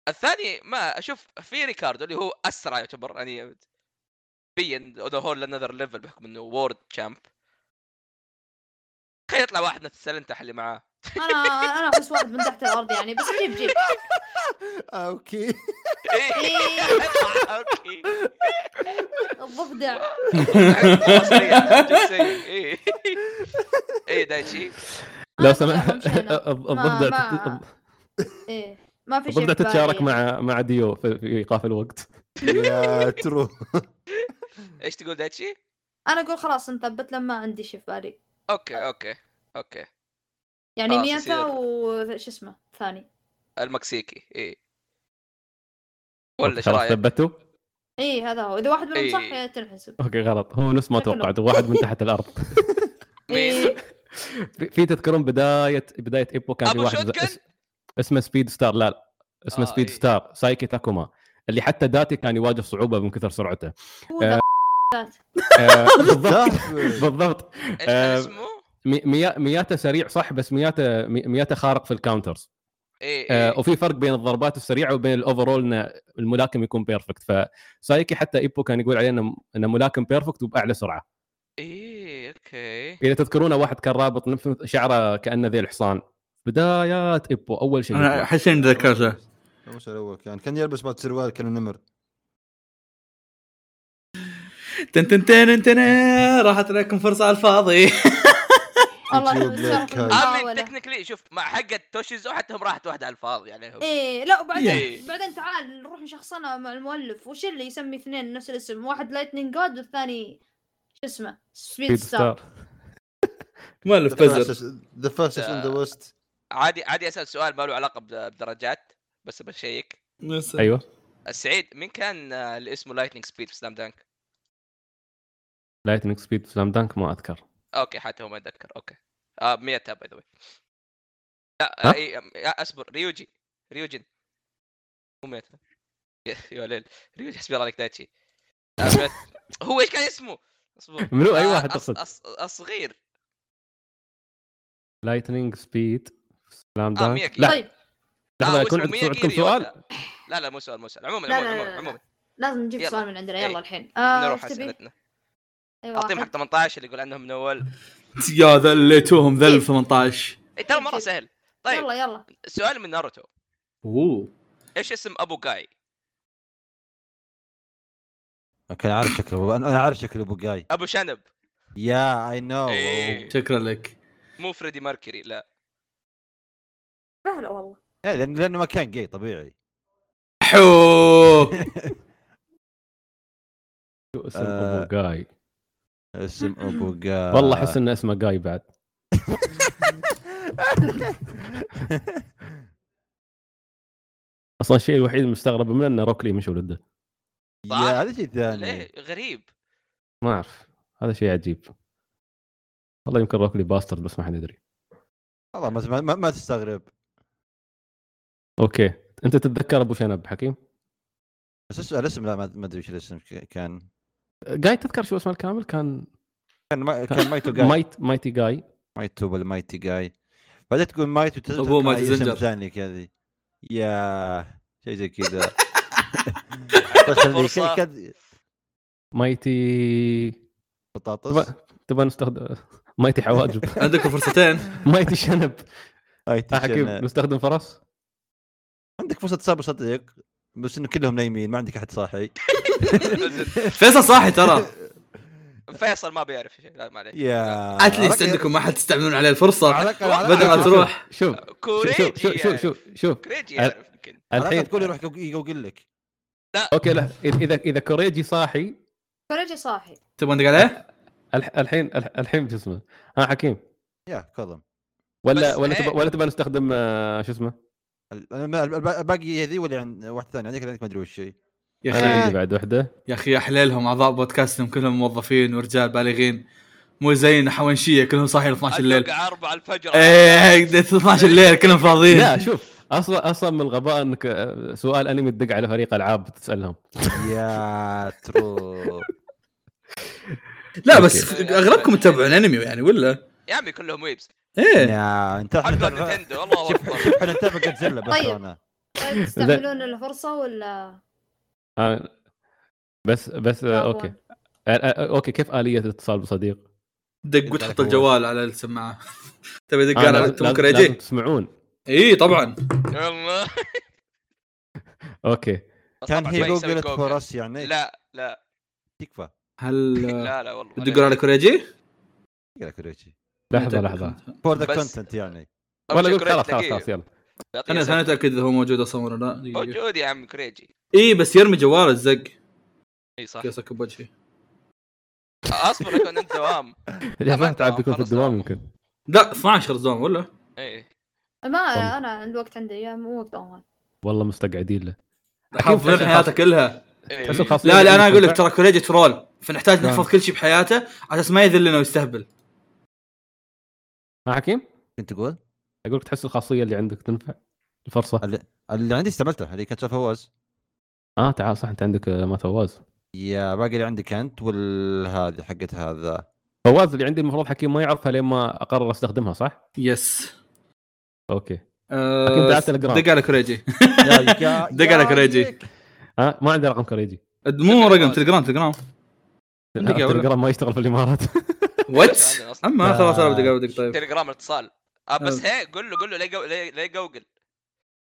[SPEAKER 2] الثاني ما اشوف في ريكاردو اللي هو اسرع يعتبر يعني بين ذا هول لانذر ليفل بحكم انه وورد شامب تخيل يطلع واحد نفس السلنتح اللي معاه
[SPEAKER 3] انا انا اخص واحد من تحت الارض يعني بس جيب جيب
[SPEAKER 4] اوكي
[SPEAKER 2] إيه. اوكي
[SPEAKER 3] الضفدع
[SPEAKER 2] اي اي إيه. دايتشي
[SPEAKER 5] لو
[SPEAKER 3] أنا
[SPEAKER 5] سمحت
[SPEAKER 3] مش أنا. ما-
[SPEAKER 5] الضفدع
[SPEAKER 3] ما- ايه ما في شيء
[SPEAKER 5] الضفدع
[SPEAKER 3] في بالي.
[SPEAKER 5] تتشارك مع مع ديو في في ايقاف الوقت
[SPEAKER 4] يا ترو
[SPEAKER 2] ايش تقول دايتشي؟
[SPEAKER 3] انا اقول خلاص نثبت لما عندي شيء في بالي
[SPEAKER 2] اوكي اوكي اوكي
[SPEAKER 3] يعني
[SPEAKER 2] خلاص
[SPEAKER 3] مياتا
[SPEAKER 2] يصير.
[SPEAKER 3] وش اسمه الثاني
[SPEAKER 2] المكسيكي اي ولا ايش
[SPEAKER 5] خلاص طيب،
[SPEAKER 2] رايك؟
[SPEAKER 5] ثبتوا
[SPEAKER 3] اي هذا هو اذا واحد منهم
[SPEAKER 2] إيه.
[SPEAKER 3] صح تنحسب
[SPEAKER 5] اوكي غلط هو نفس ما
[SPEAKER 3] شكله.
[SPEAKER 5] توقعت واحد من تحت الارض
[SPEAKER 2] مين؟
[SPEAKER 3] إيه.
[SPEAKER 5] في- في تذكرون بدايه بدايه ايبو كان في
[SPEAKER 2] أبو
[SPEAKER 5] واحد
[SPEAKER 2] شوتكن؟
[SPEAKER 5] اس- اسمه سبيد ستار لا لا اسمه
[SPEAKER 2] آه،
[SPEAKER 5] سبيد
[SPEAKER 2] إيه.
[SPEAKER 5] ستار سايكي تاكوما اللي حتى داتي كان يواجه صعوبه من كثر سرعته
[SPEAKER 3] هو ذا
[SPEAKER 5] آه، بالضبط
[SPEAKER 4] دافع.
[SPEAKER 5] بالضبط
[SPEAKER 2] ايش
[SPEAKER 5] آه،
[SPEAKER 2] كان اسمه؟
[SPEAKER 5] مي- ميا- مياتا سريع صح بس مياتا مي- مياتا خارق في الكاونترز
[SPEAKER 2] اي
[SPEAKER 5] آه، وفي فرق بين الضربات السريعه وبين الاوفرول ان الملاكم يكون بيرفكت فسايكي حتى ايبو كان يقول عليه انه انه ملاكم بيرفكت وباعلى سرعه
[SPEAKER 2] اي اوكي
[SPEAKER 5] اذا تذكرونه واحد كان رابط نف- شعره كانه ذي الحصان بدايات ايبو اول شيء
[SPEAKER 1] انا احس اني تذكرته
[SPEAKER 4] مش الاول كان كان يلبس بعد سروال كان نمر
[SPEAKER 6] تن تن تن تن راحت لكم فرصه على الفاضي
[SPEAKER 3] الله
[SPEAKER 4] يجيب
[SPEAKER 3] يسامحك.
[SPEAKER 4] لك هاي.
[SPEAKER 2] امين
[SPEAKER 3] ولا.
[SPEAKER 2] تكنيكلي آه، شوف مع حقة توشيزو حتى هم راحت واحدة على الفاضي يعني. عليهم
[SPEAKER 3] ايه لا وبعدين
[SPEAKER 2] إيه.
[SPEAKER 3] بعدين تعال نروح نشخصنها مع المؤلف وش اللي يسمي اثنين نفس الاسم واحد لايتنينج جاد والثاني شو اسمه سبيد ستار
[SPEAKER 6] مؤلف بزر
[SPEAKER 4] ذا فاستست ان ذا ويست
[SPEAKER 2] عادي عادي اسال سؤال ما له علاقة بد- بدرجات بس بشيك
[SPEAKER 6] أيوة.
[SPEAKER 5] ايوه
[SPEAKER 2] السعيد مين كان آه، اللي اسمه لايتنينج سبيد في سلام دانك؟
[SPEAKER 5] لايتنينج سبيد في سلام دانك ما اذكر
[SPEAKER 2] اوكي حتى هو ما اتذكر اوكي اه ميتا باي ذا واي لا
[SPEAKER 5] ها؟
[SPEAKER 2] آه، إي، آه، اصبر ريوجي ريوجن مو ميتا يا- يا ليل ريوجي حسبي الله عليك دايتشي آه، ميتا. هو ايش كان اسمه؟ اصبر
[SPEAKER 5] منو اي
[SPEAKER 2] آه،
[SPEAKER 5] واحد
[SPEAKER 2] أص-
[SPEAKER 5] تقصد
[SPEAKER 2] أص- الصغير
[SPEAKER 5] لايتنينج سبيد سلام
[SPEAKER 2] آه،
[SPEAKER 5] دانك
[SPEAKER 2] مياكي.
[SPEAKER 5] لا
[SPEAKER 3] طيب
[SPEAKER 5] لحظه
[SPEAKER 2] آه،
[SPEAKER 5] يكون
[SPEAKER 2] واسمه
[SPEAKER 5] عندكم عندكم
[SPEAKER 2] مياجيري
[SPEAKER 5] سؤال
[SPEAKER 2] ولا- لا لا مو سؤال مو سؤال عموما
[SPEAKER 3] لا،
[SPEAKER 2] عموما
[SPEAKER 3] لا، لا،
[SPEAKER 2] عموما
[SPEAKER 3] لا.
[SPEAKER 2] عموما
[SPEAKER 3] لازم نجيب
[SPEAKER 2] يلا.
[SPEAKER 3] سؤال من عندنا
[SPEAKER 2] إيه.
[SPEAKER 3] يلا الحين آه،
[SPEAKER 2] نروح
[SPEAKER 3] إيش تبي؟ أيوة،
[SPEAKER 2] اسئلتنا
[SPEAKER 3] أي
[SPEAKER 2] اعطيهم
[SPEAKER 3] واحد.
[SPEAKER 2] حق 18 اللي يقول عنهم من اول
[SPEAKER 6] يا ذليتوهم ذل 18
[SPEAKER 2] إيه، ترى مره
[SPEAKER 3] أكيد.
[SPEAKER 2] سهل طيب
[SPEAKER 3] يلا يلا
[SPEAKER 2] سؤال من ناروتو
[SPEAKER 6] اوه
[SPEAKER 2] ايش اسم ابو جاي؟
[SPEAKER 4] كان عارف شكله انا أنا عارف شكله ابو جاي
[SPEAKER 2] ابو شنب
[SPEAKER 4] يا اي نو
[SPEAKER 2] إيه.
[SPEAKER 6] شكرا لك
[SPEAKER 2] مو فريدي ماركري لا
[SPEAKER 3] سهلة والله
[SPEAKER 4] لانه ما كان جاي طبيعي
[SPEAKER 6] حو
[SPEAKER 5] شو اسم
[SPEAKER 4] آه.
[SPEAKER 5] ابو جاي
[SPEAKER 4] اسم ابو جاي
[SPEAKER 5] والله احس انه اسمه جاي بعد اصلا الشيء الوحيد المستغرب منه انه روكلي مش ولده
[SPEAKER 4] يا هذا شيء
[SPEAKER 2] ليه
[SPEAKER 4] ثاني
[SPEAKER 2] غريب
[SPEAKER 5] ما اعرف هذا شيء عجيب والله يمكن روكلي باسترد بس ما حد يدري
[SPEAKER 4] والله ما- ما ما تستغرب
[SPEAKER 5] اوكي انت تتذكر ابو شنب حكيم
[SPEAKER 4] بس اسمه الاسم لا ما ما ادري وش الاسم ك- كان
[SPEAKER 5] جاي تذكر شو اسمه الكامل كان
[SPEAKER 4] كان ما كان مايتو جاي
[SPEAKER 5] مايت مايتي جاي
[SPEAKER 4] مايتو ولا مايتي جاي بعدين تقول مايتو تتذكر
[SPEAKER 6] أبوه مايتي
[SPEAKER 4] اسم
[SPEAKER 6] زنجر.
[SPEAKER 4] ثاني كذا يا شيء زي كذا بس
[SPEAKER 2] عندك
[SPEAKER 4] هذي
[SPEAKER 2] فرصة.
[SPEAKER 4] كذا-
[SPEAKER 5] مايتي
[SPEAKER 4] بطاطس
[SPEAKER 5] تبغى تبغى نستخدم مايتي حواجب
[SPEAKER 6] عندكم فرصتين
[SPEAKER 5] مايتي شنب
[SPEAKER 4] مايتي
[SPEAKER 5] آه، حكيم
[SPEAKER 4] شنب.
[SPEAKER 5] نستخدم فرس
[SPEAKER 4] عندك فرصه تصبر صدق بس انه كلهم نايمين ما عندك احد صاحي
[SPEAKER 6] فيصل صاحي ترى
[SPEAKER 2] فيصل ما بيعرف شيء لا ما عليه
[SPEAKER 4] يا
[SPEAKER 6] اتليست عندكم ما حد تستعملون عليه الفرصه بدل
[SPEAKER 4] بدل
[SPEAKER 6] ما تروح
[SPEAKER 5] شوف شوف شوف
[SPEAKER 2] كوريجي
[SPEAKER 5] شوف
[SPEAKER 2] يعرف.
[SPEAKER 5] شوف شوف
[SPEAKER 2] كوريجي
[SPEAKER 5] أنا-
[SPEAKER 2] يعرف يمكن
[SPEAKER 4] الحين
[SPEAKER 5] الحين
[SPEAKER 4] تقول يروح يقول لك
[SPEAKER 5] اوكي لا اذا اذا كوريجي صاحي
[SPEAKER 3] فرجي صاحي
[SPEAKER 6] تبغى ندق عليه؟
[SPEAKER 5] الح- الحين الح- الحين شو اسمه ها حكيم
[SPEAKER 4] يا كظم
[SPEAKER 5] ولا
[SPEAKER 2] بس
[SPEAKER 5] ولا
[SPEAKER 2] إيه.
[SPEAKER 5] تبغى ولا تبغى نستخدم آه، شو اسمه
[SPEAKER 4] ال- الب- الب- الباقي هذي ولا عند واحد ثاني عندك عندك ما ادري وش هي
[SPEAKER 6] يا
[SPEAKER 5] انا
[SPEAKER 6] اخي
[SPEAKER 5] عندي بعد وحده
[SPEAKER 6] يا اخي يا حليلهم اعضاء بودكاستهم كلهم موظفين ورجال بالغين مو زينا حوانشيه كلهم صاحيين 12 الليل إيه،
[SPEAKER 4] إيه،
[SPEAKER 2] أتوقع 4 الفجر
[SPEAKER 1] إيه.
[SPEAKER 6] ايه 12 الليل كلهم فاضيين
[SPEAKER 5] لا شوف اصلا اصلا من الغباء انك آه، سؤال انمي تدق على فريق العاب تسالهم
[SPEAKER 4] يا ترو
[SPEAKER 1] لا بس
[SPEAKER 2] أوكي.
[SPEAKER 1] اغلبكم تتابعون انمي يعني ولا؟
[SPEAKER 2] يا عمي كلهم ويبس
[SPEAKER 6] إيه.
[SPEAKER 1] ايه
[SPEAKER 4] يا انت احنا
[SPEAKER 2] حتى
[SPEAKER 4] نتابع-
[SPEAKER 2] نينتندو الله
[SPEAKER 4] شوف
[SPEAKER 2] اكبر
[SPEAKER 4] شوف احنا نتابع جودزيلا بس
[SPEAKER 3] طيب.
[SPEAKER 4] انا
[SPEAKER 3] طيب تستعملون الفرصه ولا
[SPEAKER 5] آه، بس بس آه،
[SPEAKER 3] تعبون؟
[SPEAKER 5] اوكي آه، آه، اوكي كيف اليه الاتصال بصديق؟
[SPEAKER 1] دق وتحط الجوال على السماعه تبي يدق
[SPEAKER 5] آه،
[SPEAKER 1] على
[SPEAKER 5] لازم-
[SPEAKER 1] التمكر
[SPEAKER 5] لازم- لازم
[SPEAKER 1] يجي
[SPEAKER 5] تسمعون
[SPEAKER 1] اي
[SPEAKER 6] إيه،
[SPEAKER 1] طبعا
[SPEAKER 2] والله
[SPEAKER 5] اوكي
[SPEAKER 4] كان
[SPEAKER 2] طبعاً
[SPEAKER 4] هي
[SPEAKER 2] ما يسوي
[SPEAKER 4] جوجل
[SPEAKER 2] جوجل.
[SPEAKER 4] فور اس يعني
[SPEAKER 2] لا لا
[SPEAKER 4] تكفى
[SPEAKER 1] هل
[SPEAKER 2] لا لا والله
[SPEAKER 1] تدقون على كوريجي؟
[SPEAKER 4] يقرا كوريجي
[SPEAKER 5] لحظه لحظه
[SPEAKER 4] فور ذا
[SPEAKER 2] بس-
[SPEAKER 4] كونتنت يعني
[SPEAKER 2] أول
[SPEAKER 5] ولا
[SPEAKER 2] شيء
[SPEAKER 5] قول خلاص خلاص
[SPEAKER 2] كوريجي
[SPEAKER 5] خلاص يلا
[SPEAKER 2] تلاقيه.
[SPEAKER 1] انا
[SPEAKER 2] يعطيه
[SPEAKER 1] ثاني اتاكد اذا هو موجود اصلا ولا لا دقيقة.
[SPEAKER 2] موجود يا عم كريجي
[SPEAKER 1] اي بس يرمي جواله الزق
[SPEAKER 2] اي صح
[SPEAKER 1] قصك بوجهي
[SPEAKER 2] اصبر يكون انت دوام ما
[SPEAKER 5] يا ما تعب
[SPEAKER 2] أدري،
[SPEAKER 5] يكون
[SPEAKER 2] خلاص.
[SPEAKER 5] في الدوام يمكن
[SPEAKER 1] لا 12 زون ولا؟
[SPEAKER 2] اي
[SPEAKER 3] ما
[SPEAKER 5] طب.
[SPEAKER 3] انا عند وقت عندي يا مو وقت
[SPEAKER 2] نعم.
[SPEAKER 3] اونلاين
[SPEAKER 5] والله مستقعدين له
[SPEAKER 1] حافظين
[SPEAKER 5] فعلاً.
[SPEAKER 1] حياته كلها
[SPEAKER 2] إي.
[SPEAKER 5] تحس الخاصيه
[SPEAKER 1] لا لا انا
[SPEAKER 5] عندك
[SPEAKER 1] اقول لك
[SPEAKER 5] تنفع؟
[SPEAKER 1] ترى كوريجي ترول فنحتاج نحفظ كل شيء بحياته على اساس ما يذلنا ويستهبل
[SPEAKER 5] ها حكيم
[SPEAKER 4] كنت تقول
[SPEAKER 5] اقول لك تحس الخاصيه اللي عندك تنفع الفرصه
[SPEAKER 4] ال- اللي عندي استعملتها اللي كانت شاف فواز
[SPEAKER 5] اه تعال صح انت عندك آه، ما فواز
[SPEAKER 4] يا باقي اللي عندك انت والهذه حقت هذا
[SPEAKER 5] فواز اللي عندي المفروض حكيم ما يعرفها لين ما اقرر استخدمها صح؟
[SPEAKER 1] يس
[SPEAKER 5] اوكي أكيد
[SPEAKER 1] أه
[SPEAKER 5] دعت الجرام.
[SPEAKER 1] دق على كوريجي
[SPEAKER 4] يا- يا-
[SPEAKER 1] دق على
[SPEAKER 4] يا
[SPEAKER 1] كوريجي.
[SPEAKER 4] ديك.
[SPEAKER 5] ها آه، ما عندي رقم كوريجي
[SPEAKER 1] مو رقم تلجرام تلجرام دقيقة ولا؟
[SPEAKER 5] التليجرام ما يشتغل في الامارات
[SPEAKER 1] وات
[SPEAKER 2] عندنا أصلاً.
[SPEAKER 1] اما 3000 دقيقة بدق طيب
[SPEAKER 2] تليجرام اتصال آه بس
[SPEAKER 1] آه.
[SPEAKER 2] هي قول له قول له لا جو- لا- لا جوجل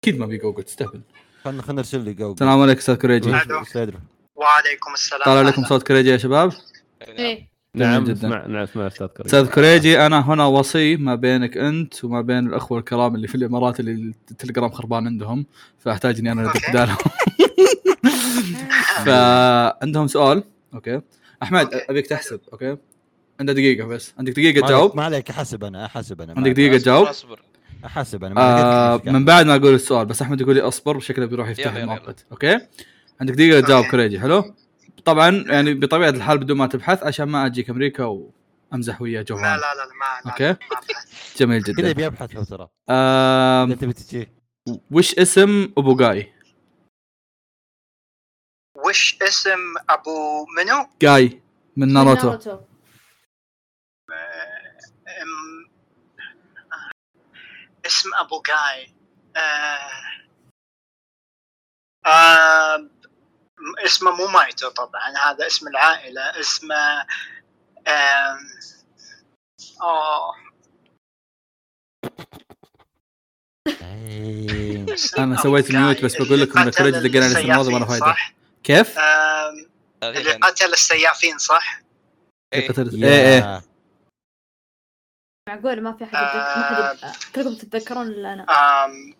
[SPEAKER 1] اكيد ما بيقوقل تستهبل
[SPEAKER 4] خلنا خلنا نرسل لي جو
[SPEAKER 1] السلام عليكم استاذ كوريجي
[SPEAKER 7] وعليكم السلام
[SPEAKER 1] طالع لكم صوت كوريجي يا شباب
[SPEAKER 2] يعني
[SPEAKER 3] ايه
[SPEAKER 5] نعم
[SPEAKER 1] جداً.
[SPEAKER 5] اسمع نعم اسمع استاذ
[SPEAKER 7] طيب.
[SPEAKER 5] كوريجي
[SPEAKER 1] استاذ كوريجي انا هنا وصي ما بينك انت وما بين الاخوه الكرام اللي في الامارات اللي التليجرام خربان عندهم فاحتاج اني انا ادق بدالهم فعندهم سؤال اوكي احمد
[SPEAKER 7] أوكي.
[SPEAKER 1] ابيك تحسب اوكي عندك دقيقه بس عندك دقيقه
[SPEAKER 4] ما عليك-
[SPEAKER 1] تجاوب
[SPEAKER 4] ما عليك احسب انا احسب انا ما
[SPEAKER 1] عندك
[SPEAKER 4] عليك.
[SPEAKER 1] دقيقه
[SPEAKER 2] أصبر-
[SPEAKER 1] تجاوب
[SPEAKER 2] اصبر
[SPEAKER 4] احسب انا ما
[SPEAKER 1] آه
[SPEAKER 4] عليك.
[SPEAKER 1] من بعد ما اقول السؤال بس احمد يقول لي اصبر شكله بيروح يفتح
[SPEAKER 2] يلا، يلا،
[SPEAKER 1] المؤقت اوكي عندك دقيقه تجاوب
[SPEAKER 7] أوكي.
[SPEAKER 1] كوريجي حلو طبعا يعني بطبيعه الحال بدون ما تبحث عشان ما اجيك امريكا وامزح ويا
[SPEAKER 7] لا
[SPEAKER 1] جوهان
[SPEAKER 7] لا لا ما لا
[SPEAKER 1] اوكي جميل
[SPEAKER 4] كذا
[SPEAKER 1] جدا
[SPEAKER 4] بيبحث هو ترى
[SPEAKER 1] آم،
[SPEAKER 4] إذا تبي تجي
[SPEAKER 1] وش اسم ابو جاي؟
[SPEAKER 7] وش اسم ابو منو؟
[SPEAKER 1] جاي من ناروتو
[SPEAKER 7] أم... اسم ابو جاي آه... آه... م- اسمه مو مايتو طبعا هذا اسم العائله اسمه آم... آه، أوه.
[SPEAKER 4] إيه.
[SPEAKER 7] اسم
[SPEAKER 1] أنا
[SPEAKER 7] أبو
[SPEAKER 1] سويت
[SPEAKER 7] جاي
[SPEAKER 1] ميوت بس بقول
[SPEAKER 7] اللي
[SPEAKER 1] لكم إن
[SPEAKER 7] قتل
[SPEAKER 1] كريج دقنا على اسم الماضي وأنا
[SPEAKER 7] السيافين،
[SPEAKER 1] فايته.
[SPEAKER 7] صح؟
[SPEAKER 1] كيف؟
[SPEAKER 7] آه، آم... اللي
[SPEAKER 2] دقيقة. يعني.
[SPEAKER 7] قتل السيافين صح؟
[SPEAKER 2] إي.
[SPEAKER 1] قتلت- ايه ايه
[SPEAKER 4] يا-
[SPEAKER 3] معقول ما في احد يتذكر- ما حد
[SPEAKER 2] آه.
[SPEAKER 3] يت- كلكم تتذكرون الا انا
[SPEAKER 7] آم...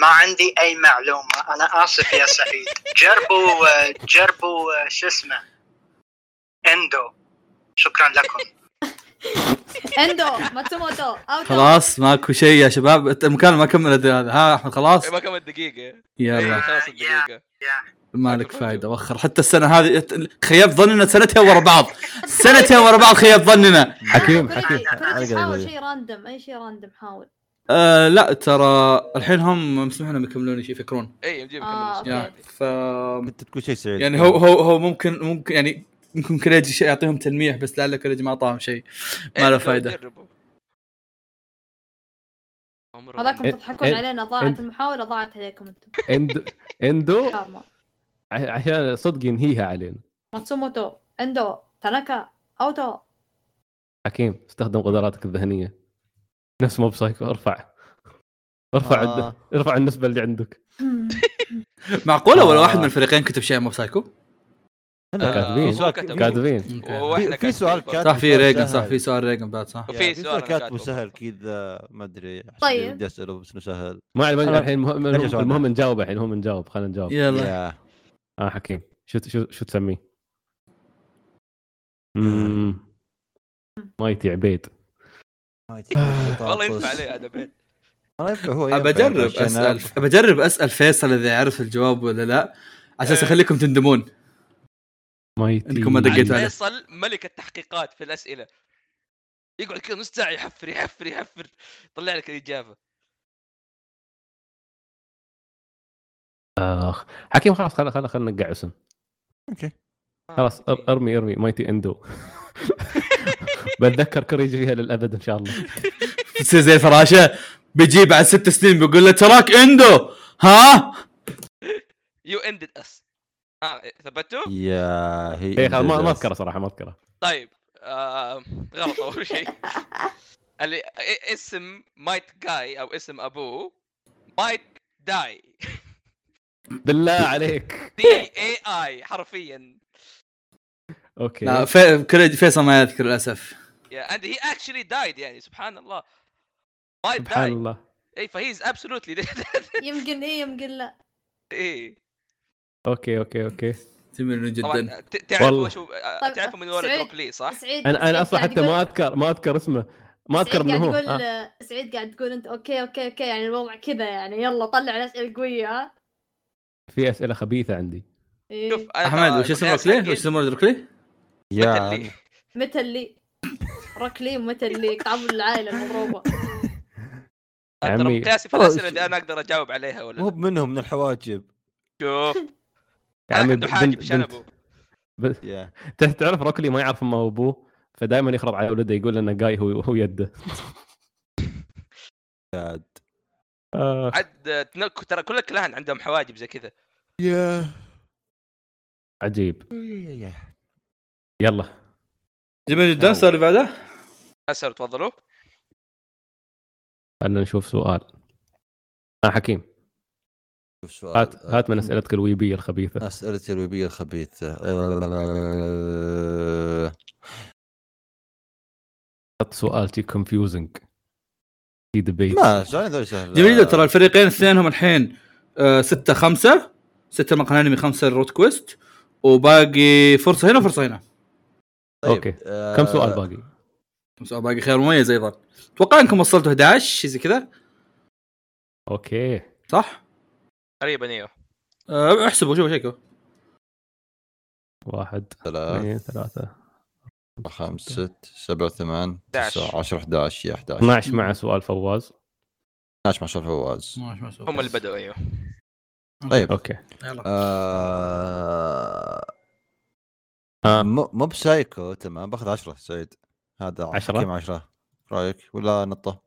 [SPEAKER 7] ما عندي اي معلومه انا اسف يا سعيد جربوا آه، جربوا آه، شو اسمه اندو شكرا لكم
[SPEAKER 3] اندو ماتسوموتو اوتو
[SPEAKER 1] خلاص ماكو شيء يا شباب المكان ما كملت هذا ها احمد خلاص
[SPEAKER 2] إيه، ما كملت دقيقة إيه،
[SPEAKER 1] يلا
[SPEAKER 2] خلاص الدقيقة
[SPEAKER 1] مالك فايده وخر حتى السنه هذه خيب ظننا سنتين ورا بعض سنتين ورا بعض خيب ظننا
[SPEAKER 5] حكيم حكيم
[SPEAKER 3] كوريجي- كوريجي
[SPEAKER 4] أقدر
[SPEAKER 3] آه، حاول
[SPEAKER 4] أقول.
[SPEAKER 3] شيء راندم اي شيء راندم حاول
[SPEAKER 1] آه لا ترى الحين هم مسموح لهم يكملون شيء يفكرون
[SPEAKER 2] اي نجيب
[SPEAKER 3] آه،
[SPEAKER 2] نكمل.
[SPEAKER 1] يا
[SPEAKER 3] أوكي.
[SPEAKER 1] ف
[SPEAKER 4] كنت تقول شيء سعيد
[SPEAKER 1] يعني هو هو هو ممكن ممكن يعني ممكن كريج شيء يعطيهم تلميح بس لعل كريج ما اعطاهم شيء
[SPEAKER 2] إيه،
[SPEAKER 1] ما له
[SPEAKER 2] جربوا-
[SPEAKER 1] فايده
[SPEAKER 2] جربوا. عمره ما-
[SPEAKER 3] هذاكم تضحكون
[SPEAKER 5] إيه.
[SPEAKER 3] علينا
[SPEAKER 5] إيه.
[SPEAKER 3] ضاعت المحاوله ضاعت عليكم انتم
[SPEAKER 5] اندو اندو
[SPEAKER 3] كارما
[SPEAKER 5] ع- عشان صدق ينهيها علينا
[SPEAKER 3] ماتسوموتو اندو تاناكا اوتو
[SPEAKER 5] حكيم استخدم قدراتك الذهنيه نفس موب سايكو ارفع ارفع
[SPEAKER 4] آه.
[SPEAKER 5] الد- ارفع النسبه اللي عندك
[SPEAKER 1] معقوله ولا
[SPEAKER 4] آه.
[SPEAKER 1] واحد من الفريقين كتب شيء مو سايكو؟
[SPEAKER 4] لا،
[SPEAKER 5] آه،
[SPEAKER 4] كاتبين.
[SPEAKER 5] هو
[SPEAKER 4] سؤال-
[SPEAKER 2] كتب.
[SPEAKER 4] في-
[SPEAKER 5] كاتبين
[SPEAKER 1] أوكي.
[SPEAKER 2] وإحنا
[SPEAKER 4] في- في
[SPEAKER 2] كاتبين
[SPEAKER 4] سؤال
[SPEAKER 2] برضه.
[SPEAKER 4] كاتب.
[SPEAKER 1] صح في ريجن
[SPEAKER 4] سهل.
[SPEAKER 1] صح في سؤال ريجن بعد صح
[SPEAKER 4] يا،
[SPEAKER 2] في
[SPEAKER 4] في
[SPEAKER 2] سؤال
[SPEAKER 4] سؤال
[SPEAKER 2] أنا
[SPEAKER 4] كاتبه
[SPEAKER 2] كاتبه.
[SPEAKER 4] سهل كذا ما ادري عشان
[SPEAKER 3] طيب.
[SPEAKER 4] بدي اساله بس انه سهل
[SPEAKER 5] ما علينا الحين المهم-
[SPEAKER 4] نرجع
[SPEAKER 5] المهم
[SPEAKER 4] سؤالنا.
[SPEAKER 5] المهم نجاوب الحين المهم نجاوب خلينا نجاوب
[SPEAKER 1] يلا
[SPEAKER 4] يا.
[SPEAKER 5] اه حكيم شو شو شو تسميه؟
[SPEAKER 1] آه.
[SPEAKER 5] مم. مايتي عبيد
[SPEAKER 4] ما يتحرك
[SPEAKER 2] والله ينفع
[SPEAKER 4] بطاطس.
[SPEAKER 2] عليه هذا بيت
[SPEAKER 4] والله ينفع آه. طيب، هو ينفع
[SPEAKER 1] ابى اجرب
[SPEAKER 4] عشان
[SPEAKER 1] اسال ابى اجرب اسال فيصل اذا يعرف الجواب ولا لا عشان اخليكم تندمون
[SPEAKER 5] مايتي
[SPEAKER 1] إنكم ما
[SPEAKER 2] عاد
[SPEAKER 1] دقيتوا عليه.
[SPEAKER 2] فيصل ملك التحقيقات في الاسئله يقعد كذا نص ساعه يحفر يحفر يحفر طلع لك الاجابه
[SPEAKER 5] اخ حكيم خلاص خلا خلا خلا نقع اسم
[SPEAKER 4] اوكي
[SPEAKER 5] خلاص أر- ارمي ارمي مايتي اندو بتذكر كوريجي فيها للابد ان شاء الله
[SPEAKER 6] تصير زي الفراشه بيجي بعد ست سنين بيقول له تراك اندو ها
[SPEAKER 2] يو اندد اس اه ثبتوا؟
[SPEAKER 4] يا هي
[SPEAKER 5] اي إيه، خلاص ما ما اذكره صراحه ما اذكره
[SPEAKER 2] طيب آه غلط اول شيء اللي إ- اسم مايت جاي او اسم ابوه مايت داي
[SPEAKER 5] بالله عليك
[SPEAKER 2] دي إيه اي اي حرفيا
[SPEAKER 5] اوكي
[SPEAKER 6] لا في... كل- فيصل ما يذكر للاسف
[SPEAKER 2] يا اند هي اكشلي دايد يعني سبحان الله مايت
[SPEAKER 5] سبحان
[SPEAKER 2] داي إيه،
[SPEAKER 5] الله
[SPEAKER 2] اي فهيز ابسولوتلي
[SPEAKER 3] يمكن ايه يمكن لا
[SPEAKER 2] اي
[SPEAKER 5] اوكي اوكي اوكي
[SPEAKER 6] تمل جدا
[SPEAKER 2] طبعا ت- تعرفوا
[SPEAKER 5] والله.
[SPEAKER 2] شو
[SPEAKER 3] طيب،
[SPEAKER 2] تعرفوا آه، من ولد
[SPEAKER 3] سعيد.
[SPEAKER 2] روك لي صح؟
[SPEAKER 3] سعيد
[SPEAKER 5] انا
[SPEAKER 3] سعيد
[SPEAKER 5] انا اصلا
[SPEAKER 3] قاعد
[SPEAKER 5] حتى
[SPEAKER 3] يقول-
[SPEAKER 5] ما اذكر ما اذكر اسمه ما اذكر من
[SPEAKER 3] سعيد
[SPEAKER 5] هو
[SPEAKER 3] قاعد يقول
[SPEAKER 5] آه.
[SPEAKER 3] سعيد قاعد تقول انت اوكي اوكي اوكي يعني الوضع كذا يعني يلا طلع الاسئله قويه ها
[SPEAKER 5] في اسئله خبيثه عندي
[SPEAKER 3] "آه، إيه.
[SPEAKER 2] شوف انا
[SPEAKER 6] احمد وش اسم ركلي؟ وش اسم ركلي؟
[SPEAKER 4] يا
[SPEAKER 3] متى اللي ركلي متى اللي تعامل العائله المضروبه
[SPEAKER 5] عمي.
[SPEAKER 2] عمي قياسي في
[SPEAKER 4] والله
[SPEAKER 2] الاسئله
[SPEAKER 4] شو-
[SPEAKER 2] اللي انا اقدر اجاوب عليها ولا
[SPEAKER 4] مو
[SPEAKER 2] لا.
[SPEAKER 4] منهم من الحواجب
[SPEAKER 2] شوف
[SPEAKER 5] يا عمي
[SPEAKER 2] عنده حاجب
[SPEAKER 5] بنت-
[SPEAKER 2] شنبه
[SPEAKER 5] بس-
[SPEAKER 4] يا
[SPEAKER 5] ت- تعرف روكلي ما يعرف ما هو ابوه فدائما يخرب على ولده يقول انه جاي هو هو يده
[SPEAKER 4] قاعد
[SPEAKER 5] آه.
[SPEAKER 2] عد تنك- ترى كل الكلان عندهم حواجب زي كذا
[SPEAKER 4] يا
[SPEAKER 5] عجيب
[SPEAKER 4] يا
[SPEAKER 5] يلا
[SPEAKER 6] جميل جدا السؤال اللي بعده
[SPEAKER 2] اسر تفضلوا
[SPEAKER 5] خلينا نشوف سؤال آه حكيم
[SPEAKER 4] شوف سؤال آه،
[SPEAKER 5] هات هات من اسئلتك الويبيه الخبيثه
[SPEAKER 4] اسئلتي الويبيه الخبيثه آه،
[SPEAKER 5] حط سؤال تي كونفيوزنج تي ديبيت
[SPEAKER 4] ما سؤال ذول سهل
[SPEAKER 6] جميل جدا ترى الفريقين اثنينهم الحين آه، 6 5 6 مقهى انمي 5 روت كويست وباقي فرصه هنا وفرصه هنا
[SPEAKER 4] طيب،
[SPEAKER 5] أوكي.
[SPEAKER 4] آه،
[SPEAKER 5] كم سؤال باقي؟
[SPEAKER 6] سؤال باقي خيار مميز ايضا اتوقع انكم وصلتوا 11 شيء زي كذا
[SPEAKER 5] اوكي
[SPEAKER 6] صح؟
[SPEAKER 2] قريبا ايوه
[SPEAKER 6] أه، احسبوا شوفوا شيكوا
[SPEAKER 5] واحد
[SPEAKER 4] ثلاث
[SPEAKER 5] اثنين ثلاثة
[SPEAKER 4] خمس ست سبعة ثمان تسعة
[SPEAKER 2] 11.
[SPEAKER 4] عشر 11 يا 11
[SPEAKER 5] 12 مع سؤال فواز
[SPEAKER 4] 12 مع شرف فواز
[SPEAKER 2] هم اللي بدأوا ايوه
[SPEAKER 4] طيب أه.
[SPEAKER 5] اوكي
[SPEAKER 6] يلا
[SPEAKER 4] آه...
[SPEAKER 5] آه.
[SPEAKER 4] مو مو بسايكو تمام باخذ 10 سعيد هذا
[SPEAKER 5] عشرة؟
[SPEAKER 4] 10 رايك ولا نطه؟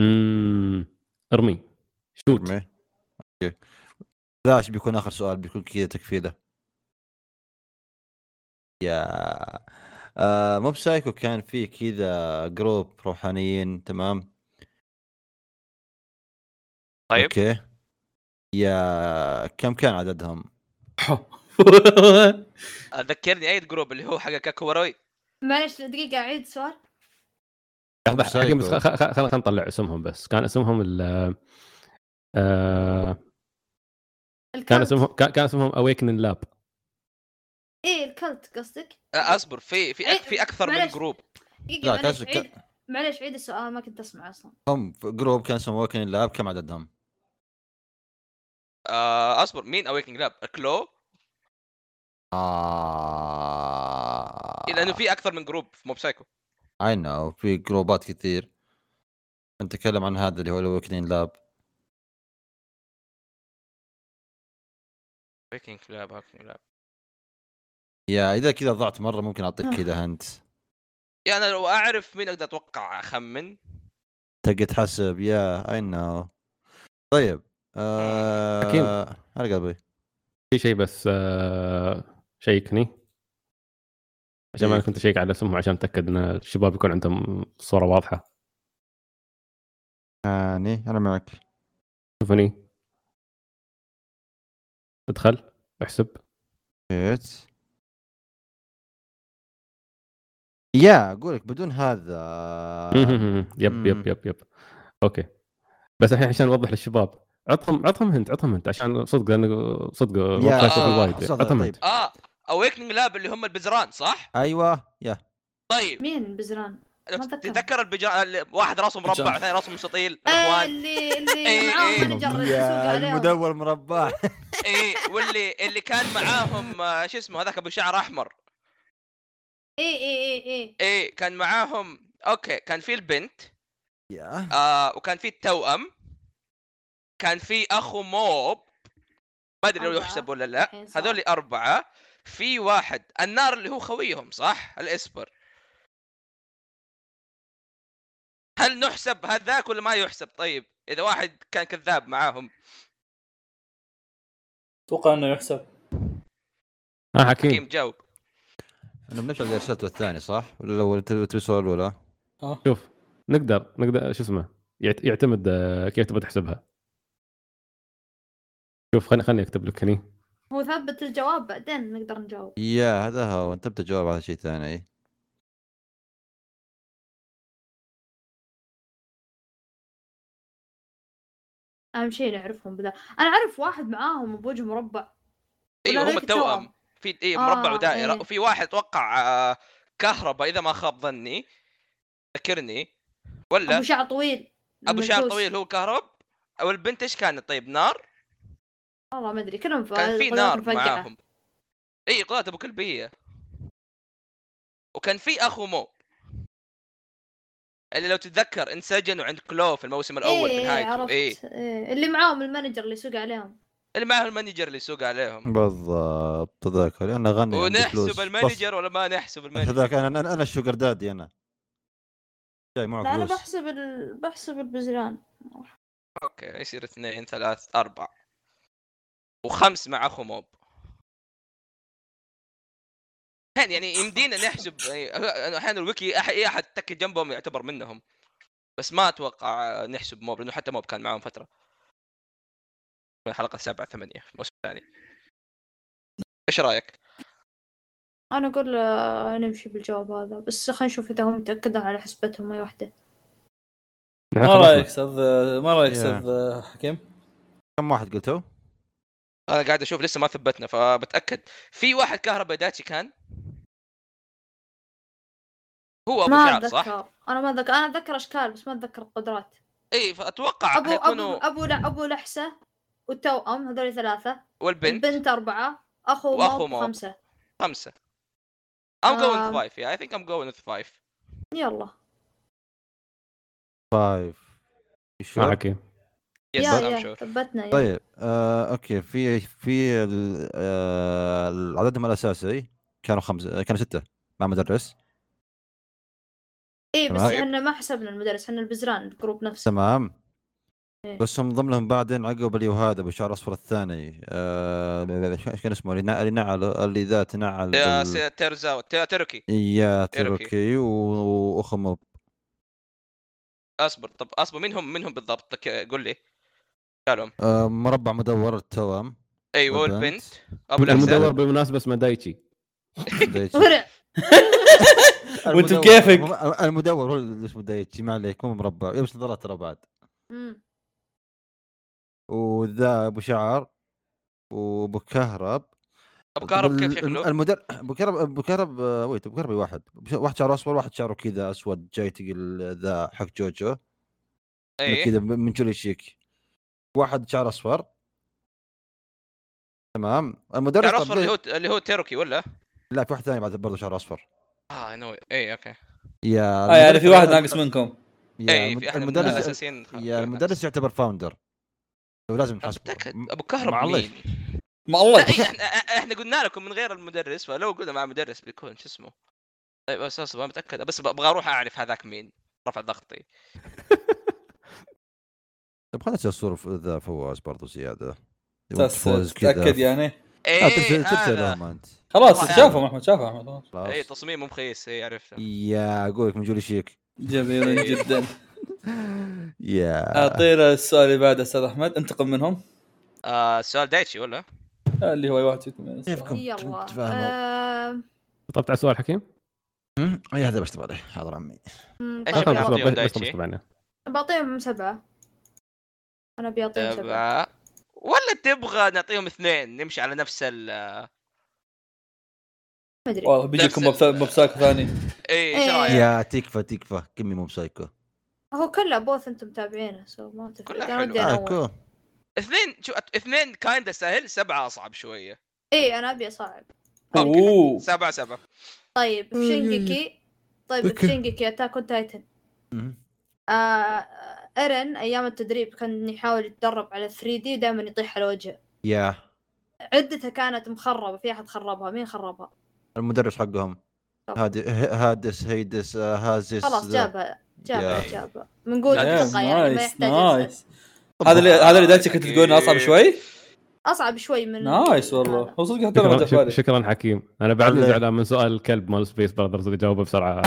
[SPEAKER 5] امم ارمي شوت
[SPEAKER 4] رمي. اوكي فلاش بيكون اخر سؤال بيكون كذا تكفيله يا آه مو بسايكو كان في كذا جروب روحانيين تمام
[SPEAKER 2] طيب
[SPEAKER 4] اوكي يا كم كان عددهم؟
[SPEAKER 2] ذكرني اي جروب اللي هو حق كاكوروي
[SPEAKER 3] معلش دقيقه عيد سؤال
[SPEAKER 5] لحظة، حكيم بس
[SPEAKER 4] سايكو.
[SPEAKER 5] خلينا نطلع اسمهم بس كان اسمهم ال آه، كان
[SPEAKER 3] الكلت
[SPEAKER 5] اسمهم كان كان اسمهم اويكن لاب
[SPEAKER 3] ايه الكلت قصدك
[SPEAKER 2] آه، اصبر في في
[SPEAKER 3] إيه،
[SPEAKER 2] أك- في اكثر من
[SPEAKER 3] معلش.
[SPEAKER 2] جروب
[SPEAKER 4] لا،
[SPEAKER 3] دقيقه معلش
[SPEAKER 4] كان-
[SPEAKER 3] عيد معلش عيد السؤال ما كنت اسمع اصلا
[SPEAKER 4] هم في جروب كان اسمه وكن اللاب كم عددهم؟
[SPEAKER 2] آه، اصبر مين اويكنج لاب كلو
[SPEAKER 4] آه
[SPEAKER 2] لانه إيه، في اكثر من جروب في موب سايكو
[SPEAKER 4] اي نو في جروبات كثير نتكلم عن هذا اللي هو الوكنين لاب
[SPEAKER 2] اويكنج لاب اويكنج لاب
[SPEAKER 4] يا اذا كذا ضعت مره ممكن اعطيك كذا هنت
[SPEAKER 2] يعني انا لو اعرف مين اقدر اتوقع اخمن
[SPEAKER 4] تقعد تحسب يا اي نو طيب آه
[SPEAKER 5] حكيم.
[SPEAKER 4] على قلبي
[SPEAKER 5] في شيء بس آه، شيكني عشان ما
[SPEAKER 4] إيه.
[SPEAKER 5] كنت اشيك على اسمهم عشان اتاكد ان الشباب يكون عندهم صوره واضحه
[SPEAKER 4] هاني انا معك
[SPEAKER 5] شوفني ادخل احسب
[SPEAKER 4] جيت يا اقول لك بدون هذا
[SPEAKER 5] يب يب يب يب اوكي بس الحين عشان نوضح للشباب عطهم عطهم هنت عطهم هنت عشان صدق لانه صدق
[SPEAKER 4] يا
[SPEAKER 5] وقت
[SPEAKER 2] آه،
[SPEAKER 5] وايد.
[SPEAKER 4] صدق،
[SPEAKER 5] عطهم
[SPEAKER 4] طيب.
[SPEAKER 5] هنت
[SPEAKER 2] اه اويكنج لاب اللي هم البزران صح؟
[SPEAKER 4] ايوه يا
[SPEAKER 2] طيب
[SPEAKER 3] مين بزران
[SPEAKER 2] لو
[SPEAKER 3] ما أتذكر.
[SPEAKER 2] تتذكر البجران واحد راسه مربع
[SPEAKER 6] بجران.
[SPEAKER 2] والثاني راسه مستطيل
[SPEAKER 3] آه،
[SPEAKER 2] الاخوان
[SPEAKER 3] اللي اللي
[SPEAKER 2] إيه،
[SPEAKER 3] معاهم
[SPEAKER 2] إيه.
[SPEAKER 3] مانجر السوق
[SPEAKER 4] يا
[SPEAKER 3] عليهم
[SPEAKER 4] المدور مربع
[SPEAKER 2] ايه واللي اللي كان معاهم آه، شو اسمه هذاك ابو شعر احمر
[SPEAKER 3] اي اي اي اي
[SPEAKER 2] ايه كان معاهم اوكي كان في البنت
[SPEAKER 4] يا
[SPEAKER 2] آه وكان في التوأم كان في اخو موب ما ادري لو
[SPEAKER 3] أربعة.
[SPEAKER 2] يحسب ولا لا
[SPEAKER 3] الحين صعب.
[SPEAKER 2] هذول اربعه في واحد النار اللي هو خويهم صح الاسبر هل نحسب هذاك ولا ما يحسب طيب اذا واحد كان كذاب معاهم
[SPEAKER 8] اتوقع انه يحسب
[SPEAKER 5] ها آه، حكيم
[SPEAKER 2] حكيم جاوب
[SPEAKER 4] انه بنفس اللي ارسلته الثاني صح؟ ولا الاول تبي السؤال الاولى؟
[SPEAKER 6] آه.
[SPEAKER 5] شوف نقدر نقدر شو اسمه يعت- يعتمد آه، كيف تبغى تحسبها شوف خلني خلني اكتب لك هني
[SPEAKER 3] هو ثبت الجواب بعدين نقدر نجاوب
[SPEAKER 4] يا هذا هو انت بتجاوب على شيء ثاني إيه؟
[SPEAKER 3] اهم شيء نعرفهم بذا انا اعرف واحد معاهم بوجه مربع ولا
[SPEAKER 2] ايوه هم
[SPEAKER 3] ذاك
[SPEAKER 2] التوأم في إيه مربع
[SPEAKER 3] آه،
[SPEAKER 2] ودائره
[SPEAKER 3] إيه.
[SPEAKER 2] وفي واحد توقع آه، كهرباء اذا ما خاب ظني ذكرني ولا
[SPEAKER 3] ابو شعر طويل
[SPEAKER 2] ابو شعر
[SPEAKER 3] ملبوس.
[SPEAKER 2] طويل هو كهرب او البنت ايش كانت طيب نار
[SPEAKER 3] والله ما ادري كلهم ف-
[SPEAKER 2] كان في
[SPEAKER 3] قدرات
[SPEAKER 2] نار
[SPEAKER 3] مفجعة.
[SPEAKER 2] معاهم اي قوات ابو كلبيه وكان في اخو مو اللي لو تتذكر انسجنوا عند كلو في الموسم الاول
[SPEAKER 3] إيه،
[SPEAKER 2] من
[SPEAKER 3] إيه
[SPEAKER 2] هايكو
[SPEAKER 3] عرفت
[SPEAKER 2] اي
[SPEAKER 3] إيه. اللي معاهم المانجر اللي يسوق عليهم
[SPEAKER 2] اللي معه المانجر اللي يسوق عليهم
[SPEAKER 4] بالضبط تذاكر لانه غني عندي فلوس.
[SPEAKER 2] ونحسب
[SPEAKER 4] بس.
[SPEAKER 2] المانجر ولا ما نحسب المانجر
[SPEAKER 4] هذاك انا انا انا الشوجر دادي انا جاي معك
[SPEAKER 3] لا انا
[SPEAKER 4] فلوس
[SPEAKER 3] بحسب ال... بحسب البزران
[SPEAKER 2] اوكي يصير اثنين ثلاث اربع وخمس مع اخو موب يعني يعني يمدينا نحسب يعني أنا احيانا الويكي أح- اي احد تكي جنبهم يعتبر منهم بس ما اتوقع نحسب موب لانه حتى موب كان معاهم فتره من الحلقه سبعة ثمانية في الموسم الثاني ايش رايك؟
[SPEAKER 3] انا اقول آه، نمشي بالجواب هذا بس خلينا نشوف اذا هم متاكدين على حسبتهم اي وحده
[SPEAKER 5] نحن
[SPEAKER 8] ما
[SPEAKER 5] خلصنا.
[SPEAKER 8] رايك استاذ ما رايك
[SPEAKER 4] يا.
[SPEAKER 8] استاذ حكيم؟
[SPEAKER 4] كم واحد قلتوا؟
[SPEAKER 2] انا قاعد اشوف لسه ما ثبتنا فبتاكد في واحد كهرباء داتشي كان هو ابو
[SPEAKER 3] ما
[SPEAKER 2] شعر صح؟
[SPEAKER 3] اتذكر انا ما اتذكر انا اتذكر اشكال بس ما اتذكر القدرات
[SPEAKER 2] اي فاتوقع
[SPEAKER 3] ابو ابو
[SPEAKER 2] إيه، حيكونوا
[SPEAKER 3] ابو لا ابو لحسه والتوأم هذول ثلاثه
[SPEAKER 2] والبنت
[SPEAKER 3] البنت اربعه اخو
[SPEAKER 2] وأخو
[SPEAKER 3] واخو
[SPEAKER 2] موب.
[SPEAKER 3] خمسه
[SPEAKER 2] خمسة I'm going with
[SPEAKER 3] آم.
[SPEAKER 2] five yeah I think I'm going with five
[SPEAKER 3] يلا
[SPEAKER 4] فايف
[SPEAKER 5] ها آه، حكيم
[SPEAKER 2] yes
[SPEAKER 3] يا
[SPEAKER 2] I'm
[SPEAKER 3] يا
[SPEAKER 2] sure
[SPEAKER 3] ثبتنا يا.
[SPEAKER 4] طيب آه، اوكي في في ال- آه، ال- عددهم الاساسي كانوا خمسه كانوا سته مع مدرس
[SPEAKER 3] ايه بس
[SPEAKER 4] تمام.
[SPEAKER 3] احنا ما حسبنا المدرس احنا البزران الجروب نفسه
[SPEAKER 4] تمام
[SPEAKER 3] إيه.
[SPEAKER 4] بس هم ضمنهم بعدين عقب اللي هو هذا ابو شعر اصفر الثاني آه، ايش كان اسمه اللي نع- اللي نعل اللي ذا تنعل
[SPEAKER 2] يا
[SPEAKER 4] بال-
[SPEAKER 2] س- تيرزا تي- تركي
[SPEAKER 4] يا
[SPEAKER 2] تركي.
[SPEAKER 4] تركي و- واخو موب.
[SPEAKER 2] اصبر طب اصبر منهم منهم بالضبط لك- قول لي قالهم
[SPEAKER 4] آه، مربع مدور التوام
[SPEAKER 2] ايوه
[SPEAKER 4] والبنت.
[SPEAKER 2] والبنت ابو
[SPEAKER 5] المدور
[SPEAKER 2] الأحزاب
[SPEAKER 5] بالمناسبه اسمه دايتشي
[SPEAKER 4] دايتشي.
[SPEAKER 3] ورع
[SPEAKER 6] وأنت
[SPEAKER 4] المدور-
[SPEAKER 6] بكيفك.
[SPEAKER 4] المدور هو اللي اسمه دايتشي ما عليك مو مربع يلبس نظارات ترى بعد
[SPEAKER 3] مم.
[SPEAKER 4] وذا ابو شعر وابو كهرب
[SPEAKER 2] ابو كهرب كيف
[SPEAKER 4] وال-
[SPEAKER 2] شكله؟
[SPEAKER 4] المدر ابو كهرب ابو كهرب آه، ويت ابو كهرب واحد أبو ش- واحد شعره اصفر واحد شعره كذا اسود جاي تقل ذا حق جوجو
[SPEAKER 2] اي
[SPEAKER 4] كذا من جولي شيك واحد شعر اصفر تمام المدرس
[SPEAKER 2] شعر
[SPEAKER 4] طب
[SPEAKER 2] اصفر اللي هو اللي هو تركي ولا؟
[SPEAKER 4] لا في واحد ثاني بعد برضه شعر اصفر
[SPEAKER 2] اه نو اي اوكي
[SPEAKER 4] يا
[SPEAKER 8] آه يعني في واحد
[SPEAKER 4] المدرس-
[SPEAKER 8] ناقص منكم
[SPEAKER 4] يا
[SPEAKER 2] اي
[SPEAKER 4] المد-
[SPEAKER 2] إيه، في احد من
[SPEAKER 4] المدرس
[SPEAKER 2] الاساسيين
[SPEAKER 4] يا المدرس يعتبر فاوندر لو لازم نحاسبه
[SPEAKER 2] اتاكد
[SPEAKER 4] م-
[SPEAKER 2] ابو كهرب
[SPEAKER 4] معلش.
[SPEAKER 2] مين؟
[SPEAKER 8] مع
[SPEAKER 1] طيب.
[SPEAKER 2] لا،
[SPEAKER 8] الله
[SPEAKER 2] إيه، احنا احنا قلنا لكم من غير المدرس فلو قلنا مع مدرس بيكون شو اسمه طيب بس اصبر ما متاكد بس ابغى اروح اعرف هذاك مين رفع ضغطي
[SPEAKER 4] طب خلنا نسال صورة ف- ذا فواز برضو زياده يوم
[SPEAKER 8] أساس-
[SPEAKER 4] تفوز كذا.
[SPEAKER 8] تتاكد يعني
[SPEAKER 4] لا،
[SPEAKER 2] ايه
[SPEAKER 4] ترسل ترسل
[SPEAKER 2] هذا
[SPEAKER 4] لهم انت
[SPEAKER 2] إيه،
[SPEAKER 8] خلاص
[SPEAKER 2] والله
[SPEAKER 8] شافهم احمد شافهم احمد خلاص.
[SPEAKER 4] خلاص.
[SPEAKER 2] اي تصميمهم خيس اي إيه، عرفته
[SPEAKER 4] يا اقول لك من جولي شيك
[SPEAKER 8] جميل جدا
[SPEAKER 4] آه. يا
[SPEAKER 8] اعطينا السؤال اللي بعده استاذ احمد انتقم منهم
[SPEAKER 2] آه السؤال دايتشي ولا؟
[SPEAKER 8] آه، اللي هو أي واحد فيكم
[SPEAKER 4] كيفكم؟ كنت
[SPEAKER 3] يلا آه.
[SPEAKER 4] تفهموا.
[SPEAKER 3] آم،
[SPEAKER 5] طبت على السؤال حكيم
[SPEAKER 4] أمم، اي هذا بس تبغى حاضر عمي
[SPEAKER 3] مم،
[SPEAKER 2] إيش
[SPEAKER 5] آه،
[SPEAKER 3] طيب،
[SPEAKER 5] طبعاً،
[SPEAKER 2] بيعطيهم
[SPEAKER 5] خلاص، بس- بس
[SPEAKER 2] دايتشي؟
[SPEAKER 5] طبعاً عنه.
[SPEAKER 3] بعطيهم سبعة أنا بيعطيهم سبعة
[SPEAKER 2] تبع طيب، آه، ولا تبغى نعطيهم اثنين نمشي على نفس ال
[SPEAKER 3] ما أدري
[SPEAKER 8] والله بيجيكم
[SPEAKER 2] نفس
[SPEAKER 8] مبسا- مبساك ثاني
[SPEAKER 2] اي ايش
[SPEAKER 3] إيه.
[SPEAKER 2] رايك؟
[SPEAKER 4] يا تكفى تكفى كمي مو مسايكو
[SPEAKER 3] هو كله بوث أنتم متابعينه سو ما تفرق
[SPEAKER 2] كلها
[SPEAKER 3] أنا
[SPEAKER 2] حلوة.
[SPEAKER 3] ودي
[SPEAKER 4] آه،
[SPEAKER 3] أنوع
[SPEAKER 4] آكو.
[SPEAKER 2] اثنين شو اثنين كايندا سهل سبعه اصعب شويه
[SPEAKER 3] إيه أنا أبي أصعب
[SPEAKER 8] اوه
[SPEAKER 2] سبعه سبعه
[SPEAKER 3] طيب في شينجيكي طيب في
[SPEAKER 4] أوكي.
[SPEAKER 3] شينجيكي أتاك أون تايتن
[SPEAKER 4] أمم.
[SPEAKER 3] آه، آه، إيرن أيام التدريب كان يحاول يتدرب على 3 دي ودائما يطيح على وجهه
[SPEAKER 4] يا
[SPEAKER 3] عدتها كانت مخربه في احد خربها مين خربها
[SPEAKER 4] المدرس حقهم
[SPEAKER 3] طب.
[SPEAKER 4] هادي هادس هيدس آه، هازس
[SPEAKER 3] خلاص
[SPEAKER 4] ذا.
[SPEAKER 3] جابها جابها
[SPEAKER 4] يا.
[SPEAKER 3] جابها بنقول ثقه يعني ما
[SPEAKER 8] نايس
[SPEAKER 3] يحتاج يسأل.
[SPEAKER 8] نايس هذا اللي هذا اللي دايتش
[SPEAKER 2] دايتشي
[SPEAKER 8] كنت تقول إنه اصعب شوي
[SPEAKER 3] اصعب شوي من
[SPEAKER 8] نايس والله
[SPEAKER 3] هذا.
[SPEAKER 8] هو صدق حتى انا ما
[SPEAKER 5] شكرا,
[SPEAKER 8] جاء في
[SPEAKER 5] شك-
[SPEAKER 8] بالي
[SPEAKER 5] شكرا حكيم انا بعدني
[SPEAKER 4] عليك.
[SPEAKER 5] زعلان من سؤال الكلب مال سبيس براذرز اللي جاوبه بسرعه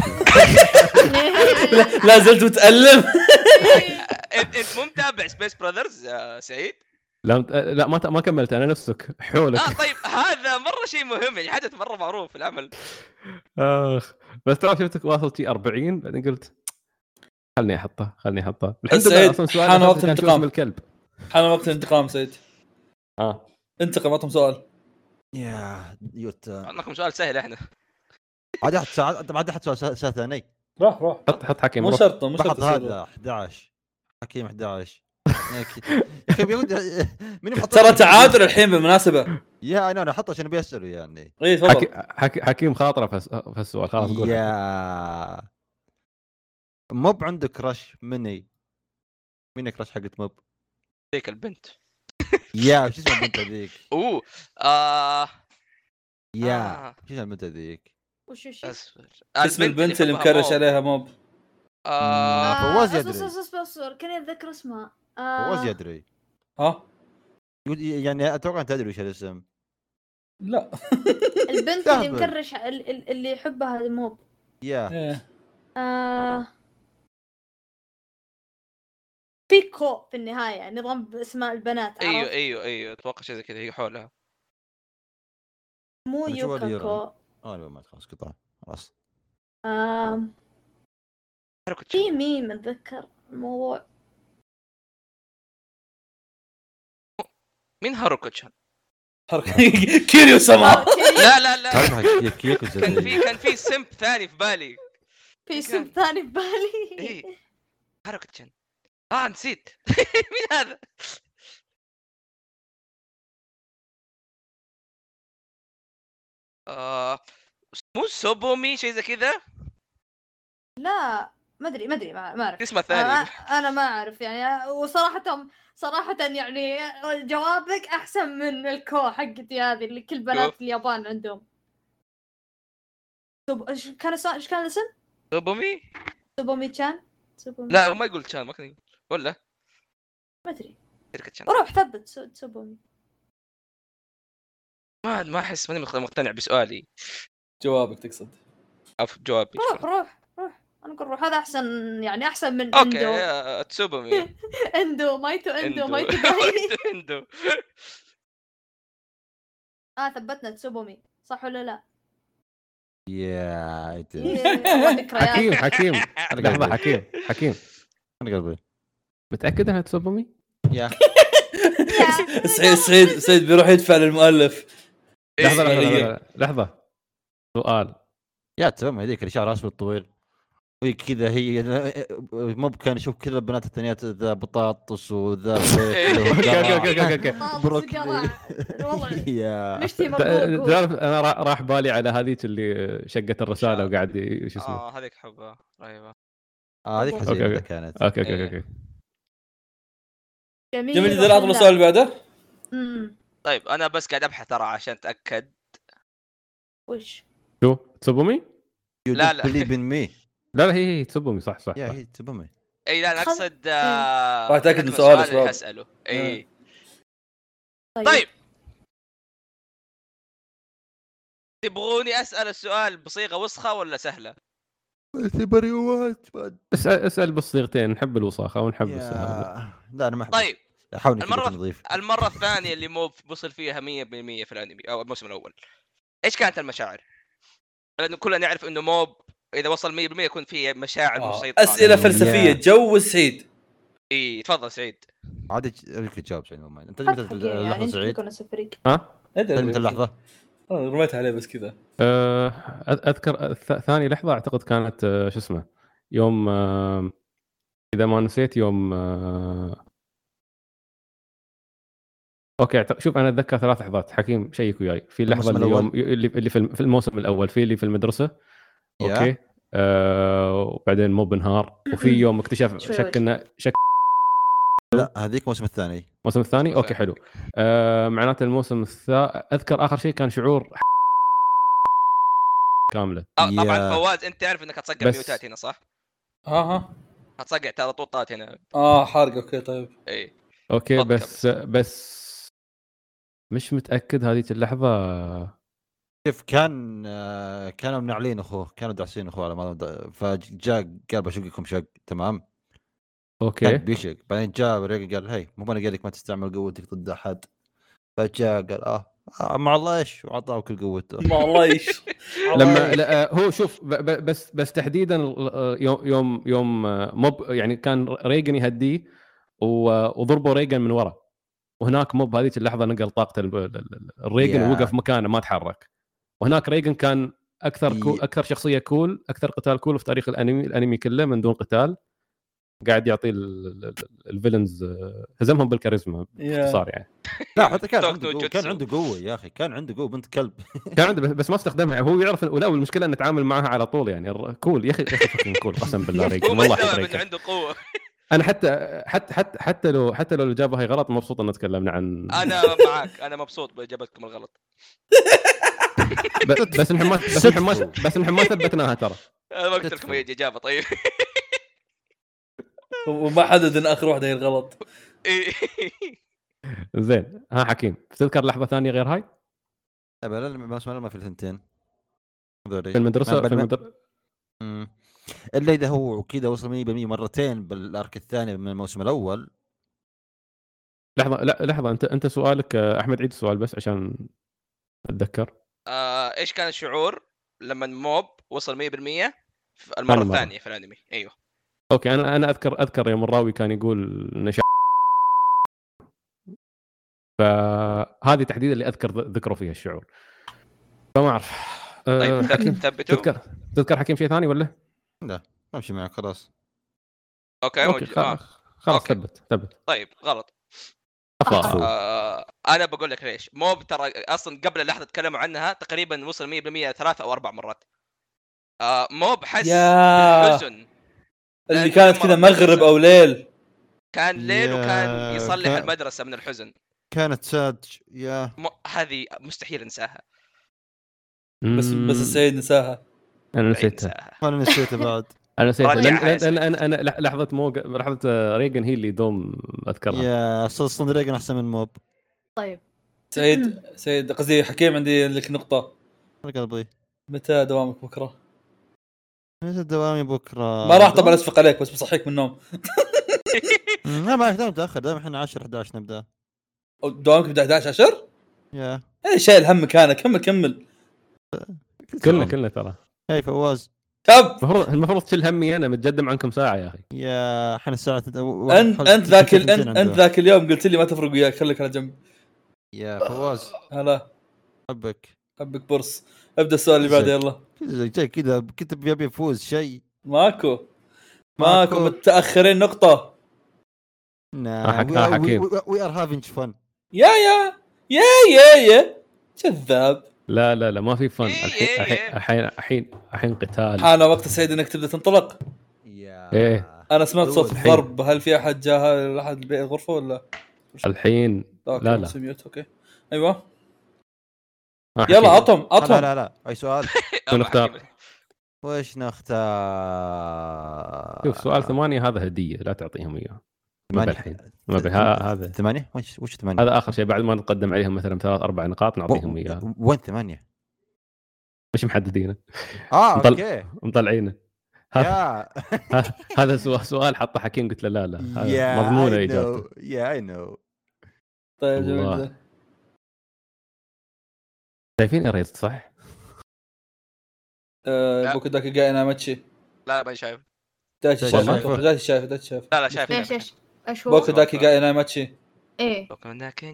[SPEAKER 8] لا- لا زلت متالم
[SPEAKER 2] انت انت مو متابع سبيس براذرز يا سعيد؟
[SPEAKER 5] لا مت- آه، لا ما ت- ما كملت انا نفسك حولك
[SPEAKER 2] اه طيب هذا مره شيء مهم يعني حدث مره معروف في العمل
[SPEAKER 8] آه.
[SPEAKER 5] اخ بس ترى شفتك واصل شي 40 بعدين قلت خلني احطه خلني احطه
[SPEAKER 8] بس
[SPEAKER 5] الحمد
[SPEAKER 8] إيه، سعيد،
[SPEAKER 5] لله اصلا سؤال
[SPEAKER 8] حان وقت الانتقام.
[SPEAKER 5] من الكلب
[SPEAKER 8] حان وقت الانتقام سعيد
[SPEAKER 5] اه
[SPEAKER 8] انتقم اعطهم سؤال
[SPEAKER 4] يا يوتا
[SPEAKER 2] عندكم سؤال سهل احنا
[SPEAKER 4] عاد احد ساعة طب عاد احد سؤال سؤال ثاني
[SPEAKER 8] روح روح
[SPEAKER 5] حط حط حكيم
[SPEAKER 8] مو
[SPEAKER 5] روح.
[SPEAKER 8] شرط مو شرط
[SPEAKER 4] بحط
[SPEAKER 8] يصير.
[SPEAKER 4] هذا 11 حكيم 11 يا اخي بيود مين محط
[SPEAKER 8] ترى تعادل الحين بالمناسبه
[SPEAKER 4] يا انا انا احطه عشان ابي اساله يعني
[SPEAKER 8] اي
[SPEAKER 5] حكي-
[SPEAKER 8] تفضل
[SPEAKER 5] حكي- حكيم خاطره في الس- في السؤال خلاص قول
[SPEAKER 4] يا موب عنده كراش مني مين كراش حقت موب
[SPEAKER 2] ذيك البنت
[SPEAKER 4] يا شو اسمها البنت ذيك
[SPEAKER 2] اوه آه
[SPEAKER 4] يا
[SPEAKER 2] آه.
[SPEAKER 4] شو اسمها البنت ذيك
[SPEAKER 3] وش وش
[SPEAKER 2] اصبر
[SPEAKER 8] اسم البنت اللي
[SPEAKER 2] يحبها
[SPEAKER 8] مكرش
[SPEAKER 2] مو.
[SPEAKER 8] عليها موب
[SPEAKER 2] آه
[SPEAKER 4] آه، فواز
[SPEAKER 3] اصبر
[SPEAKER 4] يدري.
[SPEAKER 3] اصبر اصبر اصبر كاني اتذكر اسمها
[SPEAKER 4] فواز
[SPEAKER 3] آه
[SPEAKER 4] يدري
[SPEAKER 8] ها
[SPEAKER 4] يقول- يعني اتوقع انت تدري وش الاسم
[SPEAKER 8] لا
[SPEAKER 3] البنت اللي
[SPEAKER 4] تهبل.
[SPEAKER 3] مكرش ال- ال- اللي يحبها الموب
[SPEAKER 4] يا
[SPEAKER 8] إيه.
[SPEAKER 3] آه بيكو في النهاية نظام اسماء البنات
[SPEAKER 2] ايوه
[SPEAKER 3] عرفت؟
[SPEAKER 2] ايوه ايوه اتوقع شيء زي كذا هي حولها
[SPEAKER 3] مو
[SPEAKER 4] أنا شو هذا
[SPEAKER 3] يوكاكو
[SPEAKER 4] يرى؟ اه لا، ما خلاص قطع خلاص
[SPEAKER 3] آه
[SPEAKER 2] انا كنت
[SPEAKER 3] في ميم اتذكر الموضوع
[SPEAKER 2] مين هاروكوتشان؟
[SPEAKER 8] حركة. كيريو
[SPEAKER 2] آه،
[SPEAKER 8] سما
[SPEAKER 2] لا لا لا
[SPEAKER 4] تعرف حق كيك- كيكوزا
[SPEAKER 2] كان
[SPEAKER 4] ذي.
[SPEAKER 2] في كان في سمب ثاني في بالي
[SPEAKER 3] في اسم ثاني في بالي
[SPEAKER 2] اي هاروكوتشان اه نسيت مين هذا؟ آه مو سوبومي شيء زي كذا
[SPEAKER 3] لا ما ادري ما ادري ما ما اعرف
[SPEAKER 2] اسمه
[SPEAKER 3] انا
[SPEAKER 2] ثاني
[SPEAKER 3] أنا ما اعرف يعني وصراحة صراحة يعني جوابك احسن من الكو حقتي هذه اللي كل بنات اليابان عندهم طب ايش كان اسمه ايش كان الاسم؟
[SPEAKER 2] سوبومي
[SPEAKER 3] سوبومي تشان سوبومي
[SPEAKER 2] لا ما يقول تشان ما كان يقول. ولا
[SPEAKER 3] ما ادري
[SPEAKER 2] شركة تشان
[SPEAKER 3] روح ثبت سو- سوبومي
[SPEAKER 2] ما ما احس ماني مقت- مقتنع بسؤالي
[SPEAKER 8] جوابك تقصد
[SPEAKER 2] او في جوابي
[SPEAKER 3] روح روح روح انا اقول روح هذا احسن يعني احسن من
[SPEAKER 2] اوكي
[SPEAKER 3] اندو
[SPEAKER 2] يا تسوبومي
[SPEAKER 3] اندو مايتو اندو مايتو داي.
[SPEAKER 2] اندو
[SPEAKER 3] اه ثبتنا تسوبومي صح ولا لا؟
[SPEAKER 4] يا
[SPEAKER 3] إيه،
[SPEAKER 4] إنت-
[SPEAKER 3] والله ذكريات
[SPEAKER 5] حكيم حكيم لحظه
[SPEAKER 4] قلبي.
[SPEAKER 5] حكيم حكيم
[SPEAKER 4] من قلبي
[SPEAKER 5] متاكد انها تسوبومي؟
[SPEAKER 4] يا
[SPEAKER 3] يا-
[SPEAKER 8] سعيد سعيد سعيد بيروح يدفع للمؤلف
[SPEAKER 5] لحظه لحظه
[SPEAKER 8] إيه.
[SPEAKER 5] لحظة، لحظه سؤال
[SPEAKER 4] يا تمام هذيك اللي شعرها اسود طويل وهي كذا هي مو كان يشوف كل البنات الثانيات ذا بطاطس وذا بيض
[SPEAKER 2] إيه.
[SPEAKER 5] اوكي اوكي
[SPEAKER 4] وقرع.
[SPEAKER 5] اوكي أوكي، اوكي
[SPEAKER 3] طاب
[SPEAKER 4] بروكلي.
[SPEAKER 3] سيجارة. آه، والله
[SPEAKER 4] يا
[SPEAKER 3] نشتي
[SPEAKER 5] تا-
[SPEAKER 3] مبروك
[SPEAKER 5] تعرف انا را- راح بالي على هذيك اللي شقت الرساله وقاعد ي- شو اسمه
[SPEAKER 2] اه هذيك حبه رهيبه
[SPEAKER 4] آه، هذيك
[SPEAKER 3] أوكي،
[SPEAKER 4] حزينه
[SPEAKER 5] أوكي. آه.
[SPEAKER 4] كانت
[SPEAKER 5] اوكي اوكي اوكي
[SPEAKER 8] جميل جدا اعطنا السؤال اللي بعده
[SPEAKER 3] أمم،
[SPEAKER 2] طيب انا بس قاعد ابحث ترى عشان اتاكد
[SPEAKER 3] وش
[SPEAKER 5] شو تسوبومي؟
[SPEAKER 2] لا، لا.
[SPEAKER 4] بليف ان مي
[SPEAKER 5] لا لا هي هي تسوبومي صح صح,
[SPEAKER 4] يا
[SPEAKER 5] صح.
[SPEAKER 4] هي تبمي
[SPEAKER 2] اي لا انا
[SPEAKER 3] خل-
[SPEAKER 2] اقصد آه،
[SPEAKER 8] راح أتأكد من آه.
[SPEAKER 2] أتأكد
[SPEAKER 8] سؤال
[SPEAKER 2] السؤال
[SPEAKER 8] الشباب.
[SPEAKER 2] اللي اساله اي طيب تبغوني اسال السؤال بصيغه وسخه ولا سهله؟
[SPEAKER 4] بريوات
[SPEAKER 5] اسال اسال بالصيغتين نحب الوساخه ونحب السهله
[SPEAKER 4] لا انا ما احب
[SPEAKER 2] طيب
[SPEAKER 4] احاول
[SPEAKER 2] المرة-
[SPEAKER 4] نكون نظيف
[SPEAKER 2] المره الثانيه اللي مو وصل فيها 100% في الانمي او الموسم الاول ايش كانت المشاعر؟ لانه كلنا نعرف انه موب اذا وصل 100% يكون في مشاعر
[SPEAKER 8] آه.
[SPEAKER 2] مسيطره
[SPEAKER 8] اسئله
[SPEAKER 4] عليه.
[SPEAKER 8] فلسفيه
[SPEAKER 4] يا.
[SPEAKER 8] جو سعيد
[SPEAKER 2] اي تفضل سعيد
[SPEAKER 4] عاد اجيك تجاوب سعيد والله. انت متى
[SPEAKER 3] حق حقيقي يعني
[SPEAKER 4] اللحظه
[SPEAKER 3] انت
[SPEAKER 4] سعيد؟ طيب،
[SPEAKER 3] تكون فريق
[SPEAKER 5] ها؟
[SPEAKER 8] أدري.
[SPEAKER 4] متى اللحظه؟
[SPEAKER 8] آه، رميت عليه بس كذا
[SPEAKER 5] أه أذ- اذكر الث- ثاني لحظه اعتقد كانت أه، شو اسمه يوم أه، اذا ما نسيت يوم أه، اوكي أعتقد- شوف انا اتذكر ثلاث لحظات حكيم شيك وياي في اللحظه
[SPEAKER 4] الموسم
[SPEAKER 5] اللي يوم
[SPEAKER 4] الأول.
[SPEAKER 5] اللي اللي في الم- في الموسم الاول في اللي في المدرسه
[SPEAKER 4] يا.
[SPEAKER 5] اوكي أه وبعدين موب انهار وفي يوم اكتشف
[SPEAKER 3] شوي
[SPEAKER 5] شك
[SPEAKER 3] وجه.
[SPEAKER 5] انه شك
[SPEAKER 4] لا هذيك الموسم الثاني
[SPEAKER 5] الموسم الثاني اوكي حلو آه معناته الموسم الثا... اذكر اخر شيء كان شعور كامله
[SPEAKER 2] آه، طبعا
[SPEAKER 4] يا.
[SPEAKER 2] فواز انت تعرف انك هتصقع
[SPEAKER 5] بس-
[SPEAKER 2] ميوتات هنا صح؟
[SPEAKER 1] ها ها
[SPEAKER 2] هتصقع ترى طوطات هنا
[SPEAKER 1] اه حارق اوكي طيب
[SPEAKER 2] اي
[SPEAKER 5] اوكي
[SPEAKER 2] تفضل.
[SPEAKER 5] بس بس مش متاكد هذيك اللحظه
[SPEAKER 4] شوف كان آه، كانوا منعلين اخوه كانوا داعسين اخوه على ما أظن. فجاء قال بشق لكم شق تمام كان
[SPEAKER 5] اوكي
[SPEAKER 4] بيشق بعدين جاء ريق قال هي مو انا قال لك ما تستعمل قوتك ضد احد فجاء قال اه آه، مع الله ايش وعطاه كل قوته
[SPEAKER 1] ما الله ايش
[SPEAKER 5] لما لا آه، هو شوف ب- ب- بس بس تحديدا ال- آه، يوم يوم يوم آه، موب يعني كان ريجن يهديه و- وضربوا ريجن من ورا وهناك موب هذيك اللحظه نقل طاقه ال- ال- ال- الريجن
[SPEAKER 4] يا.
[SPEAKER 5] ووقف مكانه ما تحرك وهناك ريجن كان اكثر كو
[SPEAKER 4] ي-
[SPEAKER 5] اكثر شخصيه كول اكثر قتال كول في تاريخ الانمي الانمي كله من دون قتال قاعد يعطي ال- ال- ال- الفيلنز آه، هزمهم بالكاريزما باختصار يعني
[SPEAKER 4] لا حتى كان
[SPEAKER 2] توك
[SPEAKER 4] عنده
[SPEAKER 2] توك
[SPEAKER 4] قوة كان
[SPEAKER 2] جوتسو.
[SPEAKER 4] عنده قوه يا اخي كان عنده قوه بنت كلب
[SPEAKER 5] كان عنده بس- بس ما استخدمها هو يعرف ولا والمشكله انه تعامل معها على طول يعني الر- كول يا اخي يا اخي fucking كول قسم بالله ريجن
[SPEAKER 2] هو ما
[SPEAKER 5] والله
[SPEAKER 2] استوعب انه
[SPEAKER 5] ريجن.
[SPEAKER 2] عنده قوه
[SPEAKER 5] انا حتى حتى حتى حتى لو حتى لو الاجابه هي غلط مبسوط ان تكلمنا عن
[SPEAKER 2] انا معك انا مبسوط باجابتكم الغلط
[SPEAKER 5] ب- بس نحن ما بس نحن ما بس نحن ما ثبتناها ترى
[SPEAKER 2] انا ما قلت لكم اي اجابه طيب
[SPEAKER 1] وما حدد ان اخر واحده هي الغلط
[SPEAKER 2] إي.
[SPEAKER 5] زين ها حكيم تذكر لحظه ثانيه غير هاي
[SPEAKER 4] ابدا لا، ما اسمع ما في الثنتين هذولي.
[SPEAKER 5] في المدرسه
[SPEAKER 4] ما-
[SPEAKER 5] في
[SPEAKER 4] ما-
[SPEAKER 5] المدرسه
[SPEAKER 4] مم. الا اذا هو كذا وصل 100% مرتين بالارك الثاني من الموسم الاول
[SPEAKER 5] لحظه لا لحظه انت انت سؤالك آه، احمد عيد السؤال بس عشان اتذكر
[SPEAKER 2] آه، ايش كان الشعور لما موب وصل 100% في المره
[SPEAKER 5] ثاني مرة.
[SPEAKER 2] الثانيه في الانمي ايوه
[SPEAKER 5] اوكي انا انا اذكر اذكر يوم الراوي كان يقول نشا فهذه تحديدا اللي اذكر ذ- ذكروا فيها الشعور فما اعرف آه،
[SPEAKER 2] طيب
[SPEAKER 5] حكيم،
[SPEAKER 2] ث- ثبتوا
[SPEAKER 5] تذكر تذكر حكيم شيء ثاني ولا؟
[SPEAKER 4] امشي معك خلاص
[SPEAKER 2] اوكي
[SPEAKER 5] اوكي
[SPEAKER 2] موجود. آه،
[SPEAKER 5] خلاص خلاص
[SPEAKER 2] أوكي.
[SPEAKER 5] ثبت ثبت
[SPEAKER 2] طيب غلط
[SPEAKER 4] أخطأ.
[SPEAKER 2] آه، انا بقول لك ليش موب ترى اصلا قبل اللحظه تكلموا عنها تقريبا وصل 100% ثلاث او اربع مرات آه، موب حس
[SPEAKER 1] يا
[SPEAKER 2] بالحزن
[SPEAKER 1] اللي كانت كذا مغرب او ليل
[SPEAKER 2] كان ليل وكان
[SPEAKER 4] يا
[SPEAKER 2] يصلح
[SPEAKER 4] كان-
[SPEAKER 2] المدرسه من الحزن
[SPEAKER 4] كانت ساج يا
[SPEAKER 2] م... هذه مستحيل انساها
[SPEAKER 1] بس بس
[SPEAKER 5] مم.
[SPEAKER 1] السيد نساها
[SPEAKER 5] انا
[SPEAKER 2] مستحيل
[SPEAKER 5] نسيتها
[SPEAKER 2] انساها
[SPEAKER 4] انا نسيته بعد
[SPEAKER 5] انا نسيتها
[SPEAKER 2] رجع
[SPEAKER 5] لان
[SPEAKER 2] حياتك.
[SPEAKER 5] لان انا انا لح- لحظه مو لحظه ريجن هي اللي دوم اذكرها
[SPEAKER 4] يا اصلا صندوق ريجن احسن من موب
[SPEAKER 3] طيب
[SPEAKER 1] سيد سيد قصدي حكيم عندي لك نقطه
[SPEAKER 4] على قلبي
[SPEAKER 1] متى دوامك بكره؟
[SPEAKER 4] متى دوامي
[SPEAKER 5] آه،
[SPEAKER 4] بكره
[SPEAKER 1] ما راح طبعا اسفق عليك بس بصحيك من النوم
[SPEAKER 4] مم، لا ما دام متاخر دام احنا 10 11 نبدا
[SPEAKER 1] أو دوامك بدا 11 10
[SPEAKER 4] يا
[SPEAKER 1] اي إيه، شايل همك انا كمل كمل
[SPEAKER 5] كلنا كلنا ترى
[SPEAKER 4] هاي إيه، فواز
[SPEAKER 1] شاب
[SPEAKER 5] المفروض المفروض تشيل همي انا متقدم عنكم ساعه يا اخي
[SPEAKER 4] يا احنا الساعه تد- و-
[SPEAKER 1] انت
[SPEAKER 4] حول-
[SPEAKER 1] انت ذاك ال-
[SPEAKER 4] 200
[SPEAKER 1] انت
[SPEAKER 4] عنده.
[SPEAKER 1] انت ذاك اليوم قلت لي ما تفرق وياك خليك على جنب
[SPEAKER 4] يا فواز
[SPEAKER 1] هلا
[SPEAKER 4] حبك
[SPEAKER 1] حبك برص ابدا السؤال اللي بعده
[SPEAKER 4] زين.
[SPEAKER 1] يلا
[SPEAKER 4] كذا جاي كذا كنت ابي افوز شيء
[SPEAKER 1] ماكو
[SPEAKER 4] ماكو.
[SPEAKER 1] ماكو متاخرين نقطه
[SPEAKER 5] آه، حك- آه، حكيم.
[SPEAKER 4] وي ار هافينج فن
[SPEAKER 1] يا يا يا يا يا كذاب
[SPEAKER 5] لا لا لا ما في فن
[SPEAKER 2] إيه،
[SPEAKER 5] الحين
[SPEAKER 2] إيه،
[SPEAKER 5] الحين
[SPEAKER 2] إيه.
[SPEAKER 5] الحين الحين الحين قتال
[SPEAKER 1] حان وقت السيد انك تبدا تنطلق
[SPEAKER 4] يا
[SPEAKER 5] إيه.
[SPEAKER 1] انا سمعت صوت
[SPEAKER 4] دول.
[SPEAKER 1] ضرب هل في احد جاء احد بيت الغرفه ولا
[SPEAKER 5] الحين
[SPEAKER 1] أوكي،
[SPEAKER 5] لا، لا.
[SPEAKER 1] بس ميوت اوكي ايوه
[SPEAKER 5] آه،
[SPEAKER 1] يلا
[SPEAKER 5] حكيم.
[SPEAKER 1] عطهم
[SPEAKER 4] لا
[SPEAKER 1] عطهم
[SPEAKER 4] لا لا اي سؤال
[SPEAKER 2] أما
[SPEAKER 5] نختار.
[SPEAKER 2] حكيم-
[SPEAKER 4] وش نختار؟
[SPEAKER 5] شوف سؤال ثمانيه هذا هديه لا تعطيهم اياه ما
[SPEAKER 4] ثمانية.
[SPEAKER 5] بالحين ما بالحين. ها- هذا
[SPEAKER 4] ثمانية؟ وش وش ثمانية؟
[SPEAKER 5] هذا اخر شيء بعد ما نقدم عليهم مثلا ثلاث اربع نقاط نعطيهم اياه
[SPEAKER 4] و- وين ثمانية؟
[SPEAKER 5] مش محددينه
[SPEAKER 4] اه
[SPEAKER 5] مطل-
[SPEAKER 4] اوكي
[SPEAKER 5] مطلعينه ها-
[SPEAKER 4] يا
[SPEAKER 5] ها- هذا سؤال- سؤال حطه حكيم قلت له لا لا هذا
[SPEAKER 4] يا
[SPEAKER 5] مضمونه
[SPEAKER 4] I
[SPEAKER 5] اجابته
[SPEAKER 4] know. يا اي نو
[SPEAKER 1] طيب جميل
[SPEAKER 5] الله.
[SPEAKER 1] جدا.
[SPEAKER 5] شايفين اريد صح؟
[SPEAKER 1] آه،
[SPEAKER 2] لا.
[SPEAKER 1] بوكو داكي جاي ناماتشي
[SPEAKER 2] لا ما شايف
[SPEAKER 1] دايتشي
[SPEAKER 4] والله.
[SPEAKER 1] شايف دايتشي شايف دايتشي شايف
[SPEAKER 2] لا لا شايف
[SPEAKER 3] ايش ايش ايش هو؟
[SPEAKER 1] بوكو داكي جاي ناماتشي
[SPEAKER 3] ايه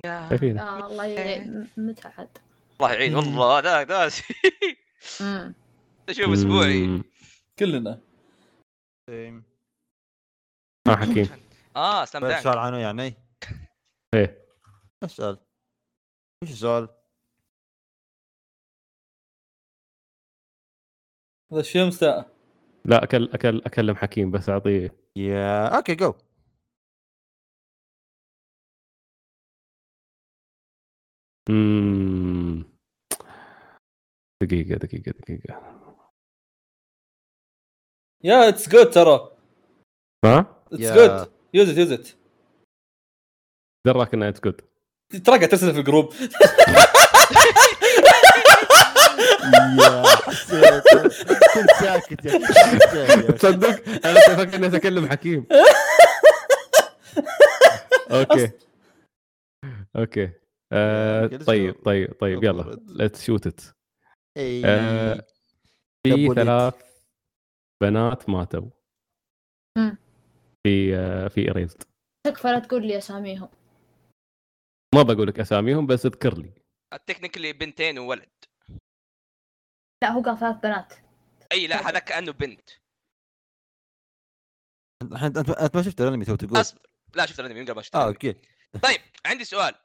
[SPEAKER 5] شايفين
[SPEAKER 3] آه، الله
[SPEAKER 2] إيه.
[SPEAKER 3] يعين متى عاد؟
[SPEAKER 2] الله يعين والله ذاك ناسي
[SPEAKER 3] مم.
[SPEAKER 2] اشوف اسبوعي
[SPEAKER 5] مم.
[SPEAKER 1] كلنا
[SPEAKER 5] ها آه، حكيم
[SPEAKER 2] اه سلام دانك
[SPEAKER 4] سؤال عنه يعني؟
[SPEAKER 5] ايه
[SPEAKER 4] اسال وش السؤال؟
[SPEAKER 1] هذا شو ساعة
[SPEAKER 5] لا أكل أكل أكلم حكيم بس أعطيه
[SPEAKER 4] يا اوكي جو
[SPEAKER 5] مم. دقيقة دقيقة دقيقة
[SPEAKER 8] يا اتس جود ترى
[SPEAKER 5] ها؟
[SPEAKER 8] اتس
[SPEAKER 4] يا-
[SPEAKER 8] جود يوز ات يوز ات
[SPEAKER 5] دراك انها اتس جود
[SPEAKER 8] تراك قاعد ترسل في الجروب
[SPEAKER 4] يا حسيت كنت ساكت يا حسين.
[SPEAKER 5] تصدق انا كنت افكر اني اتكلم حكيم اوكي اوكي آه،
[SPEAKER 4] جلسوا.
[SPEAKER 5] طيب طيب طيب يلا ليتس شوت ات
[SPEAKER 4] إي.
[SPEAKER 5] آه، في
[SPEAKER 4] تبوليت.
[SPEAKER 5] ثلاث بنات ماتوا
[SPEAKER 3] مم.
[SPEAKER 5] في آه، في اريزد
[SPEAKER 3] تكفى لا تقول لي اساميهم
[SPEAKER 5] ما بقول لك اساميهم بس اذكر لي
[SPEAKER 2] تكنيكلي بنتين وولد
[SPEAKER 3] لا هو قال ثلاث بنات
[SPEAKER 2] اي لا هذا كانه بنت
[SPEAKER 4] الحين انت انت ما شفت الانمي تو تقول
[SPEAKER 2] اصبر لا شفت الانمي من قبل ما شفت
[SPEAKER 4] اه
[SPEAKER 2] الأنمي.
[SPEAKER 4] اوكي
[SPEAKER 2] طيب عندي سؤال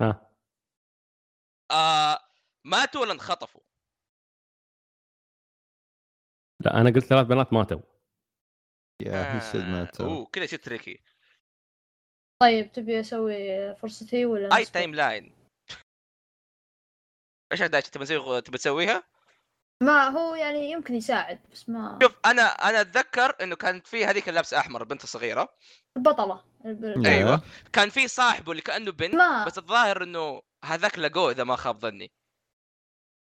[SPEAKER 5] ها
[SPEAKER 2] آه ماتوا ولا انخطفوا؟
[SPEAKER 5] لا انا قلت ثلاث بنات ماتوا
[SPEAKER 4] يا هي سلمت
[SPEAKER 2] اوه آه، كذا شيء تريكي
[SPEAKER 3] طيب تبي اسوي فرصتي ولا
[SPEAKER 2] اي تايم لاين ايش احداث تبي تسوي- تبي تسويها؟
[SPEAKER 3] آه. ما هو يعني يمكن يساعد بس ما
[SPEAKER 2] شوف انا انا اتذكر انه كانت في هذيك اللابسه احمر البنت الصغيره
[SPEAKER 3] البطلة الب-
[SPEAKER 4] يا.
[SPEAKER 2] أيوة. كان في صاحبه اللي كانه بنت
[SPEAKER 3] ما
[SPEAKER 2] بس الظاهر انه هذاك لقوه اذا ما خاب ظني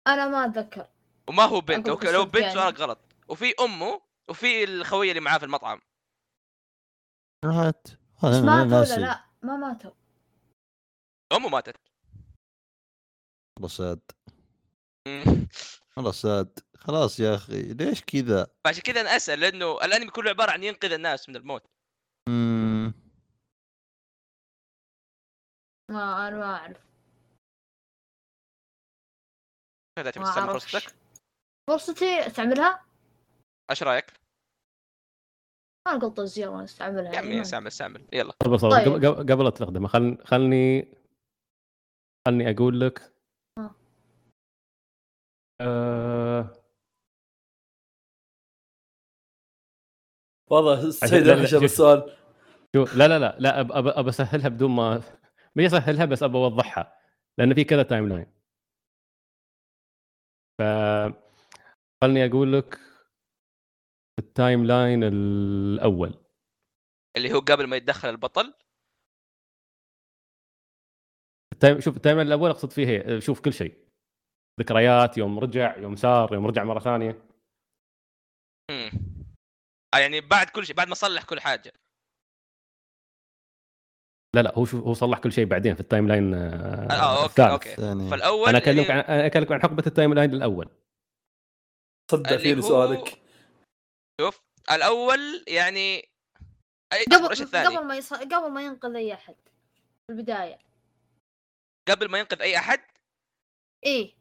[SPEAKER 3] انا ما اتذكر
[SPEAKER 2] وما هو بنت
[SPEAKER 3] أقول
[SPEAKER 2] اوكي لو
[SPEAKER 3] بالصدق
[SPEAKER 2] بنت
[SPEAKER 3] يعني.
[SPEAKER 2] سؤالك غلط وفي امه وفي الخويه اللي معاه في المطعم
[SPEAKER 4] هات
[SPEAKER 3] بس
[SPEAKER 4] هذا أنا
[SPEAKER 3] ماتوا ولا
[SPEAKER 4] ناسي.
[SPEAKER 3] لا ما ماتوا
[SPEAKER 2] امه ماتت
[SPEAKER 4] والله ساد
[SPEAKER 2] مم.
[SPEAKER 4] والله ساد خلاص يا اخي ليش كذا؟
[SPEAKER 2] فعشان كذا انا اسال لانه الانمي كله عباره عن ينقذ الناس من الموت
[SPEAKER 4] مم.
[SPEAKER 3] ما انا ما اعرف
[SPEAKER 2] كذا تبي
[SPEAKER 3] ما
[SPEAKER 2] تستعمل
[SPEAKER 3] اعرف
[SPEAKER 2] فرصتك
[SPEAKER 3] فرصتي استعملها
[SPEAKER 2] ايش رايك؟
[SPEAKER 3] ما نقط الزيارة وانا استعملها
[SPEAKER 2] يا عمي استعمل استعمل إيه، يلا
[SPEAKER 5] طب صبر
[SPEAKER 3] طيب.
[SPEAKER 5] قبل- قبل لا تستخدمه خل خلني خلني اقول لك
[SPEAKER 3] آه.
[SPEAKER 5] آه،
[SPEAKER 8] والله سعيد
[SPEAKER 5] لا،
[SPEAKER 8] راح
[SPEAKER 5] لا،
[SPEAKER 8] يجاوب
[SPEAKER 5] شوف.
[SPEAKER 8] السؤال
[SPEAKER 5] شو لا لا لا لا أب- أب- ابى اسهلها بدون ما ما اسهلها بس ابى اوضحها لان في كذا تايم لاين ف خلني اقول لك التايم لاين الاول
[SPEAKER 2] اللي هو قبل ما يتدخل البطل
[SPEAKER 5] التايم شوف التايم لاين الاول اقصد فيه هي- شوف كل شيء ذكريات يوم رجع يوم سار يوم رجع مره ثانيه
[SPEAKER 2] مم. آه، يعني بعد كل شيء بعد ما صلح كل حاجه
[SPEAKER 5] لا لا هو شوف هو صلح كل شيء بعدين في التايم لاين آه،
[SPEAKER 2] آه، أوكي،
[SPEAKER 5] الثالث.
[SPEAKER 2] أوكي.
[SPEAKER 4] ثاني
[SPEAKER 2] فالاول
[SPEAKER 5] انا اكلمك
[SPEAKER 2] اللي-
[SPEAKER 5] عن انا اكلمك عن حقبه التايم لاين الاول
[SPEAKER 8] صدق
[SPEAKER 2] اللي
[SPEAKER 8] فيني
[SPEAKER 2] هو-
[SPEAKER 8] سؤالك
[SPEAKER 2] شوف الاول يعني أي- أصبر، ايش
[SPEAKER 3] قبل
[SPEAKER 2] الثاني؟
[SPEAKER 3] قبل ما يص... قبل ما ينقذ اي احد في البداية
[SPEAKER 2] قبل ما ينقذ اي احد
[SPEAKER 3] ايه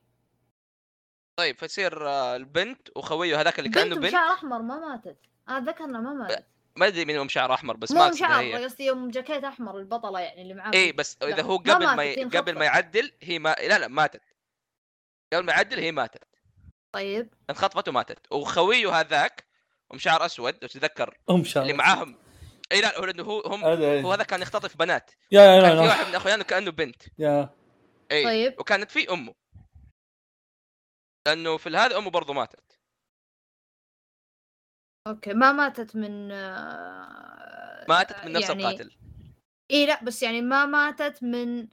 [SPEAKER 2] طيب فتصير آه، البنت وخويه هذاك اللي
[SPEAKER 3] بنت
[SPEAKER 2] كانه بنت
[SPEAKER 3] بشعر احمر ما ماتت انا اتذكر انها ما ماتت
[SPEAKER 2] ما ادري مين أم شعر احمر بس ما
[SPEAKER 3] مو
[SPEAKER 2] أقصد هي.
[SPEAKER 3] بشعر قصدي ام جاكيت احمر البطلة يعني اللي معاها
[SPEAKER 2] اي بس
[SPEAKER 3] لا،
[SPEAKER 2] اذا هو
[SPEAKER 3] ما
[SPEAKER 2] قبل ما
[SPEAKER 3] ماتت،
[SPEAKER 2] ي-
[SPEAKER 3] هي
[SPEAKER 2] قبل ما
[SPEAKER 3] انخطفت.
[SPEAKER 2] يعدل هي ما لا لا ماتت قبل ما يعدل هي ماتت
[SPEAKER 3] طيب
[SPEAKER 2] انخطفت وماتت وخويه هذاك ومشعر اسود لو تتذكر
[SPEAKER 8] ام شاء
[SPEAKER 2] اللي
[SPEAKER 1] طيب.
[SPEAKER 2] معاهم اي لا هو لانه هو هم هو
[SPEAKER 8] هذا
[SPEAKER 2] هذا كان يختطف بنات
[SPEAKER 8] يا يا
[SPEAKER 2] كان في
[SPEAKER 8] يا
[SPEAKER 2] واحد من اخوانه كانه بنت
[SPEAKER 8] يا
[SPEAKER 2] اي
[SPEAKER 3] طيب.
[SPEAKER 2] وكانت في امه لانه في هذا امه برضه ماتت
[SPEAKER 3] اوكي ما ماتت من آه،
[SPEAKER 2] ماتت من نفس
[SPEAKER 3] يعني-
[SPEAKER 2] القاتل
[SPEAKER 3] اي لا بس يعني ما ماتت من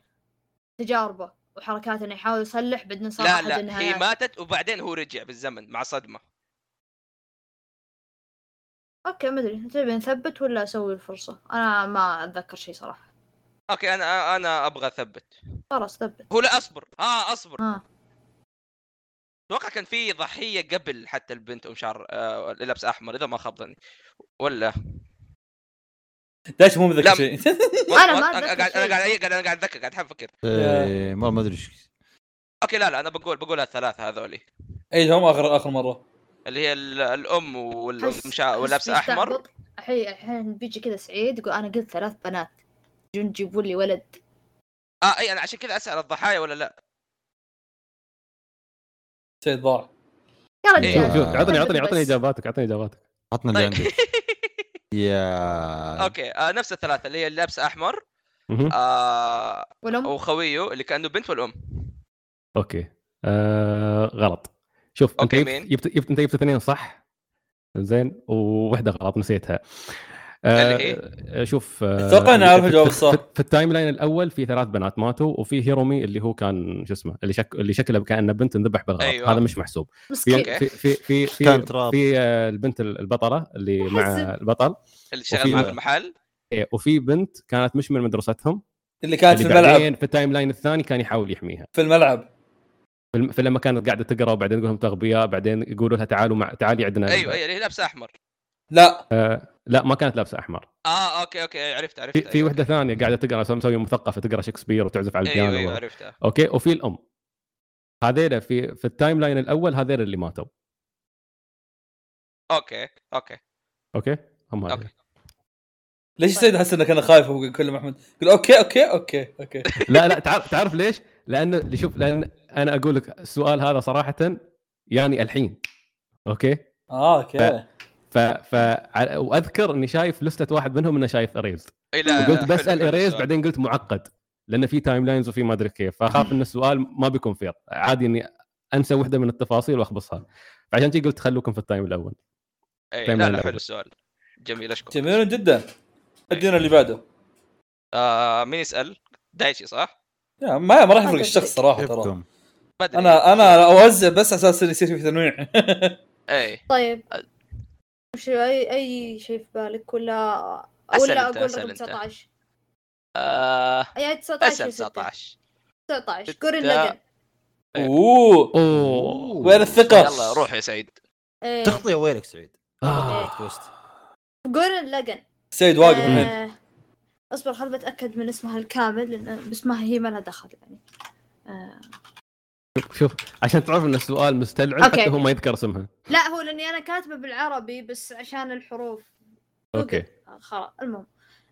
[SPEAKER 3] تجاربه وحركات انه يحاول يصلح بعدين صار
[SPEAKER 2] لا
[SPEAKER 3] أحد
[SPEAKER 2] لا
[SPEAKER 3] النهايات.
[SPEAKER 2] هي ماتت وبعدين هو رجع بالزمن مع صدمه
[SPEAKER 3] اوكي ما ادري تبي نثبت ولا اسوي الفرصه انا ما اتذكر شيء صراحه
[SPEAKER 2] اوكي انا انا ابغى اثبت
[SPEAKER 3] خلاص ثبت
[SPEAKER 2] هو لا اصبر اه اصبر
[SPEAKER 3] ها
[SPEAKER 2] اتوقع كان في ضحيه قبل حتى البنت ام شعر آه لبس احمر اذا ما خاب ظني ولا
[SPEAKER 8] داش مو
[SPEAKER 2] لا.
[SPEAKER 8] متذكر شيء
[SPEAKER 3] أنا ما
[SPEAKER 2] قاعد
[SPEAKER 3] أتذكر
[SPEAKER 2] انا قاعد
[SPEAKER 3] شيء.
[SPEAKER 2] أي- قاعد انا قاعد اتذكر قاعد أحاول افكر
[SPEAKER 4] إيه، ما ما ادري ايش
[SPEAKER 2] اوكي لا لا انا بقول بقول الثلاثه هذولي
[SPEAKER 8] اي إيه، هم اخر اخر مره
[SPEAKER 2] اللي هي ال- الام
[SPEAKER 3] أحس-
[SPEAKER 2] والمشا
[SPEAKER 3] أحس
[SPEAKER 2] واللبس
[SPEAKER 3] في
[SPEAKER 2] احمر
[SPEAKER 3] استعبط. الحين الحين بيجي كذا سعيد يقول انا قلت ثلاث بنات جون جيبوا لي ولد
[SPEAKER 2] اه اي انا عشان كذا اسال الضحايا ولا لا
[SPEAKER 8] سعيد ضاع
[SPEAKER 3] يا
[SPEAKER 2] إيه.
[SPEAKER 4] شوف، شوف،
[SPEAKER 3] رجال
[SPEAKER 5] عطني عطني
[SPEAKER 3] بس.
[SPEAKER 5] عطني اجاباتك عطني اجاباتك
[SPEAKER 4] عطنا اللي
[SPEAKER 2] طيب
[SPEAKER 4] عندك يا
[SPEAKER 2] اوكي آه نفس الثلاثه اللي هي اللبس احمر
[SPEAKER 5] مهم.
[SPEAKER 2] آه
[SPEAKER 3] والام
[SPEAKER 2] وخويه اللي كانه بنت والام
[SPEAKER 5] اوكي آه غلط شوف انت
[SPEAKER 2] أوكي،
[SPEAKER 5] جبت
[SPEAKER 2] مين؟
[SPEAKER 5] جبت جبت- انت جبت اثنين صح زين وواحده غلط نسيتها آه
[SPEAKER 2] اللي هي؟
[SPEAKER 5] آه، شوف آه،
[SPEAKER 8] إيه؟ أتوقع إني أعرف
[SPEAKER 5] في-
[SPEAKER 8] الجواب
[SPEAKER 5] في-
[SPEAKER 8] الصح.
[SPEAKER 5] في- في التايم لاين الاول في ثلاث بنات ماتوا وفي هيرومي اللي هو كان شو اسمه اللي شك اللي شكله كانه بنت انذبح بالغلط
[SPEAKER 2] أيوة.
[SPEAKER 5] أيوة. هذا مش محسوب في
[SPEAKER 3] مسكين
[SPEAKER 2] أوكي.
[SPEAKER 5] في في في,
[SPEAKER 4] كان
[SPEAKER 5] في,
[SPEAKER 4] تراب.
[SPEAKER 5] في آه، البنت البطله اللي مع
[SPEAKER 3] أحزن.
[SPEAKER 5] البطل
[SPEAKER 2] اللي شغال
[SPEAKER 5] وفي-
[SPEAKER 2] معاه في المحل
[SPEAKER 5] إيه، وفي بنت كانت مش من مدرستهم
[SPEAKER 8] اللي كانت في
[SPEAKER 5] اللي
[SPEAKER 8] الملعب
[SPEAKER 5] بعدين في التايم لاين الثاني كان يحاول يحميها
[SPEAKER 8] في الملعب
[SPEAKER 5] فالم- فلما كانت قاعده تقرا وبعدين يقول لهم تغبياء بعدين يقولوا لها تعالوا مع تعالي عندنا
[SPEAKER 2] ايوه ايوه اللي هي لابسه احمر
[SPEAKER 8] لا
[SPEAKER 5] لا ما كانت لابسه احمر
[SPEAKER 2] اه اوكي اوكي عرفت عرفت أيوة.
[SPEAKER 5] في, في وحده ثانيه قاعده تقرا سو- مسويه مثقفه تقرا شكسبير وتعزف على
[SPEAKER 2] ايوه
[SPEAKER 5] البيانو
[SPEAKER 2] ايوه
[SPEAKER 5] أيوة، أيوة.
[SPEAKER 2] عرفتها
[SPEAKER 5] اوكي وفي الام هذيلا في في التايم لاين الاول هذيلا اللي ماتوا
[SPEAKER 2] اوكي اوكي
[SPEAKER 5] اوكي هم هذيلا
[SPEAKER 2] اوكي
[SPEAKER 8] ليش سيد حس انك انا خايف وهو يكلم احمد يقول اوكي اوكي اوكي اوكي
[SPEAKER 5] لا لا تعرف تعرف ليش؟ لانه اللي شوف لان انا اقول لك السؤال هذا صراحه يعني الحين اوكي
[SPEAKER 8] اه اوكي
[SPEAKER 5] ف ف ع- واذكر اني شايف لسته واحد منهم انه شايف اريز
[SPEAKER 2] اي لا
[SPEAKER 5] وقلت
[SPEAKER 2] حلو-
[SPEAKER 5] بسال
[SPEAKER 2] حلو
[SPEAKER 5] اريز
[SPEAKER 2] السؤال.
[SPEAKER 5] بعدين قلت معقد لان في تايم لاينز وفي ما ادري كيف فاخاف ان السؤال ما بيكون فير عادي اني انسى وحده من التفاصيل واخبصها فعشان كذي قلت خلوكم في التايم الاول
[SPEAKER 2] إي،
[SPEAKER 5] تايم
[SPEAKER 2] إيه، لا
[SPEAKER 5] لاين
[SPEAKER 2] لا حلو
[SPEAKER 5] الأول.
[SPEAKER 2] السؤال جميل اشكر
[SPEAKER 8] جميل جدا ادينا اللي بعده
[SPEAKER 2] آه مين يسال؟ دايتشي صح؟
[SPEAKER 8] يا ما ما راح يفرق
[SPEAKER 3] هذا
[SPEAKER 8] الشخص صراحه ترى
[SPEAKER 4] كيفكم
[SPEAKER 2] بدري
[SPEAKER 8] انا انا اوزع بس اساس يصير في تنويع
[SPEAKER 2] اي
[SPEAKER 3] طيب
[SPEAKER 2] أ-
[SPEAKER 3] وش اي اي شيء في بالك ولا
[SPEAKER 2] أسأل
[SPEAKER 3] ولا
[SPEAKER 2] أنت،
[SPEAKER 3] اقول
[SPEAKER 2] أسأل
[SPEAKER 3] رقم
[SPEAKER 2] أنت.
[SPEAKER 3] 19
[SPEAKER 2] آه
[SPEAKER 3] يا 19 يا
[SPEAKER 2] اسال
[SPEAKER 3] ستة.
[SPEAKER 2] 19
[SPEAKER 3] 19
[SPEAKER 2] ستة.
[SPEAKER 3] جورين لجن
[SPEAKER 8] اوه
[SPEAKER 5] اوه
[SPEAKER 8] وين الثقه؟
[SPEAKER 2] إيه. يلا روح يا سعيد
[SPEAKER 3] إيه.
[SPEAKER 4] تخطي ويلك سعيد
[SPEAKER 5] آه.
[SPEAKER 4] توست.
[SPEAKER 3] جورين لجن
[SPEAKER 8] سيد واقف
[SPEAKER 3] آه،
[SPEAKER 8] الحين
[SPEAKER 3] اصبر خل بتاكد من اسمها الكامل لان باسمها هي ما لها دخل يعني آه.
[SPEAKER 5] شوف عشان تعرف ان السؤال مستلعب
[SPEAKER 3] أوكي.
[SPEAKER 5] حتى هو ما يذكر اسمها
[SPEAKER 3] لا هو لاني انا كاتبه بالعربي بس عشان الحروف
[SPEAKER 5] أوكي.
[SPEAKER 3] جوجل. آه، خلاص المهم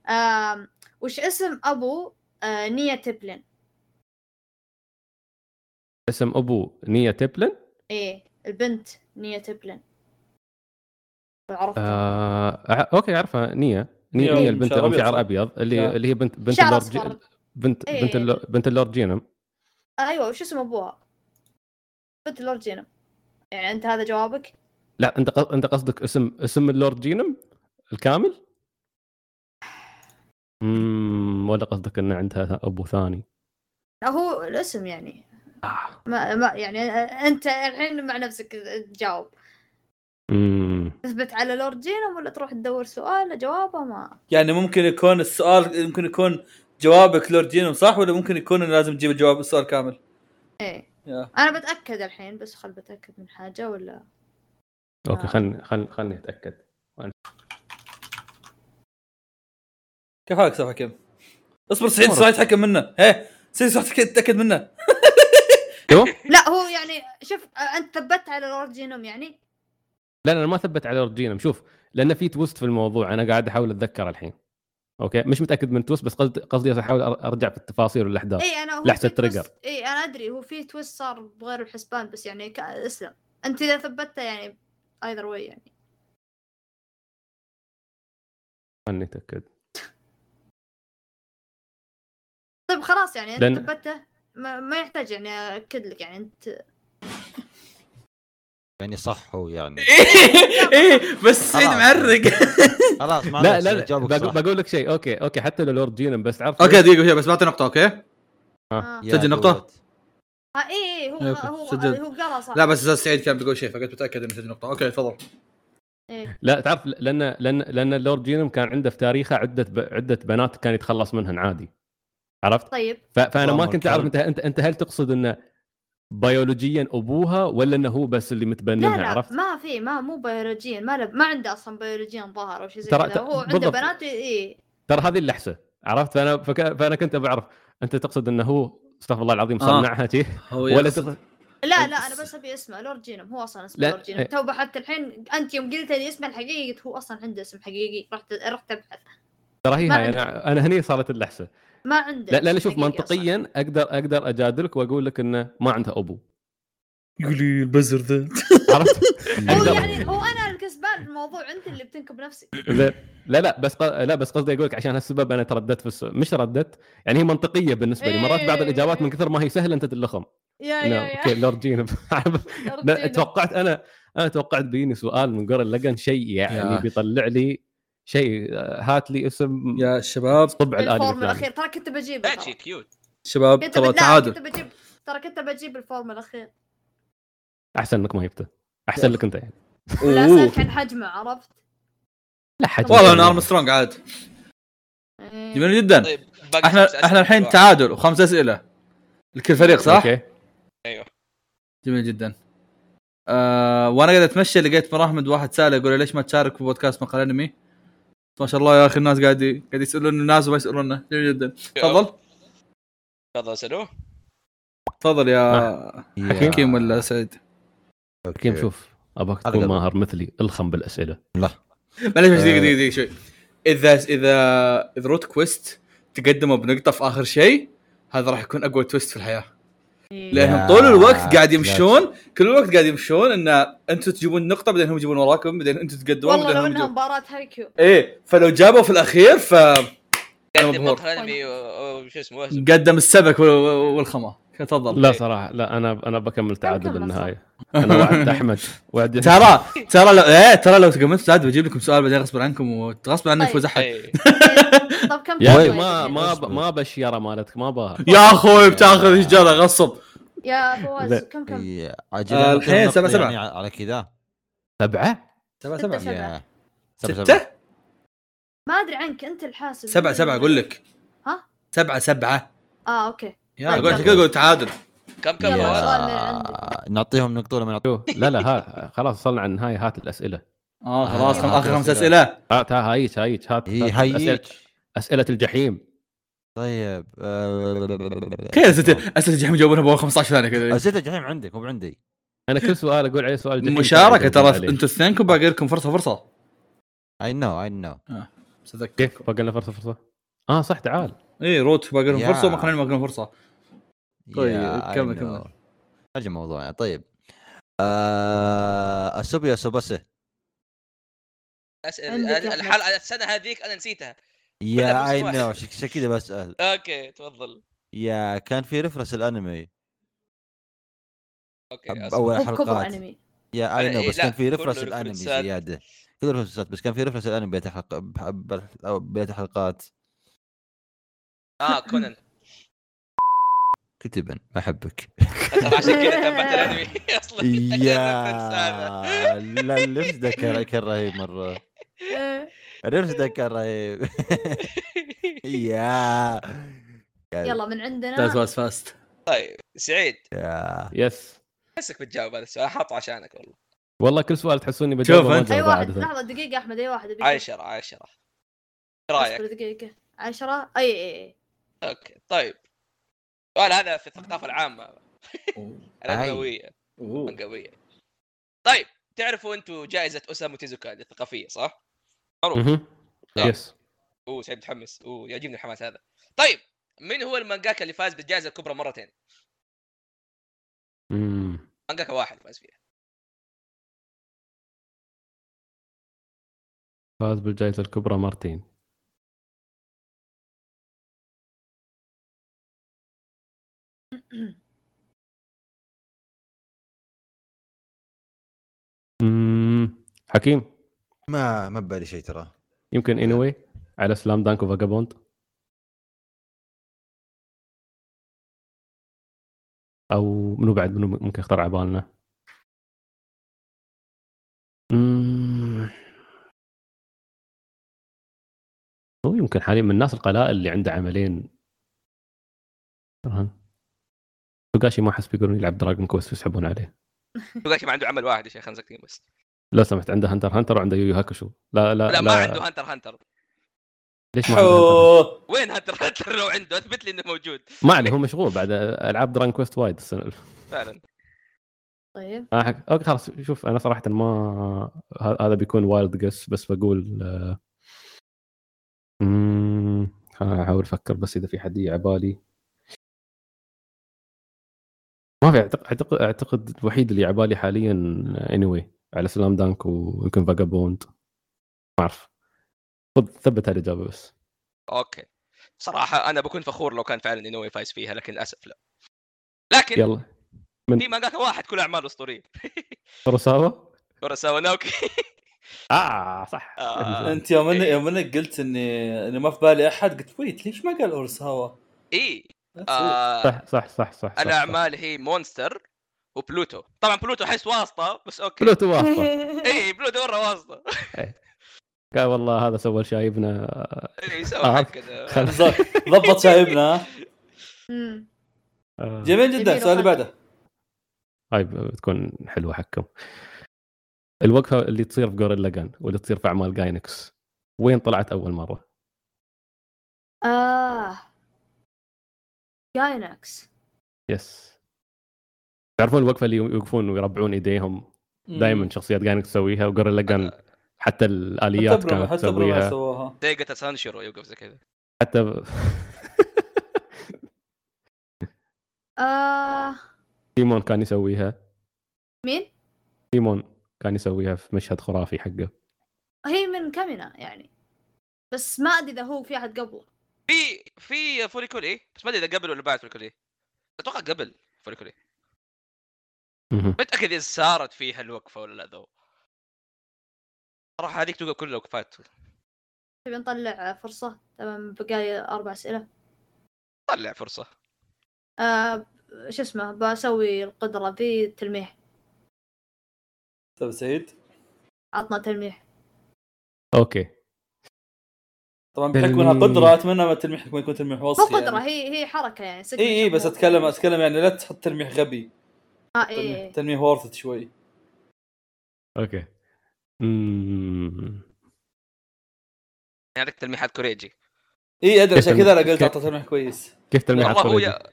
[SPEAKER 3] آم، وش اسم ابو آه، نيا تبلن
[SPEAKER 5] اسم ابو نيا تبلن
[SPEAKER 3] ايه البنت نيا تبلن عرفتها
[SPEAKER 5] آه... أع- اوكي اعرفها نيا
[SPEAKER 8] نيا
[SPEAKER 5] نيا, نيا البنت
[SPEAKER 8] شعر
[SPEAKER 5] ام
[SPEAKER 8] أبيض.
[SPEAKER 5] شعر ابيض اللي
[SPEAKER 8] نعم.
[SPEAKER 5] اللي هي بنت بنت
[SPEAKER 3] شعر
[SPEAKER 5] اللورد
[SPEAKER 3] اصفر
[SPEAKER 5] جي- بنت
[SPEAKER 3] إيه.
[SPEAKER 5] بنت اللو- بنت اللورد جينم
[SPEAKER 3] ايوه وش اسم ابوها؟ بنت اللورد جينم يعني انت هذا جوابك؟
[SPEAKER 5] لا انت قص- انت قصدك اسم اسم اللورد جينم الكامل؟ امم ولا قصدك ان عندها ابو ثاني؟
[SPEAKER 3] لا هو الاسم يعني
[SPEAKER 5] آه.
[SPEAKER 3] ما, ما يعني انت الحين مع نفسك تجاوب
[SPEAKER 5] امم
[SPEAKER 3] تثبت على لورد جينم ولا تروح تدور سؤال جوابه ما
[SPEAKER 8] يعني ممكن يكون السؤال ممكن يكون جوابك لورد جينوم صح ولا ممكن يكون إنه لازم تجيب الجواب السؤال كامل؟
[SPEAKER 3] ايه
[SPEAKER 8] يا.
[SPEAKER 3] انا بتاكد الحين بس خل بتاكد من حاجه ولا
[SPEAKER 5] اوكي
[SPEAKER 3] آه.
[SPEAKER 5] خلني خلني خلني اتاكد
[SPEAKER 8] كيف حالك سيف حكيم؟ اصبر سعيد سعيد يتحكم منه،
[SPEAKER 1] إيه،
[SPEAKER 8] ايه سعيد سعيد تتاكد منه
[SPEAKER 3] لا هو يعني شوف انت ثبت على لورد جينم يعني
[SPEAKER 5] لا لا أنا ما ثبت على لورد جينم شوف لان في توست في الموضوع انا قاعد احاول اتذكر الحين اوكي مش متاكد من توست بس قصدي قصدي احاول أر- ارجع في التفاصيل
[SPEAKER 4] إيه.
[SPEAKER 5] والاحداث
[SPEAKER 3] اي انا إيه، هو
[SPEAKER 5] آه. لحظة
[SPEAKER 3] في تويست-
[SPEAKER 5] تريجر.
[SPEAKER 3] اي انا ادري هو في تويست صار بغير الحسبان بس يعني ك- اسلم انت اذا ثبتته يعني ايذر واي يعني
[SPEAKER 5] خلني اتاكد
[SPEAKER 3] طيب خلاص يعني انت
[SPEAKER 5] لأن-
[SPEAKER 3] ثبتته ما, ما يحتاج يعني اكد لك يعني انت
[SPEAKER 4] يعني صح هو يعني
[SPEAKER 1] إيه؟
[SPEAKER 6] ايه بس سعيد
[SPEAKER 4] خلاص.
[SPEAKER 6] معرق
[SPEAKER 4] خلاص ما
[SPEAKER 5] لا
[SPEAKER 4] عليك،
[SPEAKER 5] لا,
[SPEAKER 4] سعيد،
[SPEAKER 5] لا
[SPEAKER 4] جاوبك
[SPEAKER 5] بقول,
[SPEAKER 4] صح.
[SPEAKER 5] بقول لك شيء اوكي اوكي حتى لو لورد جينم بس عرفت
[SPEAKER 6] اوكي
[SPEAKER 5] ليش؟
[SPEAKER 6] دقيقه شوي، بس بعطي نقطه اوكي
[SPEAKER 5] آه.
[SPEAKER 3] اه
[SPEAKER 4] يا
[SPEAKER 6] سجل نقطة.
[SPEAKER 4] دود.
[SPEAKER 3] آه، اي اي هو
[SPEAKER 6] أوكي،
[SPEAKER 3] هو
[SPEAKER 6] سجلت.
[SPEAKER 3] هو قالها صح
[SPEAKER 6] لا بس أستاذ سعيد كان بيقول شيء فقلت متاكد انه سجل نقطه اوكي تفضل
[SPEAKER 3] إيه.
[SPEAKER 5] لا تعرف لان لان لان اللورد جينم كان عنده في تاريخه عده ب... عده بنات كان يتخلص منهن عادي عرفت؟
[SPEAKER 3] طيب
[SPEAKER 5] ف... فانا ما
[SPEAKER 4] عمر
[SPEAKER 5] كنت اعرف
[SPEAKER 4] كلب.
[SPEAKER 5] انت انت انت هل تقصد انه بيولوجيا ابوها ولا انه هو بس اللي
[SPEAKER 3] لا
[SPEAKER 5] متبننها
[SPEAKER 3] لا
[SPEAKER 5] عرفت؟
[SPEAKER 3] ما في ما مو بيولوجيا ما لب ما عنده اصلا بيولوجيا ظاهر او شيء زي
[SPEAKER 5] ترى-
[SPEAKER 3] كذا
[SPEAKER 5] ترى-
[SPEAKER 3] هو عنده
[SPEAKER 5] بالضبط.
[SPEAKER 3] بنات إيه. اي
[SPEAKER 5] ترى هذه اللحسه عرفت؟ فانا فك... فانا كنت بعرف انت تقصد انه هو استغفر الله العظيم
[SPEAKER 6] آه.
[SPEAKER 5] صنعها شيء
[SPEAKER 6] هو
[SPEAKER 5] ولا
[SPEAKER 6] يقصد-
[SPEAKER 5] تقصد
[SPEAKER 3] لا لا انا بس ابي اسمه لورد جينم هو اصلا اسمه
[SPEAKER 5] إيه، لا،
[SPEAKER 3] لورد جينم
[SPEAKER 5] إيه.
[SPEAKER 3] تو بحثت الحين انت يوم قلت لي اسمه الحقيقي قلت هو اصلا عنده اسم حقيقي رحت رحت ابحث
[SPEAKER 5] ترى هي
[SPEAKER 3] ما
[SPEAKER 5] هاي، انا انا هني صارت اللحسه
[SPEAKER 3] ما عنده
[SPEAKER 5] لا لا
[SPEAKER 3] اسم
[SPEAKER 5] لا، شوف
[SPEAKER 3] حقيقي أصلاً.
[SPEAKER 5] منطقيا اقدر اقدر اجادلك واقول لك انه ما عندها ابو
[SPEAKER 8] يقول لي البزر ذا
[SPEAKER 5] عرفت؟
[SPEAKER 3] هو
[SPEAKER 5] أقدر-
[SPEAKER 3] يعني هو انا اللي بالنسبه لي الموضوع انت اللي بتنكب نفسك
[SPEAKER 5] زين لا لا بس ق... لا بس قصدي اقول لك عشان هالسبب انا ترددت في السؤال مش ترددت يعني هي منطقيه بالنسبه لي مرات بعض الاجابات من كثر ما هي سهله انت تلخم
[SPEAKER 3] يا
[SPEAKER 5] نعم
[SPEAKER 3] يا
[SPEAKER 5] اوكي
[SPEAKER 3] يا
[SPEAKER 5] لورد جينب لا توقعت انا انا توقعت بيني سؤال من قرن لقن شيء يعني
[SPEAKER 1] يا.
[SPEAKER 5] بيطلع لي شيء آه، هات لي اسم
[SPEAKER 1] يا شباب
[SPEAKER 5] طبع الالي
[SPEAKER 3] الفورم
[SPEAKER 5] الفلاني.
[SPEAKER 3] الاخير ترى كنت بجيب
[SPEAKER 2] ماشي كيوت
[SPEAKER 1] شباب
[SPEAKER 3] كنت
[SPEAKER 1] ترى
[SPEAKER 3] لا،
[SPEAKER 1] تعادل
[SPEAKER 3] كنت بجيب ترى كنت بجيب الفورم الاخير
[SPEAKER 5] احسن انك ما جبته احسن لك انت يعني
[SPEAKER 3] لا
[SPEAKER 1] أوه.
[SPEAKER 3] اسالك عن حجمه عرفت؟
[SPEAKER 5] لا حجم
[SPEAKER 1] والله ان ارمسترونج عاد
[SPEAKER 3] إيه.
[SPEAKER 1] جميل جدا
[SPEAKER 2] طيب باقي
[SPEAKER 1] احنا
[SPEAKER 2] خمس أسئلة
[SPEAKER 1] احنا الحين
[SPEAKER 2] واحد.
[SPEAKER 1] تعادل وخمس اسئله لكل فريق صح؟
[SPEAKER 5] اوكي
[SPEAKER 2] ايوه
[SPEAKER 1] جميل جدا آه وانا قاعد اتمشى لقيت مراحمد واحد ساله يقول لي ليش ما تشارك في بودكاست مقال انمي؟ ما شاء الله يا اخي الناس قاعد قاعد يسالون الناس وما يسالوننا جميل جدا تفضل
[SPEAKER 2] تفضل اسالوه
[SPEAKER 1] تفضل يا
[SPEAKER 4] يا-
[SPEAKER 1] حكيم ولا سعيد
[SPEAKER 5] حكيم شوف ابغاك تكون
[SPEAKER 4] أقدر.
[SPEAKER 5] ماهر مثلي الخم بالاسئله
[SPEAKER 1] معليش بس دقيقه
[SPEAKER 4] آه.
[SPEAKER 1] دقيقه دقيقه شوي اذا اذا اذا روت كويست تقدموا بنقطه في اخر شيء هذا راح يكون اقوى تويست في الحياه
[SPEAKER 3] إيه.
[SPEAKER 1] لانهم
[SPEAKER 4] يا
[SPEAKER 1] طول الوقت قاعد
[SPEAKER 4] سلام.
[SPEAKER 1] يمشون كل الوقت قاعد يمشون ان انتم تجيبون نقطه بعدين هم يجيبون وراكم بعدين انتم تقدمون
[SPEAKER 3] والله
[SPEAKER 1] بعدين
[SPEAKER 3] لو
[SPEAKER 1] هم
[SPEAKER 3] انها
[SPEAKER 1] يجيبون
[SPEAKER 3] مباراه هايكيو
[SPEAKER 1] ايه فلو جابوا في الاخير ف
[SPEAKER 2] قدم
[SPEAKER 1] مبهور.
[SPEAKER 2] مقهى انمي و- وشو اسمه وهزم.
[SPEAKER 1] قدم السبك وال- والخمه تفضل
[SPEAKER 5] لا صراحه لا انا انا بكمل تعادل
[SPEAKER 3] كمل
[SPEAKER 5] للنهايه انا وعدت احمد وعد
[SPEAKER 1] ترى ترى لو ايه ترى لو تقمت عاد بجيب لكم سؤال بعدين غصبا عنكم وغصبا عني
[SPEAKER 3] طيب.
[SPEAKER 1] يفوز احد
[SPEAKER 2] إيه.
[SPEAKER 3] طب كم
[SPEAKER 5] يا اخي
[SPEAKER 3] تبغى
[SPEAKER 5] ما
[SPEAKER 1] طيب،
[SPEAKER 3] يا
[SPEAKER 5] ما
[SPEAKER 4] اصبر.
[SPEAKER 5] ما بالشيره مالتك ما باها
[SPEAKER 1] يا اخوي بتاخذ شجره غصب
[SPEAKER 3] زيد؟ يعني؟ يا فواز
[SPEAKER 5] لا.
[SPEAKER 3] كم كم؟
[SPEAKER 4] يا- عجل
[SPEAKER 1] آه،
[SPEAKER 4] نقطة-
[SPEAKER 1] الحين سبعة-
[SPEAKER 4] نقطة
[SPEAKER 1] سبعة.
[SPEAKER 4] يعني على كذا
[SPEAKER 5] سبعه
[SPEAKER 1] سبعة
[SPEAKER 3] ستة
[SPEAKER 1] سبعة
[SPEAKER 3] سبعة.
[SPEAKER 4] يا. سبعة سبعة
[SPEAKER 1] ستة
[SPEAKER 3] ما ادري عنك انت الحاسب
[SPEAKER 1] سبعة سبعة اقول لك
[SPEAKER 3] ها؟
[SPEAKER 1] سبعة سبعة
[SPEAKER 3] اه اوكي
[SPEAKER 1] يا
[SPEAKER 3] طيب،
[SPEAKER 1] اقول
[SPEAKER 3] يلا.
[SPEAKER 1] لك اقول تعادل
[SPEAKER 2] كم كم
[SPEAKER 3] يلا
[SPEAKER 2] فواز؟
[SPEAKER 3] سؤال من عندك
[SPEAKER 4] نعطيهم نقطة ولا ما نعطيهم؟
[SPEAKER 5] شو لا لا ها خلاص وصلنا على النهايه هات الاسئله
[SPEAKER 1] اه خلاص
[SPEAKER 4] آه،
[SPEAKER 1] خم- اخر خمس
[SPEAKER 4] أسئلة.
[SPEAKER 1] اسئله
[SPEAKER 5] هات ها- هايج هايج هات
[SPEAKER 4] إي،
[SPEAKER 1] طيب،
[SPEAKER 5] هات
[SPEAKER 4] هيك
[SPEAKER 5] أسئلة- اسئله الجحيم
[SPEAKER 4] طيب آه،
[SPEAKER 1] كيف اسئله اسئله الجحيم يجاوبونها باول 15 ثانيه كذا
[SPEAKER 4] اسئله الجحيم آه، عندك مو عندي
[SPEAKER 5] انا كل سؤال اقول عليه سؤال جحيم
[SPEAKER 1] مشاركه
[SPEAKER 5] عليه.
[SPEAKER 1] ترى انتم اثنينكم باقي لكم فرصه فرصه
[SPEAKER 4] اي نو اي نو
[SPEAKER 1] بس أتذكر.
[SPEAKER 5] كيف باقي لنا فرصه فرصه اه صح تعال
[SPEAKER 1] ايه روت باقي لهم
[SPEAKER 4] يا.
[SPEAKER 1] فرصه ومقنعني باقي لهم فرصه طيب، كمل، كمل.
[SPEAKER 4] ارجع موضوعنا طيب آه، اسوبيا سوباسه
[SPEAKER 2] اسال
[SPEAKER 3] عندك يا
[SPEAKER 2] الحلقه السنه هذيك انا نسيتها
[SPEAKER 4] يا اي
[SPEAKER 2] بس
[SPEAKER 4] نو
[SPEAKER 2] واحد.
[SPEAKER 4] عشان كذا بسال
[SPEAKER 2] اوكي تفضل
[SPEAKER 4] يا كان في رفرس الانمي
[SPEAKER 2] اوكي
[SPEAKER 4] أب-
[SPEAKER 2] أصبر.
[SPEAKER 4] اول
[SPEAKER 3] مو بكبر
[SPEAKER 4] حلقات
[SPEAKER 3] انمي
[SPEAKER 4] يا اي
[SPEAKER 2] أنا-
[SPEAKER 4] نو
[SPEAKER 2] إيه،
[SPEAKER 4] بس
[SPEAKER 2] لا،
[SPEAKER 4] كان في
[SPEAKER 2] كله
[SPEAKER 4] رفرس الانمي
[SPEAKER 2] رفرسات.
[SPEAKER 4] زياده كل رفرسات بس كان في رفرس الانمي بيت حلق... بح- بح- أو بيت حلقات
[SPEAKER 2] اه كونان
[SPEAKER 4] كتبا احبك
[SPEAKER 2] ترى عشان كذا تبعت الانمي اصلا
[SPEAKER 4] يا لا اللبس ده كان كان رهيب مره
[SPEAKER 3] إيه.
[SPEAKER 4] الرفس ده كان رهيب يا
[SPEAKER 3] يلا من عندنا
[SPEAKER 1] ذات واز فاست
[SPEAKER 2] سعيد
[SPEAKER 1] آه.
[SPEAKER 4] يا
[SPEAKER 5] يس
[SPEAKER 2] احسك بتجاوب هذا السؤال حاطه عشانك والله
[SPEAKER 5] والله كل سؤال تحسوني بجاوبه
[SPEAKER 1] شوف
[SPEAKER 5] ما
[SPEAKER 1] أنت.
[SPEAKER 3] اي
[SPEAKER 5] أجاوبه
[SPEAKER 3] واحد
[SPEAKER 5] عاده
[SPEAKER 3] لحظه دقيقه احمد اي واحد أبيك.
[SPEAKER 2] عشرة عشرة ايش رايك؟
[SPEAKER 3] اصبر دقيقه عشرة اي اي اي
[SPEAKER 2] اوكي طيب السؤال هذا في الثقافه العامه الانمويه المانجاويه طيب تعرفوا انتم جائزه اسامو تيزوكا الثقافيه صح؟ معروف
[SPEAKER 5] مهم. يس
[SPEAKER 2] اوه سعيد متحمس اوه يعجبني الحماس هذا طيب من هو المانجاكا اللي فاز بالجائزه الكبرى مرتين؟
[SPEAKER 5] مم.
[SPEAKER 2] مانجاكا واحد فاز فيها
[SPEAKER 5] فاز بالجائزه الكبرى مرتين مم. حكيم
[SPEAKER 4] ما ما ببالي شيء ترى
[SPEAKER 5] يمكن اني anyway على سلام دانك وفاجابوند او منو بعد منو ممكن يخطر على بالنا أمم. هو يمكن حاليا من الناس القلائل اللي عنده عملين رهان توغاشي ما احس بيقولون يلعب دراجون كويست ويسحبون عليه
[SPEAKER 2] توغاشي ما عنده عمل واحد يا شيخ خمسة ساكتين بس
[SPEAKER 5] لو سمحت عنده هانتر هانتر وعنده يو يو هاكوشو لا لا
[SPEAKER 2] لا ما عنده هانتر هانتر
[SPEAKER 5] ليش ما عنده هانتر؟
[SPEAKER 2] وين هانتر هانتر لو عنده اثبت لي انه موجود
[SPEAKER 5] ما عليه هو مشغول بعد العاب دراجون كويست وايد السنه
[SPEAKER 2] فعلا
[SPEAKER 3] طيب
[SPEAKER 5] آه حك... اوكي خلاص شوف انا صراحه ما ه- هذا بيكون وايلد جس بس بقول آه، أمم، احاول افكر بس اذا في حد يجي على بالي ما في اعتقد اعتقد, أعتقد الوحيد اللي على بالي حاليا اني آه، anyway. على سلام دانك ويمكن فاجابوند ما اعرف خذ ثبت هالاجابه بس
[SPEAKER 2] اوكي صراحه انا بكون فخور لو كان فعلا انوي فايز فيها لكن للاسف لا لكن
[SPEAKER 5] يلا
[SPEAKER 2] في مانجاكا واحد كل اعماله اسطوريه
[SPEAKER 5] كوراساوا
[SPEAKER 2] كوراساوا ناوكي
[SPEAKER 5] اه صح
[SPEAKER 2] آه.
[SPEAKER 1] انت يوم انك يوم انك قلت اني اني ما في بالي احد قلت ويت ليش ما قال اورساوا؟
[SPEAKER 2] اي إيه، آه،
[SPEAKER 5] صح صح صح صح صح، صح.
[SPEAKER 2] الاعمال هي مونستر وبلوتو طبعا بلوتو احس واسطه بس اوكي
[SPEAKER 5] بلوتو واقفه
[SPEAKER 2] اي بلوتو مره واسطه
[SPEAKER 5] قال والله هذا سوى شايبنا
[SPEAKER 2] اي سوى
[SPEAKER 5] عارف.
[SPEAKER 2] حق كذا
[SPEAKER 5] خل-
[SPEAKER 1] بالضبط ضبط شايبنا ها؟
[SPEAKER 3] مم.
[SPEAKER 5] آه،
[SPEAKER 1] جميل جدا السؤال اللي بعده
[SPEAKER 5] هاي بتكون حلوه حقكم الوقفه اللي تصير في جوريلا جان واللي تصير في اعمال جاينكس وين طلعت اول مره؟
[SPEAKER 3] اه جاينكس
[SPEAKER 5] يس تعرفون الوقفه اللي يوقفون ويربعون ايديهم دائما شخصيات جاينكس تسويها وجوريلا جان حتى الاليات
[SPEAKER 1] حتى
[SPEAKER 5] كانت
[SPEAKER 1] برما حتى برما
[SPEAKER 5] تسويها
[SPEAKER 1] سواها
[SPEAKER 2] دقيقة سانشيرو يوقف زي كذا
[SPEAKER 5] حتى
[SPEAKER 3] آه
[SPEAKER 5] تيمون كان يسويها
[SPEAKER 3] مين؟
[SPEAKER 5] تيمون كان يسويها في مشهد خرافي حقه
[SPEAKER 3] هي من كامينا يعني بس ما ادري اذا هو في احد قبله
[SPEAKER 2] في في فوريكولي إيه؟ بس ما ادري اذا قبل ولا بعد فوريكولي اتوقع قبل فوريكولي
[SPEAKER 5] مهم.
[SPEAKER 2] متاكد اذا صارت فيها الوقفه ولا لا ذو صراحه هذيك توقف كل الوقفات
[SPEAKER 3] تبي نطلع فرصة تمام بقالي أربع أسئلة
[SPEAKER 2] طلع يعني فرصه
[SPEAKER 3] آه شو اسمه بسوي القدرة ذي تلميح
[SPEAKER 1] طيب سعيد
[SPEAKER 3] عطنا تلميح
[SPEAKER 5] اوكي
[SPEAKER 1] طبعا بحكم انها قدرة اتمنى ما التلميح ما يكون تلميح
[SPEAKER 3] مو
[SPEAKER 1] وصفي
[SPEAKER 3] قدرة
[SPEAKER 1] يعني.
[SPEAKER 3] هي هي حركة يعني
[SPEAKER 1] اي اي بس اتكلم اتكلم يعني لا تحط تلميح غبي
[SPEAKER 3] آه إي.
[SPEAKER 1] تلميح- تلميح ورثت شوي
[SPEAKER 5] اوكي أمم.
[SPEAKER 2] يعني عندك تلميحات كوريجي
[SPEAKER 1] اي ادري عشان
[SPEAKER 5] كيف
[SPEAKER 1] كذا
[SPEAKER 5] تلميح-
[SPEAKER 1] انا قلت
[SPEAKER 5] كيف-
[SPEAKER 1] اعطى تلميح كويس
[SPEAKER 5] كيف تلميح
[SPEAKER 2] والله هو
[SPEAKER 5] الخروجي؟
[SPEAKER 2] يا-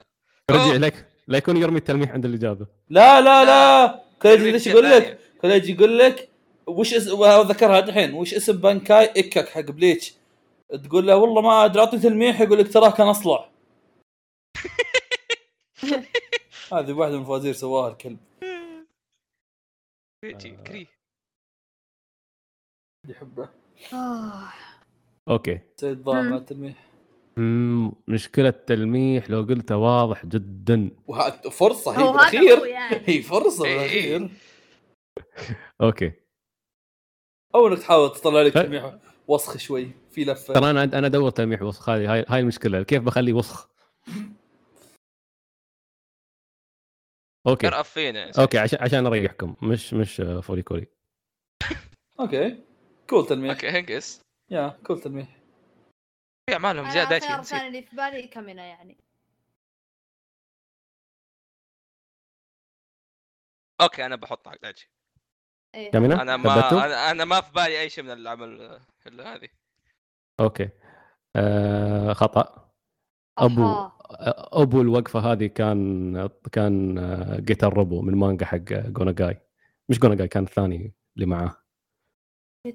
[SPEAKER 5] رجع
[SPEAKER 2] أوه.
[SPEAKER 5] لك لا يكون يرمي التلميح عند الاجابه
[SPEAKER 1] لا لا لا كوليجي
[SPEAKER 2] تلميح
[SPEAKER 1] ليش يقول لك
[SPEAKER 2] جبانية.
[SPEAKER 1] كوليجي يقول لك وش اسم ذكرها الحين وش اسم بانكاي اكك حق بليتش تقول له والله ما ادري اعطني تلميح يقول لك تراه كان اصلع هذه واحده من الفوازير سواها الكلب آه،
[SPEAKER 2] كوريجي كري
[SPEAKER 1] يحبه
[SPEAKER 3] آه.
[SPEAKER 5] اوكي
[SPEAKER 1] سيد ضاع مع التلميح
[SPEAKER 5] أمم، مشكله التلميح لو قلته واضح جدا
[SPEAKER 9] وهذا فرصه
[SPEAKER 3] هو
[SPEAKER 9] هي
[SPEAKER 3] هذا هو
[SPEAKER 9] بالاخير
[SPEAKER 3] يعني
[SPEAKER 1] هي فرصه
[SPEAKER 2] إي إي.
[SPEAKER 1] بالاخير
[SPEAKER 5] اوكي
[SPEAKER 1] او انك تحاول تطلع لك
[SPEAKER 5] لا.
[SPEAKER 1] تلميح وسخ شوي في لفه
[SPEAKER 5] ترى انا انا ادور تلميح وسخ هاي هاي هاي المشكله كيف بخلي وسخ اوكي
[SPEAKER 2] ارقف فينا يا سيد.
[SPEAKER 5] اوكي عشان عشان اريحكم مش مش آه، فوريكوري
[SPEAKER 1] اوكي كول تلميح
[SPEAKER 2] اوكي هنقص
[SPEAKER 1] يا كول تلميح
[SPEAKER 2] في اعمالهم
[SPEAKER 3] أنا
[SPEAKER 2] زياده
[SPEAKER 3] الخيار
[SPEAKER 2] نسيت.
[SPEAKER 3] الثاني اللي آه، في بالي كامينا يعني
[SPEAKER 2] اوكي انا بحط حق دايتشي
[SPEAKER 3] إيه.
[SPEAKER 5] كامينا
[SPEAKER 2] انا ما
[SPEAKER 5] ثبتوا؟
[SPEAKER 2] انا, أنا ما في بالي اي شيء من العمل آه، الا هذه
[SPEAKER 5] اوكي آه خطا ابو
[SPEAKER 3] أها.
[SPEAKER 5] ابو الوقفه هذه كان كان آه، جيتار روبو من مانجا حق جوناجاي مش جوناجاي كان الثاني اللي معاه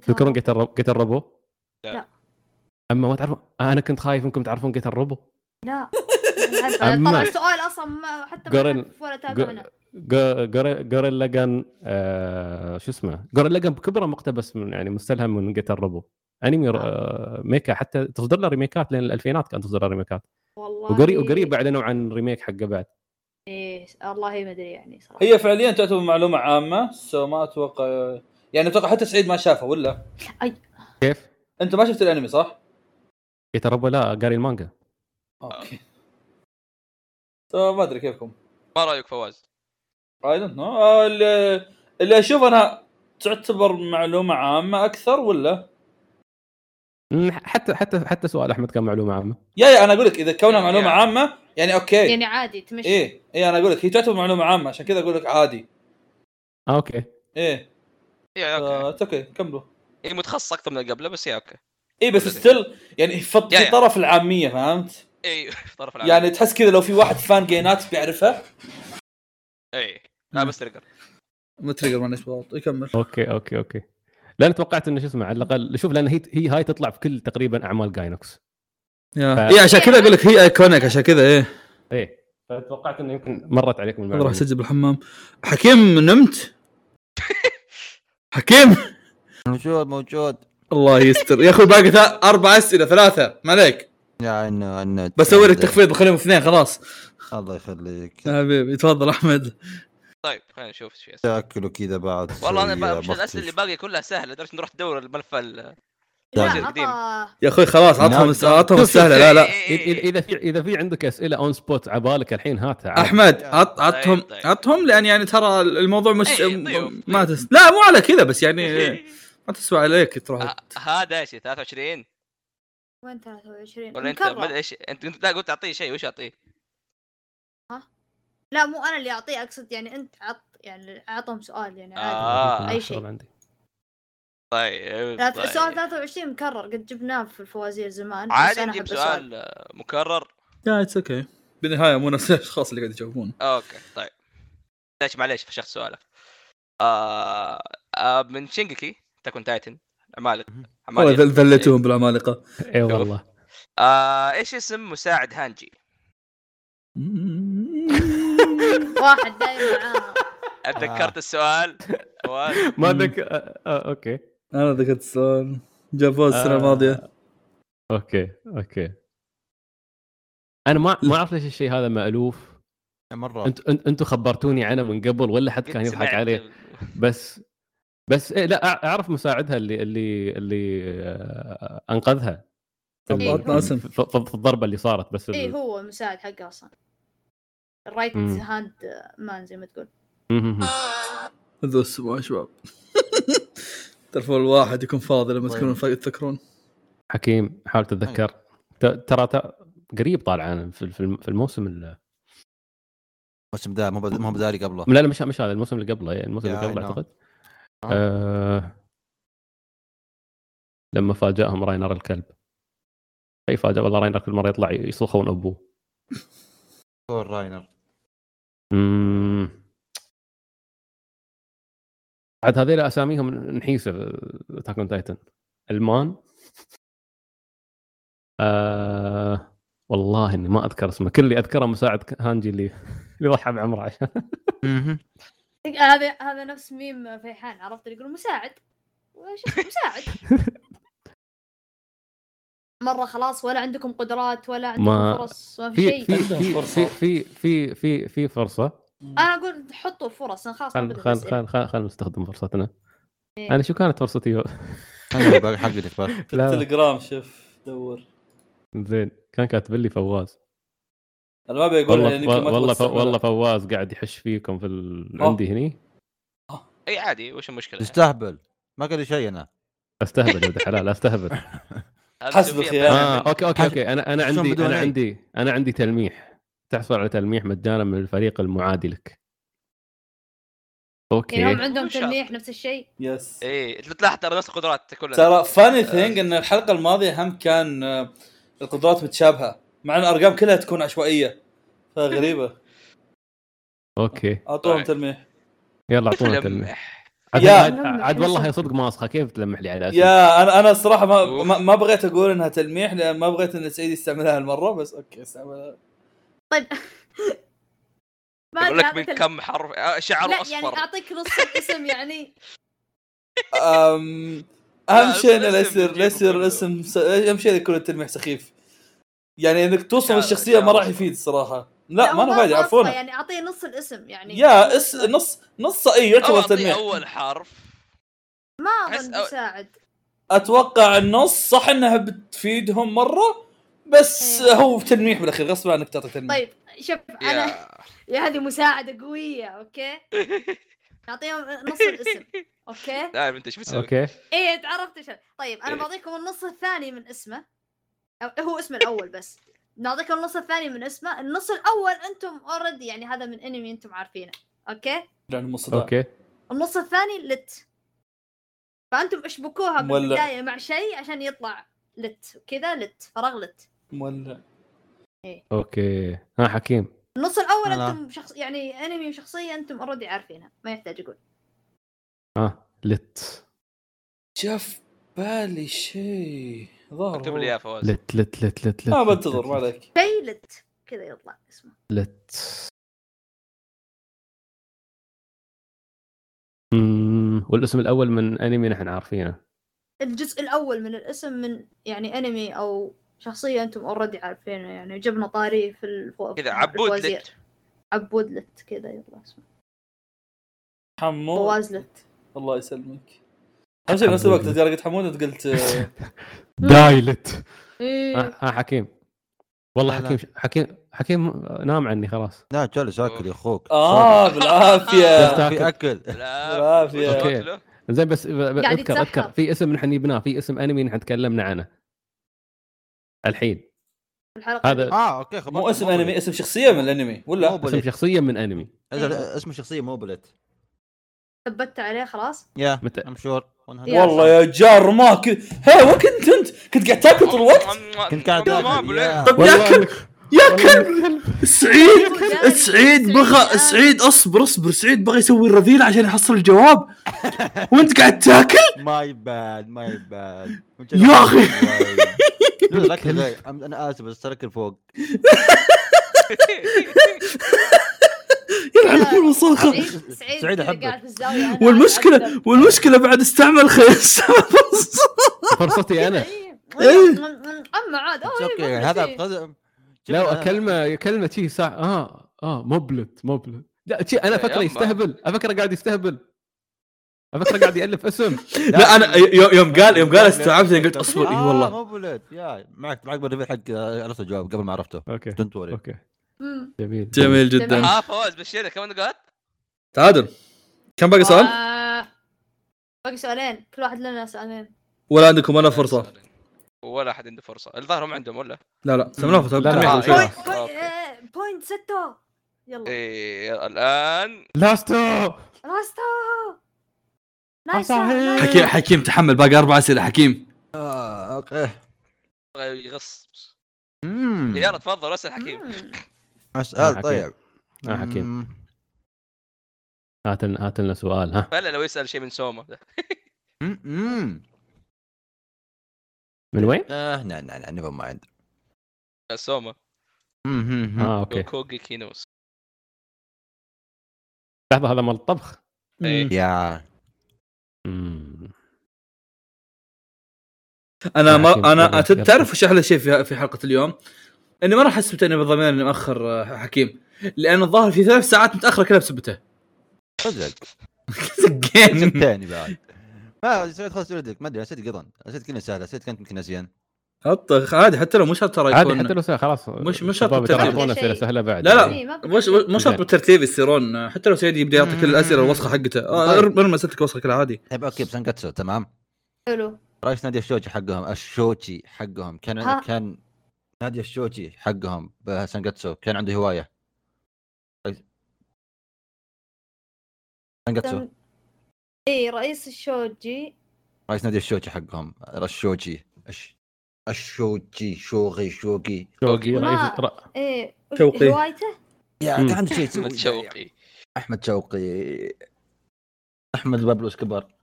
[SPEAKER 5] تذكرون جيتار روبو جيتار روبو؟
[SPEAKER 2] لا.
[SPEAKER 3] لا.
[SPEAKER 5] اما ما تعرفون آه، انا كنت خايف انكم تعرفون جيتار روبو
[SPEAKER 3] لا
[SPEAKER 5] أما-
[SPEAKER 3] طبعا السؤال اصلا ما حتى ما
[SPEAKER 5] قرن-
[SPEAKER 3] أعرف ولا تابعنا
[SPEAKER 5] جو- جو- جوريلا جان آه شو اسمه جوريلا جان بكبره مقتبس من يعني مستلهم من جيتار روبو انمي آه ميكا حتى تصدر له ريميكات لين الالفينات كانت تصدر له ريميكات
[SPEAKER 3] والله
[SPEAKER 5] وقريب وقريب اعلنوا عن ريميك حقه بعد
[SPEAKER 3] إيه والله ما ادري يعني صراحه
[SPEAKER 1] هي فعليا تعتبر معلومه عامه سو ما اتوقع يعني اتوقع حتى سعيد ما شافها ولا
[SPEAKER 5] كيف؟
[SPEAKER 1] انت ما شفت الانمي صح؟
[SPEAKER 5] جيتار روبو لا قاري المانجا
[SPEAKER 9] آه.
[SPEAKER 1] اوكي سو ما ادري كيفكم
[SPEAKER 2] ما رايك فواز؟
[SPEAKER 1] اي دونت نو آه، اللي اشوف انا تعتبر معلومه عامه اكثر ولا؟
[SPEAKER 5] مم، حتى حتى حتى سؤال احمد كان معلومه عامه
[SPEAKER 1] يا يا انا اقول لك اذا كونها معلومه
[SPEAKER 2] يعني-
[SPEAKER 1] عامه يعني اوكي
[SPEAKER 3] يعني عادي تمشي
[SPEAKER 1] ايه ايه انا اقول لك هي تعتبر معلومه عامه عشان كذا اقول لك عادي
[SPEAKER 5] آه اوكي
[SPEAKER 1] ايه
[SPEAKER 2] يا اوكي
[SPEAKER 1] آه، اوكي كملوا
[SPEAKER 2] هي متخصصه اكثر من اللي قبله بس يا اوكي
[SPEAKER 1] ايه بس ستيل يعني في
[SPEAKER 2] يا-
[SPEAKER 1] في
[SPEAKER 2] يا.
[SPEAKER 1] طرف العاميه فهمت؟
[SPEAKER 2] اي في إيه، طرف العمل
[SPEAKER 1] يعني تحس كذا لو في واحد فان جينات بيعرفها
[SPEAKER 2] اي إيه. لا بس ترقر
[SPEAKER 9] متريجر مانيش بالضبط يكمل
[SPEAKER 5] اوكي اوكي اوكي لان توقعت انه شو اسمه على الاقل شوف لان هي هي هاي تطلع في كل تقريبا اعمال جاينوكس
[SPEAKER 9] اي عشان كذا اقول لك هي ايكونيك عشان كذا ايه
[SPEAKER 5] ايه فتوقعت انه يمكن مرت عليكم
[SPEAKER 9] راح
[SPEAKER 5] المعلومه
[SPEAKER 9] اسجل بالحمام حكيم نمت
[SPEAKER 10] حكيم
[SPEAKER 4] موجود موجود
[SPEAKER 10] الله يستر يا اخوي باقي ثا- اربع اسئله ثلاثه ما عليك
[SPEAKER 4] يا انه انه
[SPEAKER 10] بسوي
[SPEAKER 2] أيوة.
[SPEAKER 10] لك تخفيض بخليهم اثنين خلاص
[SPEAKER 4] الله يخليك
[SPEAKER 10] يا حبيبي تفضل احمد
[SPEAKER 2] طيب خلينا نشوف ايش في أسئلة.
[SPEAKER 4] تاكلوا كذا بعد
[SPEAKER 2] والله انا بقى
[SPEAKER 4] شوية
[SPEAKER 2] مش الاسئله اللي
[SPEAKER 4] بختش.
[SPEAKER 2] باقيه كلها سهله لدرجه نروح ندور الملف ال-
[SPEAKER 3] لا
[SPEAKER 2] الوزير القديم
[SPEAKER 3] عطا
[SPEAKER 10] يا اخوي خلاص عطهم
[SPEAKER 4] نعم.
[SPEAKER 10] عطهم السهله لا لا
[SPEAKER 2] إيه، إيه،
[SPEAKER 5] اذا
[SPEAKER 2] إيه، إيه.
[SPEAKER 5] اذا في اذا في عندك اسئله اون سبوت عبالك الحين هاتها عاد.
[SPEAKER 10] احمد عط عطهم
[SPEAKER 2] طيب، طيب.
[SPEAKER 10] عطهم لان يعني ترى الموضوع مش
[SPEAKER 2] إيه، طيب. إيه.
[SPEAKER 10] ما تس... لا مو على كذا بس يعني ما تسوى عليك تروح
[SPEAKER 2] ه- هذا ايش 23
[SPEAKER 3] وين 23
[SPEAKER 2] ولا انت ما ادري
[SPEAKER 3] مكرر.
[SPEAKER 2] ايش انت انت لا قلت اعطيه شيء وش اعطيه؟
[SPEAKER 3] لا مو انا اللي اعطيه اقصد يعني انت عط يعني اعطهم سؤال يعني عادي
[SPEAKER 2] آه.
[SPEAKER 3] أي
[SPEAKER 5] شغل
[SPEAKER 3] شيء.
[SPEAKER 5] عندي.
[SPEAKER 2] طيب
[SPEAKER 3] لا،
[SPEAKER 2] طيب.
[SPEAKER 3] سؤال 23 مكرر قد جبناه في الفوازير زمان بس
[SPEAKER 2] عادي
[SPEAKER 3] أنا
[SPEAKER 2] نجيب
[SPEAKER 3] أحب السؤال.
[SPEAKER 2] سؤال آه، مكرر
[SPEAKER 10] لا اتس اوكي بالنهايه مو نفس الاشخاص اللي قاعد يجاوبون
[SPEAKER 2] اوكي طيب ليش معليش فشخت سؤالك آه... آه من شينجكي تكون تايتن عمالق
[SPEAKER 10] والله
[SPEAKER 2] عمالقة.
[SPEAKER 10] ذل- ذلتوهم بالعمالقه
[SPEAKER 5] اي والله
[SPEAKER 2] آه... ايش اسم مساعد هانجي؟
[SPEAKER 3] واحد دايم معاه
[SPEAKER 10] آه.
[SPEAKER 2] اتذكرت السؤال أول.
[SPEAKER 5] ما ذك آه، آه، اوكي
[SPEAKER 10] انا ذكرت السؤال جابوه السنه
[SPEAKER 5] آه.
[SPEAKER 10] الماضيه
[SPEAKER 5] اوكي اوكي انا ما ما اعرف ليش الشيء هذا مالوف
[SPEAKER 4] مره
[SPEAKER 5] انت انت- انتوا خبرتوني عنه من قبل ولا حد كان يضحك
[SPEAKER 2] آه. سمعت-
[SPEAKER 5] عليه بس بس إيه لا أع- اعرف مساعدها اللي اللي اللي آه، انقذها في ال-
[SPEAKER 3] إيه،
[SPEAKER 10] عطنا اسم
[SPEAKER 5] في- في في الضربه اللي صارت بس ال-
[SPEAKER 3] اي إيه، هو المساعد حقه اصلا الرايت
[SPEAKER 5] مم.
[SPEAKER 3] هاند مان زي ما تقول
[SPEAKER 5] مهم.
[SPEAKER 10] ذو السماء يا شباب تعرفون الواحد يكون فاضي لما
[SPEAKER 4] طيب.
[SPEAKER 10] تكونون فا- تذكرون
[SPEAKER 5] حكيم حاول تتذكر ت- ترى ت- قريب طالع انا في- في الم- في الموسم ال-
[SPEAKER 4] الموسم ده مو بد- مو بداري قبله
[SPEAKER 5] لا لا مش مش هذا الموسم اللي قبله إيه، الموسم
[SPEAKER 4] Yeah,
[SPEAKER 5] اللي
[SPEAKER 4] I
[SPEAKER 5] قبله
[SPEAKER 4] know.
[SPEAKER 5] اعتقد
[SPEAKER 4] آه.
[SPEAKER 5] آه لما فاجأهم راينر الكلب اي فاجأ والله راينر كل مره يطلع يصوخون ابوه
[SPEAKER 4] كور راينر
[SPEAKER 5] مم. عاد هذيل اساميهم نحيسه اتاك اون تايتن المان آه... والله اني ما اذكر اسمه كل اللي اذكره مساعد هانجي اللي اللي ضحى بعمره عشان
[SPEAKER 3] هذا هذا نفس ميم فيحان عرفت اللي يقول مساعد وش اسمه مساعد مرة خلاص ولا عندكم قدرات ولا عندكم
[SPEAKER 5] ما-
[SPEAKER 3] فرص ما في
[SPEAKER 5] في
[SPEAKER 3] شيء
[SPEAKER 5] في في
[SPEAKER 1] فرصة.
[SPEAKER 5] في في في في, في فرصه
[SPEAKER 3] انا اقول حطوا فرص أنا خلاص إيه. ما
[SPEAKER 5] خل
[SPEAKER 3] بدي
[SPEAKER 5] خل
[SPEAKER 3] بسأل.
[SPEAKER 5] خل خل خل نستخدم فرصتنا
[SPEAKER 3] إيه.
[SPEAKER 5] انا شو كانت فرصتي
[SPEAKER 4] أيوة، باقي حقتك باقي
[SPEAKER 5] لا
[SPEAKER 1] تليجرام شوف دور
[SPEAKER 5] زين كان كاتب لي فواز
[SPEAKER 1] انا ما بقول
[SPEAKER 5] والله
[SPEAKER 1] يعني يمكن ما
[SPEAKER 5] والله
[SPEAKER 1] توسع
[SPEAKER 5] والله
[SPEAKER 1] منها.
[SPEAKER 5] فواز قاعد يحش فيكم في ال...
[SPEAKER 1] آه.
[SPEAKER 5] عندي هني
[SPEAKER 2] اي عادي وش المشكله يعني؟
[SPEAKER 4] تستهبل ما قال لي شيء انا
[SPEAKER 5] استهبل يا ولد الحلال استهبل
[SPEAKER 2] هذا
[SPEAKER 1] حسب
[SPEAKER 2] شوف فيها
[SPEAKER 1] الخيار.
[SPEAKER 2] بيان
[SPEAKER 5] اه
[SPEAKER 2] منك.
[SPEAKER 5] اوكي اوكي اوكي انا انا
[SPEAKER 4] حشون
[SPEAKER 5] عندي
[SPEAKER 4] بدون
[SPEAKER 5] انا
[SPEAKER 4] أي.
[SPEAKER 5] عندي انا عندي تلميح تحصل على تلميح مجانا من الفريق المعادي لك
[SPEAKER 3] يعني هم
[SPEAKER 5] اوكي
[SPEAKER 3] عندهم
[SPEAKER 2] مو شرط.
[SPEAKER 3] تلميح نفس الشيء
[SPEAKER 1] يس
[SPEAKER 2] ايه تلاحظ ترى نفس القدرات كلها
[SPEAKER 1] ترى فاني
[SPEAKER 2] آه.
[SPEAKER 1] ثينج ان الحلقه الماضيه هم كان آه، القدرات متشابهه مع ان الارقام كلها تكون عشوائيه فغريبه
[SPEAKER 5] اوكي
[SPEAKER 1] اعطوهم
[SPEAKER 2] طيب.
[SPEAKER 1] تلميح
[SPEAKER 5] يلا اعطونا تلميح
[SPEAKER 2] لمح.
[SPEAKER 5] عاد-
[SPEAKER 1] يا.
[SPEAKER 5] عاد عاد والله هي صدق ماسخه كيف تلمح لي على اساس
[SPEAKER 1] يا انا انا الصراحه ما
[SPEAKER 2] أوف.
[SPEAKER 1] ما- ما بغيت اقول انها تلميح لان ما بغيت ان سعيد يستعملها هالمره بس اوكي استعملها
[SPEAKER 3] ما
[SPEAKER 2] يقول
[SPEAKER 3] ادري
[SPEAKER 2] لك من
[SPEAKER 3] أعطيك ال-
[SPEAKER 2] كم حرف آه، شعره
[SPEAKER 3] لا يعني
[SPEAKER 2] اصفر
[SPEAKER 3] اعطيك نص الاسم يعني
[SPEAKER 1] أم...
[SPEAKER 2] لا،
[SPEAKER 1] اهم شيء انه لا
[SPEAKER 2] الاسم
[SPEAKER 1] يصير لا يصير
[SPEAKER 2] يجيبه
[SPEAKER 1] الاسم س... اهم شيء يكون التلميح سخيف يعني انك توصف
[SPEAKER 2] لا،
[SPEAKER 1] الشخصيه ما
[SPEAKER 2] لا،
[SPEAKER 1] راح
[SPEAKER 2] لا.
[SPEAKER 1] يفيد الصراحه لا ما انا
[SPEAKER 3] هو
[SPEAKER 1] فايد
[SPEAKER 3] وصفة،
[SPEAKER 1] يعرفونه
[SPEAKER 3] يعني اعطيه نص الاسم يعني
[SPEAKER 1] يا اس نص نص اي
[SPEAKER 2] او
[SPEAKER 1] يعتبر
[SPEAKER 2] اعطيه
[SPEAKER 1] تلميح
[SPEAKER 2] اول حرف
[SPEAKER 3] ما
[SPEAKER 2] أحس
[SPEAKER 3] اظن
[SPEAKER 2] أو-
[SPEAKER 3] مساعد
[SPEAKER 1] اتوقع النص صح انها بتفيدهم مره بس
[SPEAKER 3] إيه.
[SPEAKER 1] هو تلميح بالاخير غصب عنك تعطي تلميح
[SPEAKER 3] طيب شوف انا
[SPEAKER 2] يا
[SPEAKER 3] يا هذه مساعدة قوية اوكي نعطيهم نص الاسم اوكي
[SPEAKER 2] لا انت ايش بتسوي؟
[SPEAKER 5] اوكي
[SPEAKER 3] ايه تعرفت ايش طيب انا
[SPEAKER 2] إيه.
[SPEAKER 3] بعطيكم النص الثاني من اسمه أو هو اسم الاول بس نعطيكم النص الثاني من اسمه النص الاول انتم اوريدي يعني هذا من انمي انتم عارفينه اوكي
[SPEAKER 1] لأن المصدر
[SPEAKER 5] اوكي
[SPEAKER 3] النص الثاني لت فانتم اشبكوها
[SPEAKER 1] مولع.
[SPEAKER 3] بالبداية مع شيء عشان يطلع لت كذا لت فراغ إيه. لت
[SPEAKER 1] مولع
[SPEAKER 5] اوكي ها حكيم
[SPEAKER 3] النص الاول
[SPEAKER 4] أنا-
[SPEAKER 3] انتم شخص يعني انمي وشخصيه انتم اوريدي عارفينها ما يحتاج اقول
[SPEAKER 5] ها لت
[SPEAKER 1] شاف بالي شيء ظهر
[SPEAKER 2] اكتب لي
[SPEAKER 1] هو.
[SPEAKER 2] يا فواز
[SPEAKER 5] لت لت لت لت لت
[SPEAKER 1] ما
[SPEAKER 5] لت-
[SPEAKER 1] بنتظر ما
[SPEAKER 5] لت-
[SPEAKER 1] عليك
[SPEAKER 3] شيء لت كذا يطلع اسمه
[SPEAKER 5] لت مم. الاسم والاسم الاول من انمي نحن عارفينه
[SPEAKER 3] الجزء الاول من الاسم من يعني انمي او شخصيه انتم اوريدي عارفينها يعني جبنا طاري في الفو...
[SPEAKER 2] كذا عبود
[SPEAKER 3] الفوازير.
[SPEAKER 2] لت
[SPEAKER 3] عبود لت كذا يلا اسمه
[SPEAKER 11] حمود
[SPEAKER 3] فواز لت
[SPEAKER 11] الله يسلمك اهم شيء بنفس الوقت ترى قلت حمود انت قلت آه،
[SPEAKER 5] دايلت
[SPEAKER 3] إيه.
[SPEAKER 5] ها ها أه، حكيم والله
[SPEAKER 4] لا، لا.
[SPEAKER 5] حكيم حكيم حكيم نام عني خلاص
[SPEAKER 4] لا جلس اكل يا اخوك
[SPEAKER 1] آه،
[SPEAKER 11] اه بالعافيه
[SPEAKER 5] جلست
[SPEAKER 4] في
[SPEAKER 5] اكل
[SPEAKER 4] اكل
[SPEAKER 2] لا
[SPEAKER 11] بالعافية.
[SPEAKER 2] وش
[SPEAKER 5] أوكي.
[SPEAKER 2] قلت له؟
[SPEAKER 5] زين بس ب- ب-
[SPEAKER 3] قاعد
[SPEAKER 5] اذكر اذكر
[SPEAKER 3] يتسحب.
[SPEAKER 5] في اسم نحن جبناه في اسم انمي نحن تكلمنا عنه الحين
[SPEAKER 3] الحلقه
[SPEAKER 5] هذا
[SPEAKER 4] اه اوكي خبرت
[SPEAKER 11] مو اسم انمي اسم شخصيه من الانمي
[SPEAKER 4] مو
[SPEAKER 11] ولا
[SPEAKER 4] بل-
[SPEAKER 5] اسم شخصيه من انمي
[SPEAKER 4] اسمه شخصيه مو بلت
[SPEAKER 3] ثبتت عليه خلاص
[SPEAKER 4] يا
[SPEAKER 5] متى
[SPEAKER 4] ام شور
[SPEAKER 3] يا
[SPEAKER 11] والله يا جار ما كنت هي وين كنت انت؟ كنت قاعد تاكل طول الوقت؟
[SPEAKER 4] كنت قاعد
[SPEAKER 2] ما- ما
[SPEAKER 4] آكل،
[SPEAKER 2] أبو
[SPEAKER 4] يا.
[SPEAKER 2] ليه.
[SPEAKER 1] طب
[SPEAKER 5] والله
[SPEAKER 1] ياكل
[SPEAKER 5] إنك-
[SPEAKER 1] ياكل سعيد
[SPEAKER 3] ياكل.
[SPEAKER 1] سعيد بغى
[SPEAKER 3] سعيد.
[SPEAKER 1] سعيد اصبر اصبر سعيد بغى يسوي الرذيله عشان يحصل الجواب وانت قاعد تاكل
[SPEAKER 4] ما يبان ما يبان
[SPEAKER 1] يا أخي.
[SPEAKER 4] ركز زي- أم- انا اسف بس ترك فوق
[SPEAKER 1] يلعن في المصاخه
[SPEAKER 3] سعيد سعيد
[SPEAKER 4] سعيد
[SPEAKER 3] كذا
[SPEAKER 4] أحبك.
[SPEAKER 3] قاعد في الزاويه أنا أتعذب.
[SPEAKER 1] والمشكله والمشكله بعد استعمل خير
[SPEAKER 5] فرصتي انا
[SPEAKER 3] إيه.
[SPEAKER 1] إيه.
[SPEAKER 3] من- من- اما عاد أوه،
[SPEAKER 4] It's
[SPEAKER 3] إيه،
[SPEAKER 4] okay.
[SPEAKER 3] ما أدري
[SPEAKER 4] هذا
[SPEAKER 3] إيه.
[SPEAKER 4] قزم
[SPEAKER 5] لو
[SPEAKER 4] آه.
[SPEAKER 5] اكلمه كلمه شي ساعه اه اه مبلت مبلت لا شي انا
[SPEAKER 2] يا
[SPEAKER 5] فكره
[SPEAKER 2] يما.
[SPEAKER 5] يستهبل افكره قاعد يستهبل افكره قاعد يالف اسم
[SPEAKER 1] لا انا يو- يوم قال يوم قال استوعبت إني قلت اصبر اي والله
[SPEAKER 4] مو بلت آه، يا معك معك بالريفيل حق آه، عرفت الجواب قبل ما
[SPEAKER 1] إيه.
[SPEAKER 4] عرفته
[SPEAKER 5] اوكي
[SPEAKER 4] دونت وري
[SPEAKER 5] اوكي
[SPEAKER 3] مم.
[SPEAKER 5] جميل
[SPEAKER 1] جميل جدا
[SPEAKER 2] ها فوز بشير كم نقاط؟
[SPEAKER 1] تعادل كم باقي سؤال؟
[SPEAKER 3] آه، باقي سؤالين كل واحد لنا سؤالين
[SPEAKER 1] ولا عندكم ولا فرصه؟
[SPEAKER 2] ولا احد عنده فرصه الظاهر هم عندهم ولا
[SPEAKER 1] لا لا سمناه
[SPEAKER 5] لا، لا،
[SPEAKER 1] تمام.
[SPEAKER 5] آه، إيه.
[SPEAKER 3] بوينت- بوينت
[SPEAKER 2] أوكي.
[SPEAKER 3] آه، بوينت ستة يلا
[SPEAKER 2] ايه الان
[SPEAKER 5] لاستو
[SPEAKER 3] راستا
[SPEAKER 5] آه، صحيح.
[SPEAKER 1] حكيم حكيم تحمل باقي اربع اسئله حكيم
[SPEAKER 4] آه، اوكي
[SPEAKER 2] يغص
[SPEAKER 4] مم.
[SPEAKER 2] يلا تفضل اسال حكيم
[SPEAKER 3] Mm.
[SPEAKER 4] اسال
[SPEAKER 5] حكيم.
[SPEAKER 4] طيب
[SPEAKER 5] آه، حكيم.
[SPEAKER 4] مم.
[SPEAKER 5] هات لنا هات لنا سؤال ها
[SPEAKER 2] فلا لو يسال شيء من سوما
[SPEAKER 4] مم، مم.
[SPEAKER 5] من وين؟
[SPEAKER 4] آه، لا لا لا نيفر مايند
[SPEAKER 2] سوما
[SPEAKER 5] اه اوكي
[SPEAKER 2] كوكي كينوس
[SPEAKER 5] لحظه هذا مال الطبخ
[SPEAKER 2] إيه.
[SPEAKER 4] يا
[SPEAKER 5] مم.
[SPEAKER 1] انا
[SPEAKER 5] حكيم،
[SPEAKER 1] ما
[SPEAKER 5] يلا،
[SPEAKER 1] انا ت-
[SPEAKER 5] يلا.
[SPEAKER 1] تعرف وش احلى شيء في في حلقه اليوم؟ اني ما راح اثبت اني بالضمان اني مأخر آه، حكيم لان الظاهر في ثلاث ساعات متاخره كلها بسبته
[SPEAKER 4] صدق
[SPEAKER 1] زقين
[SPEAKER 4] ثاني بعد ما نسيت خلاص ولدك ما ادري نسيت قطن نسيت كلمه سهله نسيت كنت يمكن نسيان
[SPEAKER 1] حط عادي حتى لو مو شرط ترى
[SPEAKER 5] عادي حتى
[SPEAKER 1] يكون
[SPEAKER 5] لو سهل خلاص
[SPEAKER 1] مش- مش
[SPEAKER 5] شرط
[SPEAKER 1] شرط
[SPEAKER 5] ترى
[SPEAKER 1] الترتيب.
[SPEAKER 5] يعطونا اسئله سهله بعد
[SPEAKER 1] لا، لا.
[SPEAKER 3] Eh,
[SPEAKER 5] يعني.
[SPEAKER 1] مش مش شرط
[SPEAKER 5] زين.
[SPEAKER 1] بالترتيب يصيرون آه، حتى لو سعيد يبدا يعطي كل الاسئله الوسخه حقته آه،
[SPEAKER 4] طيب.
[SPEAKER 1] ارمي اسئلتك وسخه كلها عادي
[SPEAKER 4] طيب اوكي بسانكاتسو تمام
[SPEAKER 3] حلو
[SPEAKER 4] رئيس نادي الشوجي حقهم الشوجي حقهم كان
[SPEAKER 3] ها.
[SPEAKER 4] كان نادي الشوجي حقهم بسانجاتسو كان عنده هوايه رئيس- سانجاتسو
[SPEAKER 3] تم- اي Eh, رئيس الشوجي
[SPEAKER 4] رئيس نادي الشوجي حقهم الشوجي الش- الشوجي شوغي شوغي
[SPEAKER 5] شوقي
[SPEAKER 3] ما-
[SPEAKER 5] رئيس ر-
[SPEAKER 3] ايه وش-
[SPEAKER 1] شوقي.
[SPEAKER 3] هوايته
[SPEAKER 4] يا
[SPEAKER 5] مم.
[SPEAKER 4] كان عنده شيء يسوي يا-
[SPEAKER 3] يعني.
[SPEAKER 2] شوقي
[SPEAKER 4] احمد شوقي احمد بابلوس كبر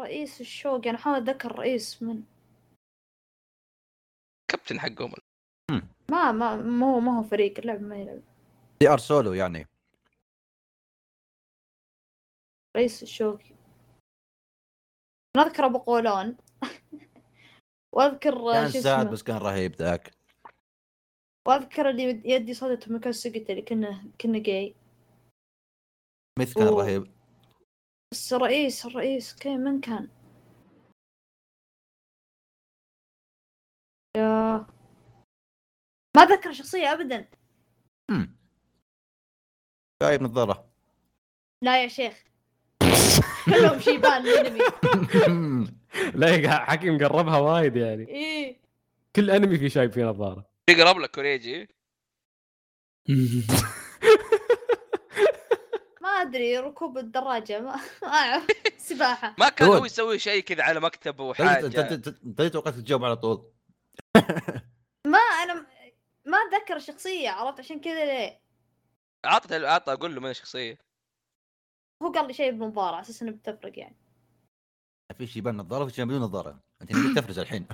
[SPEAKER 3] رئيس الشوقي انا احاول اتذكر رئيس من
[SPEAKER 2] كابتن حقهم
[SPEAKER 3] ما ما ما هو ما هو فريق اللعب ما يلعب
[SPEAKER 4] دي ار سولو يعني
[SPEAKER 3] رئيس الشوقي أنا اذكر ابو قولون واذكر
[SPEAKER 4] كان
[SPEAKER 3] شو
[SPEAKER 4] ساعد
[SPEAKER 3] اسمه
[SPEAKER 4] بس كان رهيب ذاك
[SPEAKER 3] واذكر اللي يد- يدي صدته من كاسوكيتا اللي كنا كنا جاي
[SPEAKER 4] مثل كان
[SPEAKER 3] أوه.
[SPEAKER 4] رهيب
[SPEAKER 3] بس الرئيس الرئيس كان من كان يا ما ذكر شخصية أبدا
[SPEAKER 4] مم. جايب نظاره
[SPEAKER 3] لا يا شيخ كلهم شيبان الانمي
[SPEAKER 5] لا يا حكيم قربها وايد يعني
[SPEAKER 3] ايه
[SPEAKER 5] كل انمي في شايب فيه نظاره
[SPEAKER 2] يقرب لك كوريجي
[SPEAKER 3] ما ادري ركوب الدراجة ما ما اعرف سباحة
[SPEAKER 2] ما كان
[SPEAKER 4] دول.
[SPEAKER 2] هو يسوي شيء كذا على مكتبه وحاجه
[SPEAKER 4] انت توقعت تجاوب على طول
[SPEAKER 3] ما انا م- ما اتذكر الشخصية عرفت عشان كذا ليه
[SPEAKER 2] عطت عطى اقول له من الشخصيه
[SPEAKER 3] هو قال لي شيء بمباراة على اساس انه بتفرق يعني
[SPEAKER 4] في شيبان نظاره وفي شيبان بدون نظاره انت يمديك تفرز الحين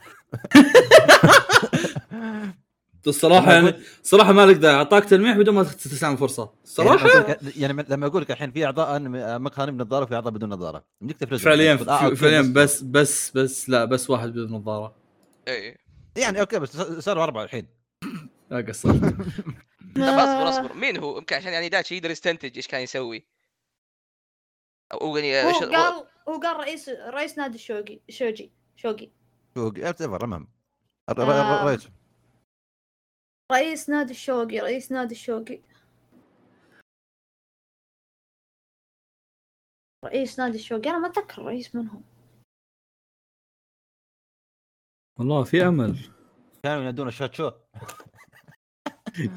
[SPEAKER 1] الصراحه
[SPEAKER 4] لما
[SPEAKER 1] يعني صراحه مالك داعي اعطاك تلميح بدون ما تستسلم فرصه صراحه
[SPEAKER 4] يعني لما أقول لك- يعني لما اقول لك الحين في اعضاء مقهى من نظاره وفي اعضاء بدون نظاره يمديك تفرزهم
[SPEAKER 1] فعليا
[SPEAKER 4] تقول، آه، أوكي،
[SPEAKER 1] فعليا بس بس بس لا بس واحد بدون نظاره
[SPEAKER 2] اي
[SPEAKER 4] يعني اوكي بس صاروا اربعه الحين
[SPEAKER 1] لا قصرت
[SPEAKER 2] طب
[SPEAKER 3] آه.
[SPEAKER 2] اصبر اصبر مين هو يمكن عشان يعني داتشي يقدر يستنتج ايش كان يسوي او يعني
[SPEAKER 3] هو
[SPEAKER 2] شو-
[SPEAKER 3] قال هو قال رئيس رئيس نادي الشوقي شوقي شوقي
[SPEAKER 4] وات ايفر المهم الر-
[SPEAKER 3] آه.
[SPEAKER 4] الر- الر- الرئيس.
[SPEAKER 3] رئيس نادي الشوقي رئيس نادي الشوقي رئيس نادي الشوقي انا ما اتذكر رئيس منهم
[SPEAKER 1] والله في امل
[SPEAKER 4] كانوا ينادون الشات شو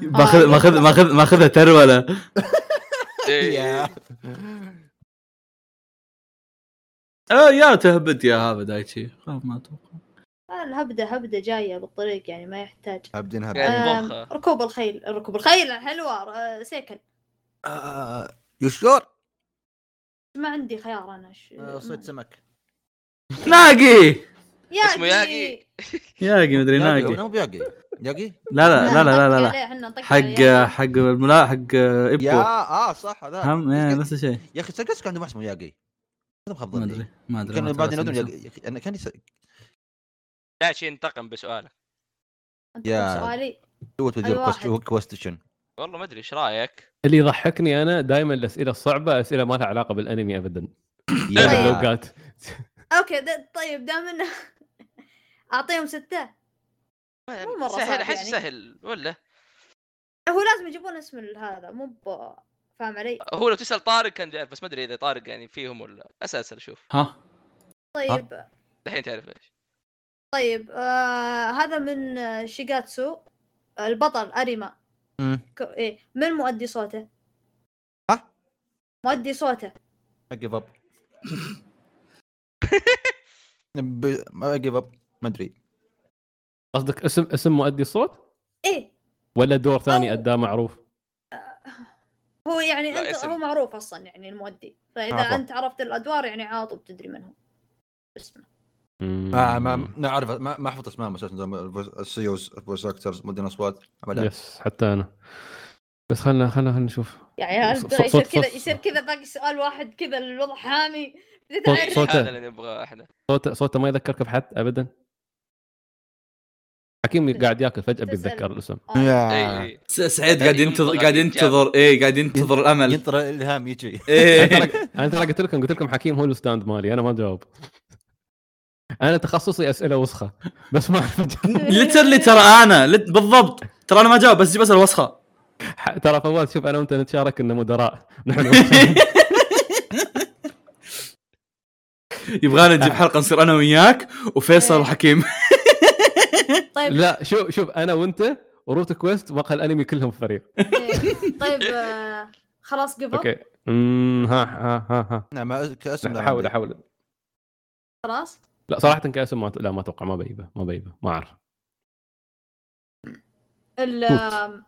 [SPEAKER 1] ماخذ ماخذ ماخذ ماخذها تروله
[SPEAKER 2] إيه.
[SPEAKER 1] آه، يا تهبد يا هذا دايتشي خلاص ما اتوقع
[SPEAKER 3] آه، الهبده هبده جايه بالطريق يعني ما يحتاج
[SPEAKER 4] ابدين
[SPEAKER 2] يعني
[SPEAKER 4] هبل
[SPEAKER 2] آه.
[SPEAKER 3] آم،
[SPEAKER 2] مبخة.
[SPEAKER 3] ركوب الخيل ركوب الخيل الحلوه آه، سيكل
[SPEAKER 4] آه، يشور
[SPEAKER 3] ما عندي خيار انا ش...
[SPEAKER 4] آه، صيد
[SPEAKER 3] ما-
[SPEAKER 4] سمك
[SPEAKER 1] ناقي
[SPEAKER 2] اسمه ياقي.
[SPEAKER 1] ياقي مدري
[SPEAKER 4] ياقي
[SPEAKER 1] ناقي
[SPEAKER 4] ولا مو بياقي ياقي
[SPEAKER 1] لا لا لا لا لا, لا.
[SPEAKER 3] لا
[SPEAKER 1] حق حق الملا حق
[SPEAKER 4] يا
[SPEAKER 1] ابكو
[SPEAKER 4] اه صح هذا
[SPEAKER 1] هم إيه، نفس الشيء
[SPEAKER 4] يا اخي سجلت كان عندهم واحد اسمه ياقي هذا مخاب
[SPEAKER 1] ما
[SPEAKER 4] ظني.
[SPEAKER 1] ادري ما ادري ما
[SPEAKER 4] كانوا
[SPEAKER 1] أتابع
[SPEAKER 4] بعد ينادون
[SPEAKER 1] سنة.
[SPEAKER 4] ياقي يا أخي، انا كان يس-
[SPEAKER 2] داتشي انتقم بسؤالك
[SPEAKER 4] يا-
[SPEAKER 3] سؤالي
[SPEAKER 4] سويت
[SPEAKER 3] أي
[SPEAKER 4] وذير
[SPEAKER 3] واحد.
[SPEAKER 4] كويستشن
[SPEAKER 2] والله ما ادري ايش رايك
[SPEAKER 5] اللي يضحكني انا دائما الاسئله الصعبه اسئله ما لها علاقه بالانمي ابدا
[SPEAKER 1] أيوة.
[SPEAKER 4] يا
[SPEAKER 5] اللوجات
[SPEAKER 3] اوكي ده طيب دام انه اعطيهم سته مو مرة
[SPEAKER 2] سهل
[SPEAKER 3] صعب
[SPEAKER 2] احس
[SPEAKER 3] يعني.
[SPEAKER 2] سهل ولا
[SPEAKER 3] هو لازم يجيبون اسم هذا مو ب- فاهم
[SPEAKER 5] آه.
[SPEAKER 3] علي
[SPEAKER 2] هو لو تسال طارق كان بيعرف بس ما ادري اذا طارق يعني فيهم ولا اساسا شوف
[SPEAKER 1] ها
[SPEAKER 3] طيب
[SPEAKER 2] الحين تعرف ليش
[SPEAKER 3] طيب آه هذا من آه، شيغاتسو البطل اريما
[SPEAKER 4] مم.
[SPEAKER 3] ك- ايه من مؤدي صوته؟
[SPEAKER 4] ها؟
[SPEAKER 3] مؤدي صوته
[SPEAKER 4] جيف اب ما جيف اب ما ادري
[SPEAKER 5] قصدك اسم اسم مؤدي الصوت
[SPEAKER 3] ايه
[SPEAKER 5] ولا دور ثاني
[SPEAKER 3] أو-
[SPEAKER 5] اداه معروف
[SPEAKER 3] هو يعني
[SPEAKER 2] لا،
[SPEAKER 3] انت
[SPEAKER 2] اسم.
[SPEAKER 3] هو معروف اصلا يعني المؤدي فاذا
[SPEAKER 4] عفوا.
[SPEAKER 3] انت عرفت الادوار يعني عاطب تدري منهم اسمه
[SPEAKER 1] آه،
[SPEAKER 4] آه، ما ما ما اعرف ما ما احفظ اسمائهم اساسا زي السيوز فويس اكترز مدن اصوات ابدا
[SPEAKER 5] يس حتى انا بس خلنا خلنا خلنا نشوف
[SPEAKER 3] يعني هذا
[SPEAKER 5] صوت-
[SPEAKER 3] يصير
[SPEAKER 5] صوت-
[SPEAKER 3] كذا
[SPEAKER 5] صوت-
[SPEAKER 3] يصير كذا باقي سؤال واحد كذا الوضع حامي بديت
[SPEAKER 5] صوت-
[SPEAKER 3] أعرف.
[SPEAKER 5] صوته.
[SPEAKER 2] هذا اللي نبغاه احنا
[SPEAKER 5] صوته صوته ما يذكرك بحد ابدا حكيم قاعد ياكل فجاه
[SPEAKER 3] تسأل.
[SPEAKER 5] بيتذكر الاسم
[SPEAKER 3] آه.
[SPEAKER 2] اي
[SPEAKER 4] يا
[SPEAKER 2] اي
[SPEAKER 1] س- سعيد قاعد ينتظر قاعد ينتظر ايه قاعد ينتظر الامل
[SPEAKER 4] ينطر الالهام يجي
[SPEAKER 1] ايه
[SPEAKER 5] انا ترى يعني قلت لكم قلت لكم حكيم هو الستاند مالي انا ما جاوب انا تخصصي اسئله وسخه بس ما أعرف أجاوب.
[SPEAKER 1] لترلي ترى انا لت- بالضبط ترى انا ما جاوب بس جيب اسئله وسخه
[SPEAKER 5] ح- ترى فواز شوف انا وانت نتشارك ان مدراء نحن
[SPEAKER 1] يبغانا نجيب حلقه نصير انا وياك وفيصل وحكيم
[SPEAKER 3] طيب
[SPEAKER 5] لا شوف شوف انا وانت وروت كويست ومقهى الانمي كلهم في فريق
[SPEAKER 3] إيه. طيب آه، خلاص قبل
[SPEAKER 5] اوكي امم ها ها ها
[SPEAKER 4] نعم ما كاسم
[SPEAKER 5] ها
[SPEAKER 4] لا
[SPEAKER 5] احاول
[SPEAKER 4] عندي.
[SPEAKER 5] احاول
[SPEAKER 3] خلاص
[SPEAKER 5] لا صراحه كاسم ما لا ما اتوقع ما بيبه ما بيبه ما اعرف
[SPEAKER 3] ال
[SPEAKER 5] توت.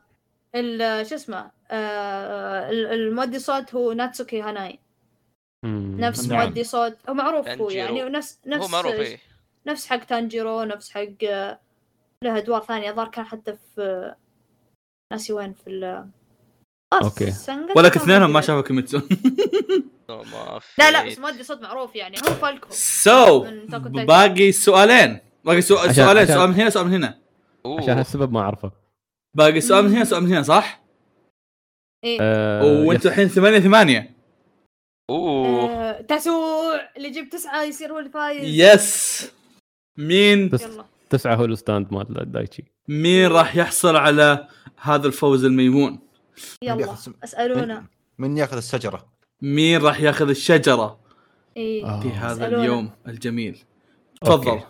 [SPEAKER 3] ال شو اسمه آه، ال- المؤدي صوت هو ناتسوكي هاناي
[SPEAKER 5] مم.
[SPEAKER 3] نفس
[SPEAKER 4] نعم.
[SPEAKER 3] مؤدي صوت هو معروف هو يعني
[SPEAKER 2] تانجيرو.
[SPEAKER 3] ونفس
[SPEAKER 2] هو
[SPEAKER 3] نفس
[SPEAKER 2] معروف إيه. اي
[SPEAKER 3] نفس حق تانجيرو نفس حق آه، له ادوار ثانيه الظاهر كان حتى في آه، ناسي وين في ال آه،
[SPEAKER 5] أوكي.
[SPEAKER 3] سنجا
[SPEAKER 1] ولا
[SPEAKER 3] كان
[SPEAKER 1] اثنينهم ما
[SPEAKER 3] موجود.
[SPEAKER 1] شافوا كيميتسو
[SPEAKER 3] لا
[SPEAKER 2] إيه.
[SPEAKER 3] لا بس مؤدي صوت معروف يعني هو فالكو
[SPEAKER 1] سو
[SPEAKER 3] من تاكو تاكو.
[SPEAKER 1] باقي سؤالين باقي سؤ-
[SPEAKER 5] عشان-
[SPEAKER 1] سؤالين
[SPEAKER 5] عشان-
[SPEAKER 1] سؤال من هنا سؤال من هنا
[SPEAKER 5] عشان هالسبب ما اعرفه
[SPEAKER 1] باقي سؤال من هنا سؤال من هنا صح؟
[SPEAKER 3] إيه.
[SPEAKER 5] أه،
[SPEAKER 1] وانتم
[SPEAKER 5] يس.
[SPEAKER 1] الحين ثمانية ثمانية
[SPEAKER 2] اوه
[SPEAKER 3] آه، تسوع اللي يجيب تسعه يصير هو الفايز
[SPEAKER 1] يس مين
[SPEAKER 5] تس-
[SPEAKER 3] يلا
[SPEAKER 5] تسعه هو الستاند مال دايتشي
[SPEAKER 1] مين راح يحصل على هذا الفوز الميمون؟
[SPEAKER 3] يلا
[SPEAKER 4] بيحسب-
[SPEAKER 3] اسالونا
[SPEAKER 4] من ياخذ الشجره
[SPEAKER 1] مين راح ياخذ الشجرة
[SPEAKER 3] ايه
[SPEAKER 5] آه.
[SPEAKER 1] في هذا
[SPEAKER 3] اسألونا.
[SPEAKER 1] اليوم الجميل؟ تفضل
[SPEAKER 5] أوكي.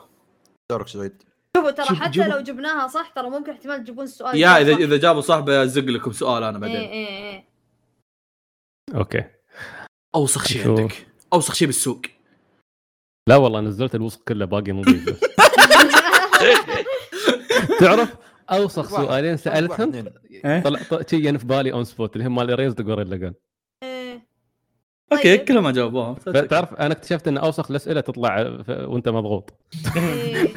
[SPEAKER 4] دورك سعيد
[SPEAKER 3] شوفوا ترى
[SPEAKER 5] جيب-
[SPEAKER 3] حتى
[SPEAKER 5] جيبوا-
[SPEAKER 3] لو جبناها صح ترى ممكن احتمال تجيبون السؤال
[SPEAKER 1] يا اذا
[SPEAKER 3] صح.
[SPEAKER 1] اذا جابوا صح بزق لكم سؤال انا
[SPEAKER 3] ايه
[SPEAKER 1] بعدين
[SPEAKER 3] ايه ايه
[SPEAKER 5] اوكي
[SPEAKER 1] اوسخ شيء
[SPEAKER 5] شوف.
[SPEAKER 1] عندك اوسخ شيء بالسوق
[SPEAKER 5] لا والله نزلت الوسخ كله باقي نظيف بس. تعرف اوسخ
[SPEAKER 4] واحد.
[SPEAKER 5] سؤالين
[SPEAKER 4] واحد،
[SPEAKER 5] سالتهم
[SPEAKER 4] اثنين.
[SPEAKER 5] طلع طلع شي ين في بالي اون سبوت اللي هم مال ريزد غوريلا جان
[SPEAKER 3] إيه.
[SPEAKER 1] اوكي
[SPEAKER 3] طيب.
[SPEAKER 1] كلهم ما جاوبوها
[SPEAKER 5] تعرف انا اكتشفت ان اوسخ الاسئله تطلع ف- وانت مضغوط
[SPEAKER 3] إيه.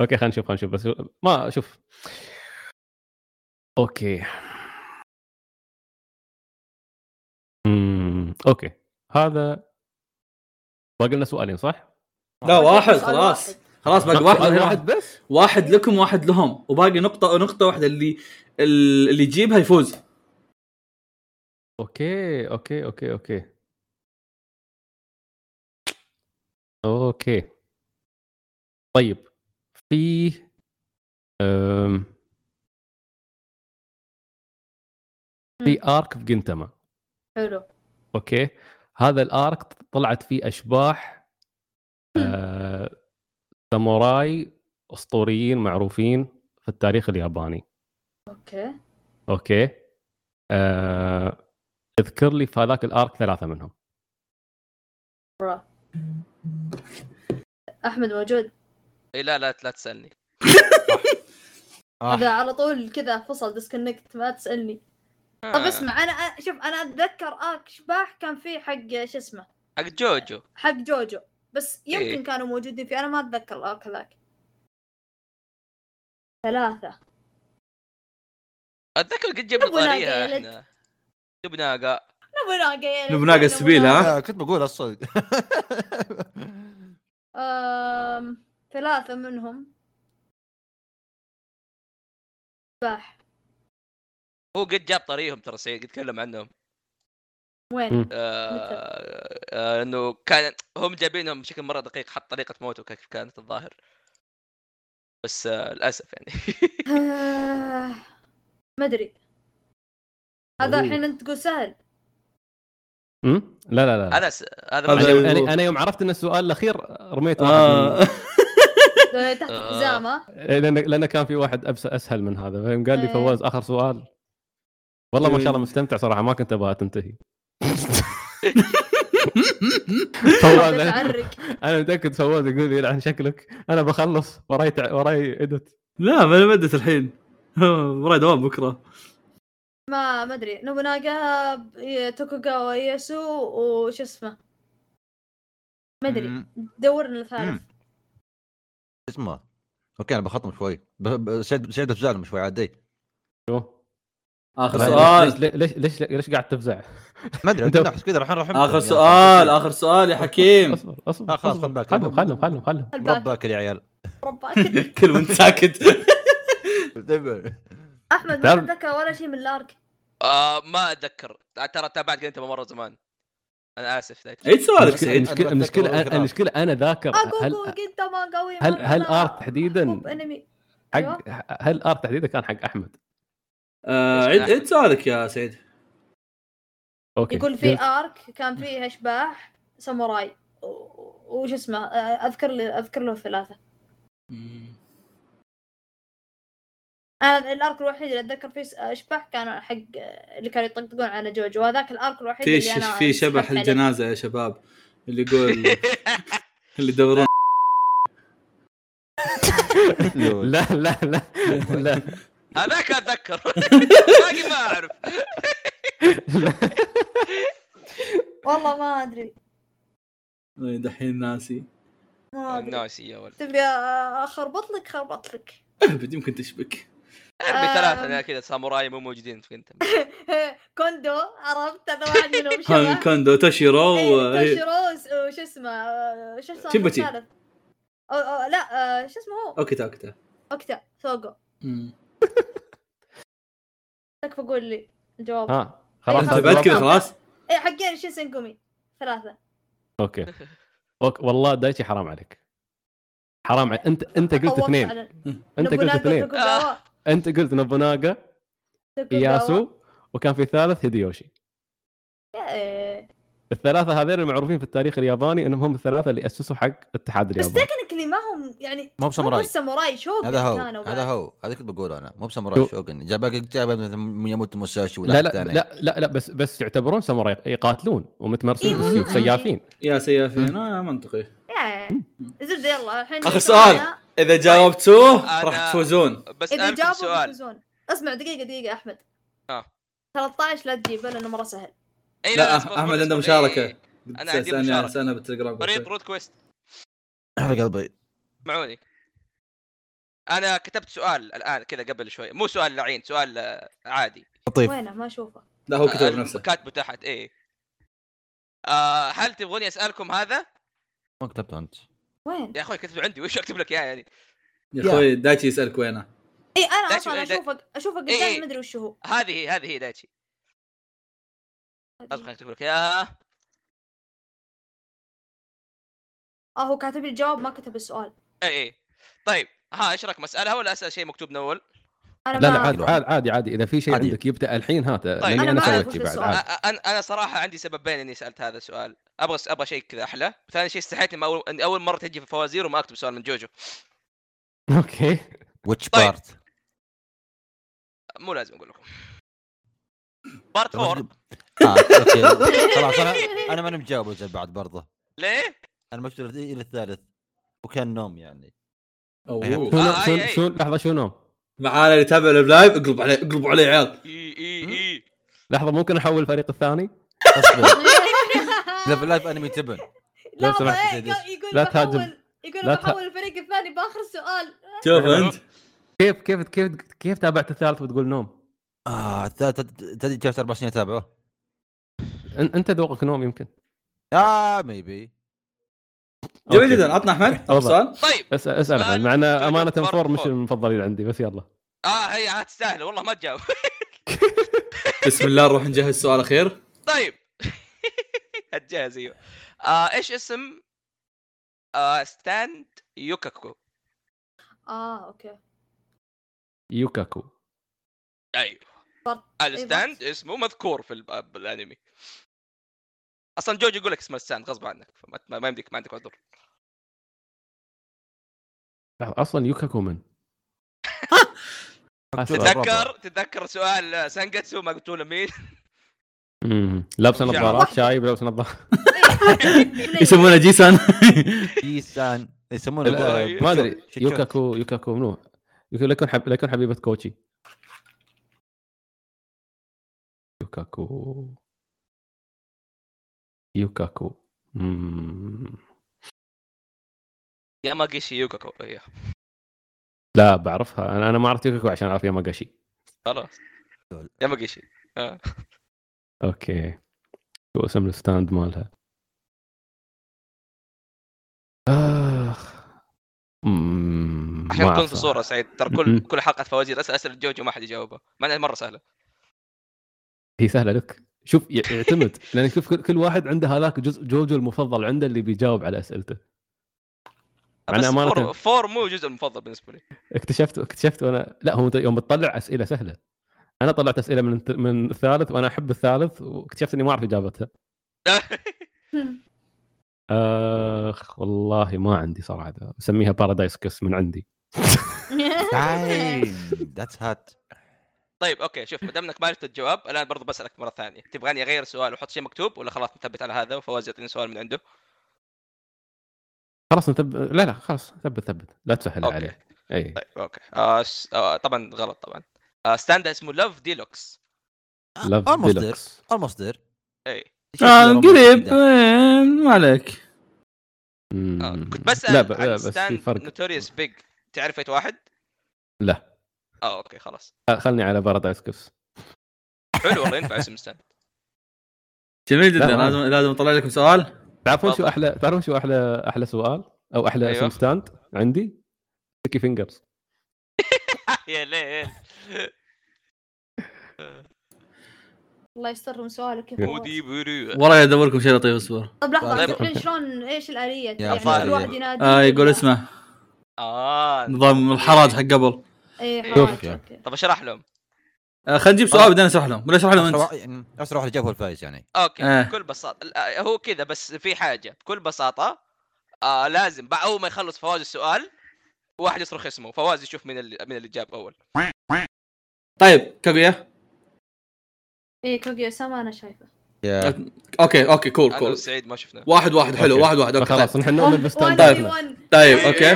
[SPEAKER 5] اوكي خلينا نشوف خلينا نشوف بس ما شوف اوكي امم اوكي هذا باقي لنا سؤالين صح؟
[SPEAKER 6] لا واحد
[SPEAKER 3] سؤال
[SPEAKER 6] خلاص خلاص باقي
[SPEAKER 5] سؤال
[SPEAKER 6] واحد
[SPEAKER 5] واحد بس
[SPEAKER 6] واحد لكم واحد لهم وباقي نقطة نقطة واحدة اللي اللي يجيبها يفوز
[SPEAKER 5] اوكي اوكي اوكي اوكي اوكي طيب في أم... في آه. ارك في جنتما
[SPEAKER 3] حلو
[SPEAKER 5] اوكي هذا الارك طلعت فيه اشباح آه، ساموراي اسطوريين معروفين في التاريخ الياباني
[SPEAKER 3] اوكي
[SPEAKER 5] اوكي آه، اذكر لي في هذاك الارك ثلاثه منهم
[SPEAKER 3] برا احمد موجود
[SPEAKER 2] اي إيه، لا لا لا تسالني
[SPEAKER 4] آه.
[SPEAKER 3] هذا على طول كذا فصل ديسكونكت ما تسالني
[SPEAKER 2] آه.
[SPEAKER 3] طب اسمع انا أ- شوف انا اتذكر ارك شباح كان فيه حق شو اسمه
[SPEAKER 2] حق جوجو
[SPEAKER 3] حق جوجو بس يمكن
[SPEAKER 2] إيه.
[SPEAKER 3] كانوا موجودين فيه انا ما آه، اتذكر الارك ذاك ثلاثة
[SPEAKER 2] اتذكر قد جبنا
[SPEAKER 3] نبغى نلقى
[SPEAKER 2] طاريها
[SPEAKER 3] يلد.
[SPEAKER 2] احنا جبنا قا
[SPEAKER 3] نبوناغا يا
[SPEAKER 6] نبوناغا السبيل، ها؟
[SPEAKER 4] آه، كنت بقول الصدق
[SPEAKER 3] أم... ثلاثة منهم شباح
[SPEAKER 2] هو قد جاب طريقهم ترى سعيد قد تكلم عنهم
[SPEAKER 3] وين؟
[SPEAKER 2] آه آه انه كان هم جايبينهم بشكل مره دقيق حط طريقه موته كيف كانت الظاهر بس آه للاسف يعني
[SPEAKER 3] آه، ما ادري هذا
[SPEAKER 5] أوه.
[SPEAKER 3] الحين انت تقول سهل
[SPEAKER 5] أم؟ لا لا لا
[SPEAKER 2] انا س... هذا
[SPEAKER 6] هذا-
[SPEAKER 2] ما عجبني.
[SPEAKER 5] انا أنا- انا يوم عرفت ان السؤال الاخير رميت واحد
[SPEAKER 6] آه.
[SPEAKER 5] آه.
[SPEAKER 3] ده تحت
[SPEAKER 2] آه.
[SPEAKER 3] الحزام ها؟
[SPEAKER 5] لان لان إيه، كان في واحد أبس اسهل من هذا فيوم قال لي
[SPEAKER 3] إيه.
[SPEAKER 5] فواز اخر سؤال والله ما شاء
[SPEAKER 6] إيه.
[SPEAKER 5] الله مستمتع صراحه ما كنت ابغاها تنتهي فواز
[SPEAKER 3] بتعرق
[SPEAKER 5] انا متاكد فواز يقول يلعن شكلك انا بخلص وراي تع... وراي ادت
[SPEAKER 6] لا ما انا مدت الحين وراي دوام بكره
[SPEAKER 3] ما ما ادري نوبوناغا ب- توكوغاوا اياسو وش اسمه ما ادري
[SPEAKER 4] مم.
[SPEAKER 3] دورنا الثالث
[SPEAKER 4] اسمه اوكي انا بخطم شوي ب- ب- سعيد سعيد بتزعلهم شوي عادي
[SPEAKER 5] شو
[SPEAKER 6] اخر
[SPEAKER 4] طيب.
[SPEAKER 6] سؤال
[SPEAKER 5] ليش ليش ليش, ليش قاعد تفزع؟
[SPEAKER 4] ما ادري
[SPEAKER 5] أنت-
[SPEAKER 4] أنا احس كذا الحين راح
[SPEAKER 6] اخر سؤال اخر سؤال يا حكيم
[SPEAKER 5] اصبر اصبر
[SPEAKER 4] آه، خلاص،
[SPEAKER 5] أصبر.
[SPEAKER 4] خل بالك.
[SPEAKER 5] خلهم خلهم خلهم خلهم
[SPEAKER 3] الباقي
[SPEAKER 4] ربك يا عيال
[SPEAKER 3] رباك
[SPEAKER 6] كل وانت ساكت
[SPEAKER 3] احمد ما
[SPEAKER 5] تعرف-
[SPEAKER 3] تتذكر ولا شيء من الارك
[SPEAKER 2] آه ما اتذكر ترى تابعت قلت مره زمان انا اسف ذاك
[SPEAKER 6] عيد سؤالك
[SPEAKER 5] المشكلة-
[SPEAKER 6] سعيد
[SPEAKER 5] المشكلة المشكلة أنا- المشكلة أنا ذاكر هل
[SPEAKER 3] اقوكو جدا ما قوي
[SPEAKER 5] هل
[SPEAKER 3] مرة
[SPEAKER 5] هل
[SPEAKER 3] أنا
[SPEAKER 5] ارت تحديدا
[SPEAKER 3] حب انمي
[SPEAKER 5] حق هل ارت تحديدا كان حق احمد
[SPEAKER 6] آه، عيد عيد سؤالك يا سعيد
[SPEAKER 5] اوكي
[SPEAKER 3] يقول في ارك كان فيه اشباح ساموراي و- وش اسمه آه، اذكر لي اذكر له ثلاثه انا الارك الوحيد اللي اتذكر فيه س- اشباح كان حق اللي كانوا يطقطقون على جوجو وهذاك الارك الوحيد
[SPEAKER 6] في
[SPEAKER 3] اللي انا
[SPEAKER 6] في شبح
[SPEAKER 3] سحبت عليه.
[SPEAKER 6] الجنازه يا شباب اللي يقول اللي يدورون
[SPEAKER 5] لا لا لا لا
[SPEAKER 2] هذاك اتذكر باقي ما اعرف
[SPEAKER 3] والله ما ادري
[SPEAKER 6] دحين ناسي
[SPEAKER 2] آه،
[SPEAKER 3] ما ادري
[SPEAKER 2] ناسي يا ولد
[SPEAKER 3] تبي اخربط لك خربط لك
[SPEAKER 6] ابد يمكن تشبك
[SPEAKER 2] ارمي
[SPEAKER 3] آم.
[SPEAKER 2] ثلاثه أنا كذا ساموراي مو موجودين في انت
[SPEAKER 3] كوندو عرفت هذا واحد منهم
[SPEAKER 6] هان
[SPEAKER 3] شبح
[SPEAKER 6] كوندو تاشيرو و-
[SPEAKER 3] إيه، توشيروس وش اسمه آه، شو اسمه
[SPEAKER 6] شيبوتي.
[SPEAKER 3] الثالث؟ أو- أو- لا آه، شو اسمه هو
[SPEAKER 6] اوكي تاك تاك
[SPEAKER 3] اوكتا سوغو تكفى قول لي الجواب
[SPEAKER 5] ها خلاص
[SPEAKER 6] انت بعد كذا
[SPEAKER 5] هذا-
[SPEAKER 6] خلاص
[SPEAKER 3] اي حقين شو سنقومي ثلاثة
[SPEAKER 5] اوكي أوكي، والله دايتشي حرام عليك حرام عليك انت انت قلت
[SPEAKER 3] طوفت
[SPEAKER 5] اثنين
[SPEAKER 3] على-
[SPEAKER 5] انت قلت
[SPEAKER 3] نوبوناغا
[SPEAKER 5] اثنين
[SPEAKER 3] توكوغاوا-
[SPEAKER 2] آه.
[SPEAKER 5] انت قلت نوبوناغا
[SPEAKER 3] توكوغاوا.
[SPEAKER 5] اياسو وكان في ثالث هيديوشي
[SPEAKER 3] إيه.
[SPEAKER 5] الثلاثة هذين المعروفين في التاريخ الياباني انهم هم الثلاثة اللي اسسوا حق الاتحاد
[SPEAKER 3] بس
[SPEAKER 5] الياباني
[SPEAKER 3] تكنيكلي ما هم يعني
[SPEAKER 4] مو
[SPEAKER 3] ما هم
[SPEAKER 4] بساموراي
[SPEAKER 3] ساموراي شوغن
[SPEAKER 4] هذا هو
[SPEAKER 3] كانوا
[SPEAKER 4] هذا
[SPEAKER 3] بعد.
[SPEAKER 4] هو هذا كنت بقوله انا مو بساموراي
[SPEAKER 5] شو-
[SPEAKER 4] شوغن جابك جاب يموت موساشي ولا
[SPEAKER 5] لا
[SPEAKER 4] حد
[SPEAKER 5] لا
[SPEAKER 4] ثاني.
[SPEAKER 5] لا لا لا بس بس يعتبرون ساموراي إيه، يقاتلون ومتمرسين
[SPEAKER 3] إيه،
[SPEAKER 5] بالسيوف
[SPEAKER 3] والله.
[SPEAKER 5] سيافين
[SPEAKER 6] يا سيافين آه منطقي
[SPEAKER 3] يا- زبدة يلا الحين
[SPEAKER 6] آخر سؤال. اذا جاوبتوه
[SPEAKER 2] أنا-
[SPEAKER 6] راح تفوزون
[SPEAKER 2] بس
[SPEAKER 3] اذا
[SPEAKER 2] انا
[SPEAKER 3] جابوا
[SPEAKER 2] سؤال
[SPEAKER 3] بيفوزون اسمع دقيقة دقيقة احمد
[SPEAKER 2] آه.
[SPEAKER 3] 13 لا تجيبه لانه مرة سهل
[SPEAKER 2] اي
[SPEAKER 6] لا،
[SPEAKER 2] أصبر،
[SPEAKER 6] أحمد
[SPEAKER 2] أصبر،
[SPEAKER 6] عنده
[SPEAKER 2] أي-
[SPEAKER 6] مشاركة.
[SPEAKER 2] إيه، أنا عندي
[SPEAKER 6] سألني-
[SPEAKER 2] مشاركة.
[SPEAKER 6] سألنا بالتليجرام
[SPEAKER 2] فريق رود كويست
[SPEAKER 4] على قلبي
[SPEAKER 2] اسمعوني انا كتبت سؤال الان كذا قبل شوي مو سؤال لعين سؤال آه، عادي
[SPEAKER 4] لطيف
[SPEAKER 3] وينه ما اشوفه
[SPEAKER 6] لا هو
[SPEAKER 2] آه،
[SPEAKER 6] كتب نفسه
[SPEAKER 2] كاتبه تحت ايه آه هل تبغوني اسالكم هذا؟
[SPEAKER 4] ما كتبته انت
[SPEAKER 3] وين؟
[SPEAKER 2] يا اخوي كتبه عندي وش اكتب لك اياه يعني؟
[SPEAKER 6] يا اخوي دايتشي يسالك وينه
[SPEAKER 3] اي انا
[SPEAKER 2] لا إيه،
[SPEAKER 3] اصلا
[SPEAKER 2] شوف- لا-
[SPEAKER 3] اشوفك اشوفك
[SPEAKER 2] إي إي.
[SPEAKER 3] قدامي ما ادري وش هو
[SPEAKER 2] هذه هي هذه هي دايتشي طب خليني اكتب لك اياها
[SPEAKER 3] اه هو كاتب لي الجواب ما كتب السؤال
[SPEAKER 2] اي اي إيه، طيب ها ايش رايك مسالها ولا اسال شيء مكتوب من اول؟
[SPEAKER 3] انا
[SPEAKER 5] لا
[SPEAKER 3] ما
[SPEAKER 5] لا عادي عادي عادي, عادي اذا في شيء
[SPEAKER 4] عادي.
[SPEAKER 5] عندك يبدا الحين هاته
[SPEAKER 2] طيب،
[SPEAKER 5] لاني
[SPEAKER 2] أنا
[SPEAKER 5] انا
[SPEAKER 2] ما أعرف
[SPEAKER 5] سويت
[SPEAKER 3] وش
[SPEAKER 5] شيء بعد
[SPEAKER 3] السؤال.
[SPEAKER 5] عادي
[SPEAKER 2] أ- انا انا صراحه عندي سببين اني سالت هذا السؤال ابغى ابغى شيء كذا احلى ثاني شيء استحيت اني اول إني اول مره تجي في فوازير وما اكتب سؤال من جوجو
[SPEAKER 5] اوكي
[SPEAKER 4] ويتش
[SPEAKER 2] طيب.
[SPEAKER 4] بارت
[SPEAKER 2] مو لازم اقول لكم بارت 4
[SPEAKER 4] آه، اوكي خلاص انا انا ماني مجاوبه زي بعد برضه
[SPEAKER 2] ليه؟
[SPEAKER 4] انا مكتوب الى الثالث وكان نوم يعني
[SPEAKER 6] أوه.
[SPEAKER 5] شنو
[SPEAKER 2] آه،
[SPEAKER 5] شنو
[SPEAKER 2] أي- أي.
[SPEAKER 5] شنو لحظه شنو
[SPEAKER 6] معانا اللي يتابع اللايف اقلب عليه اقلب عليه يا عيال
[SPEAKER 2] اي اي اي
[SPEAKER 5] لحظه ممكن احول الفريق الثاني
[SPEAKER 4] اصبر ليفل لايف انمي تبن
[SPEAKER 5] لو
[SPEAKER 3] لا
[SPEAKER 5] سمحت
[SPEAKER 4] يا
[SPEAKER 3] إيه،
[SPEAKER 4] سيدس.
[SPEAKER 3] يقول- يقول لا
[SPEAKER 5] لا تهاجم.
[SPEAKER 3] بحول يقول
[SPEAKER 5] لا
[SPEAKER 3] لا
[SPEAKER 5] ته-
[SPEAKER 3] بحول الفريق الثاني باخر سؤال
[SPEAKER 6] شوف انت
[SPEAKER 5] كيف كيف كيف كيف تابعت الثالث وتقول نوم؟
[SPEAKER 4] اه الثالث تدري جلست اربع سنين اتابعه
[SPEAKER 5] أن- انت ذوقك نوم يمكن
[SPEAKER 4] اه ميبي
[SPEAKER 6] جميل
[SPEAKER 5] أوكي.
[SPEAKER 6] جدا عطنا احمد
[SPEAKER 5] تفضل.
[SPEAKER 6] سؤال
[SPEAKER 2] طيب
[SPEAKER 5] اسال اسال
[SPEAKER 2] سؤال
[SPEAKER 5] عن- مع انه
[SPEAKER 2] جوجو
[SPEAKER 5] امانه
[SPEAKER 2] بارت
[SPEAKER 5] فور مش
[SPEAKER 2] فور.
[SPEAKER 5] من المفضلين عندي بس يلا
[SPEAKER 2] اه هي عاد تستاهل والله ما تجاوب
[SPEAKER 6] بسم الله نروح نجهز سؤال اخير
[SPEAKER 2] طيب هتجهز ايوه آه ايش اسم آه ستاند يوكاكو
[SPEAKER 3] اه اوكي
[SPEAKER 5] يوكاكو
[SPEAKER 2] ايوه
[SPEAKER 3] بارت-
[SPEAKER 2] الستاند اسمه مذكور في ال- بالانمي اصلا جوجو يقول لك اسمه ستاند غصب عنك فما- ما, ما يمديك ما عندك عذر
[SPEAKER 5] لحظة، اصلا يوكاكو من؟
[SPEAKER 2] تتذكر تتذكر سؤال سانجاتسو ما قلت له مين
[SPEAKER 5] أمم، لابسه
[SPEAKER 2] شعر.
[SPEAKER 5] نظارات شايب لابسه نظارات
[SPEAKER 3] إيه.
[SPEAKER 6] يسمونه جيسان
[SPEAKER 4] جيسان يسمونه
[SPEAKER 2] لا،
[SPEAKER 5] ما
[SPEAKER 4] شو-
[SPEAKER 5] ادري
[SPEAKER 4] شو- شو-
[SPEAKER 5] يوكاكو يوكاكو منو؟ يوكاكو- لا يكون حب... لا يكون حبيبه كوتشي يوكاكو يوكاكو أمم،
[SPEAKER 2] يا ماجيشي يوكاكو ايوه
[SPEAKER 5] لا بعرفها انا انا ما عرفت يوكاكو عشان اعرف ياماغاشي
[SPEAKER 2] خلاص
[SPEAKER 4] دول.
[SPEAKER 2] يا ماجيشي
[SPEAKER 5] اوكي شو اسم الستاند مالها؟ اخ أمم، ما
[SPEAKER 2] عشان تكون
[SPEAKER 5] أعرف
[SPEAKER 2] في صوره سعيد ترى
[SPEAKER 5] م-م.
[SPEAKER 2] كل كل حلقه فوازير اسال اسئله جوجو ما حد يجاوبها مع انها مره سهله
[SPEAKER 5] هي سهله لك شوف ي- يعتمد لان شوف كل- كل واحد عنده هذاك جزء جوجو المفضل عنده اللي بيجاوب على اسئلته مع
[SPEAKER 2] بس
[SPEAKER 5] إن أمانة-
[SPEAKER 2] فور, فور مو جزء المفضل بالنسبه لي
[SPEAKER 5] اكتشفت اكتشفت وانا لا هو يوم بتطلع اسئله سهله انا طلعت اسئله من الت- من الثالث وانا احب الثالث واكتشفت اني ما اعرف اجابتها اخ والله ما عندي صراحه اسميها بارادايس كس من عندي
[SPEAKER 4] دايم ذاتس هات
[SPEAKER 2] طيب اوكي شوف ما دام انك ما عرفت الجواب الان برضو بسالك مره ثانيه تبغاني اغير سؤال واحط شيء مكتوب ولا خلاص نثبت على هذا وفواز يعطيني سؤال من عنده
[SPEAKER 5] خلاص نثبت لا لا خلاص ثبت ثبت لا تسهل
[SPEAKER 2] أوكي.
[SPEAKER 5] عليه اي
[SPEAKER 2] طيب اوكي آه س... آه طبعا غلط طبعا آه ستاند اسمه لوف ديلوكس
[SPEAKER 5] لاف
[SPEAKER 2] آه،
[SPEAKER 4] almost there.
[SPEAKER 5] ديلوكس
[SPEAKER 4] almost there
[SPEAKER 2] اي
[SPEAKER 4] شكله
[SPEAKER 1] آه
[SPEAKER 4] almost
[SPEAKER 1] قريب
[SPEAKER 4] كده.
[SPEAKER 1] إيه، ما عليك
[SPEAKER 2] آه كنت بسال
[SPEAKER 5] لا ب- لا،
[SPEAKER 2] عن
[SPEAKER 5] بس في
[SPEAKER 2] ستاند
[SPEAKER 5] فرق
[SPEAKER 2] نوتوريوس بيج تعرف ايت واحد؟
[SPEAKER 5] لا
[SPEAKER 2] اه اوكي خلاص
[SPEAKER 5] آه، خلني على بارادايس كس
[SPEAKER 2] حلو والله ينفع اسم ستاند
[SPEAKER 6] جميل جدا
[SPEAKER 5] لا، ما-
[SPEAKER 6] لازم لازم اطلع لكم سؤال
[SPEAKER 5] تعرفون شو
[SPEAKER 2] تفضل.
[SPEAKER 5] احلى تعرفون شو احلى احلى سؤال او احلى
[SPEAKER 2] أيوة.
[SPEAKER 5] اسم ستاند عندي ستيكي فينجرز
[SPEAKER 2] يا ليل
[SPEAKER 3] الله يستر من سؤالك طيب، كيف هو.
[SPEAKER 2] مودي بريء
[SPEAKER 6] والله ادور لكم شيء لطيف اصبر
[SPEAKER 3] طب لحظه
[SPEAKER 2] طيب.
[SPEAKER 3] شلون- شلون ايش الاليه؟ يعني
[SPEAKER 2] فارس.
[SPEAKER 3] كل واحد ينادي
[SPEAKER 6] آه يقول اسمه
[SPEAKER 2] اه
[SPEAKER 6] نظام الحراج حق قبل
[SPEAKER 3] اي
[SPEAKER 5] شوف.
[SPEAKER 3] حرام اوكي
[SPEAKER 2] طب اشرح لهم
[SPEAKER 6] آه خلينا نجيب سؤال بعدين اشرح لهم ولا اشرح لهم
[SPEAKER 4] أسرع
[SPEAKER 6] انت
[SPEAKER 4] يعني اسرع واحد جاب هو الفايز يعني
[SPEAKER 2] اوكي
[SPEAKER 6] آه.
[SPEAKER 2] بكل بساطه لا، هو كذا بس في حاجه بكل بساطه آه لازم بعد اول ما يخلص فواز السؤال واحد يصرخ اسمه فواز يشوف من اللي من اللي جاب اول
[SPEAKER 6] طيب كاغويا
[SPEAKER 3] اي كوجيو سما انا شايفه
[SPEAKER 4] يا
[SPEAKER 6] اوكي اوكي كول
[SPEAKER 2] انا
[SPEAKER 6] كول
[SPEAKER 2] وسعيد ما شفنا
[SPEAKER 6] واحد واحد حلو
[SPEAKER 5] أوكي.
[SPEAKER 6] واحد واحد اوكي
[SPEAKER 5] خلاص
[SPEAKER 6] طيب.
[SPEAKER 5] نحن
[SPEAKER 3] Oh,
[SPEAKER 5] نؤمن بالستاند
[SPEAKER 6] طيب.
[SPEAKER 5] دايما.
[SPEAKER 6] طيب
[SPEAKER 2] إيه،
[SPEAKER 6] اوكي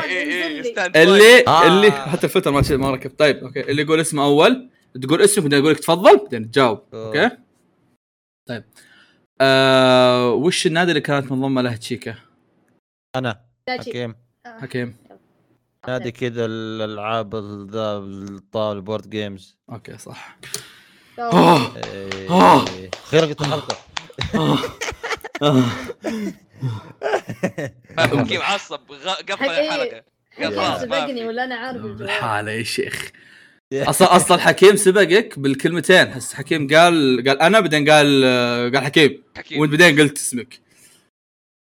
[SPEAKER 2] طيب.
[SPEAKER 6] اللي اللي حتى الفلتر ما ما ركب طيب اوكي اللي يقول اسمه اول تقول اسمك بعدين اقول لك تفضل بعدين تجاوب
[SPEAKER 4] آه.
[SPEAKER 6] اوكي طيب آه وش النادي اللي كانت منضمه له تشيكا
[SPEAKER 4] انا
[SPEAKER 3] دايتشي
[SPEAKER 4] حكيم
[SPEAKER 6] حكيم
[SPEAKER 4] نادي كذا الالعاب ال- ذا الطاوله بورد جيمز
[SPEAKER 1] اوكي صح
[SPEAKER 3] أوه.
[SPEAKER 4] إيه.
[SPEAKER 12] آه.
[SPEAKER 4] خرقت الحلقه
[SPEAKER 2] فهمكي معصب غ- قفل
[SPEAKER 3] حقيقي.
[SPEAKER 2] الحلقه
[SPEAKER 3] حكيم
[SPEAKER 2] خلاص، ما
[SPEAKER 3] سبقني
[SPEAKER 2] في.
[SPEAKER 3] ولا انا عارف الجواب
[SPEAKER 1] الحالة يا شيخ اصلا اصلا حكيم سبقك بالكلمتين حس حكيم قال قال انا بعدين قال قال حكيم
[SPEAKER 2] حكيم
[SPEAKER 1] وانت بعدين قلت اسمك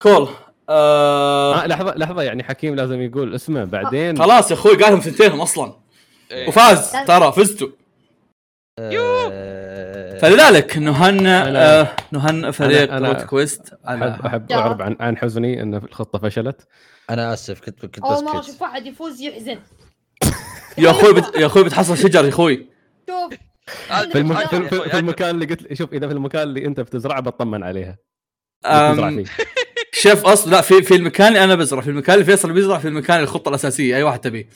[SPEAKER 1] كول آه
[SPEAKER 5] آه لحظه لحظه يعني حكيم لازم يقول اسمه بعدين
[SPEAKER 1] خلاص يا اخوي قالهم ثنتينهم اصلا
[SPEAKER 2] إيه.
[SPEAKER 1] وفاز ترى فزتوا
[SPEAKER 4] إيه.
[SPEAKER 1] فلذلك نهن
[SPEAKER 5] أنا-
[SPEAKER 1] آه، نهن فريق
[SPEAKER 5] أنا-
[SPEAKER 1] روت كويست
[SPEAKER 5] احب
[SPEAKER 1] على
[SPEAKER 5] احب اعرب عن عن حزني ان الخطه فشلت
[SPEAKER 4] انا اسف كنت كنت
[SPEAKER 3] اول مره اشوف
[SPEAKER 4] بسكت
[SPEAKER 3] واحد يفوز يحزن
[SPEAKER 1] يا اخوي بت... يا اخوي بتحصل شجر يا اخوي
[SPEAKER 3] شوف
[SPEAKER 2] أجمل،
[SPEAKER 5] في, الم...
[SPEAKER 2] أجمل
[SPEAKER 5] في,
[SPEAKER 2] يا
[SPEAKER 1] آه.
[SPEAKER 5] الم...
[SPEAKER 2] أخوي،
[SPEAKER 5] في
[SPEAKER 2] أجمل.
[SPEAKER 5] المكان اللي قلت شوف اذا في المكان اللي انت بتزرعه بطمن عليها اللي بتزرع
[SPEAKER 1] أم...
[SPEAKER 5] فيه
[SPEAKER 1] شوف اصلا لا في في المكان اللي انا بزرع في المكان اللي فيصل بيزرع في المكان الخطه الاساسيه اي واحد تبيه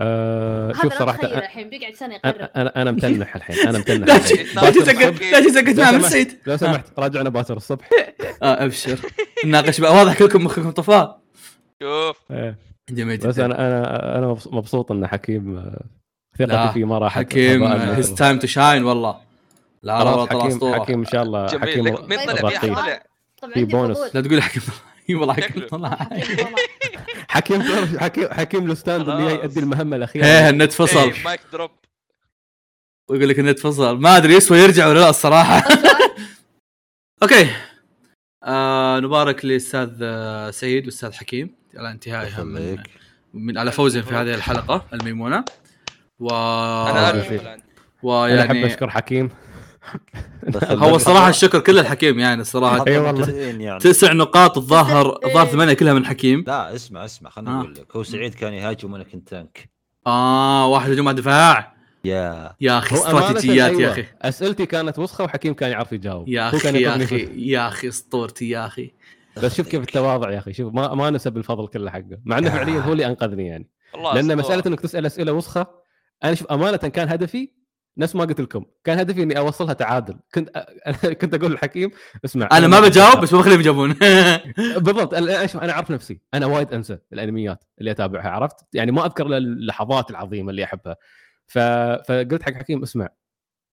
[SPEAKER 5] أه... شوف آه،
[SPEAKER 3] هذا لا
[SPEAKER 5] صراحه
[SPEAKER 3] تخيل
[SPEAKER 5] أ-
[SPEAKER 3] الحين بيقعد سنه يقرر
[SPEAKER 5] أ- انا انا متنح الحين انا متنح
[SPEAKER 1] لا
[SPEAKER 5] الحين.
[SPEAKER 1] تجي- لا تجي سكت لا تجي سكت مع من سعيد
[SPEAKER 5] لو سمحت راجعنا باكر الصبح
[SPEAKER 1] اه ابشر نناقش بقى واضح كلكم مخكم طفاه
[SPEAKER 2] شوف
[SPEAKER 5] إيه.
[SPEAKER 1] جميل
[SPEAKER 5] بس
[SPEAKER 1] جدا
[SPEAKER 5] انا انا انا مبس- مبسوط ان حكيم آه،
[SPEAKER 1] لا،
[SPEAKER 5] ثقتي فيه ما راحت
[SPEAKER 1] حكيم آه،
[SPEAKER 5] فضاء المثل.
[SPEAKER 1] هيز تايم تو شاين والله لا لا
[SPEAKER 5] خلاص،
[SPEAKER 1] والله طلع
[SPEAKER 5] حكيم
[SPEAKER 1] اسطوره
[SPEAKER 5] حكيم ان شاء الله
[SPEAKER 2] جميل
[SPEAKER 5] آه، حكيم
[SPEAKER 2] لك مين طلع
[SPEAKER 5] الرقيق.
[SPEAKER 2] فيه طلع
[SPEAKER 3] طبعا
[SPEAKER 5] في
[SPEAKER 3] طيب، عندي
[SPEAKER 5] بونس.
[SPEAKER 3] فضول.
[SPEAKER 1] لا تقول حكيم أيوة، والله حكيم
[SPEAKER 2] شكله.
[SPEAKER 1] طلع
[SPEAKER 3] حكيم طلع.
[SPEAKER 5] حكيم تعرف حكيم حكيم الستاند اللي
[SPEAKER 2] خلاص.
[SPEAKER 5] يؤدي المهمه
[SPEAKER 1] ايه
[SPEAKER 5] الاخيره
[SPEAKER 1] النت فصل
[SPEAKER 2] إيه، مايك دروب
[SPEAKER 1] ويقول لك النت فصل ما ادري يسوى يرجع ولا لا الصراحه اوكي آه نبارك للاستاذ آه، سعيد والاستاذ حكيم على انتهائهم من,
[SPEAKER 4] خليك
[SPEAKER 1] من على فوزهم في هذه الحلقه الميمونه و آه،
[SPEAKER 2] انا
[SPEAKER 5] أوكي.
[SPEAKER 2] أرجو الان
[SPEAKER 5] انا احب
[SPEAKER 1] ويعني
[SPEAKER 5] اشكر حكيم
[SPEAKER 1] هو الصراحه الشكر كله الحكيم يعني الصراحه
[SPEAKER 5] أي والله.
[SPEAKER 4] يعني
[SPEAKER 1] تسع نقاط الظاهر الظاهر ثمانيه كلها من حكيم
[SPEAKER 4] لا اسمع اسمع خليني
[SPEAKER 1] آه.
[SPEAKER 4] اقول لك هو سعيد كان يهاجم وانا كنت تانك
[SPEAKER 1] اه واحد هجوم على دفاع
[SPEAKER 4] يا
[SPEAKER 1] يا اخي
[SPEAKER 5] هو أمانة
[SPEAKER 1] استراتيجيات يا
[SPEAKER 5] أيوة،
[SPEAKER 1] اخي
[SPEAKER 5] اسئلتي كانت وسخه وحكيم كان يعرف يجاوب
[SPEAKER 1] يا
[SPEAKER 5] هو كان
[SPEAKER 1] اخي يا
[SPEAKER 5] يقولني
[SPEAKER 1] اخي يا اخي اسطورتي يا اخي
[SPEAKER 5] بس شوف كيف التواضع يا اخي شوف ما ما نسب الفضل كله حقه مع
[SPEAKER 1] آه.
[SPEAKER 5] انه فعليا هو اللي انقذني يعني
[SPEAKER 2] والله
[SPEAKER 5] لان
[SPEAKER 2] أسطورة.
[SPEAKER 5] مساله انك تسال اسئله وسخه انا شوف امانه كان هدفي نفس ما قلت لكم كان هدفي اني اوصلها تعادل كنت أنا كنت اقول للحكيم اسمع
[SPEAKER 1] انا ما بجاوب بس بخليهم يجاوبون
[SPEAKER 5] بالضبط انا شوف انا اعرف نفسي انا وايد انسى الانميات اللي اتابعها عرفت يعني ما اذكر إلا اللحظات العظيمه اللي احبها ف... فقلت حق حكيم اسمع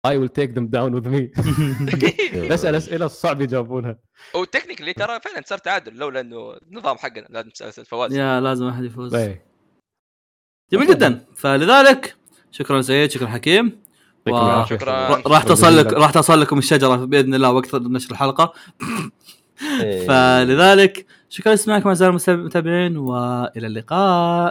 [SPEAKER 5] I will take them down with me بسال اسئله صعب يجاوبونها
[SPEAKER 2] وتكنيكلي ترى فعلا صار تعادل لولا انه النظام حقنا لازم تسال أسئلة فواز
[SPEAKER 1] يا لازم احد يفوز
[SPEAKER 5] إيه.
[SPEAKER 1] جميل جدا فلذلك شكرا سعيد شكرا حكيم
[SPEAKER 5] يعطيكم
[SPEAKER 1] واو.
[SPEAKER 5] العافية.
[SPEAKER 2] شكراً.
[SPEAKER 1] را- راح توصل لك راح توصل لكم الشجره باذن الله وقت نشر الحلقه
[SPEAKER 4] إيه.
[SPEAKER 1] فلذلك شكرا لسماعكم اعزائي المتابعين والى اللقاء